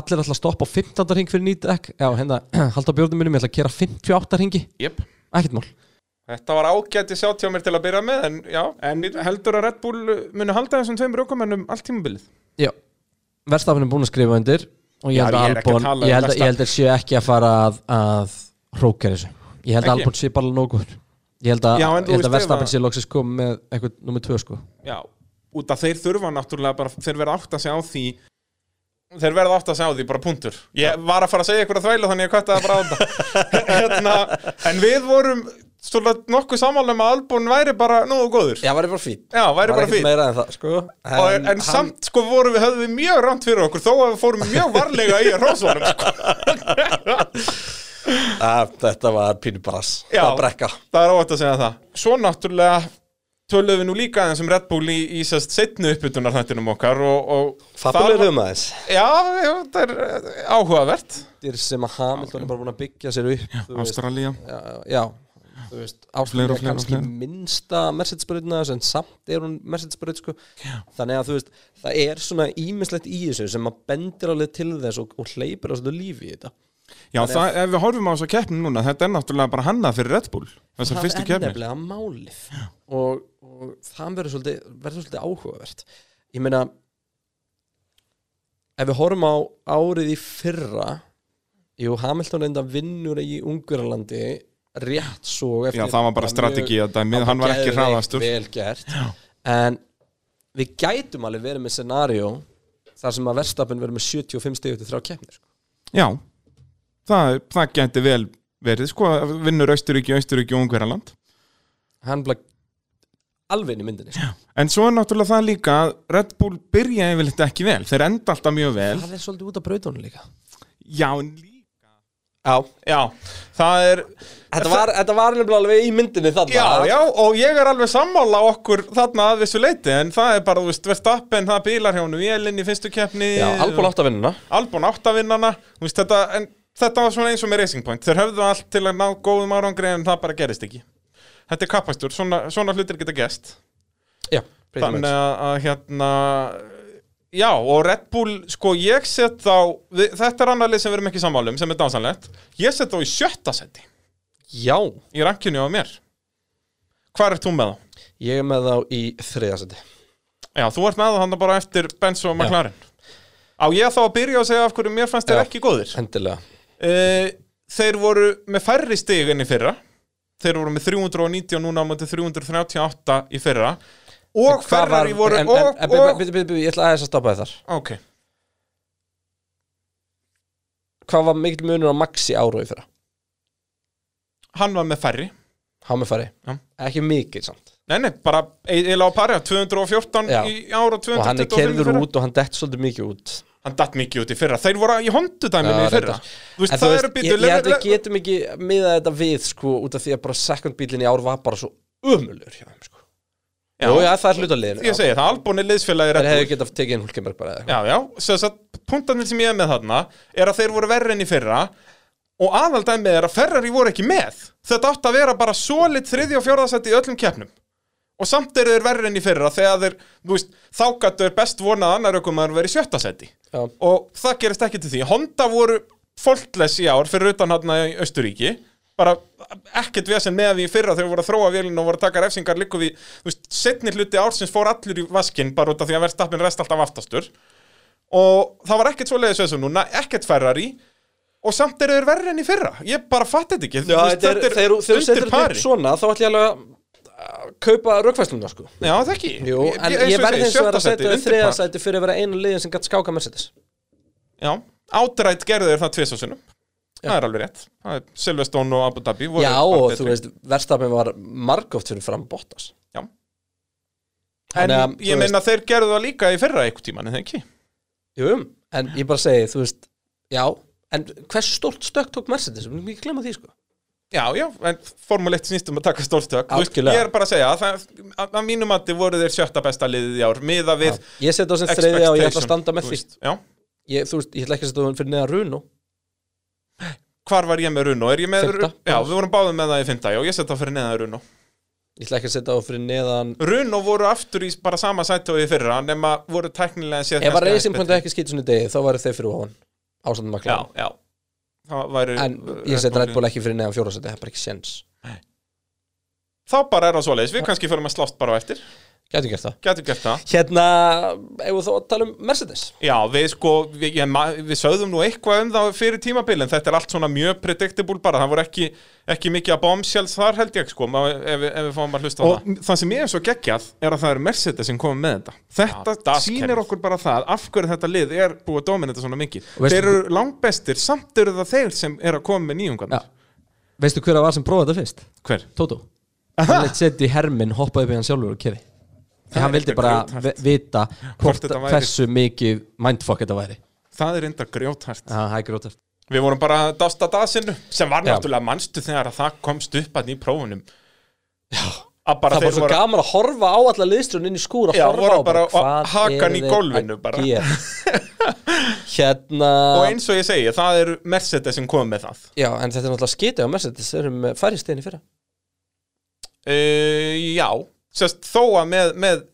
[SPEAKER 10] allir ætla að stoppa á 15. ring fyrir nýtt ekk Já, hérna, halda á björnum mínum, ég ætla að kera 58 ringi
[SPEAKER 5] Jep.
[SPEAKER 10] Ekkert mál
[SPEAKER 5] Þetta var ágæti sjátt hjá mér til að byrja með en, já, en heldur að Red Bull muni halda þessum tveim rökumennum allt tímabilið
[SPEAKER 10] Já, verstafn er búin að skrifa undir og ég
[SPEAKER 5] Já,
[SPEAKER 10] held að
[SPEAKER 5] ég er ekki að
[SPEAKER 10] Albon,
[SPEAKER 5] tala um
[SPEAKER 10] ég held að,
[SPEAKER 5] Verstappen.
[SPEAKER 10] ég held að sé ekki að fara að, að hrókja þessu Ég held að
[SPEAKER 5] Ekki?
[SPEAKER 10] Albon sé bara nógu Ég held að,
[SPEAKER 5] Já, en
[SPEAKER 10] ég held
[SPEAKER 5] þú veist,
[SPEAKER 10] að verstafn
[SPEAKER 5] ef að-
[SPEAKER 10] sé loksins kom með eitthvað nummer 2 sko
[SPEAKER 5] Já, út að þeir þurfa náttúrulega bara, þeir verða átt að segja á því Þeir verða átt að segja á því, bara punktur Ég var að fara að segja ykkur að þvælu þannig ég kvætti það bara á þetta hérna, En við vorum stóla, nokkuð sammálum að Albon væri bara nú og góður
[SPEAKER 1] Já, væri bara fín
[SPEAKER 5] Já, væri bara fín
[SPEAKER 1] meira en það, sko
[SPEAKER 5] Og, en samt sko vorum við höfðum við mjög rámt fyrir okkur þó að við fórum mjög varlega í sko. rósvarum sko.
[SPEAKER 1] að, Þetta var pínu brass
[SPEAKER 5] Já.
[SPEAKER 1] Það var brekka
[SPEAKER 5] það er óvægt að segja það svo náttúrulega töluðum við nú líka aðeins um Red Bull í, í sérst setni uppbytunar þættinum okkar og, og
[SPEAKER 1] Fabulegur um aðeins
[SPEAKER 5] já, já, það er eh, áhugavert
[SPEAKER 1] Þetta er sem að Hamilton er bara búin að byggja sér upp þú veist.
[SPEAKER 5] Ástralía
[SPEAKER 1] já, já þú veist, Ástralía
[SPEAKER 5] Fleira og
[SPEAKER 1] er
[SPEAKER 5] fleira og
[SPEAKER 1] kannski
[SPEAKER 5] fleira.
[SPEAKER 1] minnsta Mercedes-bröðina en samt er hún Mercedes-bröð sko. þannig að þú veist, það er svona ímislegt í þessu sem að bendir alveg til þess og, og hleypir á svona lífi í þetta
[SPEAKER 5] já, það, ef við horfum á þess að keppni núna þetta er náttúrulega bara hannað fyrir Red Bull þessar fyrstu
[SPEAKER 1] það er
[SPEAKER 5] keppni
[SPEAKER 1] nefnilega málið og, og það verður svolítið, verður svolítið áhugavert ég meina ef við horfum á árið í fyrra jú, Hamilton reynda vinnur í Ungurlandi rétt svo eftir-
[SPEAKER 5] já, það var bara
[SPEAKER 1] mjög-
[SPEAKER 5] strategi að dæmið,
[SPEAKER 1] það
[SPEAKER 5] hann var ekki
[SPEAKER 1] geðveikt
[SPEAKER 5] hraðastur
[SPEAKER 1] vel gert en við gætum alveg verið með scenario þar sem að verðstapin verður með 75 stíðu til þrjá keppnir sko.
[SPEAKER 5] já, það, það geti vel verið, sko, vinnur Austuríki, Austuríki og Ungverjaland
[SPEAKER 1] hann blei alveg inn í myndinni sko.
[SPEAKER 5] en svo er náttúrulega það líka að Red Bull byrja yfirleitt ekki vel, þeir enda alltaf mjög vel
[SPEAKER 1] það er svolítið út af brautunum líka
[SPEAKER 5] já, en líka
[SPEAKER 1] já,
[SPEAKER 5] Já, það er
[SPEAKER 1] Þetta var, þetta var nefnilega alveg í myndinni þarna
[SPEAKER 5] Já, já, og ég er alveg sammála okkur þarna að þessu leiti en það er bara, þú veist, Verstappen, það bílar hjá honum Vélinn í fyrstu keppni
[SPEAKER 1] Já, Albon átt að vinna
[SPEAKER 5] Albon áttavinnana Þú veist, þetta, en þetta var svona eins og með Racing Point Þeir höfðu allt til að ná góðum árangri en það bara gerist ekki Þetta er kappastur, svona, svona hlutir geta gest
[SPEAKER 1] Já,
[SPEAKER 5] Þannig að, að hérna Já, og Red Bull, sko, ég set þá við, Þetta er annað lið sem við erum ekki sammála um sem er dansanlegt Ég set þá í sjötta seti
[SPEAKER 1] Já,
[SPEAKER 5] í rankinu á mér Hvar ert þú með það?
[SPEAKER 1] ég er með þá í þriðasendi
[SPEAKER 5] Já, þú ert með það hann bara eftir Benz og McLaren Á ég þá að byrja að segja af hverju mér fannst þeir
[SPEAKER 1] Já.
[SPEAKER 5] ekki góðir
[SPEAKER 1] Endilega
[SPEAKER 5] uh, Þeir voru með færri stig enn í fyrra Þeir voru með 390 og núna á móti 338 í fyrra Og Ferrari voru
[SPEAKER 1] en,
[SPEAKER 5] og,
[SPEAKER 1] en, en,
[SPEAKER 5] og,
[SPEAKER 1] byrju, byrju, byrju, Ég ætla aðeins að stoppa þér þar
[SPEAKER 5] Ok,
[SPEAKER 1] Hvað var mikill munur á Maxi ára í fyrra?
[SPEAKER 5] hann var með færri
[SPEAKER 1] Hámefari
[SPEAKER 5] Já.
[SPEAKER 1] Ekki mikill samt
[SPEAKER 5] Nei, nei, bara eila á pari 214
[SPEAKER 1] Já.
[SPEAKER 5] í ára og 225
[SPEAKER 1] Og hann er kerður
[SPEAKER 5] í fyrra.
[SPEAKER 1] út og hann dett svolítið mikið út
[SPEAKER 5] Hann datt mikið út í fyrra Þeir voru í hondudæminu
[SPEAKER 1] Já,
[SPEAKER 5] í fyrra
[SPEAKER 1] reyndar.
[SPEAKER 5] Þú veist,
[SPEAKER 1] En
[SPEAKER 5] það eru
[SPEAKER 1] ég,
[SPEAKER 5] býtu
[SPEAKER 1] ég held við getum ekki miðað þetta við sko út af því að bara sekundbílinn í ár var bara svo umulur hjá þeim sko Jó, já, það er hlutalegin
[SPEAKER 5] ég segi það, Albon er liðsfélagi
[SPEAKER 1] Þeir
[SPEAKER 5] Red
[SPEAKER 1] hefðu
[SPEAKER 5] Bull
[SPEAKER 1] getað tekið inn Hulkenberg bara eða eitthvað.
[SPEAKER 5] Já, já, sem sagt, punktanir sem ég er með þarna er að þeir voru verri enn í fyrra og aðaldæmið er að Ferrari voru ekki með þetta átt að vera bara solid þriði og fjórðasætt í öllum keppnum og samt eru þeir verri enn í fyrra þegar þeir, þú veist, þá gætu þeir best vonað annar ökum að þeir verið sjötta sætti
[SPEAKER 1] Já.
[SPEAKER 5] og það gerist ekki til því Honda voru faultless í ár fyrir utan hann í Östuríki bara ekkert vesen með því í fyrra þegar voru að þróa vélina og voru að taka refsingar líku við, þú veist, setni hluti ársins fór allur í vaskinn bara út af því að verðstappin rest alltaf aftastur og það var ekkert svo leiðis þessu núna, ekkert Ferrari og samt eru þeir verri enn í fyrra ég bara fatt þetta ekki
[SPEAKER 1] Já, þetta er, þeir, þeir setur þetta upp svona þá ætlum ég alveg að að kaupa rökfæsluna sko
[SPEAKER 5] já það ekki
[SPEAKER 1] Jú, en ég,
[SPEAKER 5] eins og
[SPEAKER 1] verði
[SPEAKER 5] segi,
[SPEAKER 1] eins og
[SPEAKER 5] sjötta
[SPEAKER 1] verð að
[SPEAKER 5] sæti,
[SPEAKER 1] setja þau
[SPEAKER 5] undir
[SPEAKER 1] þriða
[SPEAKER 5] par.
[SPEAKER 1] sæti fyrir að vera einu liðin sem gætt skáka Mercedes
[SPEAKER 5] já, átrætt gerðu þeir það tvisasunum það er alveg rétt Það er Silverstone og Abu Dhabi voru
[SPEAKER 1] Já,
[SPEAKER 5] bara
[SPEAKER 1] og
[SPEAKER 5] betri.
[SPEAKER 1] þú veist, verðstafin var margóft fyrir fram Bottas
[SPEAKER 5] Já. en
[SPEAKER 1] Þannig að, þú
[SPEAKER 5] ég
[SPEAKER 1] veist-
[SPEAKER 5] meina þeir gerðu það líka í fyrra einhvern tíman en það ekki
[SPEAKER 1] Jú, en ég bara segi, þú veist Já, en hvers stórt stökk tók Mercedes, við erum ekki glemma því sko
[SPEAKER 5] Já, já, en Formule 1 snýstum að taka stórstök Þú veist,
[SPEAKER 1] Algjörlega.
[SPEAKER 5] Ég er bara að segja, að það, að, að mínum mati voru þeir sjötta besta liðið í ár Miða við
[SPEAKER 1] Ég setja það sem þriði og ég ætla að standa með því
[SPEAKER 5] veist. Já,
[SPEAKER 1] ég, Þú veist, ég ætla ekki að setja það fyrir neða Runo
[SPEAKER 5] hvar var ég með Runo? Er ég með
[SPEAKER 1] Fimmta.
[SPEAKER 5] Runo? Já, við vorum báðum með það í fymta, já, ég setja það fyrir neðan Runo
[SPEAKER 1] Ég ætla ekki að setja það fyrir neðan
[SPEAKER 5] Runo voru aftur í bara sama sæti og í fyrra Nema voru tæknilega séð
[SPEAKER 1] Ef að
[SPEAKER 5] kannski aðeins
[SPEAKER 1] reysin punktu
[SPEAKER 5] betri.
[SPEAKER 1] ekki skýt svona degi, þá væri þeir fyrir ofan Ásandum að
[SPEAKER 5] Já, já Það væri
[SPEAKER 1] En ég set Red Bull ekki fyrir neðan fjórasæti, það er bara ekki séns
[SPEAKER 5] Þá bara er það svoleiðis, við kannski förum að slást bara á eftir
[SPEAKER 1] Gætu gert það
[SPEAKER 5] Gætu gert það
[SPEAKER 1] Hérna, ef við þá að tala um Mercedes
[SPEAKER 5] Já, við sko, við, ég, ma- við sögðum nú eitthvað um það fyrir tímabilin, þetta er allt svona mjög predictable bara, það voru ekki, ekki mikið að bombshells þar held ég sko, ma- ef, við- ef við fáum að hlusta á
[SPEAKER 1] Og-
[SPEAKER 5] það. Það sem ég er svo geggjað er að það eru Mercedes sem komum með þetta. Þetta
[SPEAKER 4] Ja, das
[SPEAKER 5] sýnir
[SPEAKER 4] kerfið.
[SPEAKER 5] okkur bara það, af hverju þetta lið er búið að dominita svona mikið.
[SPEAKER 10] veistu-
[SPEAKER 5] Þeir eru langbestir, samt eru það þeir sem eru að koma með nýjungarnar.
[SPEAKER 10] Já. Veistu hver að var sem prófaði þetta fyrst?
[SPEAKER 5] Hver?
[SPEAKER 10] Tótó Hann leitt seti í herminn, hoppaði upp í hann sjálfur og kefi Því hann
[SPEAKER 5] er
[SPEAKER 10] vildi
[SPEAKER 5] eitthvað
[SPEAKER 10] bara
[SPEAKER 5] grjóthart.
[SPEAKER 10] vi- vita hvort,
[SPEAKER 5] þetta væri.
[SPEAKER 10] hversu mikið mindfuck þetta væri
[SPEAKER 5] Það er enda grjóthært.
[SPEAKER 10] Já, Það er grótast
[SPEAKER 5] Við vorum bara að dásta dasinu sem var
[SPEAKER 1] Já.
[SPEAKER 5] náttúrulega mannstu þegar að það komst upp að nýjum prófunum. Já, að bara
[SPEAKER 1] Það var
[SPEAKER 5] þeir
[SPEAKER 1] svo
[SPEAKER 5] voru-
[SPEAKER 1] gaman að horfa á alla liðstrun inn í skúr að
[SPEAKER 5] Já,
[SPEAKER 1] horfa
[SPEAKER 5] voru
[SPEAKER 1] á
[SPEAKER 5] bara á-
[SPEAKER 1] hvað
[SPEAKER 5] hakan
[SPEAKER 1] eru
[SPEAKER 5] í
[SPEAKER 1] þeir
[SPEAKER 5] gólfinu
[SPEAKER 1] að
[SPEAKER 5] bara.
[SPEAKER 1] gera? Hérna
[SPEAKER 5] og eins og ég segi, það eru Mercedes sem kom með það
[SPEAKER 1] Já, en þetta er náttúrulega skitið á Mercedes Þeir eru með færri stein í fyrra
[SPEAKER 5] uh, Já, sérst þó að með, með uh,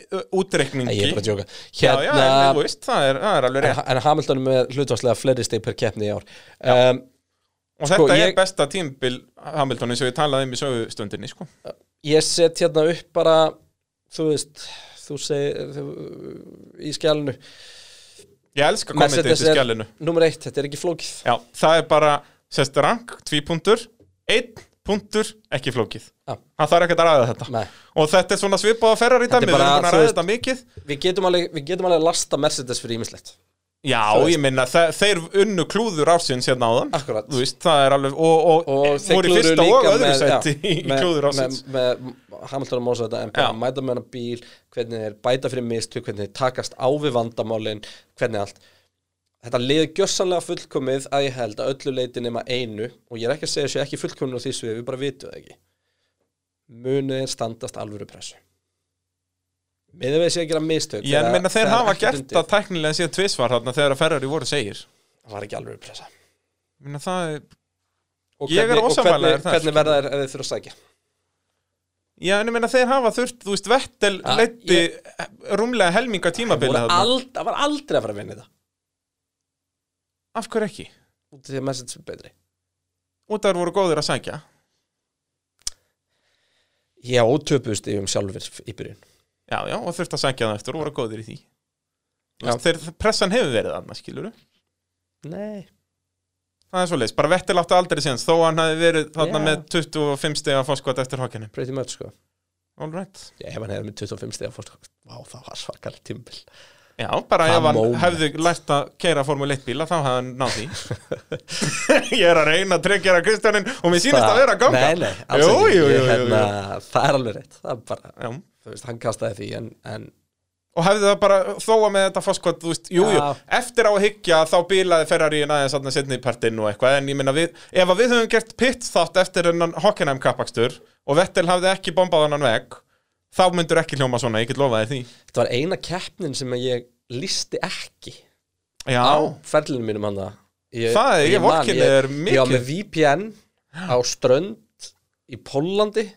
[SPEAKER 1] Nei,
[SPEAKER 5] útreikningi
[SPEAKER 1] ég er bara að djóka
[SPEAKER 5] Já, já,
[SPEAKER 1] Hérna,
[SPEAKER 5] en þú veist, það er, það er alveg
[SPEAKER 1] en,
[SPEAKER 5] rétt
[SPEAKER 1] en Hamilton er með hlutvarslega fleiri stein per keppni í ár um,
[SPEAKER 5] Og
[SPEAKER 1] sko,
[SPEAKER 5] þetta
[SPEAKER 1] ég-
[SPEAKER 5] er besta tímbil Hamilton eins og ég talaði um í sögustundinni sko.
[SPEAKER 1] Ég set hérna upp bara Þú veist, þú segir þú- Í skjálinu
[SPEAKER 5] Ég elska kommentið til
[SPEAKER 1] er
[SPEAKER 5] skjælinu
[SPEAKER 1] nummer eitt, þetta er ekki flókið
[SPEAKER 5] Já, það er bara, sérst rank, tvípuntur Einn punktur, ekki flókið
[SPEAKER 1] Já.
[SPEAKER 5] Það þarf ekkert að ræða þetta
[SPEAKER 1] Nei.
[SPEAKER 5] Og þetta er svona svipað að ferrar í
[SPEAKER 1] Þetta er
[SPEAKER 5] dæmi Við erum
[SPEAKER 1] bara,
[SPEAKER 5] búin
[SPEAKER 1] þú
[SPEAKER 5] að ræða
[SPEAKER 1] veist-
[SPEAKER 5] þetta mikið
[SPEAKER 1] Við getum alveg, við getum alveg að lasta Mercedes fyrir ímislegt
[SPEAKER 5] Já,
[SPEAKER 1] Þú veist.
[SPEAKER 5] ég meina, þe- þeir unnu klúður ársins hérna áðan
[SPEAKER 1] Akkurat.
[SPEAKER 5] Þú veist, það er alveg Og, og,
[SPEAKER 1] og þeir
[SPEAKER 5] voru í
[SPEAKER 1] klúðruðu
[SPEAKER 5] fyrsta og
[SPEAKER 1] líka
[SPEAKER 5] öðru
[SPEAKER 1] með-
[SPEAKER 5] sæti
[SPEAKER 1] já,
[SPEAKER 5] í
[SPEAKER 1] með-
[SPEAKER 5] klúður ársins
[SPEAKER 1] með, með Hamilton og Mósa þetta en bara
[SPEAKER 5] Já.
[SPEAKER 1] mæta með hana bíl, hvernig þeir bæta fyrir mistu hvernig þeir takast á við vandamálin hvernig allt þetta liði gjössanlega fullkomið að ég held að öllu leiti nema einu og ég er ekki að segja þessu ekki fullkomið á því sviði, við bara vitum það ekki munið þeir standast alvöru pressu miður við sé að gera mistök
[SPEAKER 5] Ég
[SPEAKER 1] þegar-
[SPEAKER 5] meina, þeir
[SPEAKER 1] þegar
[SPEAKER 5] hafa
[SPEAKER 1] ekkert
[SPEAKER 5] gert
[SPEAKER 1] undir.
[SPEAKER 5] það tæknilega síðan tvisvar þarna þegar að Ferrari voru segir
[SPEAKER 1] það var ekki alvöru pressa
[SPEAKER 5] Ég meina, það er
[SPEAKER 1] og
[SPEAKER 5] Ég er
[SPEAKER 1] hvernig, og
[SPEAKER 5] ósammála þér
[SPEAKER 1] hvernig,
[SPEAKER 5] þar,
[SPEAKER 1] hvernig
[SPEAKER 5] skilur.
[SPEAKER 1] verða þeir ef þeir þurfa að sækja
[SPEAKER 5] Já, en ég meina, þeir hafa þurft, þú veist, Vettel
[SPEAKER 1] Ja,
[SPEAKER 5] leiddi rúmlega helminga tímabilið
[SPEAKER 1] Voru
[SPEAKER 5] þarna
[SPEAKER 1] ald, það var aldrei að fara að vinna þetta
[SPEAKER 5] Af hverju ekki?
[SPEAKER 1] út af því að message er betri
[SPEAKER 5] Út af þeir voru góðir að sækja
[SPEAKER 1] Já, og töpuðust yfir um sjálfur í byrjun
[SPEAKER 5] Já, já, og þurft að sækja það eftir og voru góðir í því Þú
[SPEAKER 1] Já.
[SPEAKER 5] veist, Þeir, pressan hefur verið annars, skilur
[SPEAKER 1] Nei
[SPEAKER 5] Það er svoleiðis, bara Vettel átti aldrei síðan þó hann hafi verið þarna
[SPEAKER 1] Já.
[SPEAKER 5] með 25 stegar fórskot eftir hókjani
[SPEAKER 1] Pretty much, sko
[SPEAKER 5] All right
[SPEAKER 1] Já, ef hann hefði með 25 stiga fórst Vá, það var svakar tímbil
[SPEAKER 5] Já, bara
[SPEAKER 1] Það
[SPEAKER 5] ef hann
[SPEAKER 1] moment.
[SPEAKER 5] hefði lært að keira Formule 1 bíla þá hefði hann náð því Ég er að reyna að trekkjara Kristjánin og mér sýnist að vera að ganga
[SPEAKER 1] Nei, nei, alls
[SPEAKER 5] jú,
[SPEAKER 1] ekki
[SPEAKER 5] jú, jú,
[SPEAKER 1] Ég,
[SPEAKER 5] jú,
[SPEAKER 1] hérna, Það er alveg rétt Það er bara,
[SPEAKER 5] jú. Já.
[SPEAKER 1] þú veist, hann kastaði því En, en
[SPEAKER 5] Og hefði það bara þóa með þetta fórskot Þú veist, jú, jú,
[SPEAKER 1] Já.
[SPEAKER 5] eftir á að hyggja þá bílaði Ferrari aðeins aðna setni í partinn og eitthvað En ég meina, við, ef að við höfum gert pitt þátt eftir hennan Hockenheim kappakstur og Vettel hafði ekki bombað hann veg þá myndur ekki hljóma svona, ég get lofaði því
[SPEAKER 1] þetta var eina keppnin sem að ég listi ekki
[SPEAKER 5] Já,
[SPEAKER 1] Á ferlinu mínum hann ég,
[SPEAKER 5] Það er- ég
[SPEAKER 1] man,
[SPEAKER 5] vorkenni þér mikið.
[SPEAKER 1] Ég var með VPN á strönd í Pólandi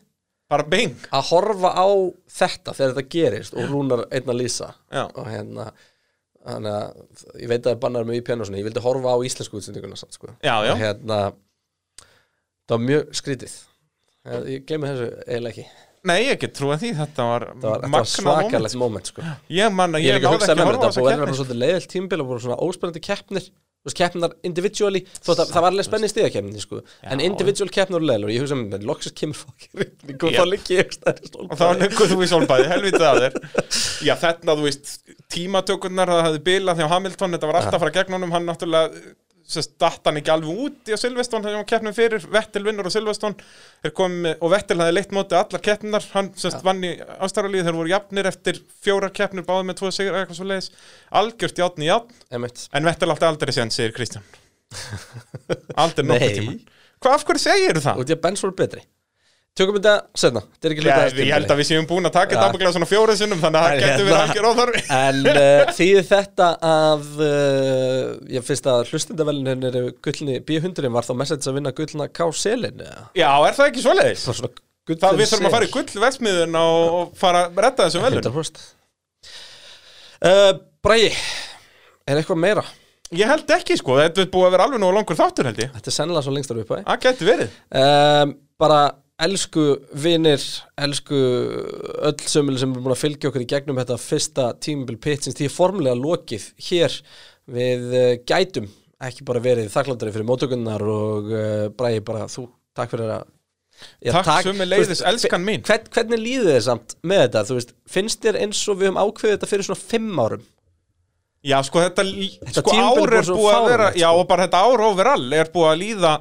[SPEAKER 5] bara bing
[SPEAKER 1] að horfa á þetta þegar þetta gerist og rúnar einna lýsa
[SPEAKER 5] Já.
[SPEAKER 1] og hérna þannig að ég veit að það er bannar með VPN og svona ég vildi horfa á íslensku útsendinguna samt sko
[SPEAKER 5] Já, já.
[SPEAKER 1] og hérna það var mjög skrítið Ég- ég gleymi þessu eiginlega ekki það
[SPEAKER 5] Nei, ég get trúið því, þetta var,
[SPEAKER 1] var, þetta var
[SPEAKER 5] magnað
[SPEAKER 1] svakalegt moment sko
[SPEAKER 5] moment. Ég man að
[SPEAKER 1] ég er
[SPEAKER 5] ég
[SPEAKER 1] líka að
[SPEAKER 5] náði
[SPEAKER 1] hugsa
[SPEAKER 5] ekki að
[SPEAKER 1] með mér
[SPEAKER 5] horfa á
[SPEAKER 1] þetta
[SPEAKER 5] þessa
[SPEAKER 1] búið að
[SPEAKER 5] keppni
[SPEAKER 1] vera svolítið leiðilt tímbil og voru svona óspennandi keppnir þú veist, keppnar individually þótt að það var alveg spennið stíðakefni sko. en individual keppnar og leilur ég hugsa mér, menn, loksist kemur fokkin rigning og
[SPEAKER 5] Yep.
[SPEAKER 1] þá liggi ég
[SPEAKER 5] og þá nöngu þú í solbæði, helvítið að þér já þarna þú veist tímatökurnar það hafði bilað hjá Hamilton þetta var alltaf að fara gegn honum, hann náttúrulega sérst, datt hann ekki alveg út í að Silveston þegar hann keppnum fyrir, Vettel vinnur og Silveston er komið, og Vettel hafði leitt móti allar keppnar, hann sérst vann í ástæralíð þeir voru jafnir eftir fjóra keppnur báði með tvo sigur eða eitthvað svo leiðis algjört játn í játn,
[SPEAKER 1] Einmitt.
[SPEAKER 5] en Vettel átti aldrei sér, segir Kristján aldrei
[SPEAKER 1] Nei.
[SPEAKER 5] nokkuð tíma hvað af hverju segir það?
[SPEAKER 1] og því að Benz voru betri tökum þetta setna, þetta er ekki
[SPEAKER 5] Já,
[SPEAKER 1] hluta af
[SPEAKER 5] ég held að við séum búin að taka þetta
[SPEAKER 1] Já.
[SPEAKER 5] ábygglega svona fjóra sinnum þannig að það
[SPEAKER 1] En
[SPEAKER 5] getur verið
[SPEAKER 1] hérna-
[SPEAKER 5] algjör óþarfi
[SPEAKER 1] En uh, þýði þetta að uh, ég finnst að hlustendavelin er gullni B100 var þá message að vinna gullna K-selin eða?
[SPEAKER 5] Já, er það ekki svoleiðis?
[SPEAKER 1] Það var svona gullin
[SPEAKER 5] Það við þurfum að fara í gullversmiðun og, og fara að redda þessum velun
[SPEAKER 1] 100% uh, Bræi er eitthvað meira
[SPEAKER 5] Ég held ekki sko, þetta er búið að vera alveg nógu langur þáttur held ég
[SPEAKER 1] þetta er sennilega svo lengstar upphæði
[SPEAKER 5] Það getur verið
[SPEAKER 1] um, bara elsku vinir elsku öll sömul sem er búin að fylgja okkur í gegnum þetta fyrsta tímabil pitsins því er formulega lokið hér við uh, gætum ekki bara verið þakkláttari fyrir móttökunnar og uh, bræði bara þú takk fyrir að Já,
[SPEAKER 5] Takk sömuleiðis,
[SPEAKER 1] þú veist,
[SPEAKER 5] elskan mín.
[SPEAKER 1] hvern, Hvernig líður þér samt með þetta? Þú veist, finnst þér eins og við höfum ákveðið þetta fyrir svona fimm árum?
[SPEAKER 5] Já, sko, þetta,
[SPEAKER 1] Þetta
[SPEAKER 5] þetta sko,
[SPEAKER 1] tímabil
[SPEAKER 5] ár
[SPEAKER 1] var
[SPEAKER 5] er
[SPEAKER 1] svo
[SPEAKER 5] búið að vera
[SPEAKER 1] fáránlegt,
[SPEAKER 5] Já,
[SPEAKER 1] sko.
[SPEAKER 5] og bara þetta ár overall er búið að líða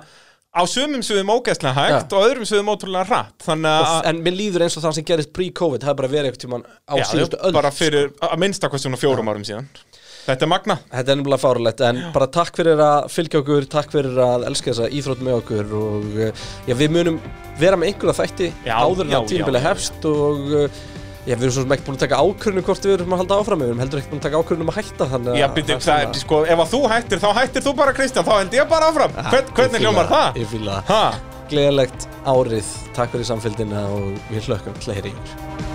[SPEAKER 5] á sumum suðum ógeðslega hægt
[SPEAKER 1] Já.
[SPEAKER 5] og öðrum suðum ótrúlega hratt Þannig
[SPEAKER 1] Og,
[SPEAKER 5] að
[SPEAKER 1] en mér líður eins og það sem gerist pre-COVID það er bara verið eitthvað tímann á
[SPEAKER 5] já,
[SPEAKER 1] síðustu sko. öll
[SPEAKER 5] bara fyrir að minnsta hvað svona fjórum árum síðan Þetta er magna
[SPEAKER 1] Þetta er nefnilega fárulegt en bara takk fyrir að fylgja okkur, takk fyrir að elska þessa íþrótt með okkur og eh, já, við munum vera með einhverja þætti
[SPEAKER 5] Já,
[SPEAKER 1] áður en
[SPEAKER 5] já,
[SPEAKER 1] að tímabili
[SPEAKER 5] já, já,
[SPEAKER 1] hefst og eh, já, við erum svo sem ekki búin að taka ákvörðinu hvort við erum að halda áfram, við erum heldur ekki búin að taka ákvörðinu um að hætta þannig
[SPEAKER 5] Já, byrju,
[SPEAKER 1] er
[SPEAKER 5] það,
[SPEAKER 1] svona-
[SPEAKER 5] sko, ef að þú hættir, þá hættir þú bara Kristján, þá held ég bara áfram Hvern,
[SPEAKER 1] Ég
[SPEAKER 5] Hvernig
[SPEAKER 1] fíla-
[SPEAKER 5] hljómar það?
[SPEAKER 1] Ég fíla það.
[SPEAKER 5] Ha?
[SPEAKER 1] Gleðilegt árið, takk fyrir samfélgina og við hlökkum til að heyra í ykkur.